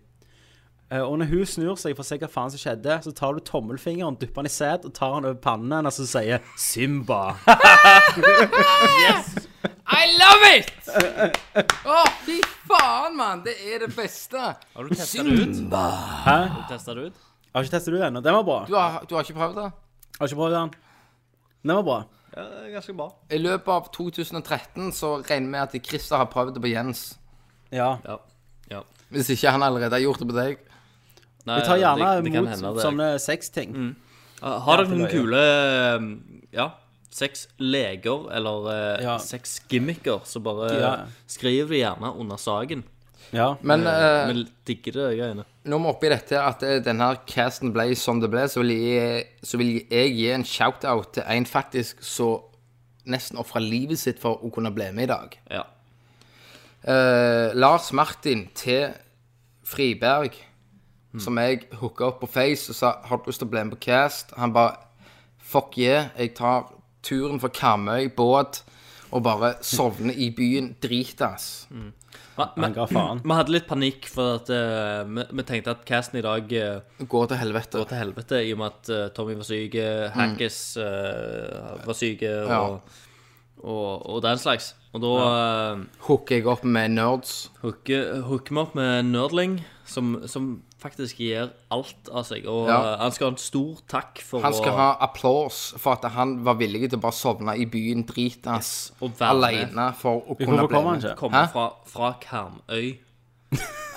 Speaker 1: Eh, Og når hun snur seg for å se hva faen som skjedde, så tar du tommelfingeren, dypper den i sæd og tar den over pannen hennes og sier 'Simba'.
Speaker 2: I love it! Å, fy faen, mann! Det er det beste.
Speaker 3: Har du testa det ut?
Speaker 1: Hæ?
Speaker 3: Har du testet det ut?
Speaker 1: Jeg har ikke testet du den ennå. Den var bra.
Speaker 2: Du har, du har ikke prøvd det?
Speaker 1: Jeg har ikke prøvd den. Den var bra.
Speaker 3: Ja, det er ganske bra.
Speaker 2: I løpet av 2013 så regner vi at Christer har prøvd det på Jens.
Speaker 1: Ja.
Speaker 3: Ja. ja.
Speaker 2: Hvis ikke han allerede har gjort det på deg.
Speaker 3: Nei,
Speaker 1: Vi tar gjerne
Speaker 3: Eh, det- det kan hende
Speaker 1: mot
Speaker 3: det- Mm.
Speaker 1: sånne sexting.
Speaker 3: Ja, Har
Speaker 1: Ja,
Speaker 3: dere noen
Speaker 1: det er
Speaker 3: kule eh, Ja, seks leger eller eh,
Speaker 1: Ja.
Speaker 3: seks gimmicker, så bare
Speaker 1: Ja.
Speaker 3: skriv det gjerne under saken.
Speaker 1: Ja.
Speaker 2: Men eh,
Speaker 3: Vi digger det, greiene.
Speaker 2: når vi er oppe i dette at eh, denne her casten ble som det ble, så vil jeg, så vil jeg gi en shout-out til en faktisk så nesten ofra livet sitt for å kunne bli med i dag.
Speaker 3: Ja.
Speaker 2: Eh, Lars Martin til Friberg, som jeg hooka opp på Face og sa har du lyst til å bli med på Cast. Han bare fuck yeah, jeg tar turen fra Karmøy, båt, og bare sovner i byen dritas.
Speaker 3: Men,
Speaker 1: Han ga faen.
Speaker 3: Vi hadde litt panikk, for at eh, vi, vi tenkte at casten i dag eh,
Speaker 2: Går til helvete.
Speaker 3: går til helvete, i og med at eh, Tommy var syk, eh, Hackis eh, var syk, eh,
Speaker 2: Mm. Ja.
Speaker 3: og, og, og den slags. Og da eh,
Speaker 2: Hooker jeg opp med nerds.
Speaker 3: hooker hooker vi opp med Nerdling, som, som faktisk gir alt av seg. Og
Speaker 2: Ja.
Speaker 3: eh, han skal ha en stor takk for
Speaker 2: Han skal
Speaker 3: å
Speaker 2: ha applaus for at han var villig til å bare sovne i byen dritas
Speaker 3: og være med.
Speaker 2: alene for å kunne
Speaker 1: Hvorfor
Speaker 2: bli
Speaker 1: kommer han
Speaker 2: med.
Speaker 1: ikke?
Speaker 3: komme
Speaker 2: Hæ?
Speaker 3: fra, fra Karmøy.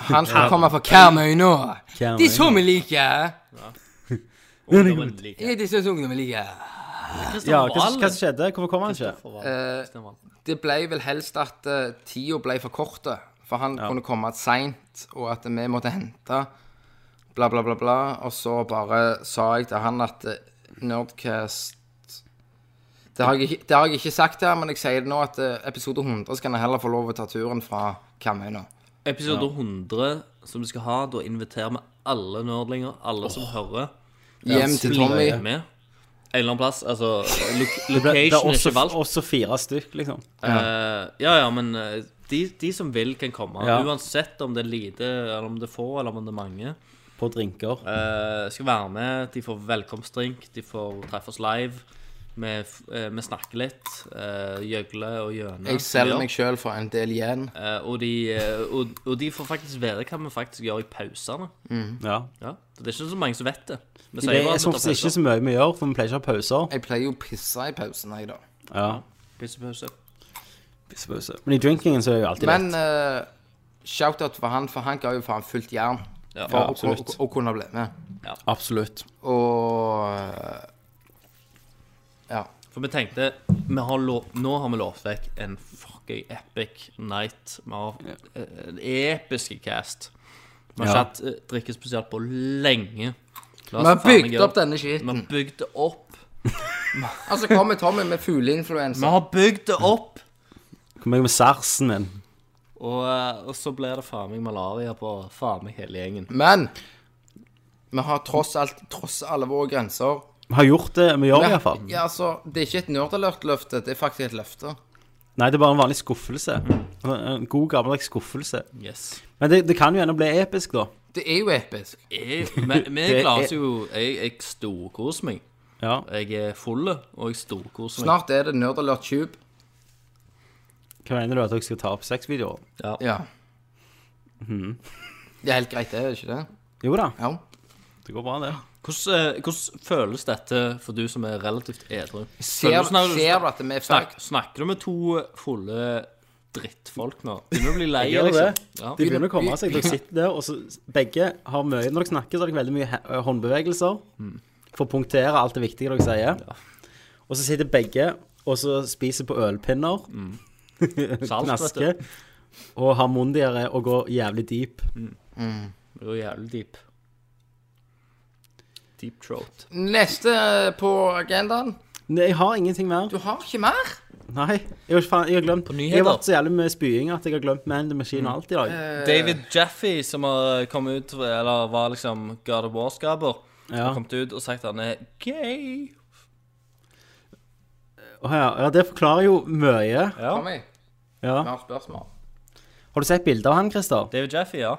Speaker 2: Han skal komme fra Karmøy nå.
Speaker 1: Karmøy.
Speaker 2: De som vi liker.
Speaker 3: Ungdommen liker
Speaker 2: Er disse ungdommene vi liker.
Speaker 3: Kristian
Speaker 1: Ja, hva,
Speaker 3: Valen.
Speaker 1: hva som skjedde? Hvorfor kom han ikke?
Speaker 2: Eh,
Speaker 3: Kristian Valen. Kristian Valen.
Speaker 2: Det ble vel helst at uh, tida ble for korte, for han kunne komme seint, og at vi måtte hente, bla, bla, bla, bla. Og så bare sa jeg til han at eh, Nerdcast det har, jeg, ikke- det har jeg ikke sagt her, men jeg sier det nå at eh, episode 100 skal han heller få lov å ta turen fra Kamøy nå.
Speaker 3: Episode 100 som vi skal ha, da inviterer vi alle nerdlinger, alle som hører.
Speaker 2: Hjem til Tommy.
Speaker 3: Bli med. En eller annen plass. Altså, lo-
Speaker 1: Det er
Speaker 3: location er
Speaker 1: også,
Speaker 3: ikke valgt.
Speaker 1: også fire stykk, liksom.
Speaker 3: Eh, ja, ja, men eh, de, de som vil, kan komme.
Speaker 1: Ja.
Speaker 3: Uansett om det er lite, eller om det er få, eller om det er mange.
Speaker 1: På drinker.
Speaker 3: Eh, skal være med. De får velkomstdrink. De får treffe oss live. Vi, f- eh, vi snakker litt. eh, Gjøgler og gjøner.
Speaker 2: Jeg selger meg sjøl for en del igjen.
Speaker 3: Eh, og, de, eh, og, og de får faktisk vite hva vi faktisk gjør i pausene.
Speaker 1: Ja.
Speaker 3: Ja. Det er ikke så mange som vet det. Vi
Speaker 1: Det
Speaker 3: sier bare
Speaker 1: er sånn
Speaker 3: at
Speaker 1: som
Speaker 3: vi tar
Speaker 1: oftest ikke
Speaker 3: pauser.
Speaker 1: så mye vi gjør, for vi pleier ikke å ha pauser.
Speaker 2: Jeg pleier jo å pisse i pausen, jeg, da.
Speaker 1: Ja.
Speaker 3: Pissepause.
Speaker 1: pissepause. Men i drinkingen så er det jo alltid
Speaker 2: Men
Speaker 1: lett.
Speaker 2: eh, shout-out for han, for han ga jo faen fullt jern
Speaker 3: Ja.
Speaker 2: for å-
Speaker 1: absolutt.
Speaker 2: å, å kunne bli med.
Speaker 1: Absolutt.
Speaker 2: Og eh, Ja.
Speaker 3: For vi tenkte vi har lov, Nå har vi lovt vekk en fucking epic night. Vi har eh, en episke cast. Vi har
Speaker 1: Ja.
Speaker 3: ikke hatt eh, drikkespesialt på lenge. La
Speaker 2: Vi
Speaker 3: oss
Speaker 2: har
Speaker 3: faen
Speaker 2: bygd
Speaker 3: ikke
Speaker 2: opp denne
Speaker 3: Vi har
Speaker 2: skiten.
Speaker 3: bygd det opp.
Speaker 2: Og så kommer Tommy med
Speaker 3: Vi
Speaker 2: fugleinfluensa.
Speaker 3: har bygd det opp!
Speaker 1: Kom igjen med sarsen min.
Speaker 3: Og, eh, og så blir det faen meg malaria på faen meg hele gjengen.
Speaker 2: Men vi har tross alt tross alle våre grenser
Speaker 1: Vi har gjort det vi gjør, i hvert fall.
Speaker 2: ja, altså, Det er ikke et nerdalert-løfte, det er faktisk et løfte.
Speaker 1: Nei, det er bare en vanlig skuffelse. En god, gammeldags skuffelse.
Speaker 3: Yes.
Speaker 1: Men det, det kan jo ennå bli episk, da.
Speaker 2: Det er jo episk.
Speaker 3: Jeg, men,
Speaker 1: Det
Speaker 3: men jeg
Speaker 1: er-
Speaker 3: klarer oss jo Jeg, jeg storkoser meg.
Speaker 1: Ja.
Speaker 3: Jeg er full, og jeg storkoser meg.
Speaker 2: Snart er det nerdalert tube.
Speaker 1: Hva mener du at dere skal ta opp sexvideoer?
Speaker 2: Ja. Mhm. Det er helt greit, det, er det ikke det?
Speaker 1: Jo da,
Speaker 2: Ja.
Speaker 1: det går bra, det.
Speaker 3: Hvordan, eh, hvordan føles dette for du som er relativt edru?
Speaker 2: Ser,
Speaker 3: Føles når du-
Speaker 2: ser du at vi er
Speaker 3: Snak,
Speaker 2: fucked?
Speaker 3: snakker du med to fulle drittfolk nå? Begynner å bli lei,
Speaker 1: gjør
Speaker 3: liksom.
Speaker 1: det.
Speaker 3: Ja.
Speaker 1: De begynner å komme seg. Dere sitter der, og så begge har mye Når dere snakker, så har dere veldig mye he- håndbevegelser for å punktere alt det viktige dere sier. Og så sitter begge og så spiser på ølpinner,
Speaker 3: Salt,
Speaker 1: knasker,
Speaker 3: vet
Speaker 1: og har munndiaré og går jævlig deep.
Speaker 3: du. Det er jo jævlig deep. Deep throat.
Speaker 2: Neste på agendaen
Speaker 1: Nei, jeg har ingenting mer.
Speaker 2: Du har ikke mer?
Speaker 1: Nei. Jeg har, faen, jeg har glemt
Speaker 3: nyheter. Mm.
Speaker 1: Jeg har vært så jævlig med spying at jeg har glemt Man the Machine og alt i dag.
Speaker 2: Eh.
Speaker 3: David Jaffe, som har kommet ut Eller var liksom God of War-skaper,
Speaker 1: Ja.
Speaker 3: har kommet ut og sagt han er gay.
Speaker 1: Å ja. ja, det forklarer jo mye.
Speaker 2: Tommy,
Speaker 1: Ja.
Speaker 2: vi har spørsmål.
Speaker 1: Har du sett bilde av han, Christer?
Speaker 3: David Jaffe, ja.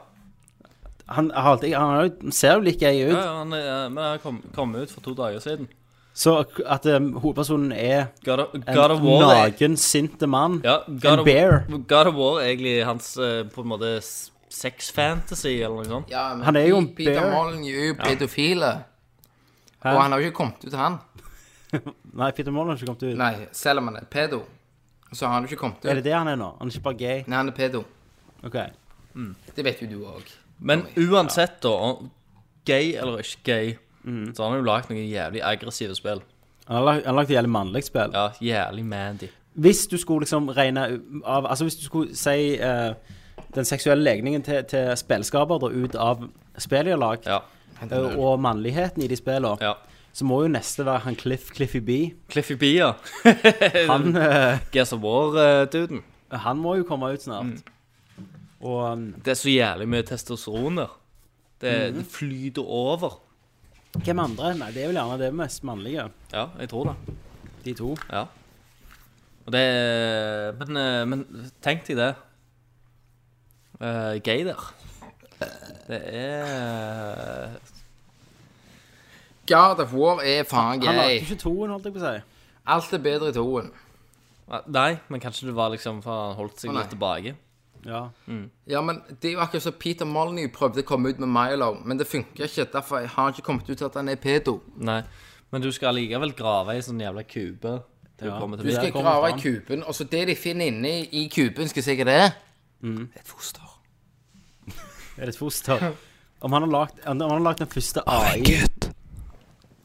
Speaker 1: Han, har alltid, han har jo- ser jo like gøy ut.
Speaker 3: ja han, er- eh, men han kom, kom ut for to dager siden.
Speaker 1: Så at um, hovedpersonen er
Speaker 3: God of,
Speaker 1: en
Speaker 3: God of War er,
Speaker 1: naken, sinte mann.
Speaker 3: ja, God
Speaker 1: en
Speaker 3: of,
Speaker 1: bear.
Speaker 3: God of War er egentlig hans eh, på en måte s- sex fantasy, eller noe sånt.
Speaker 2: Ja, men
Speaker 1: Han er jo en
Speaker 2: Pe- Peter
Speaker 1: bear.
Speaker 2: Molyneux er jo pedofile.
Speaker 1: Hæ?
Speaker 2: Og han har jo ikke kommet ut, han.
Speaker 1: Nei, Peter Mollen har ikke kommet ut.
Speaker 2: Nei, selv om han er pedo, så har han jo ikke kommet ut.
Speaker 1: Er det det han er nå? Han er ikke bare gay?
Speaker 2: Nei, han er pedo.
Speaker 1: Ok.
Speaker 2: Det vet jo du òg.
Speaker 3: Men uansett, da, om gay eller ikke gay, så har han jo lagd noen jævlig aggressive spill.
Speaker 1: Han har lag- han har lagt et jævlig mannlig spill.
Speaker 3: Ja, jævlig mandy.
Speaker 1: Hvis du skulle liksom regne u- av Altså hvis du skulle si eh, den seksuelle legningen til, til spillskaper da, ut av spillet de har lagd,
Speaker 3: Ja.
Speaker 1: eh, og mannligheten i de spillene,
Speaker 3: ja.
Speaker 1: så må jo neste være han Cliff Cliffy B.
Speaker 3: Cliffy B, ja.
Speaker 1: Han, eh,
Speaker 3: Gears of War-duden.
Speaker 1: han må jo komme ut
Speaker 3: Mm.
Speaker 1: snart. Og um,
Speaker 3: Det er så jævlig mye testosteron der. Det, det flyter over.
Speaker 1: hvem andre? Nei, det er vel gjerne det mest mannlige.
Speaker 3: Ja, jeg tror det.
Speaker 1: De to.
Speaker 3: Ja. Og det Men, eh, men tenk deg det. Uh, gay der. Det eh, er
Speaker 2: God of War er
Speaker 1: Han
Speaker 2: faen
Speaker 1: lagde jo
Speaker 2: gay.
Speaker 1: ikke toen, holdt jeg på å si.
Speaker 2: Alt er bedre i toen.
Speaker 3: Nei, men kanskje det var liksom for han holdt seg
Speaker 2: Å, nei.
Speaker 3: litt tilbake.
Speaker 1: Ja.
Speaker 2: Ja, men det er jo akkurat som Peter Molyneux prøvde å komme ut med Milo, men det funker ikke. Derfor har han ikke kommet ut til at han er pedo.
Speaker 3: Nei. Men du skal likevel grave i sånn jævla kube. Til du kommer til
Speaker 2: Du
Speaker 3: der
Speaker 2: skal
Speaker 3: kommer
Speaker 2: grave
Speaker 3: fram.
Speaker 2: i kuben, og så det de finner inni i kuben, skal jeg si hva det er. Et foster.
Speaker 1: Er det et foster?
Speaker 3: [laughs]
Speaker 1: Om han har lagt, om han har lagt den første AI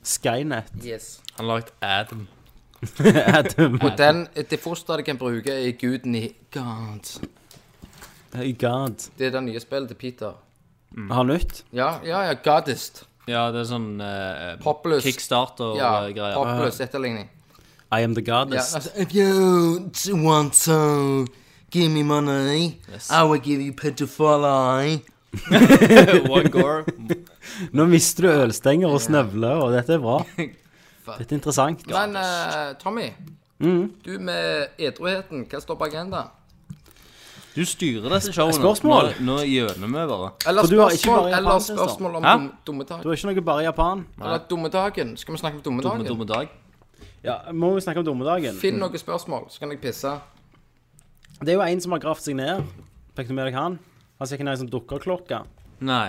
Speaker 1: Skynet. [laughs]
Speaker 2: Yes.
Speaker 3: Han har lagt Adam.
Speaker 1: Adam.
Speaker 2: Og den, det fosteret de kan bruke, er guden i God.
Speaker 1: Hey God.
Speaker 2: Det er det nye spillet til Peter.
Speaker 3: Mm.
Speaker 1: Har han nytt?
Speaker 2: Ja, ja, ja, Goddest.
Speaker 3: Ja, det er sånn eh,
Speaker 2: Poplus. Ja,
Speaker 3: kickstarter-greier.
Speaker 2: Popless
Speaker 1: Ah.
Speaker 2: etterligning.
Speaker 1: I am the
Speaker 2: Ja,
Speaker 1: goddess.
Speaker 2: altså, if you want to give me money, I will give you pedophile.
Speaker 3: [laughs] One gore.
Speaker 1: Nå mister du ølstenger og snøvler, og dette er [laughs] bra. Dette er interessant.
Speaker 2: Men eh, Tommy,
Speaker 1: Mm.
Speaker 2: du med edruheten, hva står på agendaen?
Speaker 3: Du styrer disse showene.
Speaker 1: Spørsmål?
Speaker 3: Nå, nå gjøner vi bare.
Speaker 2: Eller
Speaker 1: For du har ikke
Speaker 2: spørsmål,
Speaker 1: bare
Speaker 2: eller
Speaker 1: japansk, da?
Speaker 2: spørsmål om
Speaker 3: Hæ?
Speaker 2: dum, dummetak.
Speaker 1: Du er ikke noe bare i Japan.
Speaker 2: Eller dummedagen. Skal vi snakke om dummedagen?
Speaker 3: Dumme, dumme dag.
Speaker 1: Ja, Må vi snakke om dommedagen?
Speaker 3: Mm.
Speaker 2: Finn noen spørsmål, så kan jeg pisse.
Speaker 1: Det er jo en som har gravd seg ned. Fikk du med deg han? Han fikk en sånn dukkerklokke.
Speaker 3: Nei.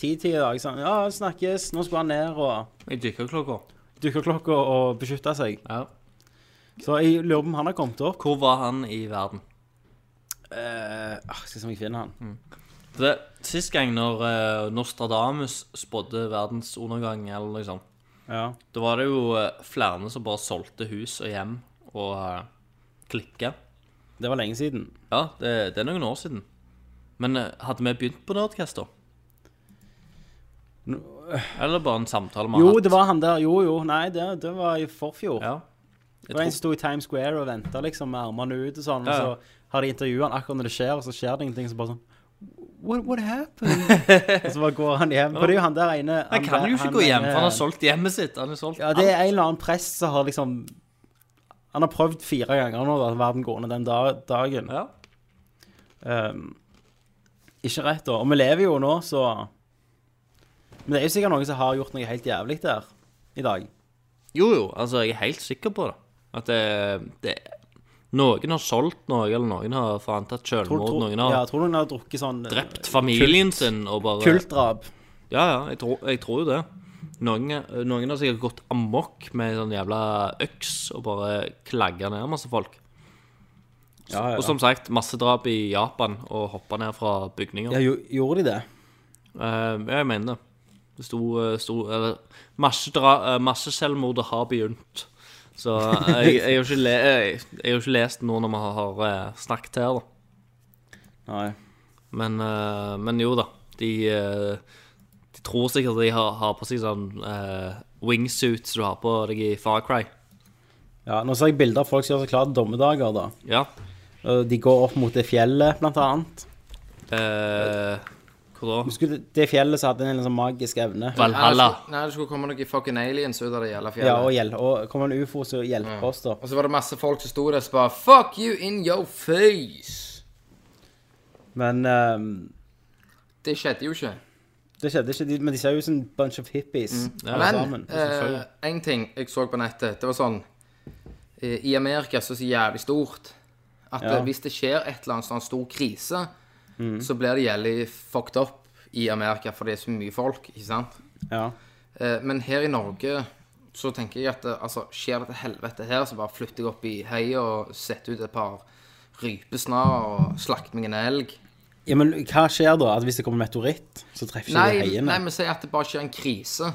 Speaker 1: Ti-ti i dag. sa han, ja, snakkes. Nå skulle han ned og
Speaker 3: Jeg dykker klokka.
Speaker 1: dukkerklokka og beskytte seg.
Speaker 3: Ja.
Speaker 1: Så jeg lurer på om han har kommet opp.
Speaker 3: Hvor var han i verden?
Speaker 1: Eh, ah, skal vi se om jeg finner han.
Speaker 3: For Det, sist gang når eh, Nostradamus spådde verdens undergang, eller noe sånt,
Speaker 1: Ja.
Speaker 3: da var det jo eh, flere som bare solgte hus og hjem og uh, klikka.
Speaker 1: Det var lenge siden.
Speaker 3: Ja, det, det er noen år siden. Men eh, hadde vi begynt på Nerdcast da? Eller bare en samtale med
Speaker 1: eh. Jo, det var han der. Jo, jo. Nei, det, det var i forfjor.
Speaker 3: Ja.
Speaker 1: Det var en som sto i Times Square og venta liksom, med armene ut og sånn.
Speaker 3: Ja,
Speaker 1: Og
Speaker 3: ja.
Speaker 1: så har de intervjua han akkurat når det skjer, og så skjer det ingenting. Så bare sånn What, what
Speaker 3: [laughs]
Speaker 1: happened? og så bare går han hjem. For det er jo han der ene
Speaker 3: Han kan jo ikke gå hjem, for han har
Speaker 1: ene-
Speaker 3: solgt hjemmet sitt. Han har solgt
Speaker 1: Ja, det er en eller annen prest som har liksom Han har prøvd fire ganger nå da, at verden går ned den da- dagen.
Speaker 3: Ja.
Speaker 1: Ehm, ikke rett, da. Og vi lever jo nå, så Men det er jo sikkert noen som har gjort noe helt jævlig der i dag.
Speaker 3: Jo, jo, altså, jeg er helt sikker på det. At det, det Noen har solgt noe, eller noen har faen tatt
Speaker 1: Tror,
Speaker 3: selvmord.
Speaker 1: tror,
Speaker 3: Noen
Speaker 1: ja,
Speaker 3: har
Speaker 1: tror noen har drukket sånn eh,
Speaker 3: drept familien sin og bare
Speaker 1: Kultdrap.
Speaker 3: Ja, ja, jeg tror, jeg tror jo det. Noen, eh, noen har sikkert gått amok med sånn jævla øks og bare klagga ned masse folk.
Speaker 1: Ja, ja,
Speaker 3: Og som sagt, massedrap i Japan og hoppa ned fra bygninger.
Speaker 1: Ja,
Speaker 3: Eh,
Speaker 1: jo, gjorde de det?
Speaker 3: jeg mener det. Det sto, eh, sto eller, massedra- eh, Masseselvmordet har begynt. Så eh, jeg, jeg, har ikke le, eh, jeg, jeg har ikke lest noe når vi har, har eh, snakket her, da.
Speaker 1: Nei.
Speaker 3: Men, eh, men jo da, de, eh, de tror sikkert de har, har på seg sånn uh, wingsuit som du har på deg i Far Cry.
Speaker 1: Ja, nå ser jeg bilder av folk som gjør seg klare til dommedager, da.
Speaker 3: Ja.
Speaker 1: Og De går opp mot det fjellet, blant annet.
Speaker 3: Eh, hvor da?
Speaker 1: Husker du det fjellet som hadde en sånn magisk evne?
Speaker 3: Valhalla.
Speaker 2: Nei, det skulle- Nei, det skulle komme noen fucking aliens ut av det jævla
Speaker 1: Ja, og,
Speaker 2: fjellet.
Speaker 1: hjel og kom en ufo som hjelper oss, da.
Speaker 2: Og så var det masse folk som sto der og bare Fuck you in your face!
Speaker 1: Men ehm,
Speaker 2: Det skjedde jo ikke.
Speaker 1: det skjedde ikke. De, men de ser jo ut som en bunch of hippies. alle
Speaker 2: Mm. Men eh,
Speaker 1: sammen.
Speaker 2: én ting jeg så på nettet, det var sånn eh, I Amerika så er det så jævlig stort at
Speaker 1: Ja.
Speaker 2: eh, hvis det skjer et eller annet sånn stor krise, så blir det jævlig fucked up i Amerika, for det er så mye folk, ikke sant?
Speaker 1: Ja.
Speaker 2: Eh, Men her i Norge så tenker jeg at eh, altså, skjer dette helvete her, så bare flytter jeg opp i heia og setter ut et par rypesnarer og slakter meg en elg.
Speaker 1: ja, men hva skjer da? At hvis det kommer meteoritt, så treffer ikke det
Speaker 2: Nei,
Speaker 1: heiene?
Speaker 2: nei, men si at det bare skjer en krise.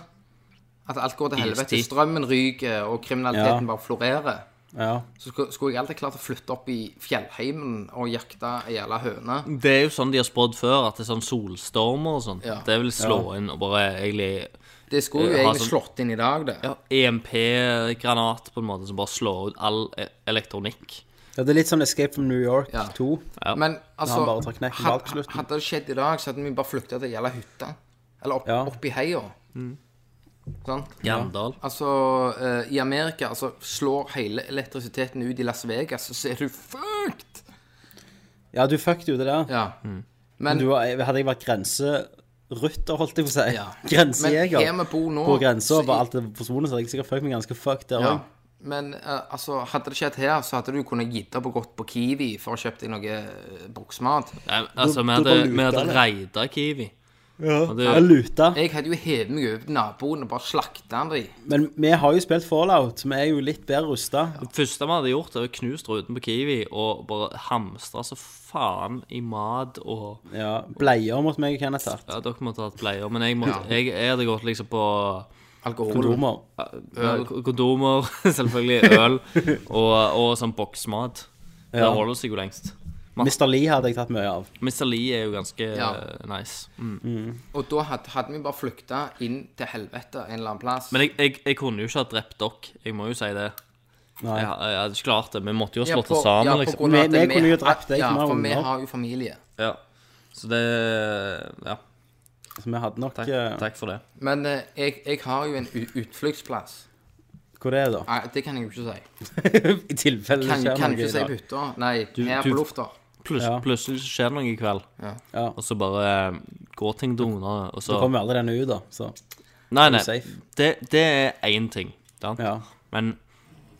Speaker 2: At alt går til helvete.
Speaker 3: Istid.
Speaker 2: Strømmen ryker, og
Speaker 1: Ja.
Speaker 2: kriminaliteten bare florerer.
Speaker 1: Ja.
Speaker 2: Så sku- skulle jeg alltid klart å flytte opp i fjellheimen og jakte ei jævla høne.
Speaker 3: Det er jo sånn de har spådd før, at det er sånn solstormer og sånn.
Speaker 2: Ja.
Speaker 3: Det vil slå inn og bare egentlig
Speaker 2: Det skulle jo
Speaker 3: Eh, ha
Speaker 2: egentlig
Speaker 3: sånn-
Speaker 2: slått inn i dag, det.
Speaker 3: ja, EMP-granat på en måte som bare slår ut all e- elektronikk.
Speaker 1: ja. Det er litt sånn Escape from New York
Speaker 2: Ja.
Speaker 1: 2.
Speaker 2: Men altså,
Speaker 1: han bare tar knekken
Speaker 2: had-
Speaker 1: bak på slutten.
Speaker 2: hadde det skjedd i dag, så hadde vi bare flytta til ei jævla hytte. Eller opp,
Speaker 1: Ja.
Speaker 2: opp i heia. Sant?
Speaker 3: Jandal.
Speaker 2: Altså, eh, i Amerika altså, slår hele elektrisiteten ut i Las Vegas, så er du fucked!
Speaker 1: Ja, du fucket jo det der.
Speaker 2: Ja. Men,
Speaker 1: Du, var- hadde jeg vært grenserytter, holdt jeg på å si.
Speaker 2: Ja. men
Speaker 1: [laughs] Grensejeger.
Speaker 2: her vi bor nå
Speaker 1: på grensa
Speaker 2: så
Speaker 1: og bare
Speaker 2: i-
Speaker 1: alt er forsvunnet, så hadde jeg sikkert følt meg ganske fucked der
Speaker 2: Ja.
Speaker 1: òg.
Speaker 2: Men eh, altså, hadde det skjedd her, så hadde du kunnet gitt opp og gått på Kiwi for å kjøpt deg noe eh, bruksmat.
Speaker 3: Nei, altså, vi
Speaker 1: du
Speaker 3: hadde,
Speaker 1: bare
Speaker 3: vi hadde
Speaker 1: luta det.
Speaker 3: raida Kiwi. Og det-
Speaker 1: Jeg luta.
Speaker 2: Jeg hadde jo hevet meg over til naboen og bare slakta han de.
Speaker 1: Men vi har jo spilt Fallout, så vi er jo litt bedre rusta.
Speaker 3: det første vi hadde gjort, det var å knuse ruten på Kiwi og bare hamstra så faen i mat og
Speaker 1: Ja, bleier mot meg kan jeg tatt.
Speaker 3: Ja, dere måtte hatt bleier, men jeg, måtte, jeg, jeg hadde gått liksom på
Speaker 2: Alkohol.
Speaker 1: Kondomer.
Speaker 3: ja, kondomer, [laughs] selvfølgelig,
Speaker 1: [laughs]
Speaker 3: øl og, og sånn boksmat. Det
Speaker 1: Ja.
Speaker 3: holder seg jo lengst.
Speaker 1: Mr. Lee hadde jeg tatt mye av.
Speaker 3: Mr. Lee er jo ganske
Speaker 2: Ja.
Speaker 3: eh, nice. Mm.
Speaker 2: Og da hadde, hadde vi bare flykta inn til helvete en eller annen plass.
Speaker 3: Men jeg, jeg, jeg kunne jo ikke ha drept dere, jeg må jo si det.
Speaker 1: Nei.
Speaker 3: Jeg, jeg hadde ikke klart det. Vi måtte jo ha
Speaker 2: Ja,
Speaker 3: slått
Speaker 2: på-
Speaker 3: oss sammen,
Speaker 2: ja, på
Speaker 3: liksom.
Speaker 2: grunn av
Speaker 1: Vi-
Speaker 2: at
Speaker 1: vi kunne jo drept deg,
Speaker 2: Ja,
Speaker 1: for vi har
Speaker 2: for vi
Speaker 1: unger.
Speaker 2: har jo familie.
Speaker 3: Ja. Så det Ja.
Speaker 1: Så vi hadde nok
Speaker 3: Takk,
Speaker 1: eh,
Speaker 3: takk for det.
Speaker 2: Men eh, jeg, jeg har jo en u- utfluktsplass.
Speaker 1: Hvor det er da? [laughs]
Speaker 2: Nei, det kan jeg jo ikke si.
Speaker 1: I tilfelle det
Speaker 2: Kan,
Speaker 1: skjer
Speaker 2: kan
Speaker 1: noe
Speaker 2: ikke
Speaker 1: i
Speaker 2: si
Speaker 1: dag.
Speaker 2: bytta. Nei, her
Speaker 3: du-
Speaker 2: på lufta.
Speaker 3: Plus,
Speaker 1: Ja.
Speaker 3: Plutselig så skjer det noe i kveld,
Speaker 1: Ja.
Speaker 3: og så bare eh, går ting til under, og så
Speaker 1: Så kommer aldri denne ut, da. Så
Speaker 3: Nei, nei.
Speaker 1: safe.
Speaker 3: Det, det er én ting. sant?
Speaker 1: ja.
Speaker 3: Men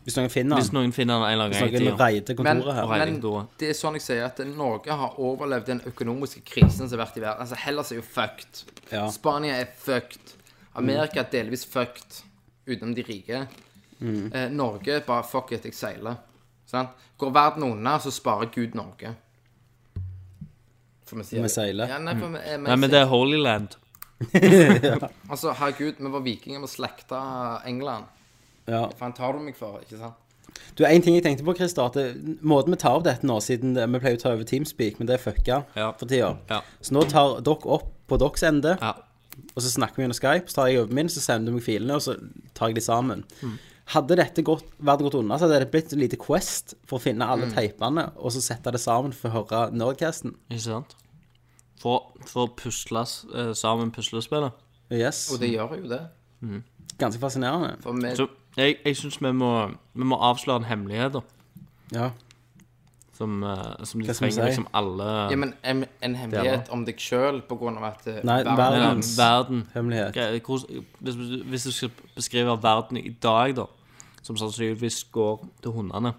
Speaker 1: Hvis noen finner
Speaker 3: hvis
Speaker 1: den,
Speaker 3: noen finner den en eller
Speaker 1: hvis
Speaker 3: annen gang i
Speaker 1: noen
Speaker 3: tida
Speaker 1: reider
Speaker 2: Men,
Speaker 1: kontoret her
Speaker 2: men
Speaker 3: Regning,
Speaker 2: det er sånn jeg sier at Norge har overlevd den økonomiske krisen som har vært i verden. Altså, Hellas er jo fucked.
Speaker 1: Ja.
Speaker 2: Spania er fucked. Amerika er delvis fucked, utenom de rike.
Speaker 1: Mm.
Speaker 2: Eh, Norge bare fuck it, jeg seiler. Sant? Går verden unna, så sparer Gud Norge. For vi sier
Speaker 1: Vi seiler.
Speaker 2: Ja, nei, for vi, eh, vi
Speaker 3: Mm. Nei, men det er Holy Land.
Speaker 2: Altså, herregud, vi var vikinger, vi slakta England.
Speaker 1: Ja.
Speaker 2: Faen tar du meg for, ikke sant?
Speaker 1: Du, en ting jeg tenkte på, Christer, at det, måten vi tar opp dette nå, siden det, vi pleier å ta over Teamspeak, men det er fucka
Speaker 3: Ja.
Speaker 1: for tida.
Speaker 3: Ja.
Speaker 1: Så nå tar dere opp på deres ende,
Speaker 3: Ja.
Speaker 1: og så snakker vi gjennom Skype, så tar jeg over min, så sender du meg filene, og så tar jeg de sammen.
Speaker 3: Mm.
Speaker 1: Hadde dette gått, vært gått unna, så hadde det blitt et lite quest for å finne alle
Speaker 3: Mm.
Speaker 1: teipene, og så sette det sammen for å høre Nerdcasten.
Speaker 3: Ikke sant? For, for å pusle eh, sammen puslespillet.
Speaker 1: Yes.
Speaker 3: Oh,
Speaker 2: Og det gjør jo det.
Speaker 1: Ganske fascinerende.
Speaker 2: For vi,
Speaker 3: Så jeg, jeg syns vi, må- vi må avsløre en hemmelighet, da.
Speaker 1: Ja.
Speaker 3: Som, eh, som de
Speaker 1: Hva skal vi
Speaker 3: trenger
Speaker 1: si?
Speaker 3: liksom alle
Speaker 2: ja, men en, en hemmelighet om deg sjøl på grunn av at eh,
Speaker 1: Nei,
Speaker 3: Ja,
Speaker 1: verden.
Speaker 3: Verden.
Speaker 1: Hemmelighet.
Speaker 3: Hva- hvordan- Hvis, hvis du skal beskrive verden i dag, da, som sannsynligvis går til hundene,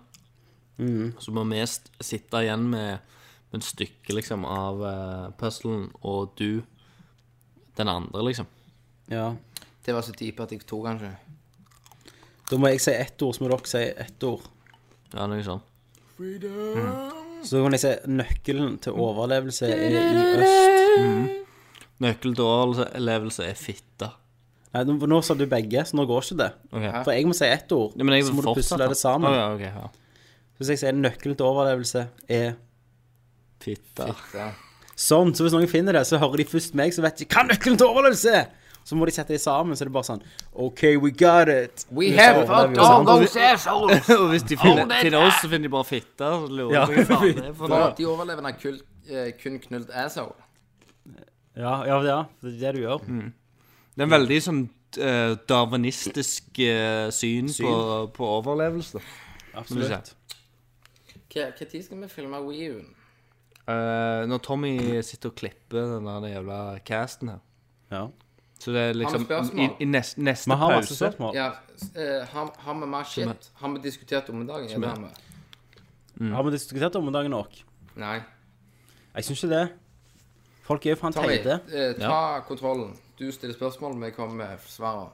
Speaker 1: Mm.
Speaker 3: så må vi s- sitte igjen med, med et stykke liksom, av uh, puzzlen, og du den andre, liksom.
Speaker 1: Ja.
Speaker 2: Det var så dypt at jeg tok den ikke.
Speaker 1: Da må jeg si ett ord, så må dere si ett ord.
Speaker 3: Ja, noe sånt.
Speaker 1: Så kan jeg si nøkkelen
Speaker 3: Mm.
Speaker 1: til overlevelse er i øst.
Speaker 3: Nøkkel til overlevelse er fitte.
Speaker 1: Nei, nå, nå sa du begge, så nå går ikke det.
Speaker 3: Ok.
Speaker 1: For jeg må si ett ord,
Speaker 3: Ja, men jeg
Speaker 1: så
Speaker 3: vil
Speaker 1: må du
Speaker 3: fortsette.
Speaker 1: pusle det sammen.
Speaker 3: Å, ja, ok, ja.
Speaker 1: Hvis jeg sier nøkkelen til overlevelse E. er
Speaker 3: Fitte.
Speaker 2: Ja.
Speaker 1: sånn, så hvis noen finner det, så hører de først meg, så vet de hva nøkkelen til overlevelse er! Så må de sette det sammen, så er det bare sånn OK, we got it.
Speaker 2: We
Speaker 1: Så
Speaker 2: have
Speaker 1: overlever
Speaker 2: fucked
Speaker 1: jo
Speaker 2: all
Speaker 1: sammen.
Speaker 2: those assholes!
Speaker 3: [laughs] Og hvis de finner,
Speaker 2: Hold it
Speaker 3: finner oss, så finner de bare fitte. så lurer
Speaker 1: Ja.
Speaker 3: jeg på hva faen det er for noe.
Speaker 2: For de overlevende har kul- eh, kun knullet asshole.
Speaker 1: Ja, ja, ja, det er det du gjør.
Speaker 3: Mm. Det er en veldig sånn eh, darwinistisk eh, syn, På, på overlevelse.
Speaker 1: Absolutt.
Speaker 2: Hva hva tid skal vi filme WeUn?
Speaker 3: Eh, når Tommy sitter og klipper den der jævla casten her
Speaker 1: Ja.
Speaker 3: Så det er liksom
Speaker 2: Har vi
Speaker 3: I,
Speaker 2: spørsmål?
Speaker 3: i neste, neste
Speaker 1: Vi har masse
Speaker 3: pause
Speaker 1: spørsmål.
Speaker 2: Ja, s- eh, har har vi mer shit? Har vi diskutert dommedagen? Er det har vi?
Speaker 1: Har vi diskutert dommedagen nok?
Speaker 2: Nei.
Speaker 1: Jeg syns ikke det. Folk er jo faen
Speaker 2: Tommy,
Speaker 1: teite.
Speaker 2: eh, ta kontrollen. Du stiller spørsmål, vi kommer med svarene.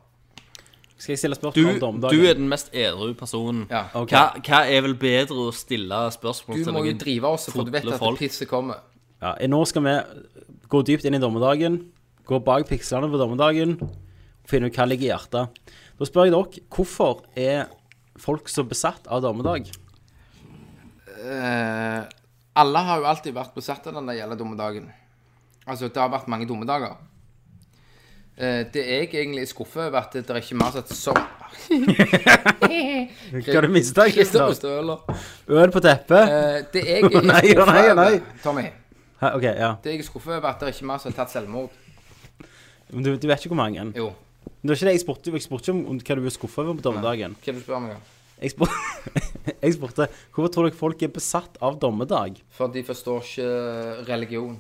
Speaker 1: Skal jeg stille
Speaker 3: du,
Speaker 1: spørsmål om
Speaker 3: du
Speaker 1: dommedagen?
Speaker 3: er den mest edru personen.
Speaker 2: Ja.
Speaker 1: Ok.
Speaker 3: Hva, hva er vel bedre å stille spørsmål
Speaker 2: Du
Speaker 3: til
Speaker 2: må jo
Speaker 3: noen
Speaker 2: drive oss, for du vet
Speaker 3: fotle
Speaker 2: at
Speaker 3: folk.
Speaker 2: pisset kommer.
Speaker 1: Ja, nå skal vi gå dypt inn i dommedagen, gå bak pikslene på dommedagen, og finne ut hva ligger i hjertet. Da spør jeg dere, hvorfor er folk så besatt av dommedag?
Speaker 2: Eh, alle har jo alltid vært besatt av den der gjelder dommedagen. Altså, det har vært mange dommedager. Eh, det jeg egentlig er skuffet over, at det er ikke mer satt som
Speaker 1: Hva har du mista,
Speaker 2: Kristian
Speaker 1: Christer?
Speaker 2: Østøler.
Speaker 1: Øl på teppet?
Speaker 2: Eh, det jeg er
Speaker 1: [laughs] Nei,
Speaker 2: skuffet
Speaker 1: nei,
Speaker 2: over,
Speaker 1: nei.
Speaker 2: Tommy,
Speaker 1: Hæ, OK, ja.
Speaker 2: det jeg er skuffet over, at det er ikke mer som har tatt selvmord.
Speaker 1: Men du, du vet ikke hvor mange. Men
Speaker 2: Jo,
Speaker 1: det var ikke det jeg spurte. Jeg spurte ikke om, om hva du ble skuffa over på dommedagen.
Speaker 2: hva er det du spør meg om?
Speaker 1: Jeg spurte, [laughs] jeg spurte hvorfor tror dere folk er besatt av dommedag?
Speaker 2: For de forstår ikke eh, religion.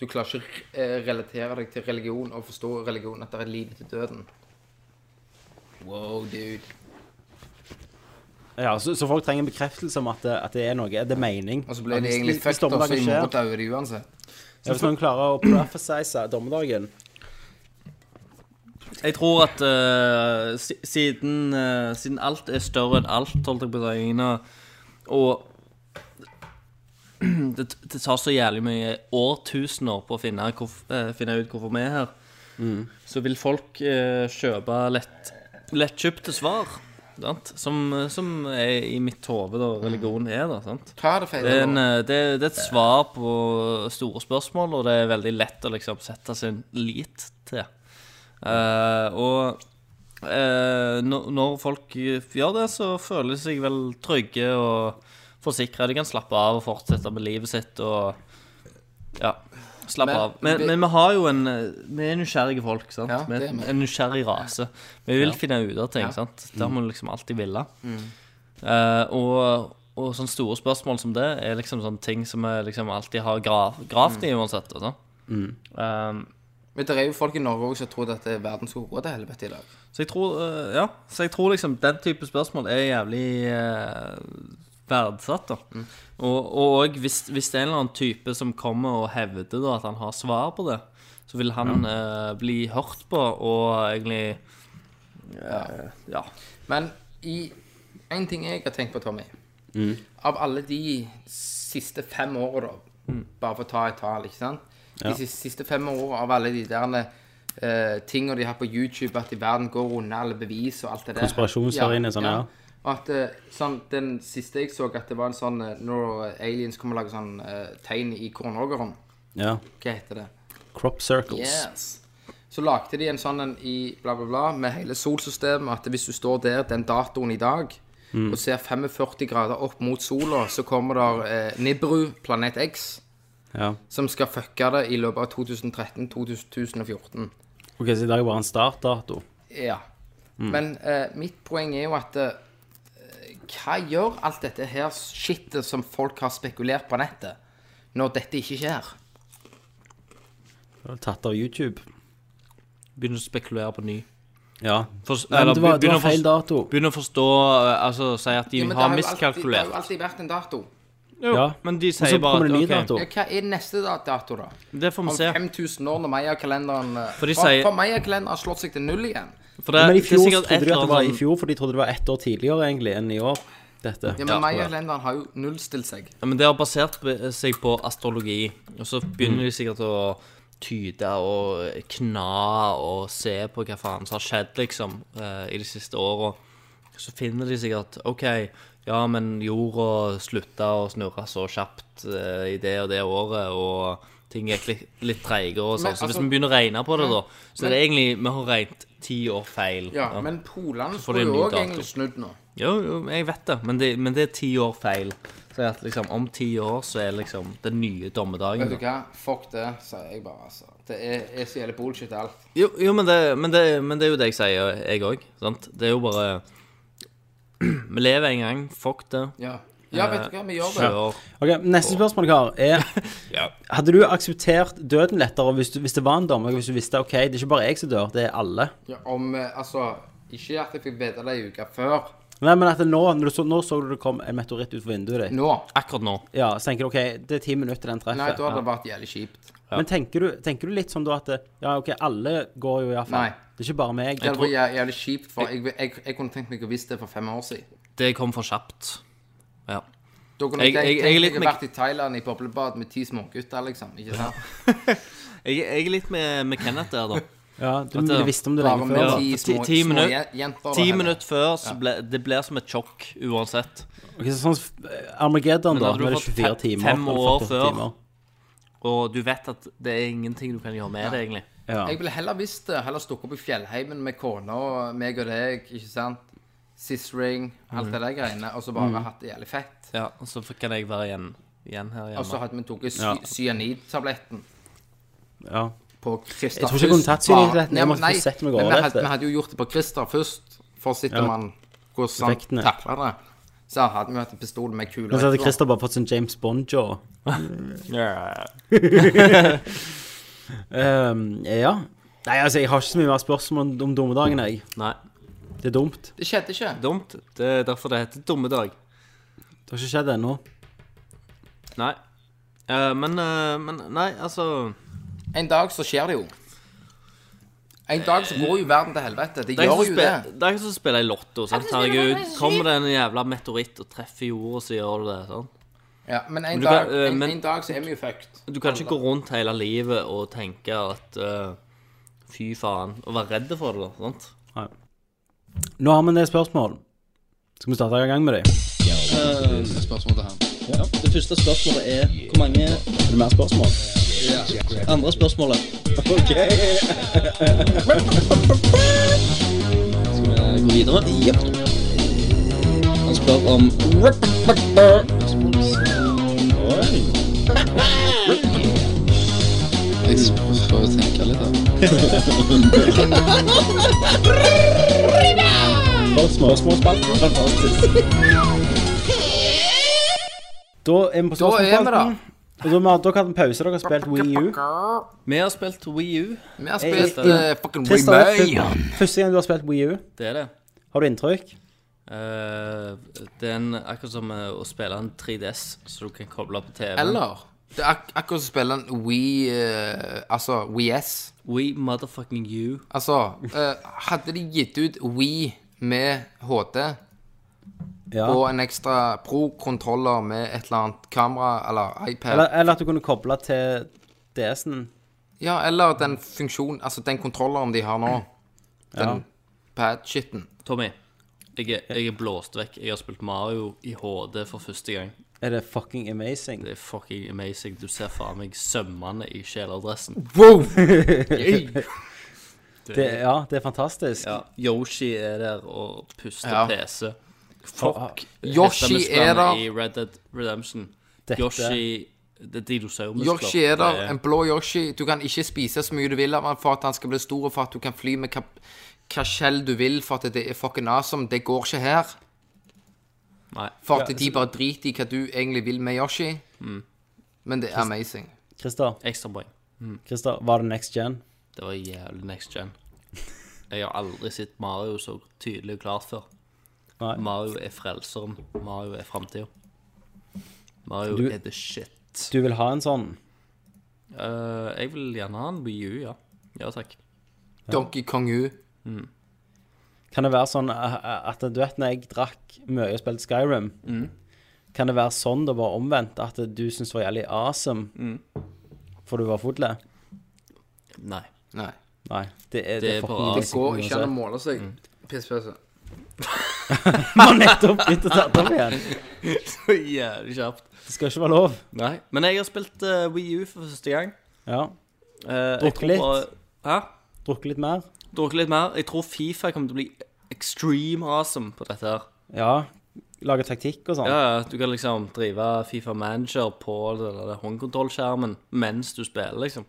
Speaker 2: Du klarer ikke å eh, relatere deg til religion og forstå religion, at det er liv etter døden. Wow, dude.
Speaker 1: Ja, så, så folk trenger en bekreftelse om at det, at det er noe. Er det mening?
Speaker 2: Og så ble
Speaker 1: At
Speaker 2: det
Speaker 1: hvis-
Speaker 2: egentlig
Speaker 1: hvis
Speaker 2: fucked, og så
Speaker 1: dommedagen
Speaker 2: i
Speaker 1: skjer-
Speaker 2: morgen dauer de uansett.
Speaker 1: Ja, hvis noen klarer å prophesize dommedagen
Speaker 3: Jeg tror at eh, si- siden, eh, siden alt er større enn alt, holdt jeg på å si, Ina, og [clears throat] det, det tar så jævlig mye årtusener på å finne, hvor, eh, finne ut hvorfor vi er her, så vil folk eh, kjøpe lett, lettkjøpte svar, sant? Som, eh, som er i mitt hode da religion er. da, sant?
Speaker 2: Hva er det feil?
Speaker 3: Det er, en, eh, det, det er et svar på store spørsmål, og det er veldig lett å liksom sette sin lit til. Eh, og eh, når, når folk gjør det, så føler de seg vel trygge og forsikra. De kan slappe av og fortsette med livet sitt og ja, slappe
Speaker 2: Men-
Speaker 3: av. Men,
Speaker 2: det-
Speaker 3: men vi har jo en eh, Vi er nysgjerrige folk, sant?
Speaker 2: Ja,
Speaker 3: vi
Speaker 2: det
Speaker 3: er
Speaker 2: er vi.
Speaker 3: en nysgjerrig rase. Vi vil finne ut av ting,
Speaker 2: Ja. Mm.
Speaker 3: sant? Det har vi liksom alltid villet. Eh, og, og sånne store spørsmål som det er liksom sånne ting som vi liksom alltid har gra- gravd i uansett. Altså.
Speaker 2: Mm.
Speaker 3: Um,
Speaker 2: Men det er jo folk i Norge også som tror at eh, verden skulle gå til helvete i dag.
Speaker 3: så jeg tror eh, Ja, så jeg tror liksom den type spørsmål er jævlig eh, verdsatt, da.
Speaker 1: Mm.
Speaker 3: Og, og også hvis, hvis det er en eller annen type som kommer og hevder da, at han har svar på det, så vil han eh, bli hørt på og egentlig eh, Ja.
Speaker 2: Men i en ting jeg har tenkt på, Tommy Av alle de siste fem årene da, bare for å ta et tall, ikke sant? De siste, siste fem årene av alle de der eh, tingene de har på YouTube, at i verden går unna alle bevis og alt det der.
Speaker 1: Konspirasjonsteoriene, sånn, ja.
Speaker 2: Og at eh, sånn, den siste jeg så, at det var en sånn eh, Når aliens kommer og lager sånn eh, tegn i kornåkeren,
Speaker 1: ja.
Speaker 2: hva heter det?
Speaker 1: Crop circles.
Speaker 2: Yes. Så lagde de en sånn en i bla, bla, bla med hele solsystemet at hvis du står der den datoen i dag
Speaker 3: Mm.
Speaker 2: og ser 45 grader opp mot sola, så kommer der eh, Nibru, planet X,
Speaker 1: Ja.
Speaker 2: som skal fucke det i løpet av 2013-2014.
Speaker 1: OK, så i dag er bare en startdato.
Speaker 2: Ja.
Speaker 3: Mm.
Speaker 2: Men eh, mitt poeng er jo at eh, hva gjør alt dette her shitet som folk har spekulert på nettet, når dette ikke skjer?
Speaker 1: Det var Tatt av YouTube.
Speaker 3: Begynner å spekulere på ny.
Speaker 1: Ja.
Speaker 3: For,
Speaker 1: Nei, men det var, det
Speaker 3: begynner
Speaker 1: var
Speaker 3: å
Speaker 1: feil
Speaker 3: forst-
Speaker 1: dato.
Speaker 3: Begynner å forstå eh, Altså si at de
Speaker 2: Ja, men det jo alltid,
Speaker 3: har
Speaker 2: det har
Speaker 3: miskalkulert.
Speaker 2: jo alltid vært en dato.
Speaker 3: Jo,
Speaker 1: Ja.
Speaker 3: Men de
Speaker 1: Og så
Speaker 3: sier bare
Speaker 1: kommer det en ny
Speaker 3: at
Speaker 1: dato.
Speaker 3: OK,
Speaker 2: Ja, hva er neste da- dato, da?
Speaker 3: det får vi
Speaker 2: Om
Speaker 3: se.
Speaker 2: 5000 år når Maya-kalenderen eh,
Speaker 3: For
Speaker 2: For,
Speaker 3: de sier-
Speaker 2: for Maya-kalenderen har slått seg til null igjen.
Speaker 3: For det,
Speaker 1: Men i
Speaker 3: det er
Speaker 1: fjor så
Speaker 3: sikkert et
Speaker 1: trodde de at
Speaker 3: eller
Speaker 1: det var i
Speaker 3: annet sånn-
Speaker 1: fjor, for de trodde det var ett år tidligere egentlig enn i år. Dette.
Speaker 2: Ja, men Maya-kalenderen har jo nullstilt seg.
Speaker 3: Ja, men det har basert be- seg på astrologi. Og så
Speaker 2: Mm.
Speaker 3: begynner de sikkert å tyde og kna og se på hva faen som har skjedd, liksom, eh, i de siste åra. Så finner de sikkert OK, ja, men jorda slutta å snurre så kjapt eh, i det og det året, og ting gikk litt, litt treigere og
Speaker 2: Men,
Speaker 3: sånn. Så hvis
Speaker 2: altså-
Speaker 3: vi begynner å regne på det, da, så
Speaker 2: Men-
Speaker 3: er det egentlig Vi har regnet ti år feil. eh,
Speaker 2: Ja, Men polene
Speaker 3: får de
Speaker 2: skulle
Speaker 3: en
Speaker 2: jo
Speaker 3: ny
Speaker 2: òg
Speaker 3: dato.
Speaker 2: egentlig snudd nå.
Speaker 3: Jo, jo, jeg vet det, men det, men det er ti år feil. Så at liksom, om ti år så er liksom den nye dommedagen.
Speaker 2: Vet du hva? Fuck det, sier jeg bare. altså. Det er, er så jævlig bullshit alt.
Speaker 3: Jo, jo men, det, men, det, men det er jo det jeg sier, jeg òg. Det er jo bare [clears throat] Vi lever en gang. Fuck det.
Speaker 2: Ja. ja, vet du hva? Vi gjør det.
Speaker 3: Eh, Kjør.
Speaker 1: OK, neste spørsmål, Kar, er Hadde du akseptert døden lettere hvis, du, hvis det var en dommer? Hvis du visste OK, det er ikke bare jeg som dør, det er alle.
Speaker 2: Ja, om, eh, altså, Ikke at jeg fikk vite det ei uke før.
Speaker 1: Nei, men at det nå, når du så, nå så du det kom en meteoritt ut for vinduet ditt.
Speaker 2: Nå.
Speaker 3: Akkurat nå.
Speaker 1: Ja, så tenker du OK, det er ti minutter til den treffer.
Speaker 2: Nei, da hadde det vært jævlig kjipt.
Speaker 1: Men tenker du, tenker du litt sånn da at det- Ja, OK, alle går jo
Speaker 2: Nei.
Speaker 1: iallfall. Det er ikke bare meg.
Speaker 2: Det hadde vært jæ- jævlig kjipt, for jeg, jeg, jeg kunne tenkt meg å visst det for fem år siden.
Speaker 3: Det kom for kjapt. Ja.
Speaker 2: Da kunne
Speaker 3: Jeg-
Speaker 2: jeg,
Speaker 3: jeg- jeg er
Speaker 2: tenkt
Speaker 3: litt
Speaker 2: meg å
Speaker 3: med-
Speaker 2: vært i Thailand i boblebad med ti smågutter, liksom. Ikke sant?
Speaker 3: Jeg, jeg er litt med, med Kenneth
Speaker 2: [laughs]
Speaker 3: der, da.
Speaker 1: Ja, du,
Speaker 3: At det-
Speaker 1: du visste om det
Speaker 2: Bare
Speaker 1: lenge
Speaker 2: med
Speaker 1: før. da.
Speaker 2: ti
Speaker 3: Ja,
Speaker 2: små,
Speaker 3: ti- ti
Speaker 2: små
Speaker 3: minutt-
Speaker 2: jen- jenter.
Speaker 3: Ti
Speaker 2: da, Helle.
Speaker 3: minutter før så ble, det blir som et sjokk uansett.
Speaker 1: Ok, så sånn eh, Armageddon,
Speaker 3: Men
Speaker 1: da.
Speaker 3: hadde du
Speaker 1: Nå er det
Speaker 3: fått
Speaker 1: 24
Speaker 3: fe-
Speaker 1: timer.
Speaker 3: fem
Speaker 1: nå er det
Speaker 3: år
Speaker 1: 48
Speaker 3: før?
Speaker 1: timer.
Speaker 3: Og du vet at det er ingenting du kan gjøre med det, egentlig.
Speaker 1: Ja.
Speaker 2: Jeg ville heller visst det. Heller stukket opp i fjellheimen med kona og meg og deg, ikke sant? Sistering, alt det der greiene. Og så bare hatt det jævlig fett.
Speaker 3: Ja, og så kan jeg være igjen, igjen her
Speaker 2: Og så
Speaker 3: hjemme.
Speaker 2: hadde vi tatt sy
Speaker 1: Ja.
Speaker 2: cyanidtabletten
Speaker 1: ja.
Speaker 2: på Christer
Speaker 1: Jeg tror ikke jeg kunne tatt cyanidtabletten. Jeg
Speaker 2: Nei,
Speaker 1: måtte
Speaker 2: nei,
Speaker 1: få sett meg
Speaker 2: men
Speaker 1: over
Speaker 2: vi hadde,
Speaker 1: dette.
Speaker 2: vi hadde jo gjort det på Christer først, for å se
Speaker 1: Ja.
Speaker 2: om han hvordan
Speaker 1: Effektene.
Speaker 2: han takla det. Så hadde vi hatt en pistol med kuler.
Speaker 1: Men så hadde
Speaker 2: etterpå.
Speaker 1: Christer bare fått sin James Bond-jaw. Ehm, Um, ja. Nei, altså, jeg har ikke så mye mer spørsmål om, om dommedagen, jeg.
Speaker 3: Nei.
Speaker 1: Det er dumt.
Speaker 2: Det skjedde ikke.
Speaker 7: Dumt. Det er derfor det heter dummedag.
Speaker 1: Det har ikke skjedd ennå.
Speaker 7: Nei. Eh, men, eh, men Nei, altså
Speaker 2: En dag så skjer det jo. En dag så går jo verden til helvete. Det
Speaker 7: Det er
Speaker 2: gjør
Speaker 7: ikke som
Speaker 2: jo
Speaker 7: spe-
Speaker 2: det.
Speaker 7: det er ikke som å spille i Lotto. Sant? Herregud, kommer det en jævla meteoritt og treffer jorda, så gjør det det. Sant?
Speaker 2: Ja, men en,
Speaker 7: du
Speaker 2: dag,
Speaker 7: kan- eh,
Speaker 2: en,
Speaker 7: men-
Speaker 2: en dag så er vi jo fucked.
Speaker 7: Du kan ikke gå rundt hele livet og tenke at eh, fy faen, og være redd for det. da, Sant?
Speaker 1: Nå har vi en del spørsmål. Skal vi starte i gang med dem?
Speaker 3: Det første spørsmålet er hvor mange Er det mer spørsmål? Andre spørsmålet. OK. [laughs] Skal vi gå videre? Jepp. Han spør om
Speaker 1: Da er vi på
Speaker 2: Da er vi da.
Speaker 1: spørsmålspalten. Og da, har- da kan vi pause. Dere har spilt Wii U.
Speaker 3: Vi har spilt Wii U.
Speaker 2: Vi har spilt
Speaker 1: jeg-
Speaker 2: eh, fucking
Speaker 1: Christer, det er
Speaker 2: Remake.
Speaker 1: fø- første gang du har spilt Wii U.
Speaker 3: Det er det.
Speaker 1: Har du inntrykk?
Speaker 3: Eh, det er en, akkurat som eh, å spille en 3DS, så du kan koble på TV.
Speaker 2: Eller Det er ak akkurat som å spille en We eh, Altså We S.
Speaker 3: Wii motherfucking U.
Speaker 2: Altså eh, Hadde de gitt ut We med HD
Speaker 1: Ja.
Speaker 2: og en ekstra pro-kontroller med et eller annet kamera eller iPad
Speaker 1: Eller, eller at du kunne koble til DS-en.
Speaker 2: Ja, eller den funksjonen Altså den kontrolleren de har nå. Den pad-shitten.
Speaker 3: Tommy, jeg er, jeg er blåst vekk. Jeg har spilt Mario i HD for første gang.
Speaker 1: Er det fucking amazing?
Speaker 3: Det er fucking amazing. Du ser faen meg sømmene i kjeledressen.
Speaker 2: [laughs]
Speaker 1: Det, ja, det er fantastisk.
Speaker 3: Ja, Yoshi er der og puster
Speaker 2: Ja.
Speaker 3: PC. Fuck.
Speaker 2: Yoshi
Speaker 3: hestemusklene
Speaker 2: er der.
Speaker 3: I Red Dead Redemption.
Speaker 1: Dette-
Speaker 3: Yoshi Det er dinosaurmuskler.
Speaker 2: Yoshi er
Speaker 3: Det
Speaker 2: der, en blå Yoshi. Du kan ikke spise så mye du vil av han for at han skal bli stor, og for at du kan fly med hva, hva skjell du vil, for at det er fucking awesome. Det går ikke her.
Speaker 3: Nei.
Speaker 2: For at de bare driter i hva du egentlig vil med Yoshi. Men det er amazing.
Speaker 1: Christer,
Speaker 3: Ekstrapoeng.
Speaker 1: Christer, var det next gen?
Speaker 3: Det var jævlig next gen. Jeg har aldri sett Mario så tydelig og klart før.
Speaker 1: Nei.
Speaker 3: Mario er frelseren. Mario er framtida. Mario
Speaker 1: Du-
Speaker 3: er the shit.
Speaker 1: Du vil ha en sånn?
Speaker 3: Eh, jeg vil gjerne ha en Wii U, ja. Ja takk.
Speaker 2: Donkey Kong U.
Speaker 1: Kan det være sånn eh, at du vet når jeg drakk mye og spilte Skyrim, kan det være sånn det var omvendt, at du syntes det var jævlig awesome, for du var fulle? [laughs]
Speaker 3: Nei.
Speaker 2: Nei.
Speaker 1: Nei, det er, altså.
Speaker 3: Det er
Speaker 1: fucking
Speaker 3: bare-
Speaker 1: det
Speaker 2: Det går
Speaker 1: sikkert
Speaker 2: ikke an å
Speaker 1: uansett.
Speaker 2: måle seg. Piss-pisse.
Speaker 1: Man har nettopp begynt å ta det opp igjen.
Speaker 3: Jævlig kjapt.
Speaker 1: Det skal ikke være lov.
Speaker 3: Nei. Men jeg har spilt eh, Wii U for første gang.
Speaker 1: Ja,
Speaker 3: Eh, jeg
Speaker 1: Drukket
Speaker 3: tror
Speaker 1: litt.
Speaker 3: bare- Hæ?
Speaker 1: drukke litt mer.
Speaker 3: Drukket litt mer. Jeg tror Fifa kommer til å bli extreme awesome på dette her.
Speaker 1: Ja, lage taktikk og sånn.
Speaker 3: Ja, ja, du kan liksom drive Fifa Manager på den der håndkontrollskjermen mens du spiller, liksom.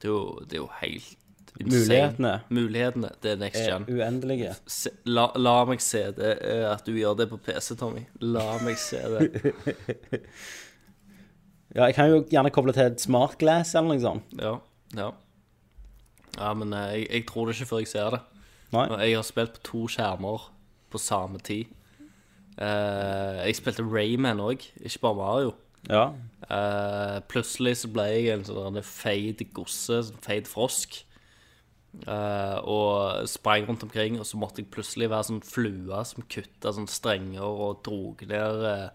Speaker 3: Det er jo, det er jo helt insane.
Speaker 1: Mulighetene. Eh,
Speaker 3: Mulighetene. Det er next
Speaker 1: Er
Speaker 3: gen.
Speaker 1: uendelige.
Speaker 3: Se, la, la meg se det eh, at du gjør det på PC, Tommy. La meg
Speaker 1: [laughs]
Speaker 3: se det.
Speaker 1: Ja, jeg kan jo gjerne koble til et smartglass eller noe sånt.
Speaker 3: Ja. Ja, ja men eh, jeg, jeg tror det ikke før jeg ser det.
Speaker 1: Nei.
Speaker 3: Og Jeg har spilt på to skjermer på samme tid. Eh, jeg spilte Rayman òg, ikke bare Mario.
Speaker 1: Ja.
Speaker 3: Eh, plutselig så ble jeg en sånn der feit gosse, sånn feit frosk. Eh, og sprang rundt omkring, og så måtte jeg plutselig være sånn flue som kutta sånn strenger og drog ned eh,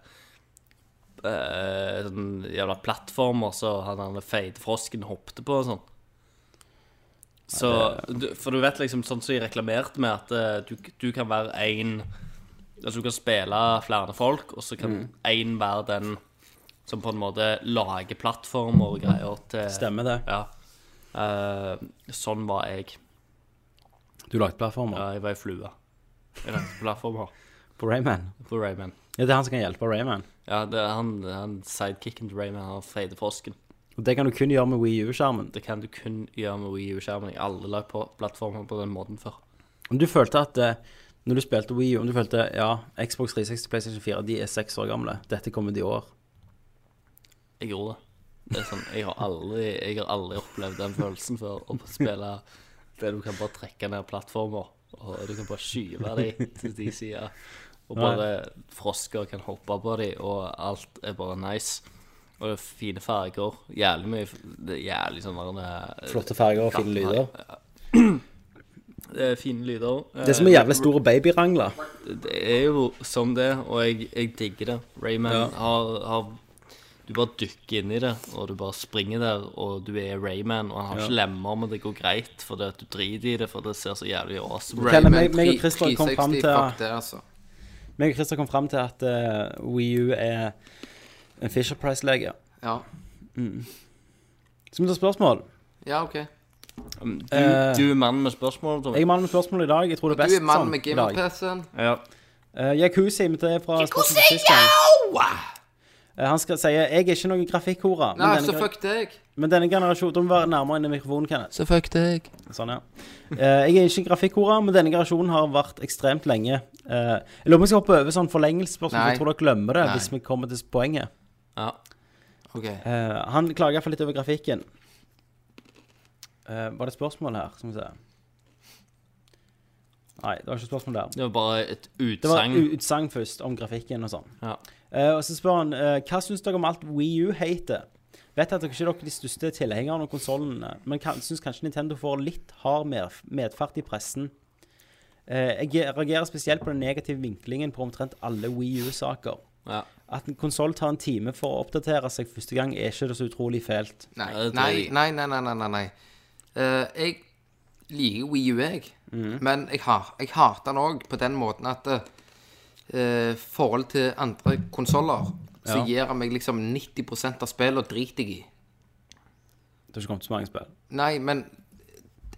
Speaker 3: eh, sånn jævla plattformer så han den feite frosken hoppte på og sånn. Så, du- For du vet liksom, sånn som de reklamerte med, at eh, du, du kan være én Altså du kan spille flere folk, og så kan én være den som på en måte lager plattformer og greier til
Speaker 1: Stemmer det.
Speaker 3: Ja. Eh, sånn var jeg.
Speaker 1: Du lagde plattformer
Speaker 3: Ja, jeg var ei flue. Jeg lagde plattformer
Speaker 1: på Rayman.
Speaker 3: på Rayman.
Speaker 1: Ja, det er han som kan hjelpe Rayman.
Speaker 3: Ja, det er han, han sidekicken til Rayman, han feite frosken.
Speaker 1: Og det kan du kun gjøre med Wii U-skjermen.
Speaker 3: Det kan du kun gjøre med Wii U-skjermen. Jeg har aldri lagd på plattformer på den måten før.
Speaker 1: Om du følte at eh, når du spilte Wii U, om du følte ja, Xbox 360 PlayStation 4 de er seks år gamle, dette kommer de i år.
Speaker 3: Jeg gjorde det. det er sånn, jeg, har aldri, jeg har aldri opplevd den følelsen før å spille der du kan bare trekke ned plattformer, og du kan bare skyve dem til de sider. Og bare frosker kan hoppe på dem, og alt er bare nice. Og det er fine farger. Jævlig mye det er Jævlig sånn varende
Speaker 1: Flotte farger og fine lyder.
Speaker 3: [clears throat] Det er fine lyder.
Speaker 1: Det er som en jævlig stor babyrangler.
Speaker 3: Eh, Det er jo som det, og jeg, jeg digger det. Rayman har, har Du bare dykker inn i det, og du bare springer der, og du er Rayman, og han har ikke lemmer, men det går greit, fordi at du driter i det, for det ser så jævlig awesome ut.
Speaker 1: Kenneth,
Speaker 2: Rayman
Speaker 1: meg- meg og
Speaker 2: 3-
Speaker 1: Christer kom fram
Speaker 2: 360,
Speaker 1: til-
Speaker 2: fuck det, altså.
Speaker 1: Meg og Christer kom fram til at uh, WiiU er en Fisher Price-lege.
Speaker 2: Ja.
Speaker 1: Skal vi ta spørsmål?
Speaker 2: ja, OK.
Speaker 3: Du, du er mannen med spørsmål, Tommy.
Speaker 1: eh, Jeg er mannen med spørsmål i dag. Jeg tror det er
Speaker 2: Du
Speaker 1: best sånn
Speaker 2: er mann med
Speaker 1: i dag.
Speaker 2: gamer-PC-en.
Speaker 3: Ja.
Speaker 1: Eh, Yakuza inviterer fra spørsmål til sist gang. Eh, han skal si jeg er ikke noen grafikkhore, men,
Speaker 2: Nei,
Speaker 1: denne
Speaker 2: så
Speaker 1: gener-
Speaker 2: fuck deg.
Speaker 1: men denne generasjonen Du må være nærmere inn i mikrofonen, Kenneth.
Speaker 2: Så fuck deg.
Speaker 1: Sånn, ja. Eh, jeg er ikke grafikkhore, men denne generasjonen har vært ekstremt lenge. Eh, jeg lurer på om jeg skal hoppe over sånn forlengelsesspørsmål, for
Speaker 2: Nei.
Speaker 1: jeg tror dere glemmer det
Speaker 2: Nei.
Speaker 1: hvis vi kommer til poenget.
Speaker 2: OK.
Speaker 1: Eh, han klager iallfall litt over grafikken. Eh, var det et spørsmål her? Skal vi se. Nei, det var ikke et spørsmål der.
Speaker 3: Det var bare et
Speaker 1: Det var
Speaker 3: utsagn.
Speaker 1: u- utsagn først om grafikken og sånn.
Speaker 3: Ja.
Speaker 1: Eh, og så spør han eh, hva syns dere om alt Wii U-hatet? Vet at dere ikke er dere de største tilhengerne av konsollene, men kan, syns kanskje Nintendo får litt hard mer, medfart i pressen. Eh, jeg reagerer spesielt på den negative vinklingen på omtrent alle Wii U-saker.
Speaker 3: Ja.
Speaker 1: At en konsoll tar en time for å oppdatere seg første gang, er ikke det så utrolig fælt.
Speaker 2: Nei,
Speaker 3: det tror
Speaker 2: nei,
Speaker 3: jeg.
Speaker 2: nei, nei, nei, nei, nei, nei. Eh, jeg liker Wii U, jeg. Men jeg, har, jeg hater den òg på den måten at uh, forhold til andre konsoller, så
Speaker 1: Ja.
Speaker 2: gir han meg liksom 90 av spillene driter jeg i.
Speaker 1: Det har ikke kommet så mange spill.
Speaker 2: Nei, men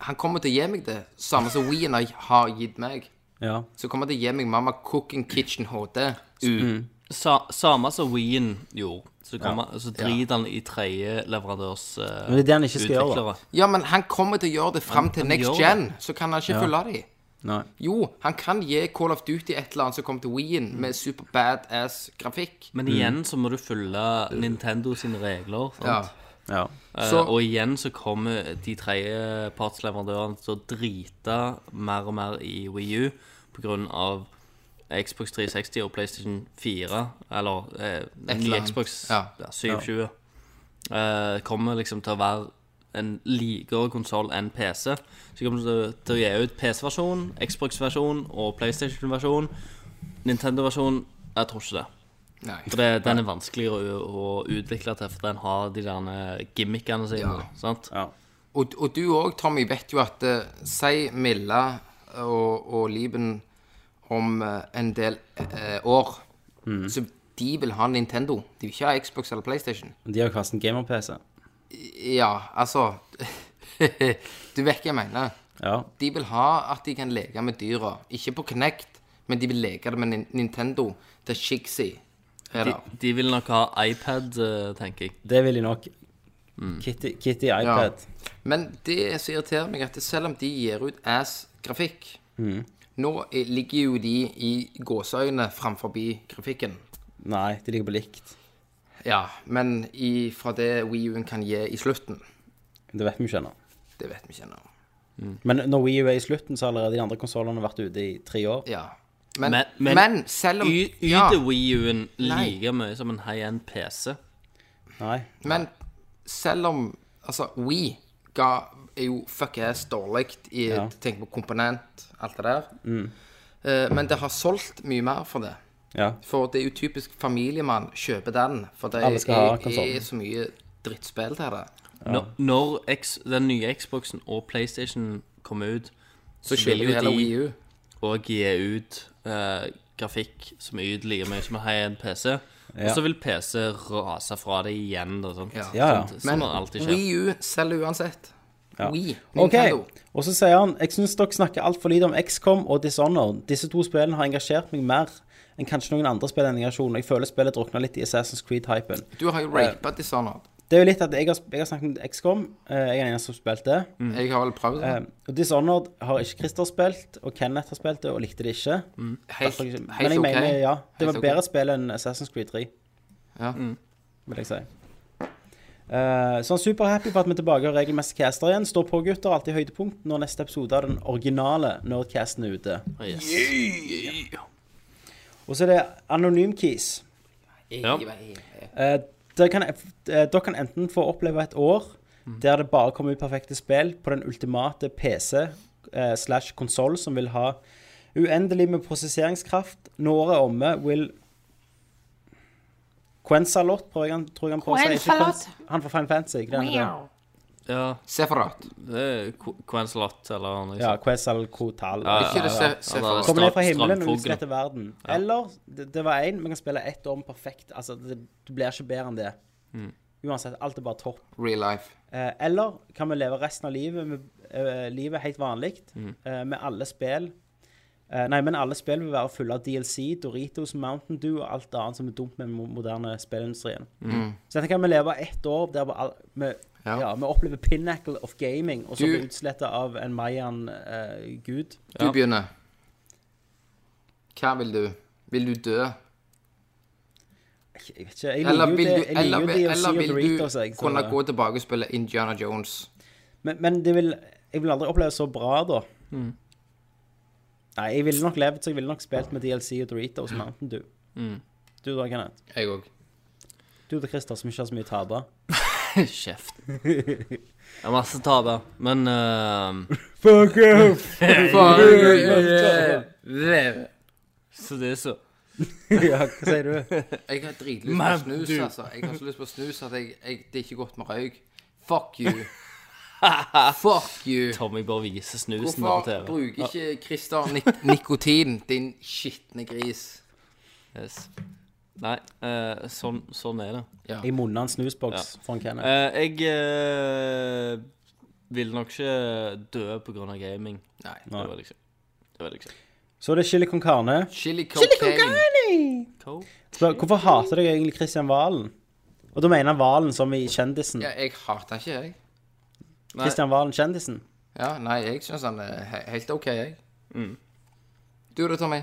Speaker 2: han kommer til å gi meg det samme som Wii-en har- har gitt meg.
Speaker 1: Ja.
Speaker 2: Så kommer han til å gi meg Mamma Cooking Kitchen HD. U.
Speaker 3: Sa, samme som Wien gjorde. Så, kommer, så driter han i tredje leverandørs eh,
Speaker 1: Men det er det han ikke skal gjøre, da.
Speaker 3: utviklere.
Speaker 2: Ja, men han kommer til å gjøre det fram til
Speaker 3: han
Speaker 2: next
Speaker 3: gjør
Speaker 2: gen, så kan han ikke følge de.
Speaker 1: Nei.
Speaker 2: Jo, han kan gi Call of Duty et eller annet som kom til Wien med super badass grafikk.
Speaker 3: Men igjen så må du følge Nintendo sine regler. Sant?
Speaker 2: Ja.
Speaker 1: Ja.
Speaker 3: Eh,
Speaker 2: Så-
Speaker 3: og igjen så kommer de tredjepartsleverandørene til å drite mer og mer i Wii U pga. Xbox 360 og PlayStation 4, eller eh,
Speaker 2: Et
Speaker 3: ny
Speaker 2: eller annet.
Speaker 3: Xbox
Speaker 2: Ja.
Speaker 3: ja. 27, eh, kommer liksom til å være en likere konsoll enn PC. Så de kommer til, til å gi ut PC-versjon, Xbox-versjon og PlayStation-versjon. Nintendo-versjon Jeg tror ikke det.
Speaker 2: Nei.
Speaker 3: For det, den er vanskeligere å, å utvikle til, for den har de der gimmickene sine.
Speaker 2: Ja.
Speaker 3: Sant?
Speaker 2: Og, og du òg, Tommy, vet jo at eh, Si Milla og, og Liben om eh, en del eh, år Så de vil ha Nintendo. De vil ikke ha Xbox eller PlayStation.
Speaker 1: Men De har jo hver sin gamer-PC.
Speaker 2: Ja, altså [laughs] Du vet hva jeg mener.
Speaker 1: Ja.
Speaker 2: De vil ha at de kan leke med dyra. Ikke på Knect, men de vil leke det med Nin- Nintendo. Det er Shigsy.
Speaker 3: De,
Speaker 2: Eller
Speaker 3: de vil nok ha iPad, eh, tenker jeg.
Speaker 1: Det vil de nok.
Speaker 2: Mm.
Speaker 1: Kitty, Kitty iPad.
Speaker 2: Men det er så irriterer meg at selv om de gir ut ass-grafikk,
Speaker 3: Mm.
Speaker 2: nå er, ligger jo de i gåseøyne framfor grafikken.
Speaker 1: Nei, de ligger på likt.
Speaker 2: Ja, men i, fra det WiiU-en kan gi i slutten,
Speaker 1: Det vet vi ikke ennå.
Speaker 2: det vet vi ikke ennå.
Speaker 1: Men når Wii U er i slutten, så har allerede de andre konsollene vært ute i tre år.
Speaker 2: Ja. Men,
Speaker 3: Men-
Speaker 2: men,
Speaker 3: men
Speaker 2: selv om
Speaker 3: Y-
Speaker 2: ja,
Speaker 3: Yter Wii U-en
Speaker 2: Nei.
Speaker 3: like mye som en high-end PC?
Speaker 1: Nei.
Speaker 2: Men selv om Altså, We ga, er jo fuck ass dårlig i
Speaker 1: Ja.
Speaker 2: Tenk på komponent, alt det der.
Speaker 3: Mm.
Speaker 2: Eh, men det har solgt mye mer for det.
Speaker 1: Ja.
Speaker 2: For det er jo typisk familiemann kjøper den. For det
Speaker 1: Alle skal ha
Speaker 2: er,
Speaker 1: konsolen.
Speaker 2: er så mye drittspill til det.
Speaker 3: Når, når X, den nye Xboxen og PlayStation kommer ut,
Speaker 2: Så kjøper de heller Wii U.
Speaker 3: og gi ut eh, grafikk som er ut like mye som en high-end PC. Og så vil PC rase fra det igjen. Da, sant?
Speaker 2: Ja.
Speaker 1: Ja, ja.
Speaker 3: Sånt, som
Speaker 2: Men
Speaker 3: det alltid skjer.
Speaker 2: Wii U selger uansett.
Speaker 1: Ja.
Speaker 2: Wii,
Speaker 1: OK.
Speaker 2: Nintendo.
Speaker 1: Og så sier han Jeg syns dere snakker altfor lite om XCOM og Dishonored. Disse to spillene har engasjert meg mer enn kanskje noen andre spill i denne generasjonen. Jeg føler spillet drukner litt i Assassin's Creed-hypen.
Speaker 2: Du har jo sånn rapa Dishonored.
Speaker 1: Det er jo litt at jeg har, jeg har snakket om XCOM. eh, Jeg er den eneste som spilte det.
Speaker 2: Jeg har vel prøvd det.
Speaker 1: Eh, Og Dishonored har ikke Christer spilt, og Kenneth har spilt det og likte det ikke.
Speaker 2: Helt,
Speaker 1: Derfor ikke-
Speaker 2: helt
Speaker 1: altså, Men jeg
Speaker 2: OK.
Speaker 1: mener, ja. Det
Speaker 2: Helt
Speaker 1: var
Speaker 2: ok. Mm.
Speaker 1: bedre spill enn Assassin's Creed 3,
Speaker 2: Ja.
Speaker 1: vil jeg si. Eh, så han er superhappy for at vi er tilbake og regelmessig caster igjen. Stå på, gutter. Alltid høydepunkt når neste episode av den originale Nerdcasten er ute. Og så er det Anonym Keys.
Speaker 2: Ja.
Speaker 1: Eh, dere, kan, eh, dere kan enten få oppleve et år der det bare kommer ut perfekte spill på den ultimate PC eh, slash konsoll som vil ha uendelig med prosesseringskraft. Når året er omme, vil Quensalot, prøver jeg han, tror jeg han prøver å si. Ikke Quens- Han fra Final Fantasy. ikke det han heter?
Speaker 3: Ja,
Speaker 2: Seferat.
Speaker 3: det er Qu- Quensalot eller noe
Speaker 1: Ja,
Speaker 3: sånt.
Speaker 1: Quetzalcoatl.
Speaker 2: Ikke det se Sephiroth.
Speaker 1: Kommer ned fra
Speaker 3: Strand-
Speaker 1: himmelen og
Speaker 3: strandfugl.
Speaker 1: utsletter verden. Eller det, det var én, vi kan spille ett om perfekt. Altså, det, det blir ikke bedre enn det. Uansett, alt er bare topp.
Speaker 2: Real life.
Speaker 1: Eh, eller kan vi leve resten av livet med eh, livet helt vanlig, eh, med alle spill eh, Nei, men alle spill vil være fulle av DLC, Doritos, Mountain Dew og alt annet som er dumt med mo- moderne spillindustrien. Så dette kan vi leve ett år der vi, all, vi, ja.
Speaker 2: Mm. Ja.
Speaker 1: vi opplever pinnacle of gaming, og så
Speaker 2: Du-
Speaker 1: blir utsletta av en eh, mayan-gud.
Speaker 2: Du begynner. Hva vil du? Vil du dø?
Speaker 1: jeg vet ikke. Jeg liker
Speaker 2: Eller
Speaker 1: jo
Speaker 2: vil
Speaker 1: det-
Speaker 2: du,
Speaker 1: jeg
Speaker 2: eller,
Speaker 1: liker jo
Speaker 2: vil-
Speaker 1: DLC
Speaker 2: eller
Speaker 1: og
Speaker 2: vil
Speaker 1: Doritos, jeg.
Speaker 2: du
Speaker 1: så-
Speaker 2: kunne gå tilbake og spille Indiana Jones?
Speaker 1: Men, men det vil, jeg vil aldri oppleve så bra, da. Nei, jeg ville nok levd, så jeg ville nok spilt med DLC og Doritos Mountain Dew. Du da, Kenneth.
Speaker 2: Jeg òg.
Speaker 1: Du da, Christer, som ikke har så mye å tape.
Speaker 3: Kjeft. Det er masse taper. Men eh,
Speaker 1: Fuck off!
Speaker 3: Så det er så
Speaker 1: [laughs] [laughs] ja, hva sier du?
Speaker 2: Jeg har dritlyst på snus, altså. Jeg har så lyst på snus at jeg, jeg, det er ikke godt med røyk. Fuck
Speaker 1: [laughs]
Speaker 2: you. Fuck you.
Speaker 3: Tommy bare viser snusen på
Speaker 2: Hvorfor
Speaker 3: TV.
Speaker 2: bruker ikke Christer nik nikotin, din skitne gris?
Speaker 3: Yes. Nei, eh, sånn, sånn er det.
Speaker 1: Jeg munna en snusboks foran Kenneth.
Speaker 3: Eh, jeg eh, vil nok ikke dø på grunn av gaming.
Speaker 2: Nei.
Speaker 3: Det var liksom Det var liksom
Speaker 1: Så er det Chili Con Carne.
Speaker 2: Chili cocaine.
Speaker 1: Spør, hvorfor hater dere egentlig Christian Valen? Og da mener han Valen som i kjendisen.
Speaker 2: Ja, jeg hater ikke, jeg.
Speaker 1: Christian Valen kjendisen.
Speaker 2: Ja, nei, jeg syns han er he- helt OK, jeg.
Speaker 1: Mm.
Speaker 2: Du da, Tommy?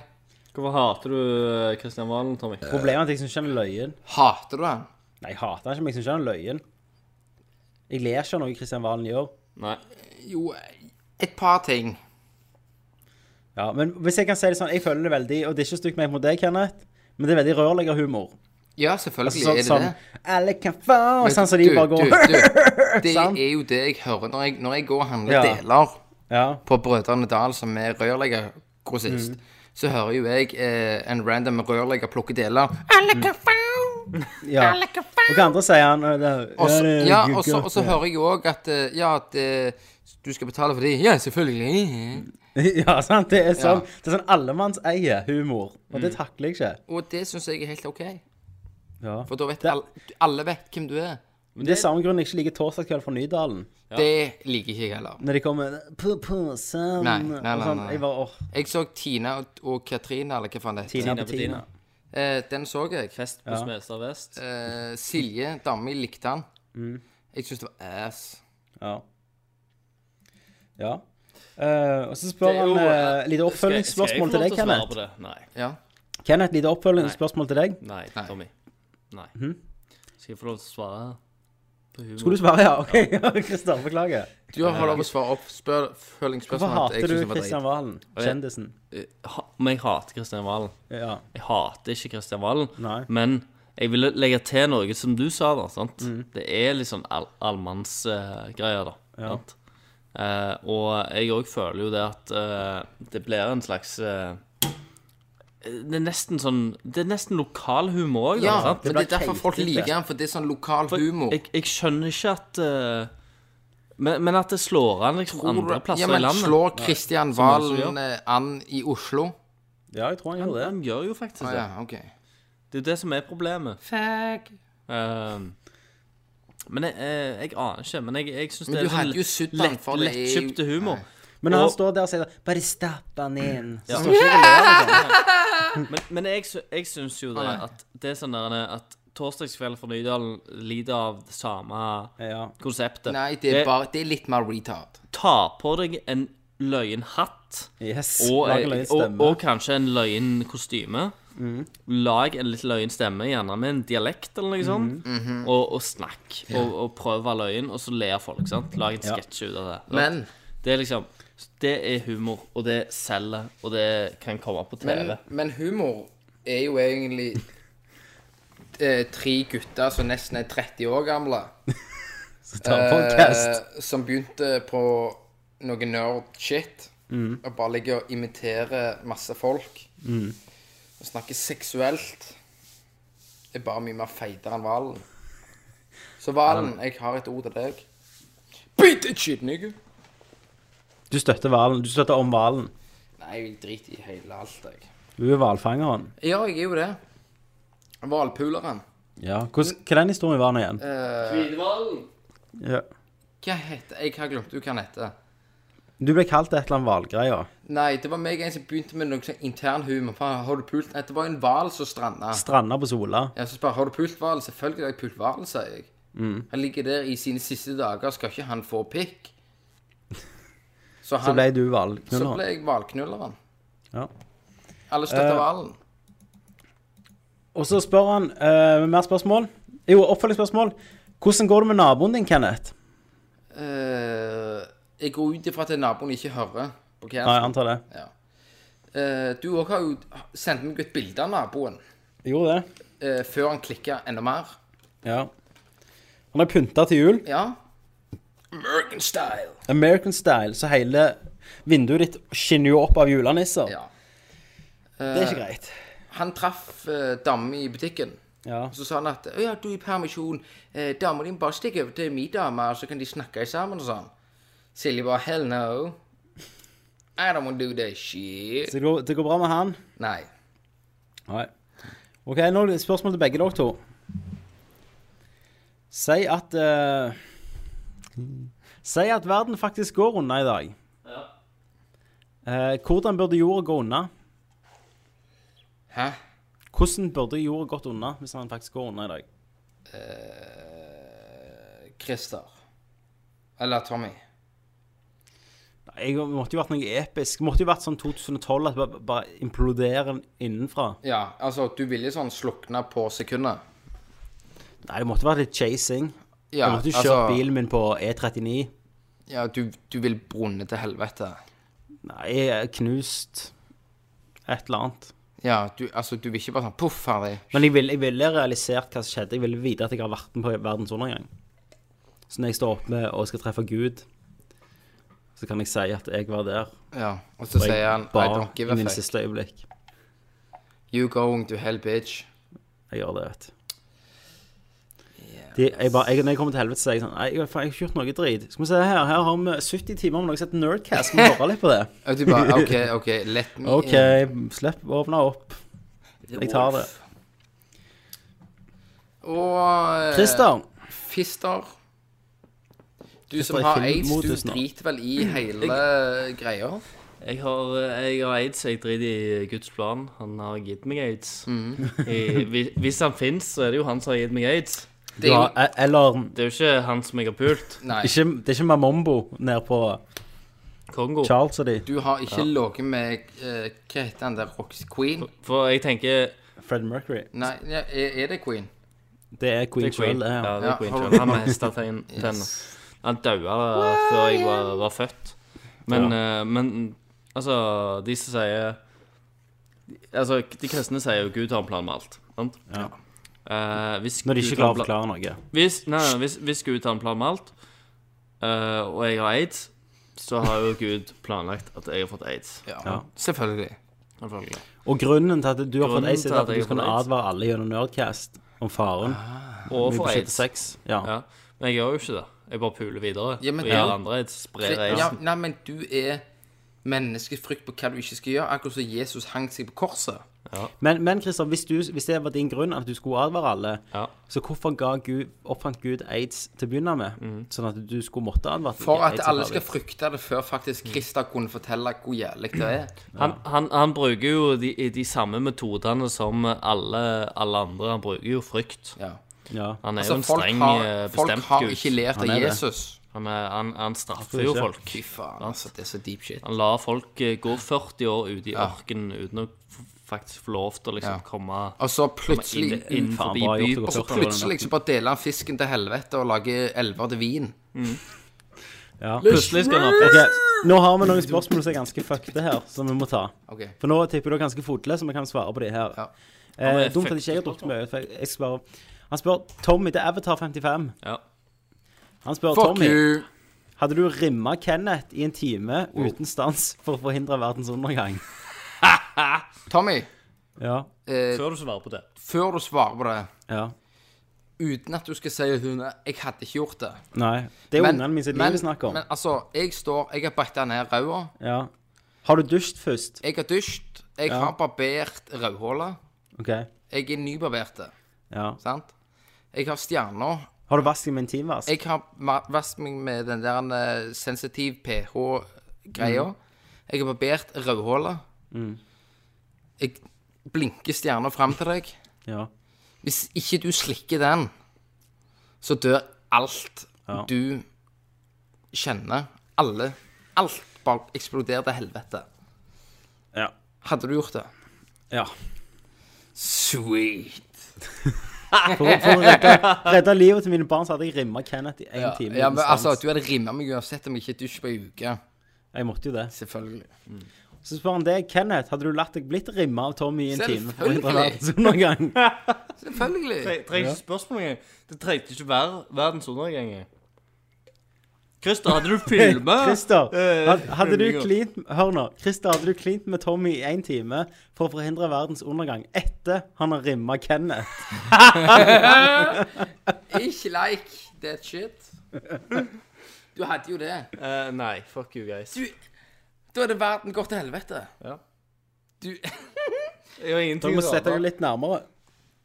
Speaker 3: Hvorfor hater du Kristian Valen, Tommy?
Speaker 1: Problemet er at jeg syns ikke han er løyen.
Speaker 2: Hater du han?
Speaker 1: Nei, jeg hater han ikke, men jeg syns ikke han er løyen. Jeg ler ikke av noe Christian Valen gjør.
Speaker 3: Nei.
Speaker 2: Jo, et par ting.
Speaker 1: Ja, men hvis jeg kan si det sånn, jeg føler det veldig, og det er ikke stygt ment mot deg, Kenneth, men det er veldig rørleggerhumor.
Speaker 2: Ja, selvfølgelig
Speaker 1: Altså,
Speaker 2: er
Speaker 1: sånn,
Speaker 2: det
Speaker 1: sånn,
Speaker 2: det.
Speaker 1: alle kan få, sånn som de
Speaker 2: Du,
Speaker 1: bare går.
Speaker 2: du, du,
Speaker 1: [laughs]
Speaker 2: Det
Speaker 1: Sant?
Speaker 2: er jo det jeg hører når jeg, når jeg går og handler
Speaker 1: Ja.
Speaker 2: deler
Speaker 1: Ja,
Speaker 2: på Brødrene Dal, som er rørleggergrossist.
Speaker 1: Mm.
Speaker 2: Så hører jo jeg eh, en random rørlegger plukke deler.
Speaker 1: ja. Og hva andre sier han? Og,
Speaker 2: Og så- ja, og så- og så hører jeg jo òg at eh, Ja, at eh, du skal betale for de. Ja, selvfølgelig.
Speaker 1: [laughs] Ja, sant, det er sånn, det er sånn allemannseie humor, og
Speaker 2: Mm.
Speaker 1: det takler jeg ikke.
Speaker 2: Og det syns jeg er helt OK.
Speaker 1: Ja.
Speaker 2: For da vet
Speaker 1: Det-
Speaker 2: alle, alle vet hvem du er.
Speaker 1: Men det er samme grunn jeg ikke liker torsdagskveld fra Nydalen,
Speaker 2: Det liker ikke jeg heller.
Speaker 1: når de kommer, på, på, sånn,
Speaker 2: Nei, nei, nei,
Speaker 1: og sånn,
Speaker 2: nei.
Speaker 1: jeg bare, åh,
Speaker 2: Jeg så Tina og, og Katrine, eller hva faen det heter.
Speaker 1: Tina Bettina.
Speaker 2: Eh, den så jeg.
Speaker 3: Fest på Smestad vest.
Speaker 2: Eh, Silje, dama mi, likte han.
Speaker 3: Mm.
Speaker 2: Jeg syns det var ass.
Speaker 1: Ja. Ja. Eh, og så spør
Speaker 3: Det er
Speaker 1: han
Speaker 3: jo,
Speaker 1: uh, lite
Speaker 3: eh, Skal jeg- skal jeg få
Speaker 1: oppfølgingsspørsmål til
Speaker 3: lov
Speaker 1: deg,
Speaker 3: å svare
Speaker 1: Kenneth.
Speaker 3: på det? Nei.
Speaker 2: Ja.
Speaker 1: Kenneth, lite oppfølgingsspørsmål til deg.
Speaker 3: Nei,
Speaker 2: Nei. Mhm.
Speaker 3: Tommy. Nei. Skal jeg få lov til å svare på humor?
Speaker 1: Skulle du svare ja? [laughs] OK, ja, Kristian, beklager.
Speaker 2: Du har fått lov å svare opp
Speaker 1: Hvorfor
Speaker 2: oppfølgingsspørsmålet.
Speaker 1: hater du Kristian Valen, kjendisen?
Speaker 3: Eh, ha, men jeg hater Kristian Valen.
Speaker 1: Ja.
Speaker 3: Jeg hater ikke Kristian Valen,
Speaker 1: Nei.
Speaker 3: men jeg ville legge til noe som du sa, da. sant?
Speaker 2: Mhm.
Speaker 3: Det er litt sånn all, allmannsgreier, da. Sant? Eh, og jeg òg føler jo det at eh, det blir en slags eh, Det er nesten sånn Det er nesten lokal humor òg,
Speaker 2: Ja,
Speaker 3: da. sant?
Speaker 2: men det er derfor folk
Speaker 1: keitete.
Speaker 2: liker han, for det er sånn lokal
Speaker 3: For
Speaker 2: humor.
Speaker 3: Jeg, jeg skjønner ikke at eh, men, men at det slår an liksom andre plasser
Speaker 2: ja, men
Speaker 3: i landet.
Speaker 2: slår Kristian
Speaker 3: som
Speaker 2: Valen
Speaker 3: gjør.
Speaker 2: eh, an i Oslo?
Speaker 1: Ja, jeg tror han
Speaker 3: Han,
Speaker 1: gjorde det.
Speaker 3: han gjør jo faktisk
Speaker 2: Ah,
Speaker 3: det.
Speaker 2: ja, ok.
Speaker 3: Det er jo det som er problemet. Fuck. men jeg, eh, jeg aner ikke. Men jeg, jeg syns
Speaker 2: Men
Speaker 3: det er
Speaker 2: du hadde jo
Speaker 3: sånn
Speaker 2: sutt han,
Speaker 3: lett,
Speaker 2: for det er jo-
Speaker 3: lettkjøpte humor.
Speaker 1: Men når han
Speaker 3: Og-
Speaker 1: står der og sier 'bare stapp han inn', så
Speaker 3: Ja.
Speaker 1: står ikke jeg og ler.
Speaker 3: [laughs] Men, men jeg, sy- jeg syns jo det
Speaker 2: Ah, nei.
Speaker 3: at det er sånn der at Torsdagskveld fra Nydalen lider av det samme
Speaker 1: Ja.
Speaker 3: konseptet.
Speaker 2: Nei, det er, bare, det er litt mer retard.
Speaker 3: Ta på deg en løyen hatt
Speaker 1: Yes.
Speaker 3: og, eh,
Speaker 1: Lag en løyen
Speaker 3: og,
Speaker 1: stemme. Mm.
Speaker 3: og kanskje en løyen kostyme. Lag en litt løyen stemme, gjerne med en dialekt eller noe sånt,
Speaker 1: Mm.
Speaker 2: Mhm.
Speaker 3: og, og snakk. Og, og prøv å være løyen, og så ler folk. sant? Lag en sketsj ut av det. sant?
Speaker 2: Men
Speaker 3: Det er liksom Det er humor, og det selger, og det kan komme på TV.
Speaker 2: Men, men humor er jo egentlig eh, tre gutter som nesten er 30 år gamle,
Speaker 1: Ta en
Speaker 2: eh,
Speaker 1: podcast.
Speaker 2: som begynte på noe nerd shit. Og bare ligger og imiterer masse folk. Og snakker seksuelt. Er bare mye mer feitere enn Valen. Så Valen, jeg har et ord til deg. Bit it shit, nigga!
Speaker 1: Du støtter valen. Du støtter om hvalen.
Speaker 2: Nei, jeg driter i hele alt, jeg.
Speaker 1: Du er hvalfangeren.
Speaker 2: Ja, jeg er jo det. Hvalpuleren.
Speaker 1: Ja. Hvordan, hva er den historien var nå igjen?
Speaker 3: Eh,
Speaker 1: Ja.
Speaker 2: Hva heter Jeg har glemt hva han heter.
Speaker 1: Du ble kalt et eller annet hvalgreier.
Speaker 2: Nei, det var meg en som begynte med noe sånn intern humor. Faen, har du pult? Nei, det var en hval som stranda.
Speaker 1: Stranda på Sola.
Speaker 2: Jeg så spør, har du pult hval? Selvfølgelig har jeg pult hval, sier jeg.
Speaker 1: Mm.
Speaker 2: Han ligger der i sine siste dager, skal ikke han få
Speaker 1: [laughs]
Speaker 2: pikk?
Speaker 1: Så
Speaker 2: Så, han,
Speaker 1: ble du
Speaker 2: så
Speaker 1: hvalknuller.
Speaker 2: ble jeg hvalknulleren.
Speaker 1: Ja.
Speaker 2: Alle
Speaker 1: Eh.
Speaker 2: støtter hvalen.
Speaker 1: Og så spør han eh, mer spørsmål. Jo, oppfølgingsspørsmål. Hvordan går det med naboen din, Kenneth?
Speaker 2: Eh, jeg går ut ifra at naboen ikke hører. på hva
Speaker 1: Nei, jeg
Speaker 2: jeg-
Speaker 1: antar det.
Speaker 2: Eh, du òg har jo sendt meg et bilde av naboen
Speaker 1: Gjorde det.
Speaker 2: eh, før han klikka enda mer.
Speaker 1: Ja. Han er pynta til jul.
Speaker 2: Ja. American style.
Speaker 1: American style, så hele vinduet ditt skinner jo opp av julenisser.
Speaker 2: Ja.
Speaker 1: Det er ikke greit.
Speaker 2: Han traff eh, damen i butikken.
Speaker 1: Ja.
Speaker 2: Og så sa han at «Å ja, du er i permisjon. Eh, damen din bare stikker over til min dame, og så kan de snakke sammen og sånn. Silje bare hell no. I don't wanna do that
Speaker 1: Så
Speaker 2: shit.
Speaker 1: det går, det går bra med han.
Speaker 2: Nei.
Speaker 1: Nei. OK, nå er det spørsmål til begge dere to. Si at eh, Si at verden faktisk går unna i dag. Eh, hvordan burde jorda gå unna?
Speaker 2: Hæ?
Speaker 1: Hvordan burde jorda gått unna hvis den faktisk går unna i dag?
Speaker 2: Eh, Christer. Eller Tommy.
Speaker 1: Nei, Jeg måtte jo vært noe episk. Måtte jo vært sånn 2012 at det bare, bare imploderer innenfra.
Speaker 2: Ja, altså, du ville sånn slukne på sekundet.
Speaker 1: Nei, det måtte vært litt chasing.
Speaker 2: Ja, altså,
Speaker 1: jeg måtte jo kjøre bilen min på E39.
Speaker 2: Ja, du, du vil brunne til helvete.
Speaker 1: Nei, jeg er knust. Et eller annet.
Speaker 2: Ja, du, altså, du vil ikke bare sånn poff, ferdig.
Speaker 1: Men jeg ville, jeg ville realisert hva som skjedde. Jeg ville vite at jeg har vært med på verdens undergang. Så når jeg står oppe og skal treffe Gud, så kan jeg si at jeg var der.
Speaker 2: Ja, og så
Speaker 1: Og
Speaker 2: sier
Speaker 1: jeg
Speaker 2: han I don't give
Speaker 1: i
Speaker 2: a
Speaker 1: mine
Speaker 2: fuck.
Speaker 1: siste øyeblikk.
Speaker 2: You going to hell, bitch.
Speaker 1: Jeg gjør det, vet du. De, jeg
Speaker 2: altså.
Speaker 1: bare, jeg, når jeg kommer til helvete, så er jeg sånn Nei, jeg, faen, jeg har ikke gjort noe drit. Skal vi se her, her har vi 70 timer med noe som heter Nerdcast. Skal vi høre litt på det?
Speaker 2: Og du bare
Speaker 1: [laughs]
Speaker 2: OK, [laughs] OK, let me
Speaker 1: OK,
Speaker 2: in.
Speaker 1: slipp å åpne opp. Jeg tar det.
Speaker 2: Og eh,
Speaker 1: Christer.
Speaker 2: Fister. Du
Speaker 1: Fister
Speaker 2: som
Speaker 1: er
Speaker 2: har aids,
Speaker 1: filmmodus
Speaker 2: du
Speaker 1: nå.
Speaker 2: driter vel i hele greia.
Speaker 3: Jeg har, eh, jeg har aids, jeg driter i Guds plan. Han har gitt meg aids.
Speaker 2: Mhm.
Speaker 3: I, hvis- hvis han fins, så er det jo han som har gitt meg aids.
Speaker 2: Det er
Speaker 1: Ja,
Speaker 2: jo
Speaker 1: e- eller
Speaker 3: Det er jo ikke han som jeg har pult.
Speaker 2: Nei.
Speaker 1: ikke, Det er ikke Mamombo nede på
Speaker 3: Kongo.
Speaker 1: Charles og de.
Speaker 2: Du har ikke ligget med eh, Hva heter han der Roxy Queen?
Speaker 3: For jeg tenker
Speaker 1: Fred Mercury.
Speaker 2: Nei, ja, er, er det Queen?
Speaker 1: Det er Queen
Speaker 3: det er Queen.
Speaker 1: Charles.
Speaker 3: Ja, det
Speaker 2: Ja,
Speaker 3: er Queen
Speaker 2: har-
Speaker 3: Charles. Han med hestetenner. Han daua før jeg var, var født. Men, eh, men altså De som sier Altså, de kristne sier jo Gud har en plan med alt. Sant?
Speaker 1: Ja.
Speaker 3: Eh, hvis
Speaker 1: Når de
Speaker 3: Gud
Speaker 1: ikke klarer
Speaker 3: har en
Speaker 1: å
Speaker 3: plan-
Speaker 1: forklare noe.
Speaker 3: Hvis, nei, nei, hvis, hvis Gud har en plan med alt, eh, og jeg har aids, så har jo Gud planlagt at jeg har fått aids.
Speaker 1: Ja.
Speaker 2: Selvfølgelig.
Speaker 3: selvfølgelig.
Speaker 1: Og grunnen til at du har fått
Speaker 3: Grunnen
Speaker 1: aids,
Speaker 3: til
Speaker 1: er
Speaker 3: at
Speaker 1: at du
Speaker 3: jeg har
Speaker 1: skal
Speaker 3: fått aids.
Speaker 1: advare alle gjennom Nerdcast om faren.
Speaker 3: Og for
Speaker 1: Mye
Speaker 3: aids.
Speaker 1: sex. Ja.
Speaker 3: Ja. Men jeg gjør jo ikke det. Jeg bare puler videre.
Speaker 2: Ja, men
Speaker 3: og gjør
Speaker 2: du-
Speaker 3: andre aids, sprer aidsen.
Speaker 2: Ja, nei, men du er menneskefrykt på hva du ikke skal gjøre, akkurat som Jesus hang seg på korset.
Speaker 1: Men, men Christian, hvis, du, hvis det var din grunn at du skulle advare alle,
Speaker 3: Ja.
Speaker 1: så hvorfor ga Gud, oppfant Gud aids til å begynne med? Sånn at du skulle måtte advare til
Speaker 2: For
Speaker 1: ikke
Speaker 2: at
Speaker 1: aids er
Speaker 2: alle skal
Speaker 1: farlig.
Speaker 2: frykte det før faktisk Christer kunne fortelle hvor jævlig det er.
Speaker 1: Mm.
Speaker 3: Han, han, han bruker jo de, de samme metodene som alle, alle andre. Han bruker jo frykt.
Speaker 2: Ja.
Speaker 1: ja.
Speaker 3: Han er
Speaker 2: Altså,
Speaker 3: jo en
Speaker 2: folk
Speaker 3: streng,
Speaker 2: har,
Speaker 3: eh,
Speaker 2: folk
Speaker 3: bestemt
Speaker 2: har
Speaker 3: Gud.
Speaker 2: ikke lært
Speaker 1: Han
Speaker 2: av
Speaker 1: er det.
Speaker 2: Jesus.
Speaker 3: Han, er- han, han straffer
Speaker 1: Absolutt
Speaker 3: jo
Speaker 1: ikke.
Speaker 3: folk.
Speaker 2: Fy faen, altså. Det er så deep shit.
Speaker 3: Han lar folk eh, gå 40 år ute i ørkenen uten å f- faktisk få lov til å
Speaker 2: Ja.
Speaker 3: liksom komme
Speaker 2: Og så plutselig
Speaker 3: inn, inn
Speaker 1: faen,
Speaker 3: forbi
Speaker 1: bra gjort å gå
Speaker 3: byporten.
Speaker 2: Og så plutselig så bare deler han fisken til helvete og lager elver til vin.
Speaker 3: Plutselig skal han ha
Speaker 1: Ok, Nå har vi noen spørsmål som er ganske fuckede her, som vi må ta.
Speaker 2: Ok.
Speaker 1: For nå tipper du er ganske fotløs, så vi kan svare på de her.
Speaker 2: Ja.
Speaker 1: Eh, dumt at ikke jeg har drukket mye. For jeg, jeg skal bare... Han spør Tommy til Avatar 55.
Speaker 3: Ja.
Speaker 1: Han spør
Speaker 2: Fuck
Speaker 1: Tommy
Speaker 2: you!
Speaker 1: Hadde du rimma Kenneth i en time uten stans for å forhindre verdens undergang?
Speaker 2: Tommy, eh,
Speaker 1: Ja.
Speaker 3: Før du svarer på det.
Speaker 2: før du svarer på det,
Speaker 1: ja.
Speaker 2: uten at du skal si at hun Jeg hadde ikke gjort det.
Speaker 1: Nei. Det er ungene mine sitt liv vi snakker om.
Speaker 2: men altså, jeg står Jeg har bretta ned ræva.
Speaker 1: ja. Har du dusjet først?
Speaker 2: Jeg har dusjet. Jeg
Speaker 1: Ja.
Speaker 2: har barbert rødhålet.
Speaker 1: OK.
Speaker 2: Jeg er nybarbert.
Speaker 1: Ja.
Speaker 2: Sant? Jeg har stjerna.
Speaker 1: Har du vasket deg med en timevask?
Speaker 2: Jeg har ma- vasket meg med den der eh, sensitiv pH-greia. Jeg har barbert rødhålet. Jeg blinker stjerna fram til deg.
Speaker 1: Ja.
Speaker 2: Hvis ikke du slikker den, så dør alt
Speaker 1: Ja.
Speaker 2: du kjenner. Alle. Alt bare eksploderer til helvete.
Speaker 1: Ja.
Speaker 2: Hadde du gjort det?
Speaker 1: ja.
Speaker 2: Sweet.
Speaker 1: For, å- for å redde, redde livet til mine barn så hadde jeg rimma Kenneth i en
Speaker 2: Ja,
Speaker 1: time
Speaker 2: ja,
Speaker 1: uten
Speaker 2: men
Speaker 1: stans.
Speaker 2: altså, du hadde rimma meg uansett om jeg ikke dusjer på ei uke.
Speaker 1: Jeg måtte jo det.
Speaker 2: Selvfølgelig.
Speaker 1: Så spør han deg, Kenneth, hadde du latt deg blitt rimma av Tommy i en time for å forhindre
Speaker 2: Selvfølgelig.
Speaker 1: verdens [laughs] undergang?
Speaker 2: Selvfølgelig.
Speaker 3: Jeg trenger ikke spørsmål engang. Det trengte ikke være verdens undergang. engang. Christer,
Speaker 2: [laughs]
Speaker 3: hadde du filma?
Speaker 1: Christer,
Speaker 3: Eh,
Speaker 1: had- hadde du
Speaker 3: rullinger.
Speaker 1: klint Hør nå. Christer, hadde du klint med Tommy i én time for å forhindre verdens undergang etter han har rimma Kenneth?
Speaker 2: Ikke like that shit. Du hadde jo det.
Speaker 3: Eh, nei, fuck you guys.
Speaker 2: Du Da hadde verden gått til helvete.
Speaker 3: Ja.
Speaker 2: Du
Speaker 3: Jeg har
Speaker 1: Du
Speaker 3: ingenting
Speaker 1: må
Speaker 3: å
Speaker 1: sette deg
Speaker 3: tape.
Speaker 1: litt nærmere.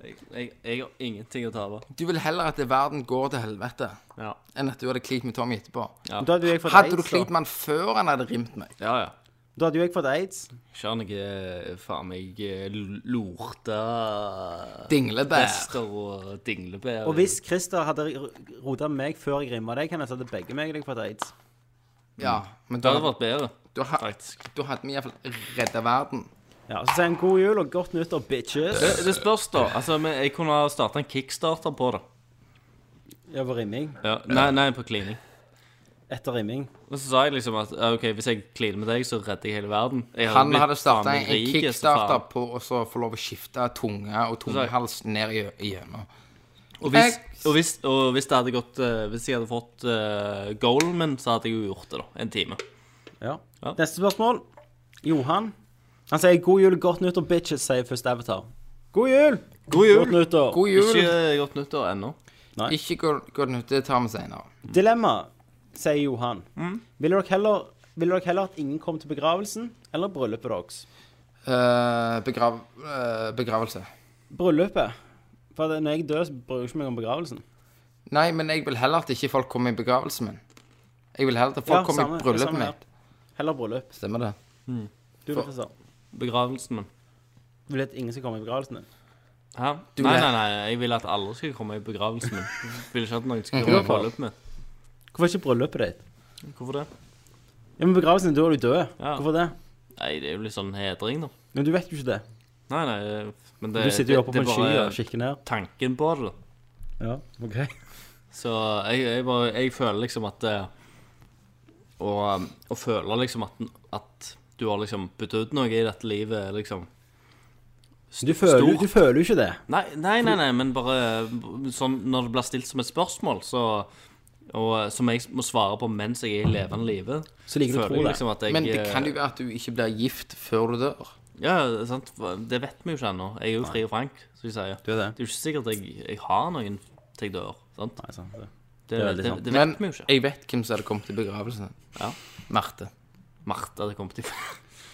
Speaker 3: Jeg, jeg, jeg har ingenting å tape.
Speaker 2: Du vil heller at verden går til helvete
Speaker 3: Ja.
Speaker 2: enn at du hadde klint med Tommy etterpå.
Speaker 1: Da hadde jo jeg fått
Speaker 2: Hadde du
Speaker 1: aids.
Speaker 2: klint
Speaker 1: Da.
Speaker 2: med han før han hadde rimt meg?
Speaker 3: ja, ja.
Speaker 1: da hadde jo jeg fått aids.
Speaker 3: Skjønner ikke faen meg eh, l- lorte
Speaker 2: Dinglebær.
Speaker 3: Bester og dinglebær.
Speaker 1: Og hvis Christer hadde rota meg før jeg rimma deg, Kenneth, så hadde begge meg og deg fått aids.
Speaker 2: Ja, men
Speaker 3: Det
Speaker 2: da,
Speaker 3: hadde vært bedre,
Speaker 2: da, ha-
Speaker 3: faktisk.
Speaker 2: da hadde vi iallfall redda verden.
Speaker 1: Ja, Så sier han god jul og godt nyttår, bitches.
Speaker 3: Det, Eh, det spørs, da. Altså, men jeg kunne ha starta en kickstarter på det.
Speaker 1: Ja, på rimming.
Speaker 3: Ja. Nei, nei, på klining.
Speaker 1: Etter rimming.
Speaker 3: Og så sa jeg liksom at ja, OK, hvis jeg kliner med deg, så redder jeg hele verden. Jeg
Speaker 2: Han
Speaker 3: blitt
Speaker 2: hadde starta
Speaker 3: faen
Speaker 2: en
Speaker 3: meg
Speaker 2: en
Speaker 3: rik, så
Speaker 2: kickstarter
Speaker 3: faen.
Speaker 2: på å så få lov å skifte tunge og tungehals ned i i hjørnet.
Speaker 3: Og hvis, og, hvis, og hvis det hadde gått eh, Hvis jeg hadde fått uh, goalen min, så hadde jeg jo gjort det, da. En time.
Speaker 1: Ja.
Speaker 3: Ja.
Speaker 1: Neste spørsmål. Johan. Han sier god jul og godt nyttår, bitches, sier først Avatar. God jul!
Speaker 3: God
Speaker 1: Godt nyttår.
Speaker 2: God jul!
Speaker 3: Ikke eh, godt nyttår ennå.
Speaker 2: Ikke gå gå den ut, det tar vi seinere.
Speaker 1: Dilemma, sier Johan.
Speaker 2: Mm.
Speaker 1: Ville dere heller ville dere heller at ingen kom til begravelsen eller bryllupet deres?
Speaker 2: Eh, begrav, eh, begravelse.
Speaker 1: Bryllupet. For det- når jeg dør, så bryr jeg ikke meg om begravelsen.
Speaker 2: Nei, men jeg vil heller at ikke folk kommer i begravelsen min. Jeg vil heller at folk
Speaker 1: Ja,
Speaker 2: kommer
Speaker 1: samme-
Speaker 2: i
Speaker 1: samme
Speaker 2: bryllupet
Speaker 1: her.
Speaker 2: mitt.
Speaker 1: Heller bryllup.
Speaker 2: Stemmer det?
Speaker 1: Du vet det,
Speaker 3: Begravelsen min.
Speaker 1: Vil at ingen skal komme i begravelsen din.
Speaker 3: Hæ?
Speaker 2: Du
Speaker 3: nei,
Speaker 2: vil-
Speaker 3: nei, nei, jeg vil at alle skal komme i begravelsen min. Jeg Vil ikke at noen skal komme i bryllupet mitt.
Speaker 1: Hvorfor ikke bryllupet ditt?
Speaker 3: Hvorfor det?
Speaker 1: Ja, men begravelsen din, da er du død.
Speaker 3: Ja.
Speaker 1: Hvorfor det?
Speaker 3: Nei, det er jo litt sånn hedring, da.
Speaker 1: Men du vet jo ikke det.
Speaker 3: Nei, nei, men det
Speaker 1: Du sitter jo oppe på
Speaker 3: det-
Speaker 1: en
Speaker 3: det er
Speaker 1: sky
Speaker 3: bare
Speaker 1: og kikker ned.
Speaker 3: Tanken på det, da.
Speaker 1: Ja, ok.
Speaker 3: Så jeg, jeg bare Jeg føler liksom at eh, Og, um, og føler liksom at, at du har liksom betydd noe i dette livet, er liksom
Speaker 1: Du føler, jo- du føler jo ikke det.
Speaker 3: Nei, nei, nei, nei men bare b- sånn når det blir stilt som et spørsmål, så og, eh, som jeg må svare på mens jeg er i levende live.
Speaker 1: Så liker du å
Speaker 3: føler
Speaker 1: tro
Speaker 3: jeg
Speaker 1: det.
Speaker 3: liksom at jeg
Speaker 2: Men det
Speaker 3: eh,
Speaker 2: kan jo være at du ikke blir gift før du dør.
Speaker 3: Ja, sant? det vet vi jo ikke ennå. Jeg er jo fri og frank, som de sier.
Speaker 1: Du er det.
Speaker 3: Det er jo ikke sikkert jeg, jeg har noen til jeg dør. Sant?
Speaker 1: Nei, sant. det. er
Speaker 3: Det, det,
Speaker 1: veldig
Speaker 3: det,
Speaker 1: sant.
Speaker 3: vet
Speaker 2: Men
Speaker 3: vi jo ikke.
Speaker 2: jeg vet hvem som hadde kommet i begravelsen.
Speaker 3: Ja.
Speaker 2: Marte.
Speaker 3: Martha det kommer til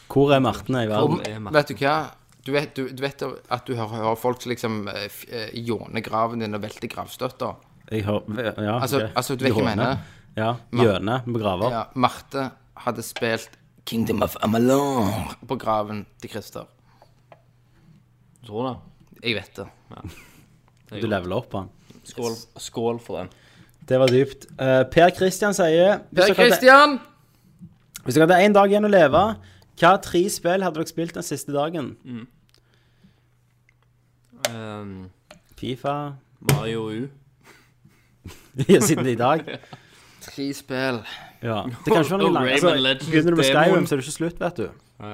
Speaker 1: Hvor er Martene i verden?
Speaker 2: Om,
Speaker 3: er Marte.
Speaker 2: vet du hva? Du vet, du, du vet at du hører, hører folk som liksom eh, f- eh, jåner graven din og velter gravstøtter?
Speaker 1: Jeg har Ja.
Speaker 2: Altså,
Speaker 1: ok.
Speaker 2: altså du vet hva
Speaker 1: Hjørne.
Speaker 2: jeg mener?
Speaker 1: Ja. Hjørne med graver.
Speaker 2: Ja, Marte hadde spilt Kingdom of Amalur på graven til Christer.
Speaker 3: å tro det.
Speaker 2: Jeg vet det.
Speaker 1: Du leveler opp på han.
Speaker 3: Skål, skål for den.
Speaker 1: Det var dypt. Eh, per Christian sier hvis dere hadde-
Speaker 2: Per Christian!
Speaker 1: Hvis dere hadde én dag igjen å leve, hva tre spill hadde dere spilt den siste dagen?
Speaker 3: Um,
Speaker 1: Fifa [laughs]
Speaker 3: Mario U.
Speaker 1: Ja, Siden i dag.
Speaker 2: Tre spill.
Speaker 1: Ja. Det kan ikke være noe
Speaker 3: Og
Speaker 1: langt.
Speaker 3: Rayman
Speaker 1: Altså,
Speaker 3: Legends
Speaker 1: begynner du med
Speaker 3: demoen.
Speaker 1: Skyrim, så er det ikke slutt, vet du.
Speaker 2: Eh,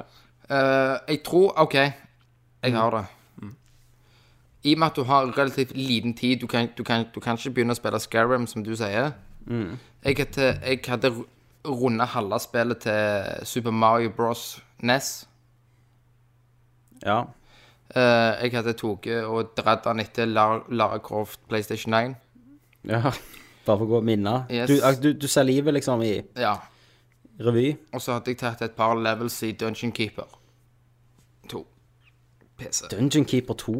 Speaker 2: jeg tror OK, jeg har det. I og med at du har relativt liten tid Du kan, du kan, du kan ikke begynne å spille Skyrim, som du sier. Jeg, hadde, jeg hadde runda halve spillet til Super Mario Bros. E NES.
Speaker 1: Ja.
Speaker 2: Eh, jeg hadde tatt og dratt den etter Lara, Lara Croft PlayStation 9.
Speaker 1: ja. Bare for å gå og minne.
Speaker 2: Yes.
Speaker 1: Du, altså, du, du ser livet liksom i
Speaker 2: Ja.
Speaker 1: revy.
Speaker 2: Og så hadde jeg tatt et par levels i Dungeon Keeper 2. PC.
Speaker 1: Dungeon Keeper 2.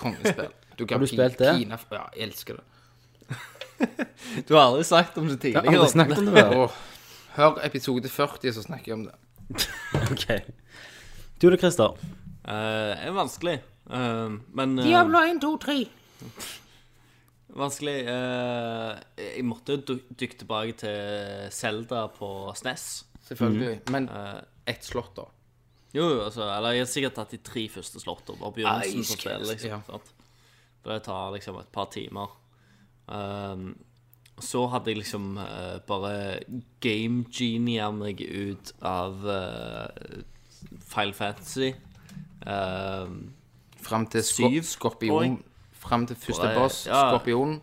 Speaker 2: Kongespill.
Speaker 1: Har du spilt det?
Speaker 2: Ja, jeg elsker [laughs] det.
Speaker 3: Du har aldri sagt om det
Speaker 1: Jeg har aldri
Speaker 3: tidligere.
Speaker 1: snakket om det før.
Speaker 2: Åh, hør episode 40, så snakker jeg om det.
Speaker 1: [laughs] Ok. Du da, Christer?
Speaker 3: Eh, er vanskelig. Eh, men eh,
Speaker 2: 1, 2, 3.
Speaker 3: Vanskelig. eh, jeg måtte jo dy- dykke tilbake til Zelda på E SNES.
Speaker 2: Selvfølgelig.
Speaker 1: Mhm.
Speaker 2: Men
Speaker 3: Eh,
Speaker 2: ett slott, da.
Speaker 3: jo, jo, altså Eller jeg har sikkert tatt de tre første slottene. Bare begynnelsen
Speaker 2: Ice
Speaker 3: på spillet.
Speaker 2: Cast,
Speaker 3: Liksom,
Speaker 2: ja.
Speaker 3: sant? For det tar liksom et par timer. Um, så hadde jeg liksom eh, bare game genia meg ut av uh, Final Fantasy. Um,
Speaker 2: Fram til sko
Speaker 3: Syv.
Speaker 2: skorpion. Fram til første
Speaker 3: Nei,
Speaker 2: boss,
Speaker 3: ja.
Speaker 2: skorpion.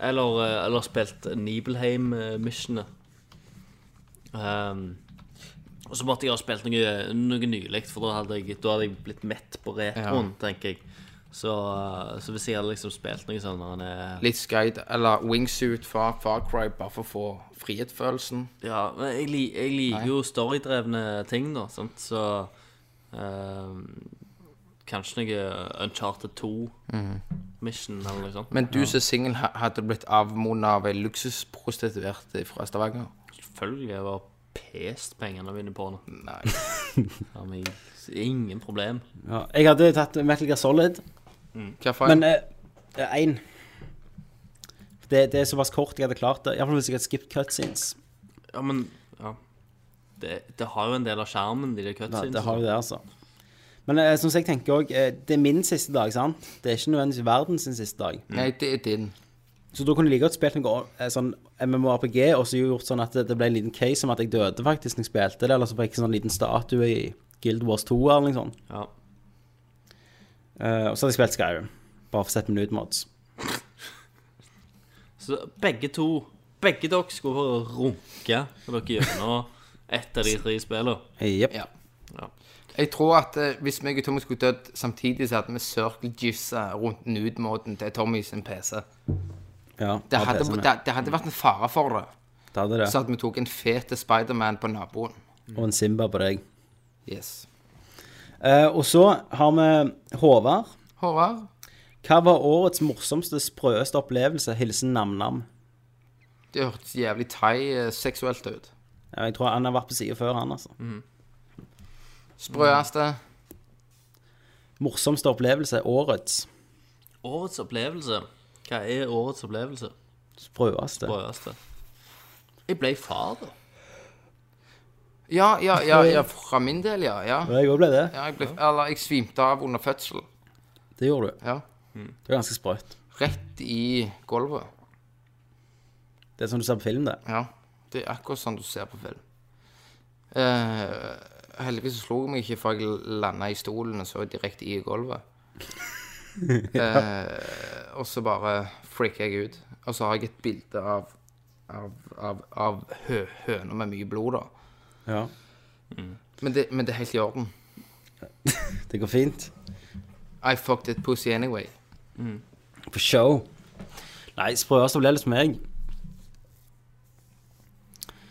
Speaker 3: Eller, eh, eller spilt Nibelheim-missionet. Um, og så måtte jeg ha spilt noe, noe nylig, for da hadde, jeg, da hadde jeg blitt mett på retroen, tenker jeg. Så, eh, så hvis jeg hadde liksom spilt noe sånn når han er-
Speaker 2: Litt Skyde, eller wingsuit fra Far Cry, bare for å få frihetsfølelsen.
Speaker 3: Ja, men jeg, li- jeg liker jo storydrevne ting, da, sant, så ehm, Kanskje noe Uncharted 2-mission eller noe sånt.
Speaker 2: Men du som singel ha- hadde blitt avmona av ei luksusprostituert fra Stavanger.
Speaker 3: Selvfølgelig jeg var pest pengene mine på det.
Speaker 2: Nei.
Speaker 3: [laughs] Ja, men ingen problem.
Speaker 1: Ja. Jeg hadde tatt Metal Gear Solid,
Speaker 2: Hva for
Speaker 1: men
Speaker 2: en?
Speaker 1: én. det, det er såpass kort jeg hadde klart det. Iallfall hvis jeg hadde skippet cutscenes.
Speaker 3: Ja, men ja. Det, det har jo en del av skjermen, de der
Speaker 1: Ja,
Speaker 3: cutscenes.
Speaker 1: det har jo det, altså. Men eh, som jeg tenker også, eh, det er min siste dag, sant? Det er ikke nødvendigvis verdens sin siste dag.
Speaker 2: Nei, det er din.
Speaker 1: Så da kunne jeg like godt spilt noe eh, sånn MMORPG, og så gjort sånn at det, det ble en liten case om at jeg døde faktisk når jeg spilte det, eller så fikk jeg en sånn liten statue i Guild Wars 2 eller noe sånt.
Speaker 3: Ja.
Speaker 1: Eh, og så hadde jeg spilt Skyrim, bare for å sette meg ut mods.
Speaker 3: Så begge to Begge dere skulle få runke når dere gjennom ett av de tre spillene.
Speaker 1: Jepp.
Speaker 2: Ja.
Speaker 3: Ja.
Speaker 2: Jeg tror at eh, hvis meg og Tommy skulle dødd samtidig, så hadde vi circle jizza rundt nude-måten til Tommy sin PC.
Speaker 1: Ja,
Speaker 2: Det sånn,
Speaker 1: bare
Speaker 2: hadde,
Speaker 1: PC-en.
Speaker 2: det, det hadde vært en fare for det. Sånn.
Speaker 1: Det hadde det.
Speaker 2: Så at vi tok en fet Spiderman på naboen.
Speaker 1: Og en Simba på deg.
Speaker 2: Yes.
Speaker 1: Eh, og så har vi Håvard.
Speaker 2: Håvard?
Speaker 1: Hva var årets morsomste, sprøeste opplevelse? Hilsen Nam-Nam.
Speaker 2: Det hørtes jævlig thai-seksuelt ut.
Speaker 1: Ja, Jeg tror han har vært på sida før, han,
Speaker 2: Mm.
Speaker 1: altså.
Speaker 2: Sprøeste.
Speaker 1: Morsomste opplevelse? Årets?
Speaker 3: Årets opplevelse. Hva er årets opplevelse?
Speaker 1: Sprøeste?
Speaker 3: Brødeste. Jeg ble far, da.
Speaker 2: Ja, ja, [laughs] ja, ja, fra min del, ja. ja.
Speaker 1: Ja, Jeg òg ble det.
Speaker 2: ja jeg ble, eller jeg svimte av under fødsel.
Speaker 1: Det gjorde du.
Speaker 2: Ja.
Speaker 1: Det var ganske sprøtt.
Speaker 2: Rett i gulvet.
Speaker 1: Det er som du ser på film, det.
Speaker 2: Ja. Det er akkurat sånn du ser på film. Eh, heldigvis så slo jeg meg ikke før jeg landa i stolen og så direkte i gulvet. Eh, og så bare freaker jeg ut. Og så har jeg et bilde av av, av, av hø, høna med mye blod, da.
Speaker 1: Ja.
Speaker 2: Men det, men det er helt i orden.
Speaker 1: Det går fint.
Speaker 2: I fucked it pussy anyway.
Speaker 1: For show. Nei, sprøeste opplevelse for meg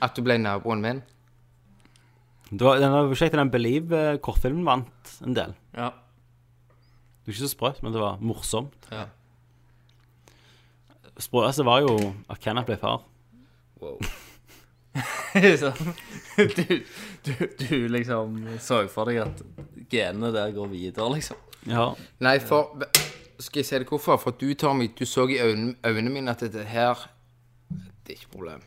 Speaker 2: At du ble naboen min.
Speaker 1: Det var, den var jo kjekt at den Believe-kortfilmen vant en del.
Speaker 3: Ja.
Speaker 1: Det var ikke så sprøtt, men det var morsomt.
Speaker 3: Ja.
Speaker 1: Sprøeste var jo at Kenneth ble far.
Speaker 3: Så, [laughs] du, du, du liksom så for deg at genene der går videre, liksom.
Speaker 1: Ja.
Speaker 2: Nei, for Skal jeg si deg hvorfor? For du, Tommy, du så i øynene, øynene mine at dette her er ikke problem.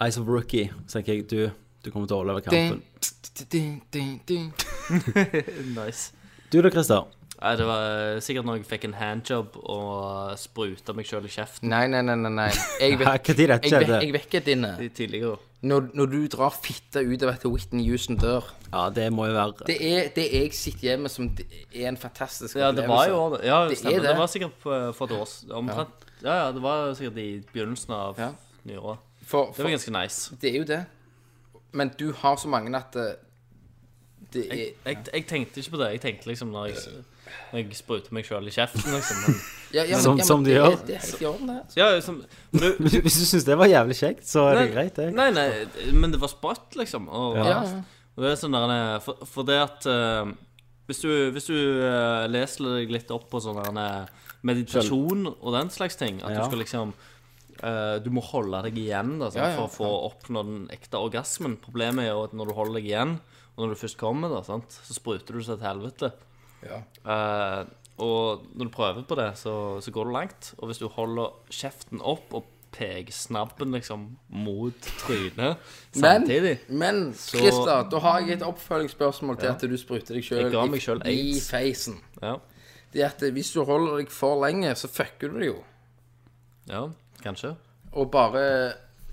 Speaker 1: Eyes of Rookie, så tenker jeg du, du kommer til å overleve
Speaker 2: Ding,
Speaker 1: kampen.
Speaker 2: ding, ding, ding.
Speaker 3: Nice.
Speaker 1: Du da, Christer?
Speaker 3: Nei, det var eh, sikkert når jeg fikk en handjob og spruta meg sjøl i kjeften
Speaker 2: Nei, nei, nei, nei. nei. Jeg
Speaker 1: Hva
Speaker 2: vet,
Speaker 1: tid dette
Speaker 2: jeg vet,
Speaker 1: skjedde?
Speaker 2: jeg vet ikke, Dinne.
Speaker 3: litt tidligere.
Speaker 2: Når, når du drar fitte utover til Whitney Houston dør
Speaker 1: Ja, det må jo være
Speaker 2: Det er det jeg sitter hjemme som d- er en fantastisk
Speaker 3: Ja, det var jo Ja,
Speaker 2: Det er
Speaker 3: det stemmer.
Speaker 2: det.
Speaker 3: Det. var sikkert på, eh, for et år s- omtrent. Ja. ja, det var sikkert i begynnelsen av
Speaker 2: Ja.
Speaker 3: nyåret.
Speaker 2: For,
Speaker 3: Det var
Speaker 2: for,
Speaker 3: ganske nice.
Speaker 2: det er jo det. Men du har så mange at det, det er
Speaker 3: Jeg, jeg tenkte ikke på det. Jeg tenkte liksom når jeg, s- når jeg spruter meg sjøl i kjeften, liksom. Men,
Speaker 2: ja, ja, men-
Speaker 1: Som-
Speaker 2: ja, men
Speaker 1: som de
Speaker 2: det er-
Speaker 1: gjør.
Speaker 2: Det er helt i orden, det.
Speaker 3: ja, liksom, men du,
Speaker 1: [laughs] Hvis du syns det var jævlig kjekt, så er det greit, det.
Speaker 3: Nei, nei, men det var sprøtt, liksom. Og,
Speaker 2: Ja.
Speaker 3: og det er sånn der, eh, for, for det at eh, Hvis du, hvis du eh, leser deg litt opp på sånn der, eh, meditasjon og den slags ting, at
Speaker 1: Ja.
Speaker 3: du skal liksom eh, du må holde deg igjen da, sant,
Speaker 2: Ja, ja,
Speaker 3: for å få oppnå den ekte orgasmen. Problemet er jo at når du holder deg igjen, og når du først kommer, da, sant, så spruter du så til helvete.
Speaker 2: Ja.
Speaker 3: Eh, og når du prøver på det, så, så går du langt. Og hvis du holder kjeften opp og peker snabben liksom mot
Speaker 2: [laughs] Men,
Speaker 3: trynet samtidig
Speaker 2: men Christer, da har jeg et oppfølgingsspørsmål til at du spruter deg
Speaker 3: Jeg ga
Speaker 2: sjøl
Speaker 3: meg selv
Speaker 2: i
Speaker 3: AIDS.
Speaker 2: feisen.
Speaker 3: Ja,
Speaker 2: Det er at eh, hvis du holder deg for lenge, så fucker du det jo.
Speaker 3: ja kanskje.
Speaker 2: Og bare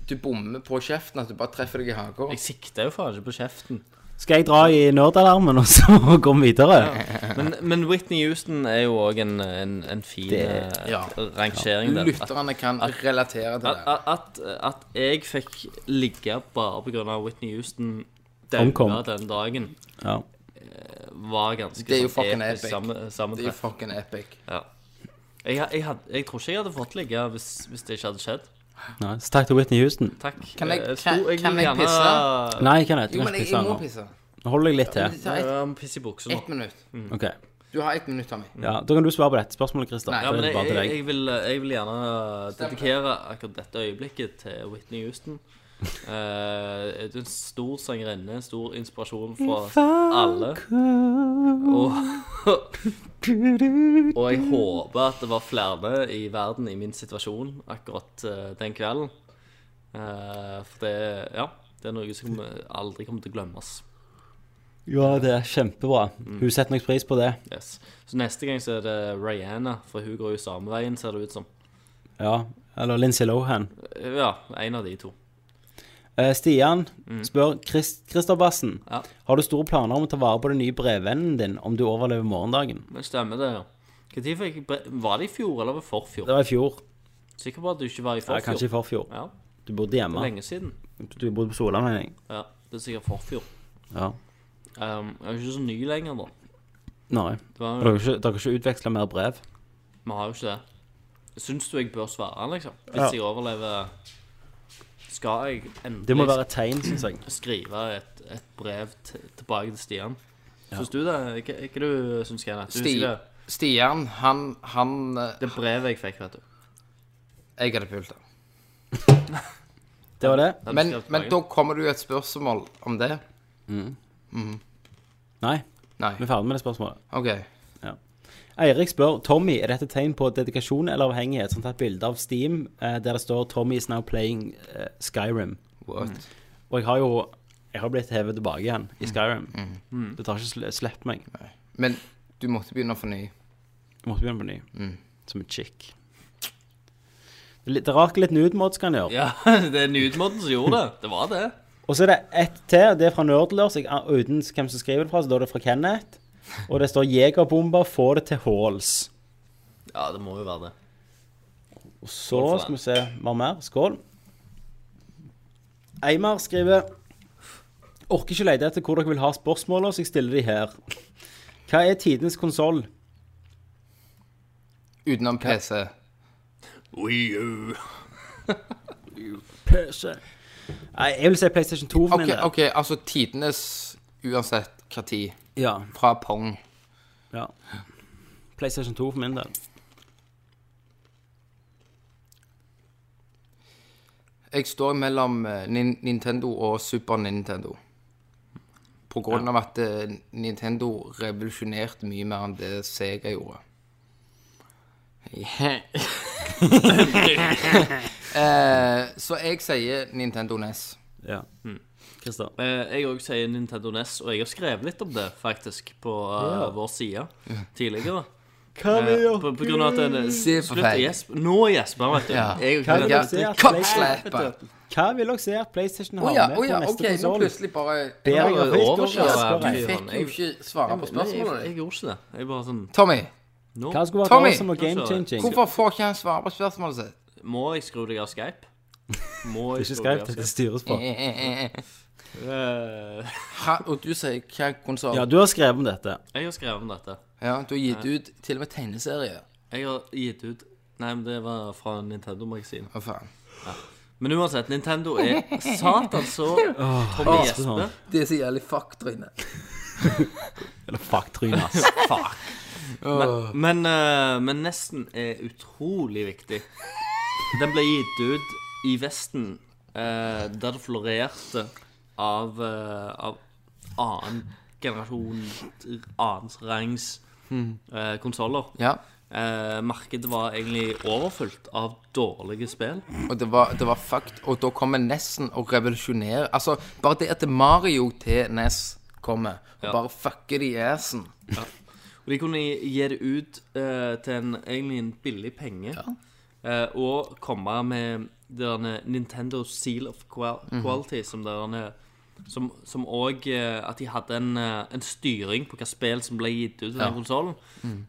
Speaker 2: Du bommer på kjeften, at du bare treffer deg i haka.
Speaker 3: Jeg sikter jo faen ikke på
Speaker 2: [laughs]
Speaker 3: kjeften.
Speaker 1: Skal jeg dra i nerdalarmen og [laughs] så gå videre?
Speaker 3: Men, men Whitney Houston er jo òg en, en, en fin eh,
Speaker 2: Ja.
Speaker 3: rangering. der. At,
Speaker 2: Lytterne kan relatere til det.
Speaker 3: at, at, at jeg fikk ligge bare på grunn av Whitney Houston den,
Speaker 1: Omkom.
Speaker 3: den dagen,
Speaker 1: Ja.
Speaker 3: var ganske
Speaker 2: Det er jo
Speaker 3: sånn
Speaker 2: fucking
Speaker 3: episk
Speaker 2: epic.
Speaker 3: sammen-
Speaker 2: Det er jo
Speaker 3: sammentreff.
Speaker 2: fucking epic.
Speaker 3: Ja. Jeg, jeg, hadde, jeg tror ikke jeg hadde fått ligge hvis, hvis det ikke hadde skjedd.
Speaker 1: Nei, så takk til Whitney Houston.
Speaker 3: Takk. Eh,
Speaker 2: Kan jeg-
Speaker 3: tror
Speaker 2: kan- kan
Speaker 3: vil
Speaker 2: jeg pisse?
Speaker 1: Nei, kan jeg
Speaker 2: Jo,
Speaker 1: ikke
Speaker 2: men jeg,
Speaker 1: pisse
Speaker 2: jeg må
Speaker 1: nå.
Speaker 2: pisse.
Speaker 1: Nå holder jeg litt til.
Speaker 2: Det tar ett
Speaker 3: Ja, jeg må pisse i buksa nå.
Speaker 2: ett minutt.
Speaker 1: Ok,
Speaker 2: Du har ett minutt av meg.
Speaker 1: ja, Da kan du svare på dette spørsmålet, Christer.
Speaker 2: Nei,
Speaker 3: Ja, men
Speaker 1: Det er
Speaker 3: jeg,
Speaker 1: bare til
Speaker 3: jeg,
Speaker 1: deg.
Speaker 3: jeg, vil, eh, jeg vil gjerne eh, dedikere akkurat dette øyeblikket til Whitney Houston. Eh, du er en stor sangerinne, en stor inspirasjon for alle. Og, og jeg håper at det var flere i verden i min situasjon akkurat eh, den kvelden. Eh, for det Ja. Det er noe som aldri kommer til å glemmes.
Speaker 1: Ja, det er kjempebra.
Speaker 3: Mm.
Speaker 1: Hun setter nok pris på det.
Speaker 3: Yes. Så neste gang så er det Rihanna, for hun går jo samme veien, ser det ut som.
Speaker 1: Ja, Eller Lindsay Lohan.
Speaker 3: Ja, en av de to.
Speaker 1: Eh, Stian spør Chris, Christer Bassen.
Speaker 3: Mm. Ja.
Speaker 1: Har du store planer om å ta vare på den nye brevvennen din om du overlever morgendagen?
Speaker 3: Men stemmer det, ja. Hva tid fikk jeg bre- Var det i fjor eller var det forfjor?
Speaker 1: Det var i fjor.
Speaker 3: Sikker på at du ikke var i
Speaker 1: Ja, kanskje
Speaker 3: forfjor?
Speaker 1: i forfjor.
Speaker 3: Ja,
Speaker 1: Du bodde
Speaker 3: det er
Speaker 1: hjemme.
Speaker 3: lenge siden.
Speaker 1: Du bodde på Sola, mener jeg.
Speaker 3: Ja, det er sikkert forfjor.
Speaker 1: Ja.
Speaker 3: Um, jeg er jo ikke så ny lenger, da.
Speaker 1: Nei.
Speaker 3: Det var,
Speaker 1: Og Dere har ikke, dere har ikke utveksla mer brev?
Speaker 3: Vi har jo ikke det. Syns du jeg bør svare, liksom? Hvis
Speaker 1: Ja.
Speaker 3: jeg overlever Skal jeg endelig
Speaker 1: Det må være et tegn, syns jeg.
Speaker 3: skrive et, et brev til- tilbake til Stian? Syns du det? Hva hva du syns du? Du
Speaker 2: Sti-
Speaker 3: husker det?
Speaker 2: Stian, han, han eh,
Speaker 3: Det brevet jeg fikk, vet du.
Speaker 2: Jeg hadde pult han.
Speaker 1: Det var det?
Speaker 3: Den
Speaker 2: Men,
Speaker 3: skrev tilbake.
Speaker 2: men da kommer det jo et spørsmål om det.
Speaker 1: Nei,
Speaker 2: Nei.
Speaker 1: vi er ferdig med det spørsmålet.
Speaker 2: OK.
Speaker 1: Eirik spør Tommy, er dette tegn på dedikasjon eller avhengighet? Sånn Som tatt bilde av Steam eh, der det står 'Tommy is now playing eh, Skyrim'.
Speaker 2: What?
Speaker 1: Og jeg har jo jeg har blitt hevet tilbake igjen i Skyrim. Det tar ikke sl slipp meg.
Speaker 2: Men du måtte begynne å fornye.
Speaker 1: Jeg måtte begynne på ny. Som en chick. Det er litt- det er rart hva litt nudemods kan gjøre.
Speaker 3: [laughs] Ja, det er nudemåten som gjorde det. Det var det.
Speaker 1: Og så er det ett til. Det er fra Nerdlers. Jeg er uten hvem som skriver det fra, så da er det fra Kenneth. Og det står 'Jegerbomber, få det til halls'.
Speaker 3: Ja, det må jo være det.
Speaker 1: Og så skal vi se hva mer. Skål. Eimar skriver Orker ikke lete etter hvor dere vil ha spørsmålene, så jeg stiller de her. Hva er tidenes konsoll?
Speaker 2: Utenom PC.
Speaker 1: PC. Nei, jeg vil si PlayStation 2 for
Speaker 2: OK,
Speaker 1: min del.
Speaker 2: ok, altså tidenes uansett hva tid.
Speaker 1: Ja,
Speaker 2: Fra Pong.
Speaker 1: ja. PlayStation 2 for min del.
Speaker 2: Jeg står mellom eh, Nin Nintendo og Super Nintendo. På grunn av at eh, Nintendo revolusjonerte mye mer enn det Sega gjorde. Yeah. [laughs] Eh, så jeg sier Nintendo E NES.
Speaker 1: Ja.
Speaker 2: Hmm.
Speaker 1: Christer.
Speaker 3: Eh, Jeg òg sier Nintendo NES, og jeg har skrevet litt om det faktisk på eh, vår side tidligere. Eh, på, på grunn av at en
Speaker 2: Se på
Speaker 3: Slutt å
Speaker 2: feil.
Speaker 3: gjespe. Nå gjesper han, vet du.
Speaker 2: Ja.
Speaker 3: Jeg,
Speaker 1: Hva vil
Speaker 3: ja.
Speaker 1: dere se at
Speaker 2: Cock
Speaker 1: PlayStation-
Speaker 2: slapper.
Speaker 1: Hva vil dere se at PlayStation
Speaker 2: Å
Speaker 1: har
Speaker 2: ja,
Speaker 1: med
Speaker 2: å ja,
Speaker 1: på neste
Speaker 2: OK.
Speaker 1: okay,
Speaker 2: Nå plutselig bare
Speaker 1: Bedre
Speaker 3: Ja,
Speaker 1: grafikk og
Speaker 3: overkjører
Speaker 1: raskere
Speaker 3: jeg.
Speaker 2: Du
Speaker 1: vei.
Speaker 2: fikk jo ikke svare på
Speaker 3: jeg, jeg,
Speaker 2: spørsmålet ditt.
Speaker 3: gjorde ikke det. Jeg bare sånn
Speaker 2: Tommy,
Speaker 3: Nå
Speaker 1: Hva skulle vært
Speaker 2: Tommy,
Speaker 1: awesome og game changing?
Speaker 2: hvorfor får ikke han svare på spørsmålet sitt?
Speaker 3: må jeg skru deg av Skype. Må
Speaker 1: Ikke
Speaker 3: jeg skru deg
Speaker 1: skrevet
Speaker 3: av
Speaker 1: dette styres på.
Speaker 2: Eh.
Speaker 3: Skype? Eh,
Speaker 2: Ha, og du sier hva konsoll?
Speaker 1: Ja,
Speaker 2: Ja.
Speaker 1: du har skrevet om dette.
Speaker 3: Jeg har skrevet om dette.
Speaker 2: du har gitt ut til og med tegneserie.
Speaker 3: Jeg har gitt ut Nei, men det var fra Nintendo-magasinet.
Speaker 2: Hva faen?
Speaker 3: Men uansett, Nintendo er satan så Tommy Jesper.
Speaker 2: Det er så jævlig fuck, Trine.
Speaker 1: Eller fuck trynet, [laughs] ass.
Speaker 3: Men, eh, men nesten er utrolig viktig. Den ble gitt ut i Vesten, eh, der det florerte av, eh, av annen generasjon, annens rangs uh, konsoller.
Speaker 2: Ja.
Speaker 3: Eh, markedet var egentlig overfylt av dårlige spill.
Speaker 2: Og det var, det var fucked. Og da kommer nesten å revolusjonere Altså, bare det at Mario til NES kommer, og
Speaker 3: Ja.
Speaker 2: bare fucker de assen
Speaker 3: Og de kunne gi det ut eh, til en, egentlig en billig penge. Eh, og komme med det derne Nintendo Seal of Qual-
Speaker 2: Mhm.
Speaker 3: Quality, som det derne- som, som òg eh, At de hadde en, eh, en styring på hva spill som ble gitt ut til den konsollen.
Speaker 2: Mm.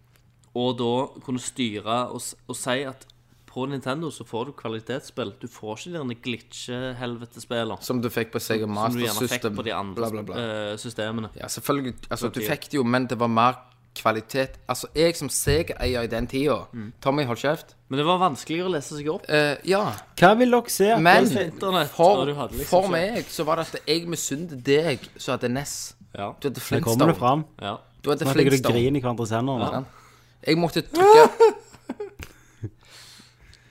Speaker 3: Og da kunne styre og, s- og si at på Nintendo så får du kvalitetsspill. Du får ikke de derne glitche-helvetespillene
Speaker 2: som du fikk på Sega
Speaker 3: som du
Speaker 2: Master
Speaker 3: gjerne fikk
Speaker 2: System.
Speaker 3: på de andre
Speaker 2: bla, bla, bla.
Speaker 3: eh, systemene.
Speaker 2: Ja, selvfølgelig. Altså, du
Speaker 3: tida.
Speaker 2: fikk det jo, men det var mer kvalitet. Altså, jeg som Sega-eier i den tida
Speaker 3: Mm.
Speaker 2: Tommy, hold kjeft.
Speaker 3: Men det var vanskeligere å lese seg opp.
Speaker 2: Eh, ja.
Speaker 1: Hva vil dere se at
Speaker 2: Men
Speaker 1: PlayStation
Speaker 3: Internett, og
Speaker 2: for,
Speaker 3: du hadde liksom
Speaker 2: for
Speaker 3: ikke-
Speaker 2: meg så var det at jeg misunte deg som hadde NES.
Speaker 3: Ja.
Speaker 2: Du hadde
Speaker 1: Der kommer
Speaker 2: Flintstone.
Speaker 1: det fram.
Speaker 3: ja.
Speaker 2: Du hadde
Speaker 1: Nå ligger det
Speaker 2: Flintstone.
Speaker 1: grin i hverandres hender. nå.
Speaker 2: Jeg
Speaker 1: [laughs]
Speaker 2: måtte trykke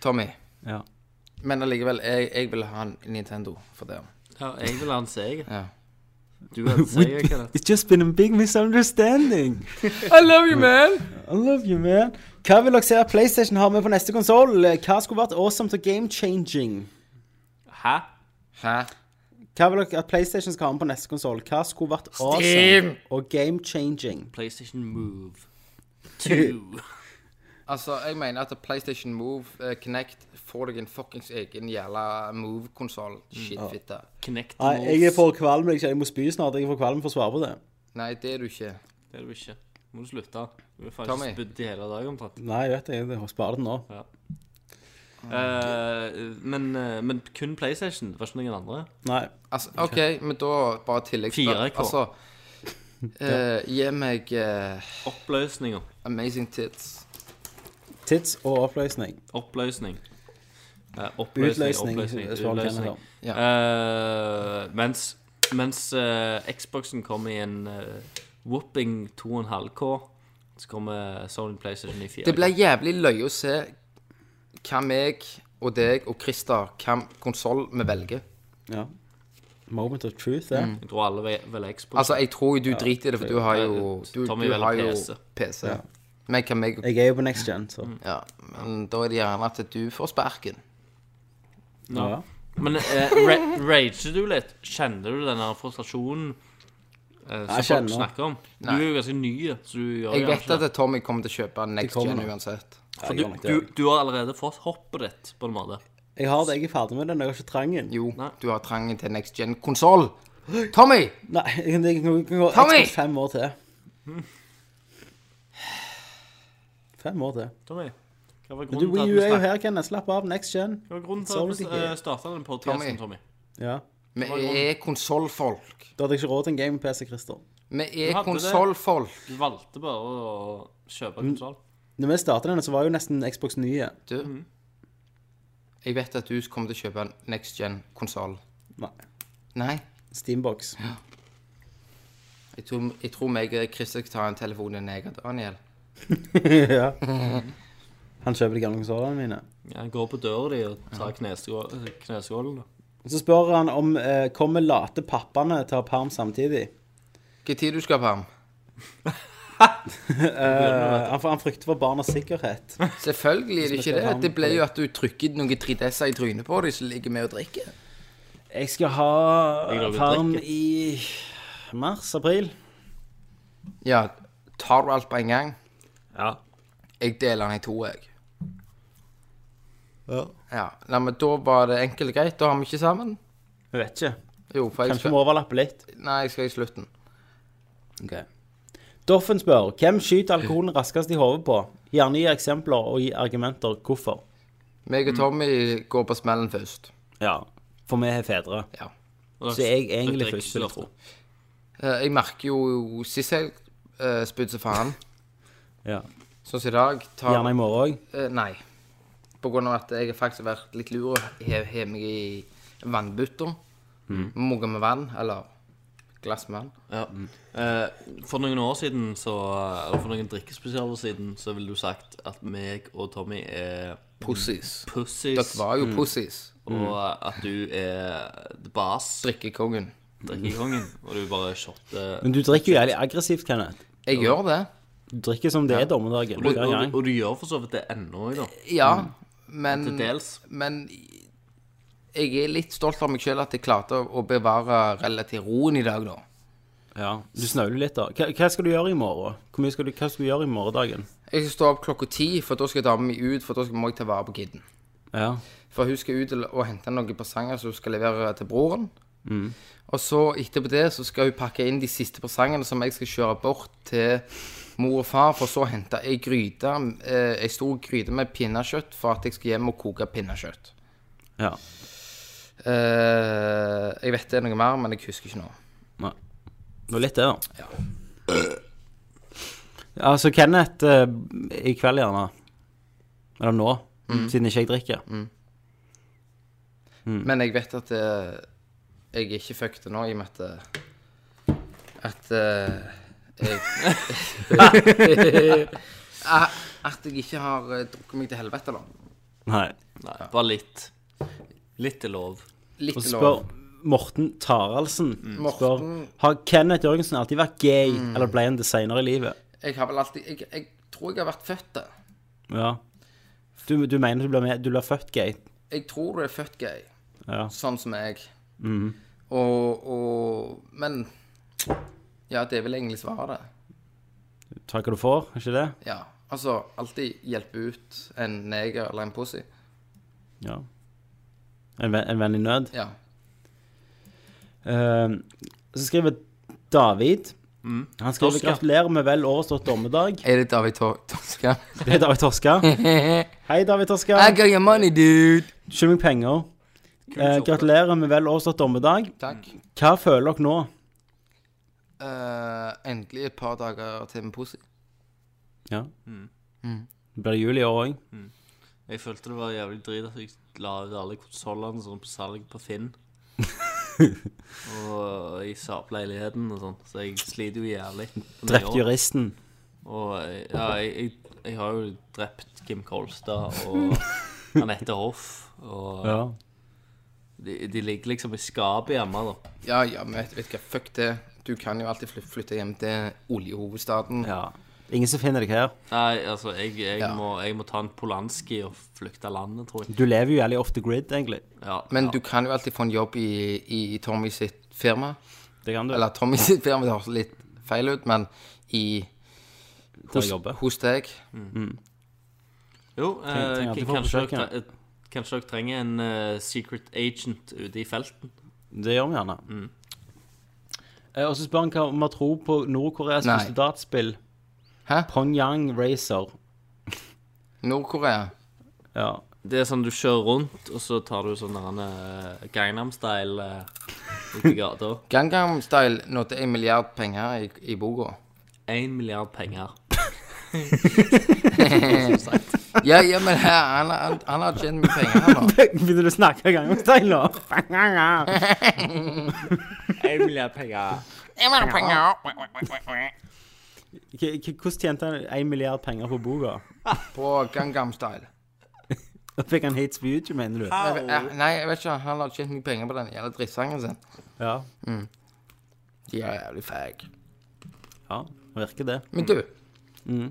Speaker 2: Tommy.
Speaker 1: Ja.
Speaker 2: Men allikevel, jeg, jeg vil ha en Nintendo for det.
Speaker 3: ja, jeg vil ha en seger.
Speaker 2: Ja.
Speaker 3: Du vil ha en seger, Kenneth.
Speaker 1: It's just been a big misunderstanding.
Speaker 2: [laughs] I love you, man!
Speaker 1: I love you, man. Hva vil dere se at PlayStation har med på neste konsoll? Hva skulle vært awesome til game changing?
Speaker 3: Hæ?
Speaker 2: Hæ?
Speaker 1: Hva vil dere at PlayStation skal ha med på neste konsoll? Hva skulle vært awesome
Speaker 2: Steam!
Speaker 1: og game changing?
Speaker 3: PlayStation Move 2.
Speaker 2: Altså, jeg mener at PlayStation Move, eh, Kinect, får deg en fuckings egen jævla Move-konsoll. Shit, fitte.
Speaker 3: Connect
Speaker 1: Nei, jeg er
Speaker 3: Moves.
Speaker 1: for kvalm. Jeg, jeg må spy snart. Jeg er for kvalm for å svare på det.
Speaker 2: Nei, det er du ikke.
Speaker 3: Det er du ikke. Må du slutte. Du er faen
Speaker 2: Tommy.
Speaker 3: ikke spydd i hele dag omtrent.
Speaker 1: Nei, jeg vet det. Jeg sparer det nå.
Speaker 3: Eh, men, eh, men kun PlayStation, det var ikke noen andre?
Speaker 1: Nei.
Speaker 2: Altså, OK, men da bare tilleggsspørsmål.
Speaker 3: 4K.
Speaker 2: Altså,
Speaker 1: [laughs]
Speaker 2: eh, gi meg eh,
Speaker 3: Oppløsninger.
Speaker 2: Amazing Tits.
Speaker 1: Tids og oppløsning.
Speaker 3: Oppløsning. Eh,
Speaker 1: Utløsning.
Speaker 3: oppløsning. Oppløsning.
Speaker 1: Svar Kenneth
Speaker 3: Utløsning.
Speaker 1: om.
Speaker 3: Eh, mens mens eh, Xboxen kom i en eh, whooping 2,5K, så kommer Sony PlayStation i 4K.
Speaker 2: Det ble jævlig løye å se hva meg og deg og Christer, hvilken konsoll vi velger.
Speaker 1: Ja. Moment of truth,
Speaker 2: Mm.
Speaker 1: det.
Speaker 3: Jeg tror alle vel- velger Xbox.
Speaker 2: Altså, jeg tror jo du driter i det, for du har jo
Speaker 3: det-
Speaker 2: Du,
Speaker 3: Tommy
Speaker 2: du
Speaker 3: velger
Speaker 2: har jo
Speaker 3: PC.
Speaker 2: PC. Men hva meg
Speaker 1: Jeg er jo på next gen, så
Speaker 3: Mm,
Speaker 2: Ja, men da er det gjerne at du får sparken.
Speaker 1: ja.
Speaker 3: Men eh, ra rager du litt? Kjenner du den der frustrasjonen eh, som
Speaker 1: Jeg
Speaker 3: folk
Speaker 1: kjenner.
Speaker 3: snakker om? Du er jo ganske ny, så du gjør
Speaker 2: Jeg
Speaker 3: jo
Speaker 2: vet
Speaker 3: ikke
Speaker 2: at
Speaker 3: det.
Speaker 2: Tommy kommer til å kjøpe Next
Speaker 1: kommer
Speaker 2: Gen
Speaker 1: nå.
Speaker 2: uansett.
Speaker 1: Ja, jeg, gjør nok
Speaker 3: Du,
Speaker 1: det.
Speaker 3: du har allerede fått hoppet ditt, på en måte.
Speaker 1: jeg har det. Jeg er ferdig med den. Jeg har ikke trangen.
Speaker 2: Jo,
Speaker 3: Nei.
Speaker 2: du har trangen til Next Gen-konsoll. Tommy!
Speaker 1: Nei, [laughs] jeg kan, jeg kan, jeg kan gå
Speaker 2: Tommy!
Speaker 1: Xbox fem år [sighs] til. Fem år til.
Speaker 3: Tommy, hva var
Speaker 1: Men du,
Speaker 3: grunnen
Speaker 1: Wii U
Speaker 3: til
Speaker 1: er jo
Speaker 3: at
Speaker 1: her, Kenneth. Slapp av. Next gen.
Speaker 3: du
Speaker 1: Sorry, ikke.
Speaker 3: starta den podkasten,
Speaker 2: Tommy.
Speaker 3: Tommy?
Speaker 1: Ja.
Speaker 2: Vi er konsollfolk.
Speaker 1: Da hadde jeg ikke råd til en gaming-PC, Christer.
Speaker 2: Vi
Speaker 3: Du
Speaker 2: er
Speaker 3: hadde det.
Speaker 2: konsollfolk.
Speaker 3: Du valgte bare å kjøpe
Speaker 1: Mm.
Speaker 3: konsoll.
Speaker 1: Når vi startet denne, så var jo nesten Xbox nye.
Speaker 2: Du.
Speaker 3: Mhm.
Speaker 2: Jeg vet at du kommer til å kjøpe en Next Gen-konsoll.
Speaker 1: Nei.
Speaker 2: Nei.
Speaker 1: Steambox. [laughs]
Speaker 2: Jeg tror, jeg tror meg og Christer skal ta en telefon til deg og Daniel.
Speaker 1: ja. Han kjøper de gamle konsollene mine.
Speaker 3: Jeg går på døra di og tar kneskål- kneskålen. da.
Speaker 1: Og så spør han om eh, kommer late pappaene til å ha perm samtidig.
Speaker 2: Hva tid du skal på ham?
Speaker 1: Eh, han, han frykter for barnas sikkerhet.
Speaker 2: Selvfølgelig er det ikke det.
Speaker 1: ham
Speaker 2: Det ble jo at du trykker noen 3DS-er i trynet på dem som ligger med og drikker.
Speaker 1: Jeg skal ha perm i mars-april.
Speaker 2: Ja, tar du alt på en gang?
Speaker 3: Ja.
Speaker 2: Jeg deler den i to, jeg. Ja. Nei, men da var det enkelt og greit. Da har vi ikke sammen.
Speaker 1: Jeg vet ikke.
Speaker 2: Jo, for jeg
Speaker 1: Kanskje
Speaker 2: skal
Speaker 1: må overlappe litt.
Speaker 2: Nei, jeg skal i slutten.
Speaker 1: Doffen spør hvem skyter alkoholen raskest i hodet på. Gjerne gi eksempler og gi argumenter hvorfor.
Speaker 2: Meg
Speaker 1: Mm.
Speaker 2: og Tommy går på smellen først.
Speaker 1: Ja, for vi har fedre.
Speaker 2: Ja.
Speaker 1: Så jeg er egentlig
Speaker 3: drikker
Speaker 1: først, vil
Speaker 3: ikke så
Speaker 1: jeg tro.
Speaker 2: Eh, Jeg merker jo sist helg uh, spydde som faen.
Speaker 1: Ja.
Speaker 2: Sånn som i dag. Tar,
Speaker 1: Gjerne i morgen òg.
Speaker 2: Eh, nei. På grunn av at jeg faktisk har vært litt lur og hev, hev meg i vannbutta.
Speaker 3: Mm.
Speaker 2: Mugga med vann, eller glass med vann.
Speaker 3: Ja. Eh, for noen år siden, så, eller for noen drikkespesialer siden, så ville du sagt at meg og Tommy er
Speaker 2: Pussies.
Speaker 3: pussies, Mm.
Speaker 2: Dere var jo pussies.
Speaker 3: og at du er the boss,
Speaker 2: Drikkekongen.
Speaker 3: drikkekongen, og du bare shotter.
Speaker 1: Men du drikker jo jævlig aggressivt, Kenneth.
Speaker 2: Jeg gjør det.
Speaker 1: Du drikker som det er dommedagen.
Speaker 3: Og,
Speaker 1: hver gang.
Speaker 3: og, og du gjør for så vidt det ennå òg, da.
Speaker 2: Ja, men
Speaker 3: Mm. Til dels.
Speaker 2: Men jeg er litt stolt av meg sjøl at jeg klarte å bevare relativt roen i dag, da.
Speaker 1: Ja, du snauler litt, da. Hva, hva skal du gjøre i morgen? Hvor mye skal du, hva skal du gjøre i morgendagen?
Speaker 2: Jeg skal stå opp klokka ti, for da skal dama mi ut, for da skal- må jeg ta vare på kiden.
Speaker 1: Ja.
Speaker 2: For hun skal ut og og hente noen presanger som hun skal levere til broren. Og så etterpå det så skal hun pakke inn de siste presangene som jeg skal kjøre bort til mor og far, for så å hente ei gryte, eh, ei stor gryte med pinnekjøtt, for at jeg skal hjem og koke pinnekjøtt.
Speaker 1: ja.
Speaker 2: Eh, jeg vet det er noe mer, men jeg husker ikke nå.
Speaker 1: Nei. Det var litt det, da. Ja. Altså, Kenneth eh, i kveld, gjerne. Eller nå, siden ikke jeg drikker. Mm.
Speaker 2: Men jeg vet at eh, jeg er ikke fucked nå, i og med at eh, At eh, jeg [laughs] At at jeg ikke har eh, drukket meg til helvete, da.
Speaker 1: Nei.
Speaker 3: Nei, bare litt. Litt er lov.
Speaker 2: Litt
Speaker 1: Og så
Speaker 2: lov.
Speaker 1: spør Morten Taraldsen spør,
Speaker 2: Morten-
Speaker 1: Har Kenneth Jørgensen alltid vært gay, eller ble han det senere i livet?
Speaker 2: Jeg har vel alltid Jeg, jeg tror jeg har vært født det.
Speaker 1: Ja. Du, du mener du ble, med, du ble født gay?
Speaker 2: Jeg tror du er født gay,
Speaker 1: Ja.
Speaker 2: sånn som jeg.
Speaker 1: Mm.
Speaker 2: Og, og Men Ja, det er vel egentlig svaret.
Speaker 1: Ta hva du får, er ikke det?
Speaker 2: Ja. Altså, alltid hjelpe ut en neger eller en pussy.
Speaker 1: Ja. En, venn- en venn i nød?
Speaker 2: Ja.
Speaker 1: Eh, så skriver David. Han skriver
Speaker 3: Torska.
Speaker 1: 'Gratulerer med vel overstått dommedag'.
Speaker 2: Er det David To- Toska?
Speaker 1: Det er David [laughs] Torska. Hei, David Torska.
Speaker 2: I got your money, dude!
Speaker 1: Skyld meg penger. Eh, gratulerer med vel overstått dommedag.
Speaker 2: Takk.
Speaker 1: Hva føler dere nå?
Speaker 2: Eh, endelig et par dager til med pussy.
Speaker 1: Ja. Det blir jul i år òg.
Speaker 3: Jeg følte det var jævlig drit at jeg la ut alle konsollene sånn på salg på Finn. og jeg sa opp leiligheten og sånn, så jeg sliter jo jævlig. med
Speaker 1: Drept
Speaker 3: jobb.
Speaker 1: juristen.
Speaker 3: Og jeg- ja, jeg, jeg, jeg har jo drept Kim Kolstad
Speaker 2: [laughs]
Speaker 3: og Anette Hoff. Og
Speaker 1: Ja.
Speaker 3: de, de ligger liksom i skapet hjemme, da.
Speaker 2: Ja, ja, men vet, vet du hva, fuck det. Du kan jo alltid fly- flytte hjem til oljehovedstaden.
Speaker 1: ja. Ingen som finner deg her.
Speaker 3: Nei, altså, jeg, jeg,
Speaker 2: Ja.
Speaker 3: må, jeg må ta en Polanski og flykte landet, tror jeg.
Speaker 1: Du lever jo jævlig off the grid, egentlig.
Speaker 3: Ja,
Speaker 2: Men
Speaker 3: ja.
Speaker 2: du kan jo alltid få en jobb i, i Tommy sitt firma.
Speaker 1: Det kan du.
Speaker 2: Eller Tommy sitt firma, det høres litt feil ut, men i
Speaker 1: Der
Speaker 2: hos,
Speaker 1: jeg jobber.
Speaker 2: hos deg.
Speaker 3: Jo, eh,
Speaker 1: trenger alltid
Speaker 3: k-
Speaker 1: få
Speaker 3: kanskje,
Speaker 1: besøk,
Speaker 3: dere tre- eh, kanskje dere trenger en eh, secret agent ute i felten.
Speaker 1: Det gjør vi gjerne. Eh, og så spør han hva om vi har tro på Nord-Koreas
Speaker 2: Nei.
Speaker 1: første dataspill.
Speaker 2: Hæ?
Speaker 1: Pongyang Racer.
Speaker 2: Nord-Korea.
Speaker 1: Ja.
Speaker 3: Det er sånn du kjører rundt, og så tar du sånn uh, Gangnam Style uh, ute i gata.
Speaker 2: [laughs] Gangnam Style nådde en milliard penger i, i boka.
Speaker 3: Én milliard penger.
Speaker 2: Ja, ja, men her, han, han, han har tjent mye penger her nå.
Speaker 1: [laughs] Begynner du å snakke gang om stein nå?
Speaker 3: Én milliard penger.
Speaker 1: K- k- Hvordan tjente han 1 milliard penger på boka?
Speaker 2: På Gangnam Style.
Speaker 1: Da fikk han hate speech, mener du?
Speaker 2: Jeg vet- jeg- Nei, jeg vet ikke, han har tjent mye penger på den jævla drittsangen sin.
Speaker 1: Ja.
Speaker 2: Jævlig fag.
Speaker 1: Ja, virker det.
Speaker 2: Men du
Speaker 1: Mm.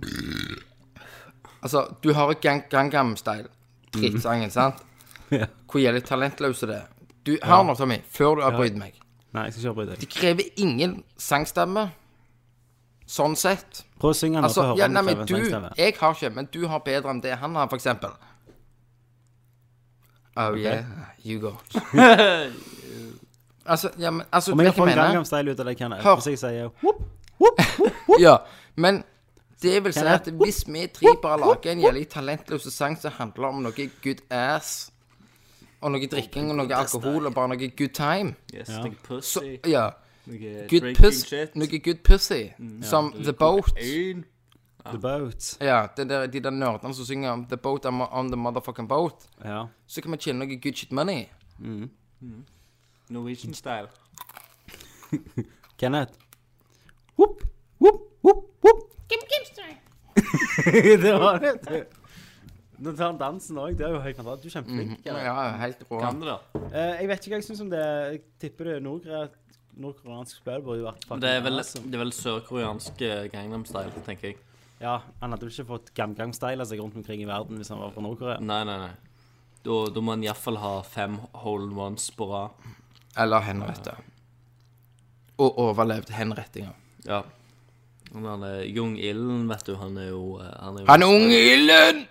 Speaker 2: Altså, du har Gang Gangnam Style, drittsangen, sant?
Speaker 1: Mm. [laughs] Ja.
Speaker 2: Hvor gjelder talentløse det? er. Du, Hør nå, Tommy, før du avbryter meg.
Speaker 1: Nei, jeg skal ikke avbryte deg.
Speaker 2: Det krever ingen sangstemme, sånn sett.
Speaker 1: Prøv å synge den,
Speaker 2: Altså,
Speaker 1: så hører
Speaker 2: ja,
Speaker 1: vi
Speaker 2: nei,
Speaker 1: om
Speaker 2: men
Speaker 1: det
Speaker 2: du,
Speaker 1: krever en sangstemme.
Speaker 2: jeg har ikke, men du har bedre enn det han har, for eksempel. Oh yeah, you go.
Speaker 1: [laughs]
Speaker 2: altså, ja, men, altså,
Speaker 1: Om
Speaker 2: vet
Speaker 1: jeg
Speaker 2: du hva
Speaker 1: får
Speaker 2: jeg
Speaker 1: en
Speaker 2: mener?
Speaker 1: Gangnam Style ut av det, kan jeg
Speaker 2: Hør.
Speaker 1: Hvis jeg sier
Speaker 2: [laughs] Ja, men det vil si
Speaker 1: jeg-
Speaker 2: at hvis vi tre bare lager en jævlig talentløs sang som handler om noe good ass, og noe drikking og noe alkohol og bare noe good time
Speaker 7: Yes, noe
Speaker 2: så,
Speaker 7: pussy,
Speaker 2: Ja.
Speaker 7: noe
Speaker 2: Good
Speaker 7: drinking
Speaker 2: puss,
Speaker 7: shit. Mm.
Speaker 2: noe good pussy, som The Boat.
Speaker 7: Øyn.
Speaker 1: The Boat
Speaker 2: Ja, den der, de der nerdene som synger om The Boat I'm on the motherfucking boat.
Speaker 1: Ja.
Speaker 2: Så kan vi tjene noe good shit money.
Speaker 7: Norwegian style.
Speaker 1: Kenneth. Whoop, whoop, whoop, whoop. [laughs] det var det. vet du. Nå tar han dansen òg. Det er jo helt fantastisk. Du er kjempeflink.
Speaker 2: Ja,
Speaker 1: Kenneth.
Speaker 2: ja, helt rå.
Speaker 7: Kan du det?
Speaker 1: Eh, jeg vet ikke hva jeg syns om det. Jeg tipper det er nordkore- nordkoreansk spill burde jo vært fucking
Speaker 7: Det er vel,
Speaker 1: awesome.
Speaker 7: det er vel sørkoreansk eh, Gangnam Style, tenker jeg.
Speaker 1: Ja, Han hadde vel ikke fått gamgang-style av seg rundt omkring i verden hvis han var fra Nord-Korea.
Speaker 7: Nei, nei, nei. Da, da må en iallfall ha fem hole-in-ones på rad.
Speaker 2: Eller henrette. Og overlevd henrettinga.
Speaker 7: Ja. Men han er Jung Ilden, vet du, han er jo eh, Han er jo,
Speaker 2: Han er ung i ilden!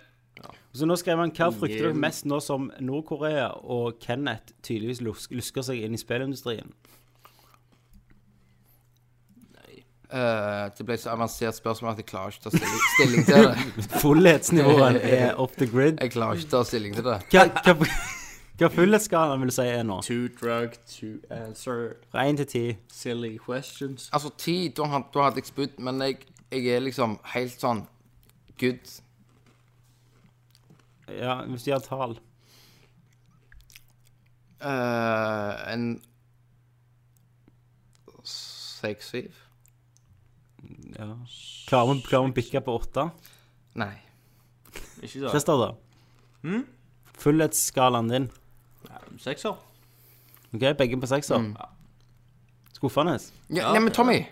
Speaker 1: Så nå skrev han hva frykter dere mest nå som Nord-Korea og Kenneth tydeligvis lus lusker seg inn i spillindustrien?
Speaker 2: Eh, det ble så avansert spørsmål at jeg klarer ikke å ta stilling, stilling til det.
Speaker 1: [laughs] Fullhetsnivået er off the grid.
Speaker 2: Jeg klarer ikke å ta stilling til det.
Speaker 1: Eh, Hva, [laughs] hva, hva fullhetsskalaen vil du si er nå?
Speaker 7: Too drug to answer
Speaker 1: Fra én til ti?
Speaker 7: silly questions.
Speaker 2: Altså, ti, da had- da hadde jeg spydd, men jeg, jeg er liksom helt sånn good.
Speaker 1: Ja, hvis de har tall.
Speaker 2: Eh, en seks-syv?
Speaker 1: Ja. Klarer vi- klarer vi å bikke på åtte?
Speaker 2: Nei.
Speaker 7: Ikke sant?
Speaker 1: Christer, da? Hmm? Fullhetsskalaen din.
Speaker 7: Sekser.
Speaker 1: Ok, Begge på sekser. Skuffende.
Speaker 2: Ja, nei, men Tommy,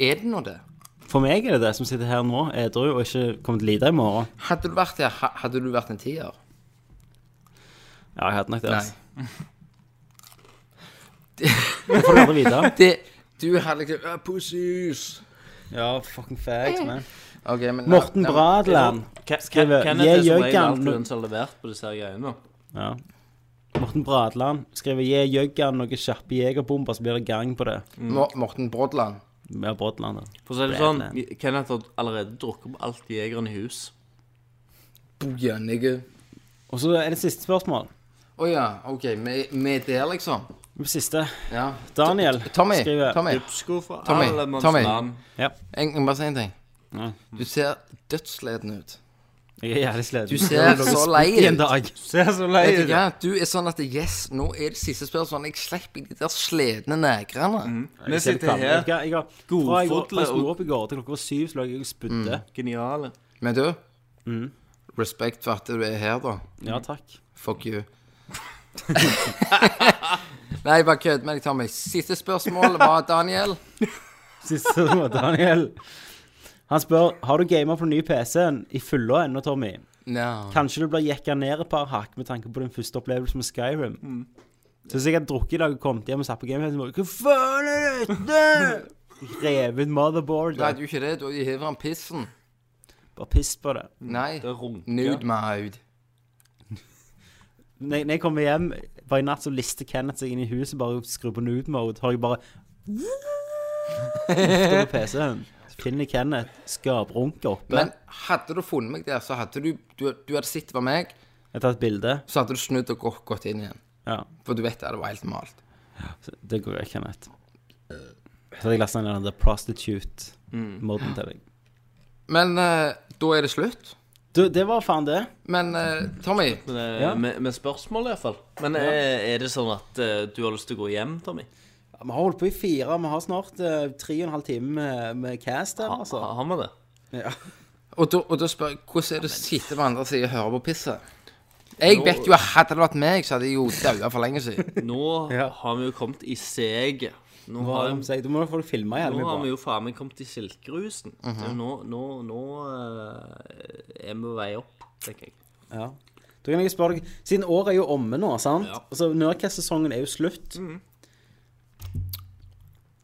Speaker 2: er det nå det?
Speaker 1: For meg er det det som sitter her nå, edru og ikke kommer til å lide i morgen.
Speaker 2: Hadde du vært her, ha- hadde du vært en tier?
Speaker 1: Ja, jeg hadde nok det.
Speaker 2: Nei.
Speaker 1: Altså. Jeg får det aldri vite.
Speaker 2: Det, du hadde liksom uh, Pussies.
Speaker 1: Ja, fucking fags, man.
Speaker 2: Ok, men
Speaker 1: Morten
Speaker 2: Nei, nei,
Speaker 1: Bradland skriver
Speaker 7: Kenneth er
Speaker 1: Jeg
Speaker 7: som regel
Speaker 1: jøggan
Speaker 7: alltid
Speaker 1: no
Speaker 7: den som har levert på disse her greiene.
Speaker 1: ja. Morten Bradland skriver Jeg jøggan noen kjappe jegerbomber, så blir det gang på det.
Speaker 2: Mor- Morten Brodland.
Speaker 1: Med Brodland, da.
Speaker 7: For å si det sånn, Kenneth har allerede drukket opp alt jegeren i hus.
Speaker 2: Bojan, nigga.
Speaker 1: Og så er det siste spørsmål.
Speaker 2: Å ja, OK. Vi vi er der, liksom.
Speaker 1: Siste.
Speaker 2: Ja.
Speaker 1: Daniel
Speaker 2: Tommy,
Speaker 1: skriver
Speaker 2: Tommy,
Speaker 7: Dupsko fra
Speaker 2: Tommy,
Speaker 7: alle manns
Speaker 2: Tommy.
Speaker 7: land.
Speaker 1: Ja,
Speaker 2: jeg jeg må bare si en ting.
Speaker 1: Ja.
Speaker 2: Du ser dødssliten ut.
Speaker 1: jeg er jævlig sliten.
Speaker 2: Du ser så lei
Speaker 1: [laughs] I en
Speaker 2: ut.
Speaker 1: dag.
Speaker 7: Ser så lei
Speaker 2: Vet du hva? Du er sånn at Yes, nå er det siste spørsmål. Jeg slipper de der slitne negrene.
Speaker 3: Mm.
Speaker 7: Vi
Speaker 1: Jeg
Speaker 7: sitter
Speaker 1: kan- jeg-
Speaker 7: her,
Speaker 1: jeg har- Fra jeg
Speaker 7: godfotle
Speaker 1: fra jeg sto
Speaker 7: og
Speaker 1: opp i går til klokka var syv, så lå jeg og spydde.
Speaker 7: geniale.
Speaker 2: Men du,
Speaker 1: Mm.
Speaker 2: respekt for at du er her, da.
Speaker 7: Mm.
Speaker 1: Ja, takk.
Speaker 2: Fuck you. [laughs] Nei, bare kødd med deg, Tommy. Siste spørsmål var Daniel.
Speaker 1: Siste var Daniel. Han spør har du gamer på den nye PC-en i fylla ennå, Tommy.
Speaker 2: No.
Speaker 1: Kanskje du blir jekka ned et par hakk med tanke på din første opplevelse med Skyrim.
Speaker 2: Mm.
Speaker 1: Så hvis jeg hadde drukket i dag og kommet hjem og satt på gameplay, så bare Hva faen er dette?! Revet motherboardet.
Speaker 2: Nei, du er ikke det. Du hiver han pissen.
Speaker 1: Bare piss på det.
Speaker 2: Nei.
Speaker 7: Det runker.
Speaker 2: Nude mode.
Speaker 1: Når jeg- når jeg kommer hjem bare i natt, så lister Kenneth seg inn i huset bare skrur på nude mode. Har jeg bare Lufter på PC-en. Så finner jeg Kenneth skaprunker oppe.
Speaker 2: Men hadde du funnet meg der, så hadde du Du, du hadde sett det var meg,
Speaker 1: Jeg tar et bilde.
Speaker 2: så hadde du snudd og gått, gått inn igjen.
Speaker 1: Ja,
Speaker 2: For du vet at det var helt malt.
Speaker 1: så det går greit, Kenneth. Så hadde jeg lasta ned den der prostitute-moden til deg.
Speaker 2: Men eh, da er det slutt.
Speaker 1: Du, det var faen det.
Speaker 2: Men eh, Tommy,
Speaker 7: Men, eh,
Speaker 1: Ja.
Speaker 7: med, med spørsmål, iallfall. Men er, er det sånn at eh, du har lyst til å gå hjem, Tommy?
Speaker 1: Ja, Vi har holdt på i fire. Vi har snart eh, tre og en halv time med, med cast her,
Speaker 7: Ha-
Speaker 1: altså.
Speaker 7: ha- Har vi det?
Speaker 2: og da, og da spør jeg hvordan er det å sitte på andre siden og høre på pisset? Jeg vet jo at hadde det vært meg, så hadde jeg jo daua for lenge siden.
Speaker 7: Nå
Speaker 1: [laughs] Ja.
Speaker 7: har vi jo kommet i seget.
Speaker 3: Nå
Speaker 1: Hva
Speaker 3: har,
Speaker 1: er det de sier? Du må jo få det filma jævlig
Speaker 3: nå har
Speaker 1: bra.
Speaker 3: vi
Speaker 1: Mhm.
Speaker 3: jo faen meg kommet til silkerusen. Det er jo Nå, nå, nå eh, er vi på vei opp, tenker jeg.
Speaker 1: Ja. Da kan jeg spørre deg, siden året er jo omme nå, sant? Altså, Nerdcast-sesongen er jo slutt.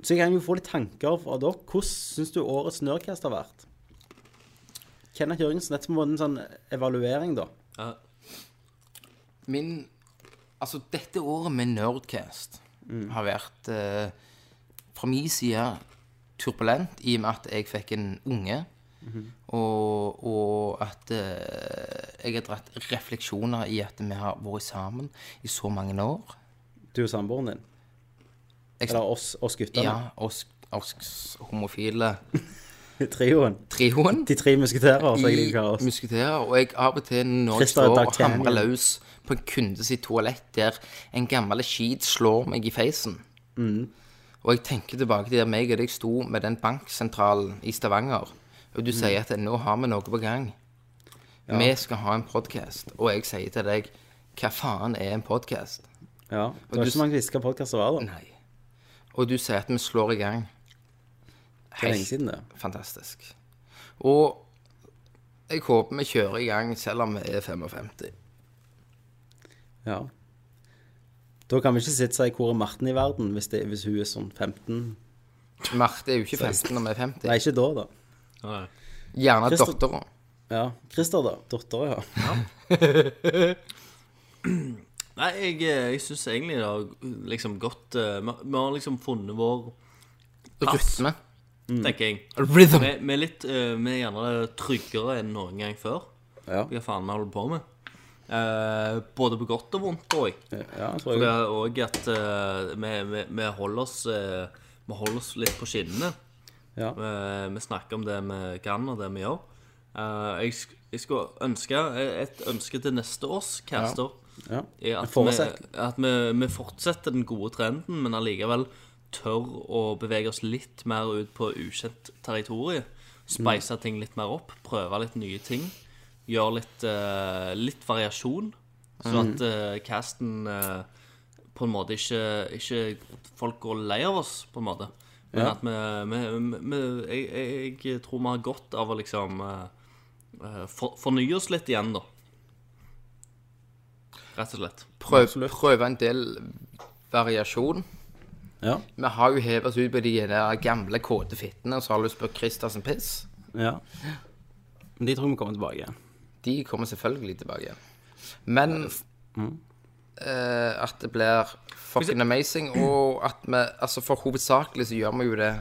Speaker 1: Så jeg kan jo få litt tanker fra dere. Hvordan syns du årets Nerdcast har vært? Kenneth Jørgensen, dette må være en sånn evaluering, da.
Speaker 2: Min Altså, dette året med Nerdcast har vært eh, fra min side turbulent, i og med at jeg fikk en unge. og, og at eh, jeg har dratt refleksjoner i at vi har vært sammen i så mange år.
Speaker 1: Du og samboeren din.
Speaker 2: Jeg-
Speaker 1: Eller oss, oss guttene.
Speaker 2: Ja, oss, oss homofile
Speaker 1: [laughs] Trioen.
Speaker 2: trioen.
Speaker 1: De tre musketerer, som jeg
Speaker 2: i
Speaker 1: liker å kalle oss.
Speaker 2: musketerer, og jeg av og til når jeg
Speaker 1: Christer
Speaker 2: står og
Speaker 1: D'Artagnan.
Speaker 2: hamrer løs på en kunde sitt toalett der en gammel skit slår meg i feisen.
Speaker 1: Mm.
Speaker 2: Og jeg tenker tilbake til der meg og deg sto med den banksentralen i Stavanger,
Speaker 1: Mm.
Speaker 2: og du sier at nå har vi noe på gang. Vi skal ha en podkast, og jeg sier til deg hva faen er en podkast?
Speaker 1: Ja. Det var
Speaker 2: du-
Speaker 1: ikke så mange som visste hva podkaster var, da.
Speaker 2: Nei. Og du sier at vi slår i gang.
Speaker 1: Det er lenge siden, det.
Speaker 2: Fantastisk. Og jeg håper vi kjører i gang selv om vi er 55.
Speaker 1: Ja. Da kan vi ikke sitte og si hvor er Marten i verden, hvis, det, hvis hun er sånn 15
Speaker 2: Marte er jo ikke 15 når vi er 50.
Speaker 1: Nei, ikke da, da.
Speaker 2: Gjerne
Speaker 1: Christer-
Speaker 2: dattera.
Speaker 1: Ja. Christer, da. Dattera, ja. [laughs]
Speaker 3: Nei, jeg, eh, jeg syns egentlig det har liksom gått eh, Vi vi har liksom funnet vår plass,
Speaker 2: Rytme.
Speaker 1: Mm.
Speaker 3: tenker jeg.
Speaker 2: Rhythm.
Speaker 3: Vi, vi er litt eh, Vi er gjerne tryggere enn noen gang før.
Speaker 1: Ja.
Speaker 3: Hva faen vi holder på med. Eh, både på godt og vondt, tror jeg.
Speaker 1: ja tror
Speaker 3: Og det
Speaker 1: jeg.
Speaker 3: er òg at eh, vi, vi, vi, holder oss, eh, vi holder oss litt på skinnene.
Speaker 1: Ja.
Speaker 3: Eh, vi snakker om det vi kan, og det vi gjør. Eh, jeg, sk- jeg skulle ønske et ønske til neste års caster.
Speaker 1: Ja.
Speaker 3: er
Speaker 1: En
Speaker 3: At, vi,
Speaker 1: forutsetning.
Speaker 3: at vi, vi fortsetter den gode trenden, men allikevel tør å bevege oss litt mer ut på ukjent territorium.
Speaker 1: Mm.
Speaker 3: Speise ting litt mer opp, prøve litt nye ting. Gjøre litt, eh, litt variasjon, så
Speaker 1: Mm.
Speaker 3: at eh, casten eh, på en måte ikke, ikke Folk går lei av oss, på en måte. Men
Speaker 1: Ja.
Speaker 3: at vi, vi, vi, vi jeg, jeg, jeg tror vi har godt av å liksom eh, eh, for, fornye oss litt igjen, da. Rett og slett.
Speaker 2: Prøv, prøve en del variasjon.
Speaker 1: Ja.
Speaker 2: Vi har jo hevet oss ut på de der gamle kåte fittene, og så har vi spurt Christersen piss.
Speaker 1: ja. Men de tror vi kommer tilbake igjen.
Speaker 2: De kommer selvfølgelig tilbake. igjen. Men eh, at det blir fucking amazing, og at vi Altså, for hovedsakelig så gjør vi jo det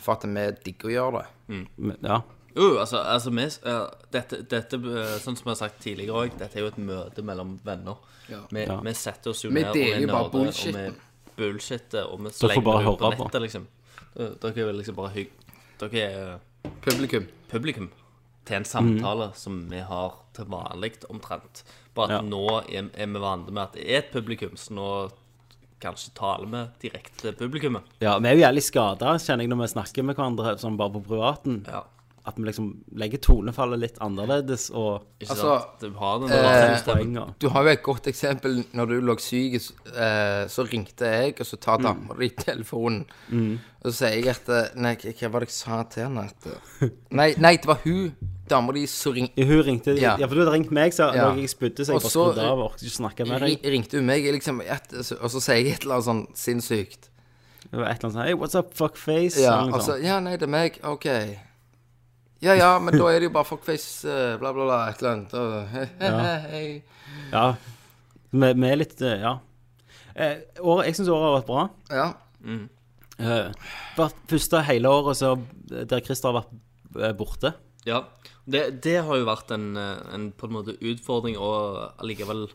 Speaker 2: for at vi digger å gjøre det.
Speaker 1: Men- Ja.
Speaker 3: Jo, altså, altså vi, eh, dette, dette, eh, sånn som jeg har sagt tidligere òg, dette er jo et møte mellom venner. Vi,
Speaker 1: Ja.
Speaker 3: vi setter oss jo
Speaker 2: Vi
Speaker 3: ned
Speaker 2: deler jo bare
Speaker 3: nerder, og vi
Speaker 2: bullshitten.
Speaker 3: bullshitter, og vi
Speaker 1: får bare
Speaker 3: slenger det ut på
Speaker 1: høre på.
Speaker 3: nettet, liksom. Eh, Dere er liksom bare hygg... Dere er eh,
Speaker 2: Publikum.
Speaker 3: publikum til en samtale som vi har til vanlig omtrent. Bare
Speaker 1: Mhm.
Speaker 3: at
Speaker 1: Ja.
Speaker 3: nå er, er vi vant med at det er et publikum, så nå kanskje taler vi direkte til publikummet.
Speaker 1: ja. Vi er jo jævlig skada, kjenner jeg, når vi snakker med hverandre sånn bare på privaten.
Speaker 3: Ja.
Speaker 1: At vi liksom legger tonefallet litt annerledes, og
Speaker 3: Ikke
Speaker 2: Altså,
Speaker 3: sant? Du har den der
Speaker 1: poenger.
Speaker 2: Du har jo et godt eksempel. Når du lå syk, eh, så ringte jeg, og så tar dama di telefonen. Og så sier jeg at eh, Nei, hva- hva var det jeg sa til henne? At, eh, nei, nei, det var hun dama di som ringte.
Speaker 1: Ja, Hun ringte
Speaker 2: Ja.
Speaker 1: Ja, for du hadde ringt meg, så
Speaker 2: Ja.
Speaker 1: når jeg spydde, så jeg
Speaker 2: Og
Speaker 1: bare
Speaker 2: så-
Speaker 1: skrudde av og orket ikke snakke med deg.
Speaker 2: Ringte hun meg, liksom, et, og så sier jeg et eller annet sånn sinnssykt.
Speaker 1: Det var et eller annet sånn Hey, what's up, fuckface?
Speaker 2: Ja,
Speaker 1: eller noe
Speaker 2: altså,
Speaker 1: sånt.
Speaker 2: ja, nei, det er meg, ok Ja, ja, men da er det jo bare fuckface, eh, bla bla bla, et eller annet og, [laughs] hei, hei, hei.
Speaker 1: ja. Vi vi er litt eh, Ja. Eh, året, jeg syns året har vært bra.
Speaker 2: Ja,
Speaker 3: Mm.
Speaker 1: Eh, vært første hele året så, eh, der Christer har vært eh, borte.
Speaker 3: Ja, det, det har jo vært en, eh, en på en måte utfordring å allikevel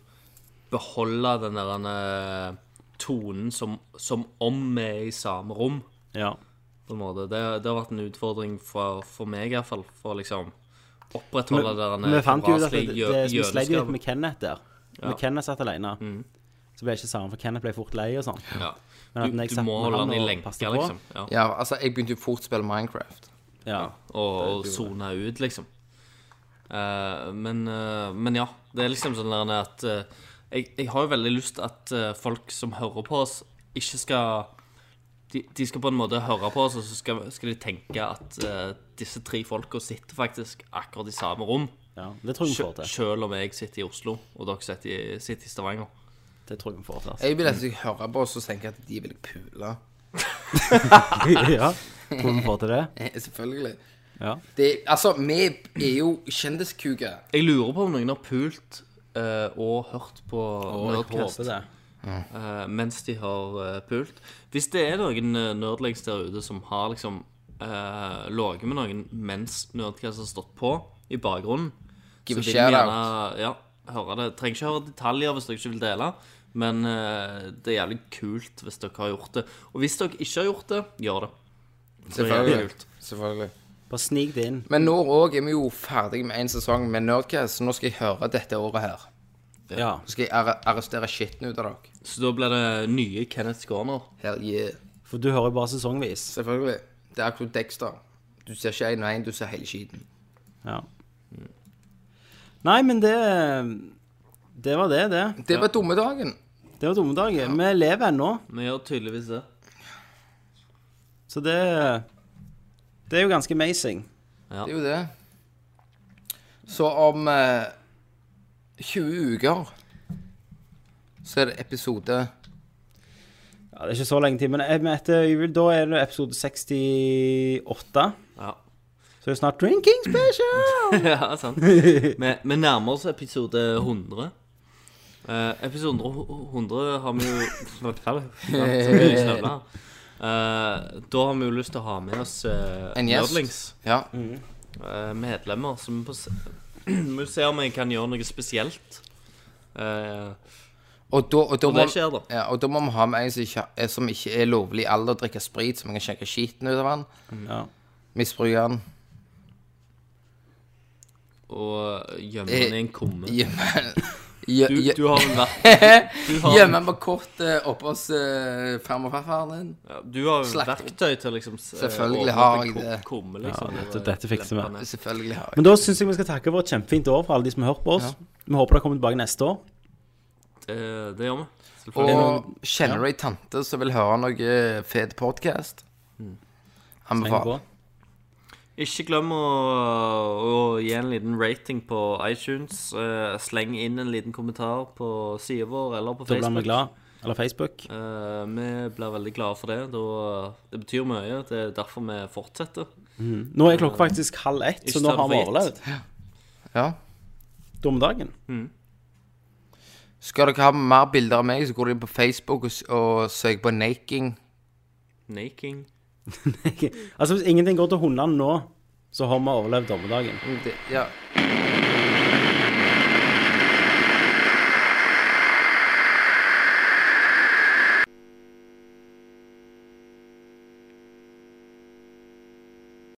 Speaker 3: beholde den der eh, tonen som, som om vi er i samme rom,
Speaker 1: Ja.
Speaker 3: på en måte. Det, det har vært en utfordring for, for meg i hvert fall, for å liksom opprettholde det der
Speaker 1: Vi
Speaker 3: eh,
Speaker 1: fant jo ut at det,
Speaker 3: raslige
Speaker 1: det, vi
Speaker 3: gjø-
Speaker 1: sleit jo litt
Speaker 3: gjøneskapet.
Speaker 1: med Kenneth der. Når Kenneth satt alene,
Speaker 3: Mm.
Speaker 1: så ble det ikke sammen, for Kenneth ble fort lei og sånn.
Speaker 3: Ja.
Speaker 1: Men at
Speaker 3: Du,
Speaker 1: når jeg
Speaker 3: du
Speaker 1: satt
Speaker 3: må
Speaker 1: med
Speaker 3: holde
Speaker 1: han
Speaker 3: den i
Speaker 1: og
Speaker 3: lenke,
Speaker 1: passet på.
Speaker 3: liksom. Ja.
Speaker 2: ja, altså, jeg begynte jo fort å spille Minecraft
Speaker 1: Ja.
Speaker 3: og, og sone ut, liksom. Eh, men, eh, men ja, det er liksom sånn der at eh, jeg, jeg har jo veldig lyst at eh, folk som hører på oss, ikke skal de, de skal på en måte høre på oss, og så skal, skal de tenke at eh, disse tre folka sitter faktisk akkurat i samme rom.
Speaker 1: Ja, det tror jeg vi får til.
Speaker 3: Selv om jeg sitter i Oslo, og dere sitter i, sitter i Stavanger.
Speaker 1: Det tror jeg vi får til. altså.
Speaker 2: Jeg vil at de hører på oss og tenker at de vil pule.
Speaker 1: [laughs] ja, tror vi får til det.
Speaker 2: Eh, Selvfølgelig.
Speaker 1: Ja.
Speaker 2: Det, altså, vi er jo kjendiskuker.
Speaker 3: Jeg lurer på om noen har pult eh, og hørt på Nerdcast
Speaker 1: det.
Speaker 3: eh, mens de har eh, pult. Hvis det er noen uh, nerdlegs der ute som har liksom uh, ligget med noen mens Nerdcast har stått på i bakgrunnen,
Speaker 2: Give a
Speaker 3: vil vi
Speaker 2: shout
Speaker 3: gjerne,
Speaker 2: out.
Speaker 3: ja, høre det. Trenger ikke høre detaljer hvis dere ikke vil dele, men eh, det er jævlig kult hvis dere har gjort det. Og hvis dere ikke har gjort det, gjør det.
Speaker 2: Selvfølgelig.
Speaker 3: kult.
Speaker 2: Selvfølgelig.
Speaker 1: Bare snik det inn.
Speaker 2: Men nå òg er vi jo ferdig med én sesong med Nerdcast, så nå skal jeg høre dette året her.
Speaker 1: Ja.
Speaker 2: Så skal jeg arre- arrestere skitten ut av dere.
Speaker 3: Så da blir det nye Kenneth Skåner.
Speaker 2: Hell yeah.
Speaker 1: For du hører jo bare sesongvis.
Speaker 2: Selvfølgelig. Det er akkurat Dexter. Du ser ikke én og én, du ser hele skiten.
Speaker 1: Ja. Nei, men det Det var det, det.
Speaker 2: Det var dumme dagen.
Speaker 1: Det var dumme dager. Vi lever ennå,
Speaker 3: Vi gjør tydeligvis det.
Speaker 1: så det Det er jo ganske amazing.
Speaker 2: Det er jo det. Så om eh, 20 uker så er det episode
Speaker 1: Ja, Det er ikke så lenge til, men eh, men etter jul da er det episode 68.
Speaker 3: Ja.
Speaker 1: Så det er snart drinking special!
Speaker 3: [laughs] Ja,
Speaker 2: [laughs]
Speaker 3: sant. Vi, vi nærmer oss episode 100. Eh, episode 100, 100 har vi jo [laughs] Hva er det? Ja, så mye
Speaker 2: [laughs]
Speaker 3: snøvler. Eh, da har vi jo lyst til å ha med oss uh,
Speaker 2: En gjest. Ja.
Speaker 3: eh, medlemmer. Så vi får [clears throat] se, vi får se om jeg kan gjøre noe spesielt. Eh,
Speaker 2: Og da, og, da
Speaker 3: Og
Speaker 2: må,
Speaker 3: det skjer da.
Speaker 2: ja, og da må vi ha med en som ikke, eh, som ikke er lovlig i alder, drikker sprit, så vi kan sjekke skiten ut av han.
Speaker 1: Ja.
Speaker 2: Misbruke han.
Speaker 3: og gjemme
Speaker 2: Eh,
Speaker 3: den i en kumme.
Speaker 2: Gjemme
Speaker 3: [laughs] Du,
Speaker 2: gjemme-
Speaker 3: du har en
Speaker 2: [laughs]
Speaker 3: verk... Du har,
Speaker 2: gjemme han på kortet oppe hos eh, farmor og farfaren din.
Speaker 3: ja, du har jo
Speaker 2: Slakt.
Speaker 3: verktøy til å liksom s-
Speaker 2: Selvfølgelig
Speaker 3: åpne
Speaker 2: har
Speaker 3: opp en
Speaker 2: jeg
Speaker 3: kum-
Speaker 2: det.
Speaker 3: Kumme, liksom,
Speaker 1: Ja,
Speaker 3: og
Speaker 1: dette- dette fikser vi.
Speaker 3: lempe den ned.
Speaker 2: Selvfølgelig har jeg
Speaker 1: Men da syns jeg vi skal takke for et kjempefint år for alle de som har hørt på oss. Vi håper dere kommer tilbake neste år.
Speaker 3: Det, det gjør vi. Selvfølgelig.
Speaker 2: Og kjenner du ei tante som vil høre noe eh, fet podkast?
Speaker 1: Heng på.
Speaker 2: Anbefaler.
Speaker 3: Ikke glem å, å gi en liten rating på iTunes. eh, sleng inn en liten kommentar på sida vår eller på
Speaker 1: Da blir
Speaker 3: Facebook.
Speaker 1: vi glad. Eller Facebook.
Speaker 3: Eh, vi blir veldig glade for det. Da, det betyr mye. Det er derfor vi fortsetter.
Speaker 1: Nå er klokka faktisk halv ett,
Speaker 3: Ikke
Speaker 1: så nå
Speaker 3: ta
Speaker 1: har
Speaker 3: det
Speaker 1: vi
Speaker 3: for gitt.
Speaker 1: overlevd
Speaker 2: Ja.
Speaker 1: [laughs] dommedagen.
Speaker 2: Skal dere ha mer bilder av meg, så går dere inn på Facebook og, s- og søker på naking.
Speaker 3: Naking.
Speaker 1: altså, hvis ingenting går til hundene nå, så har vi overlevd dommedagen.
Speaker 2: Det, ja.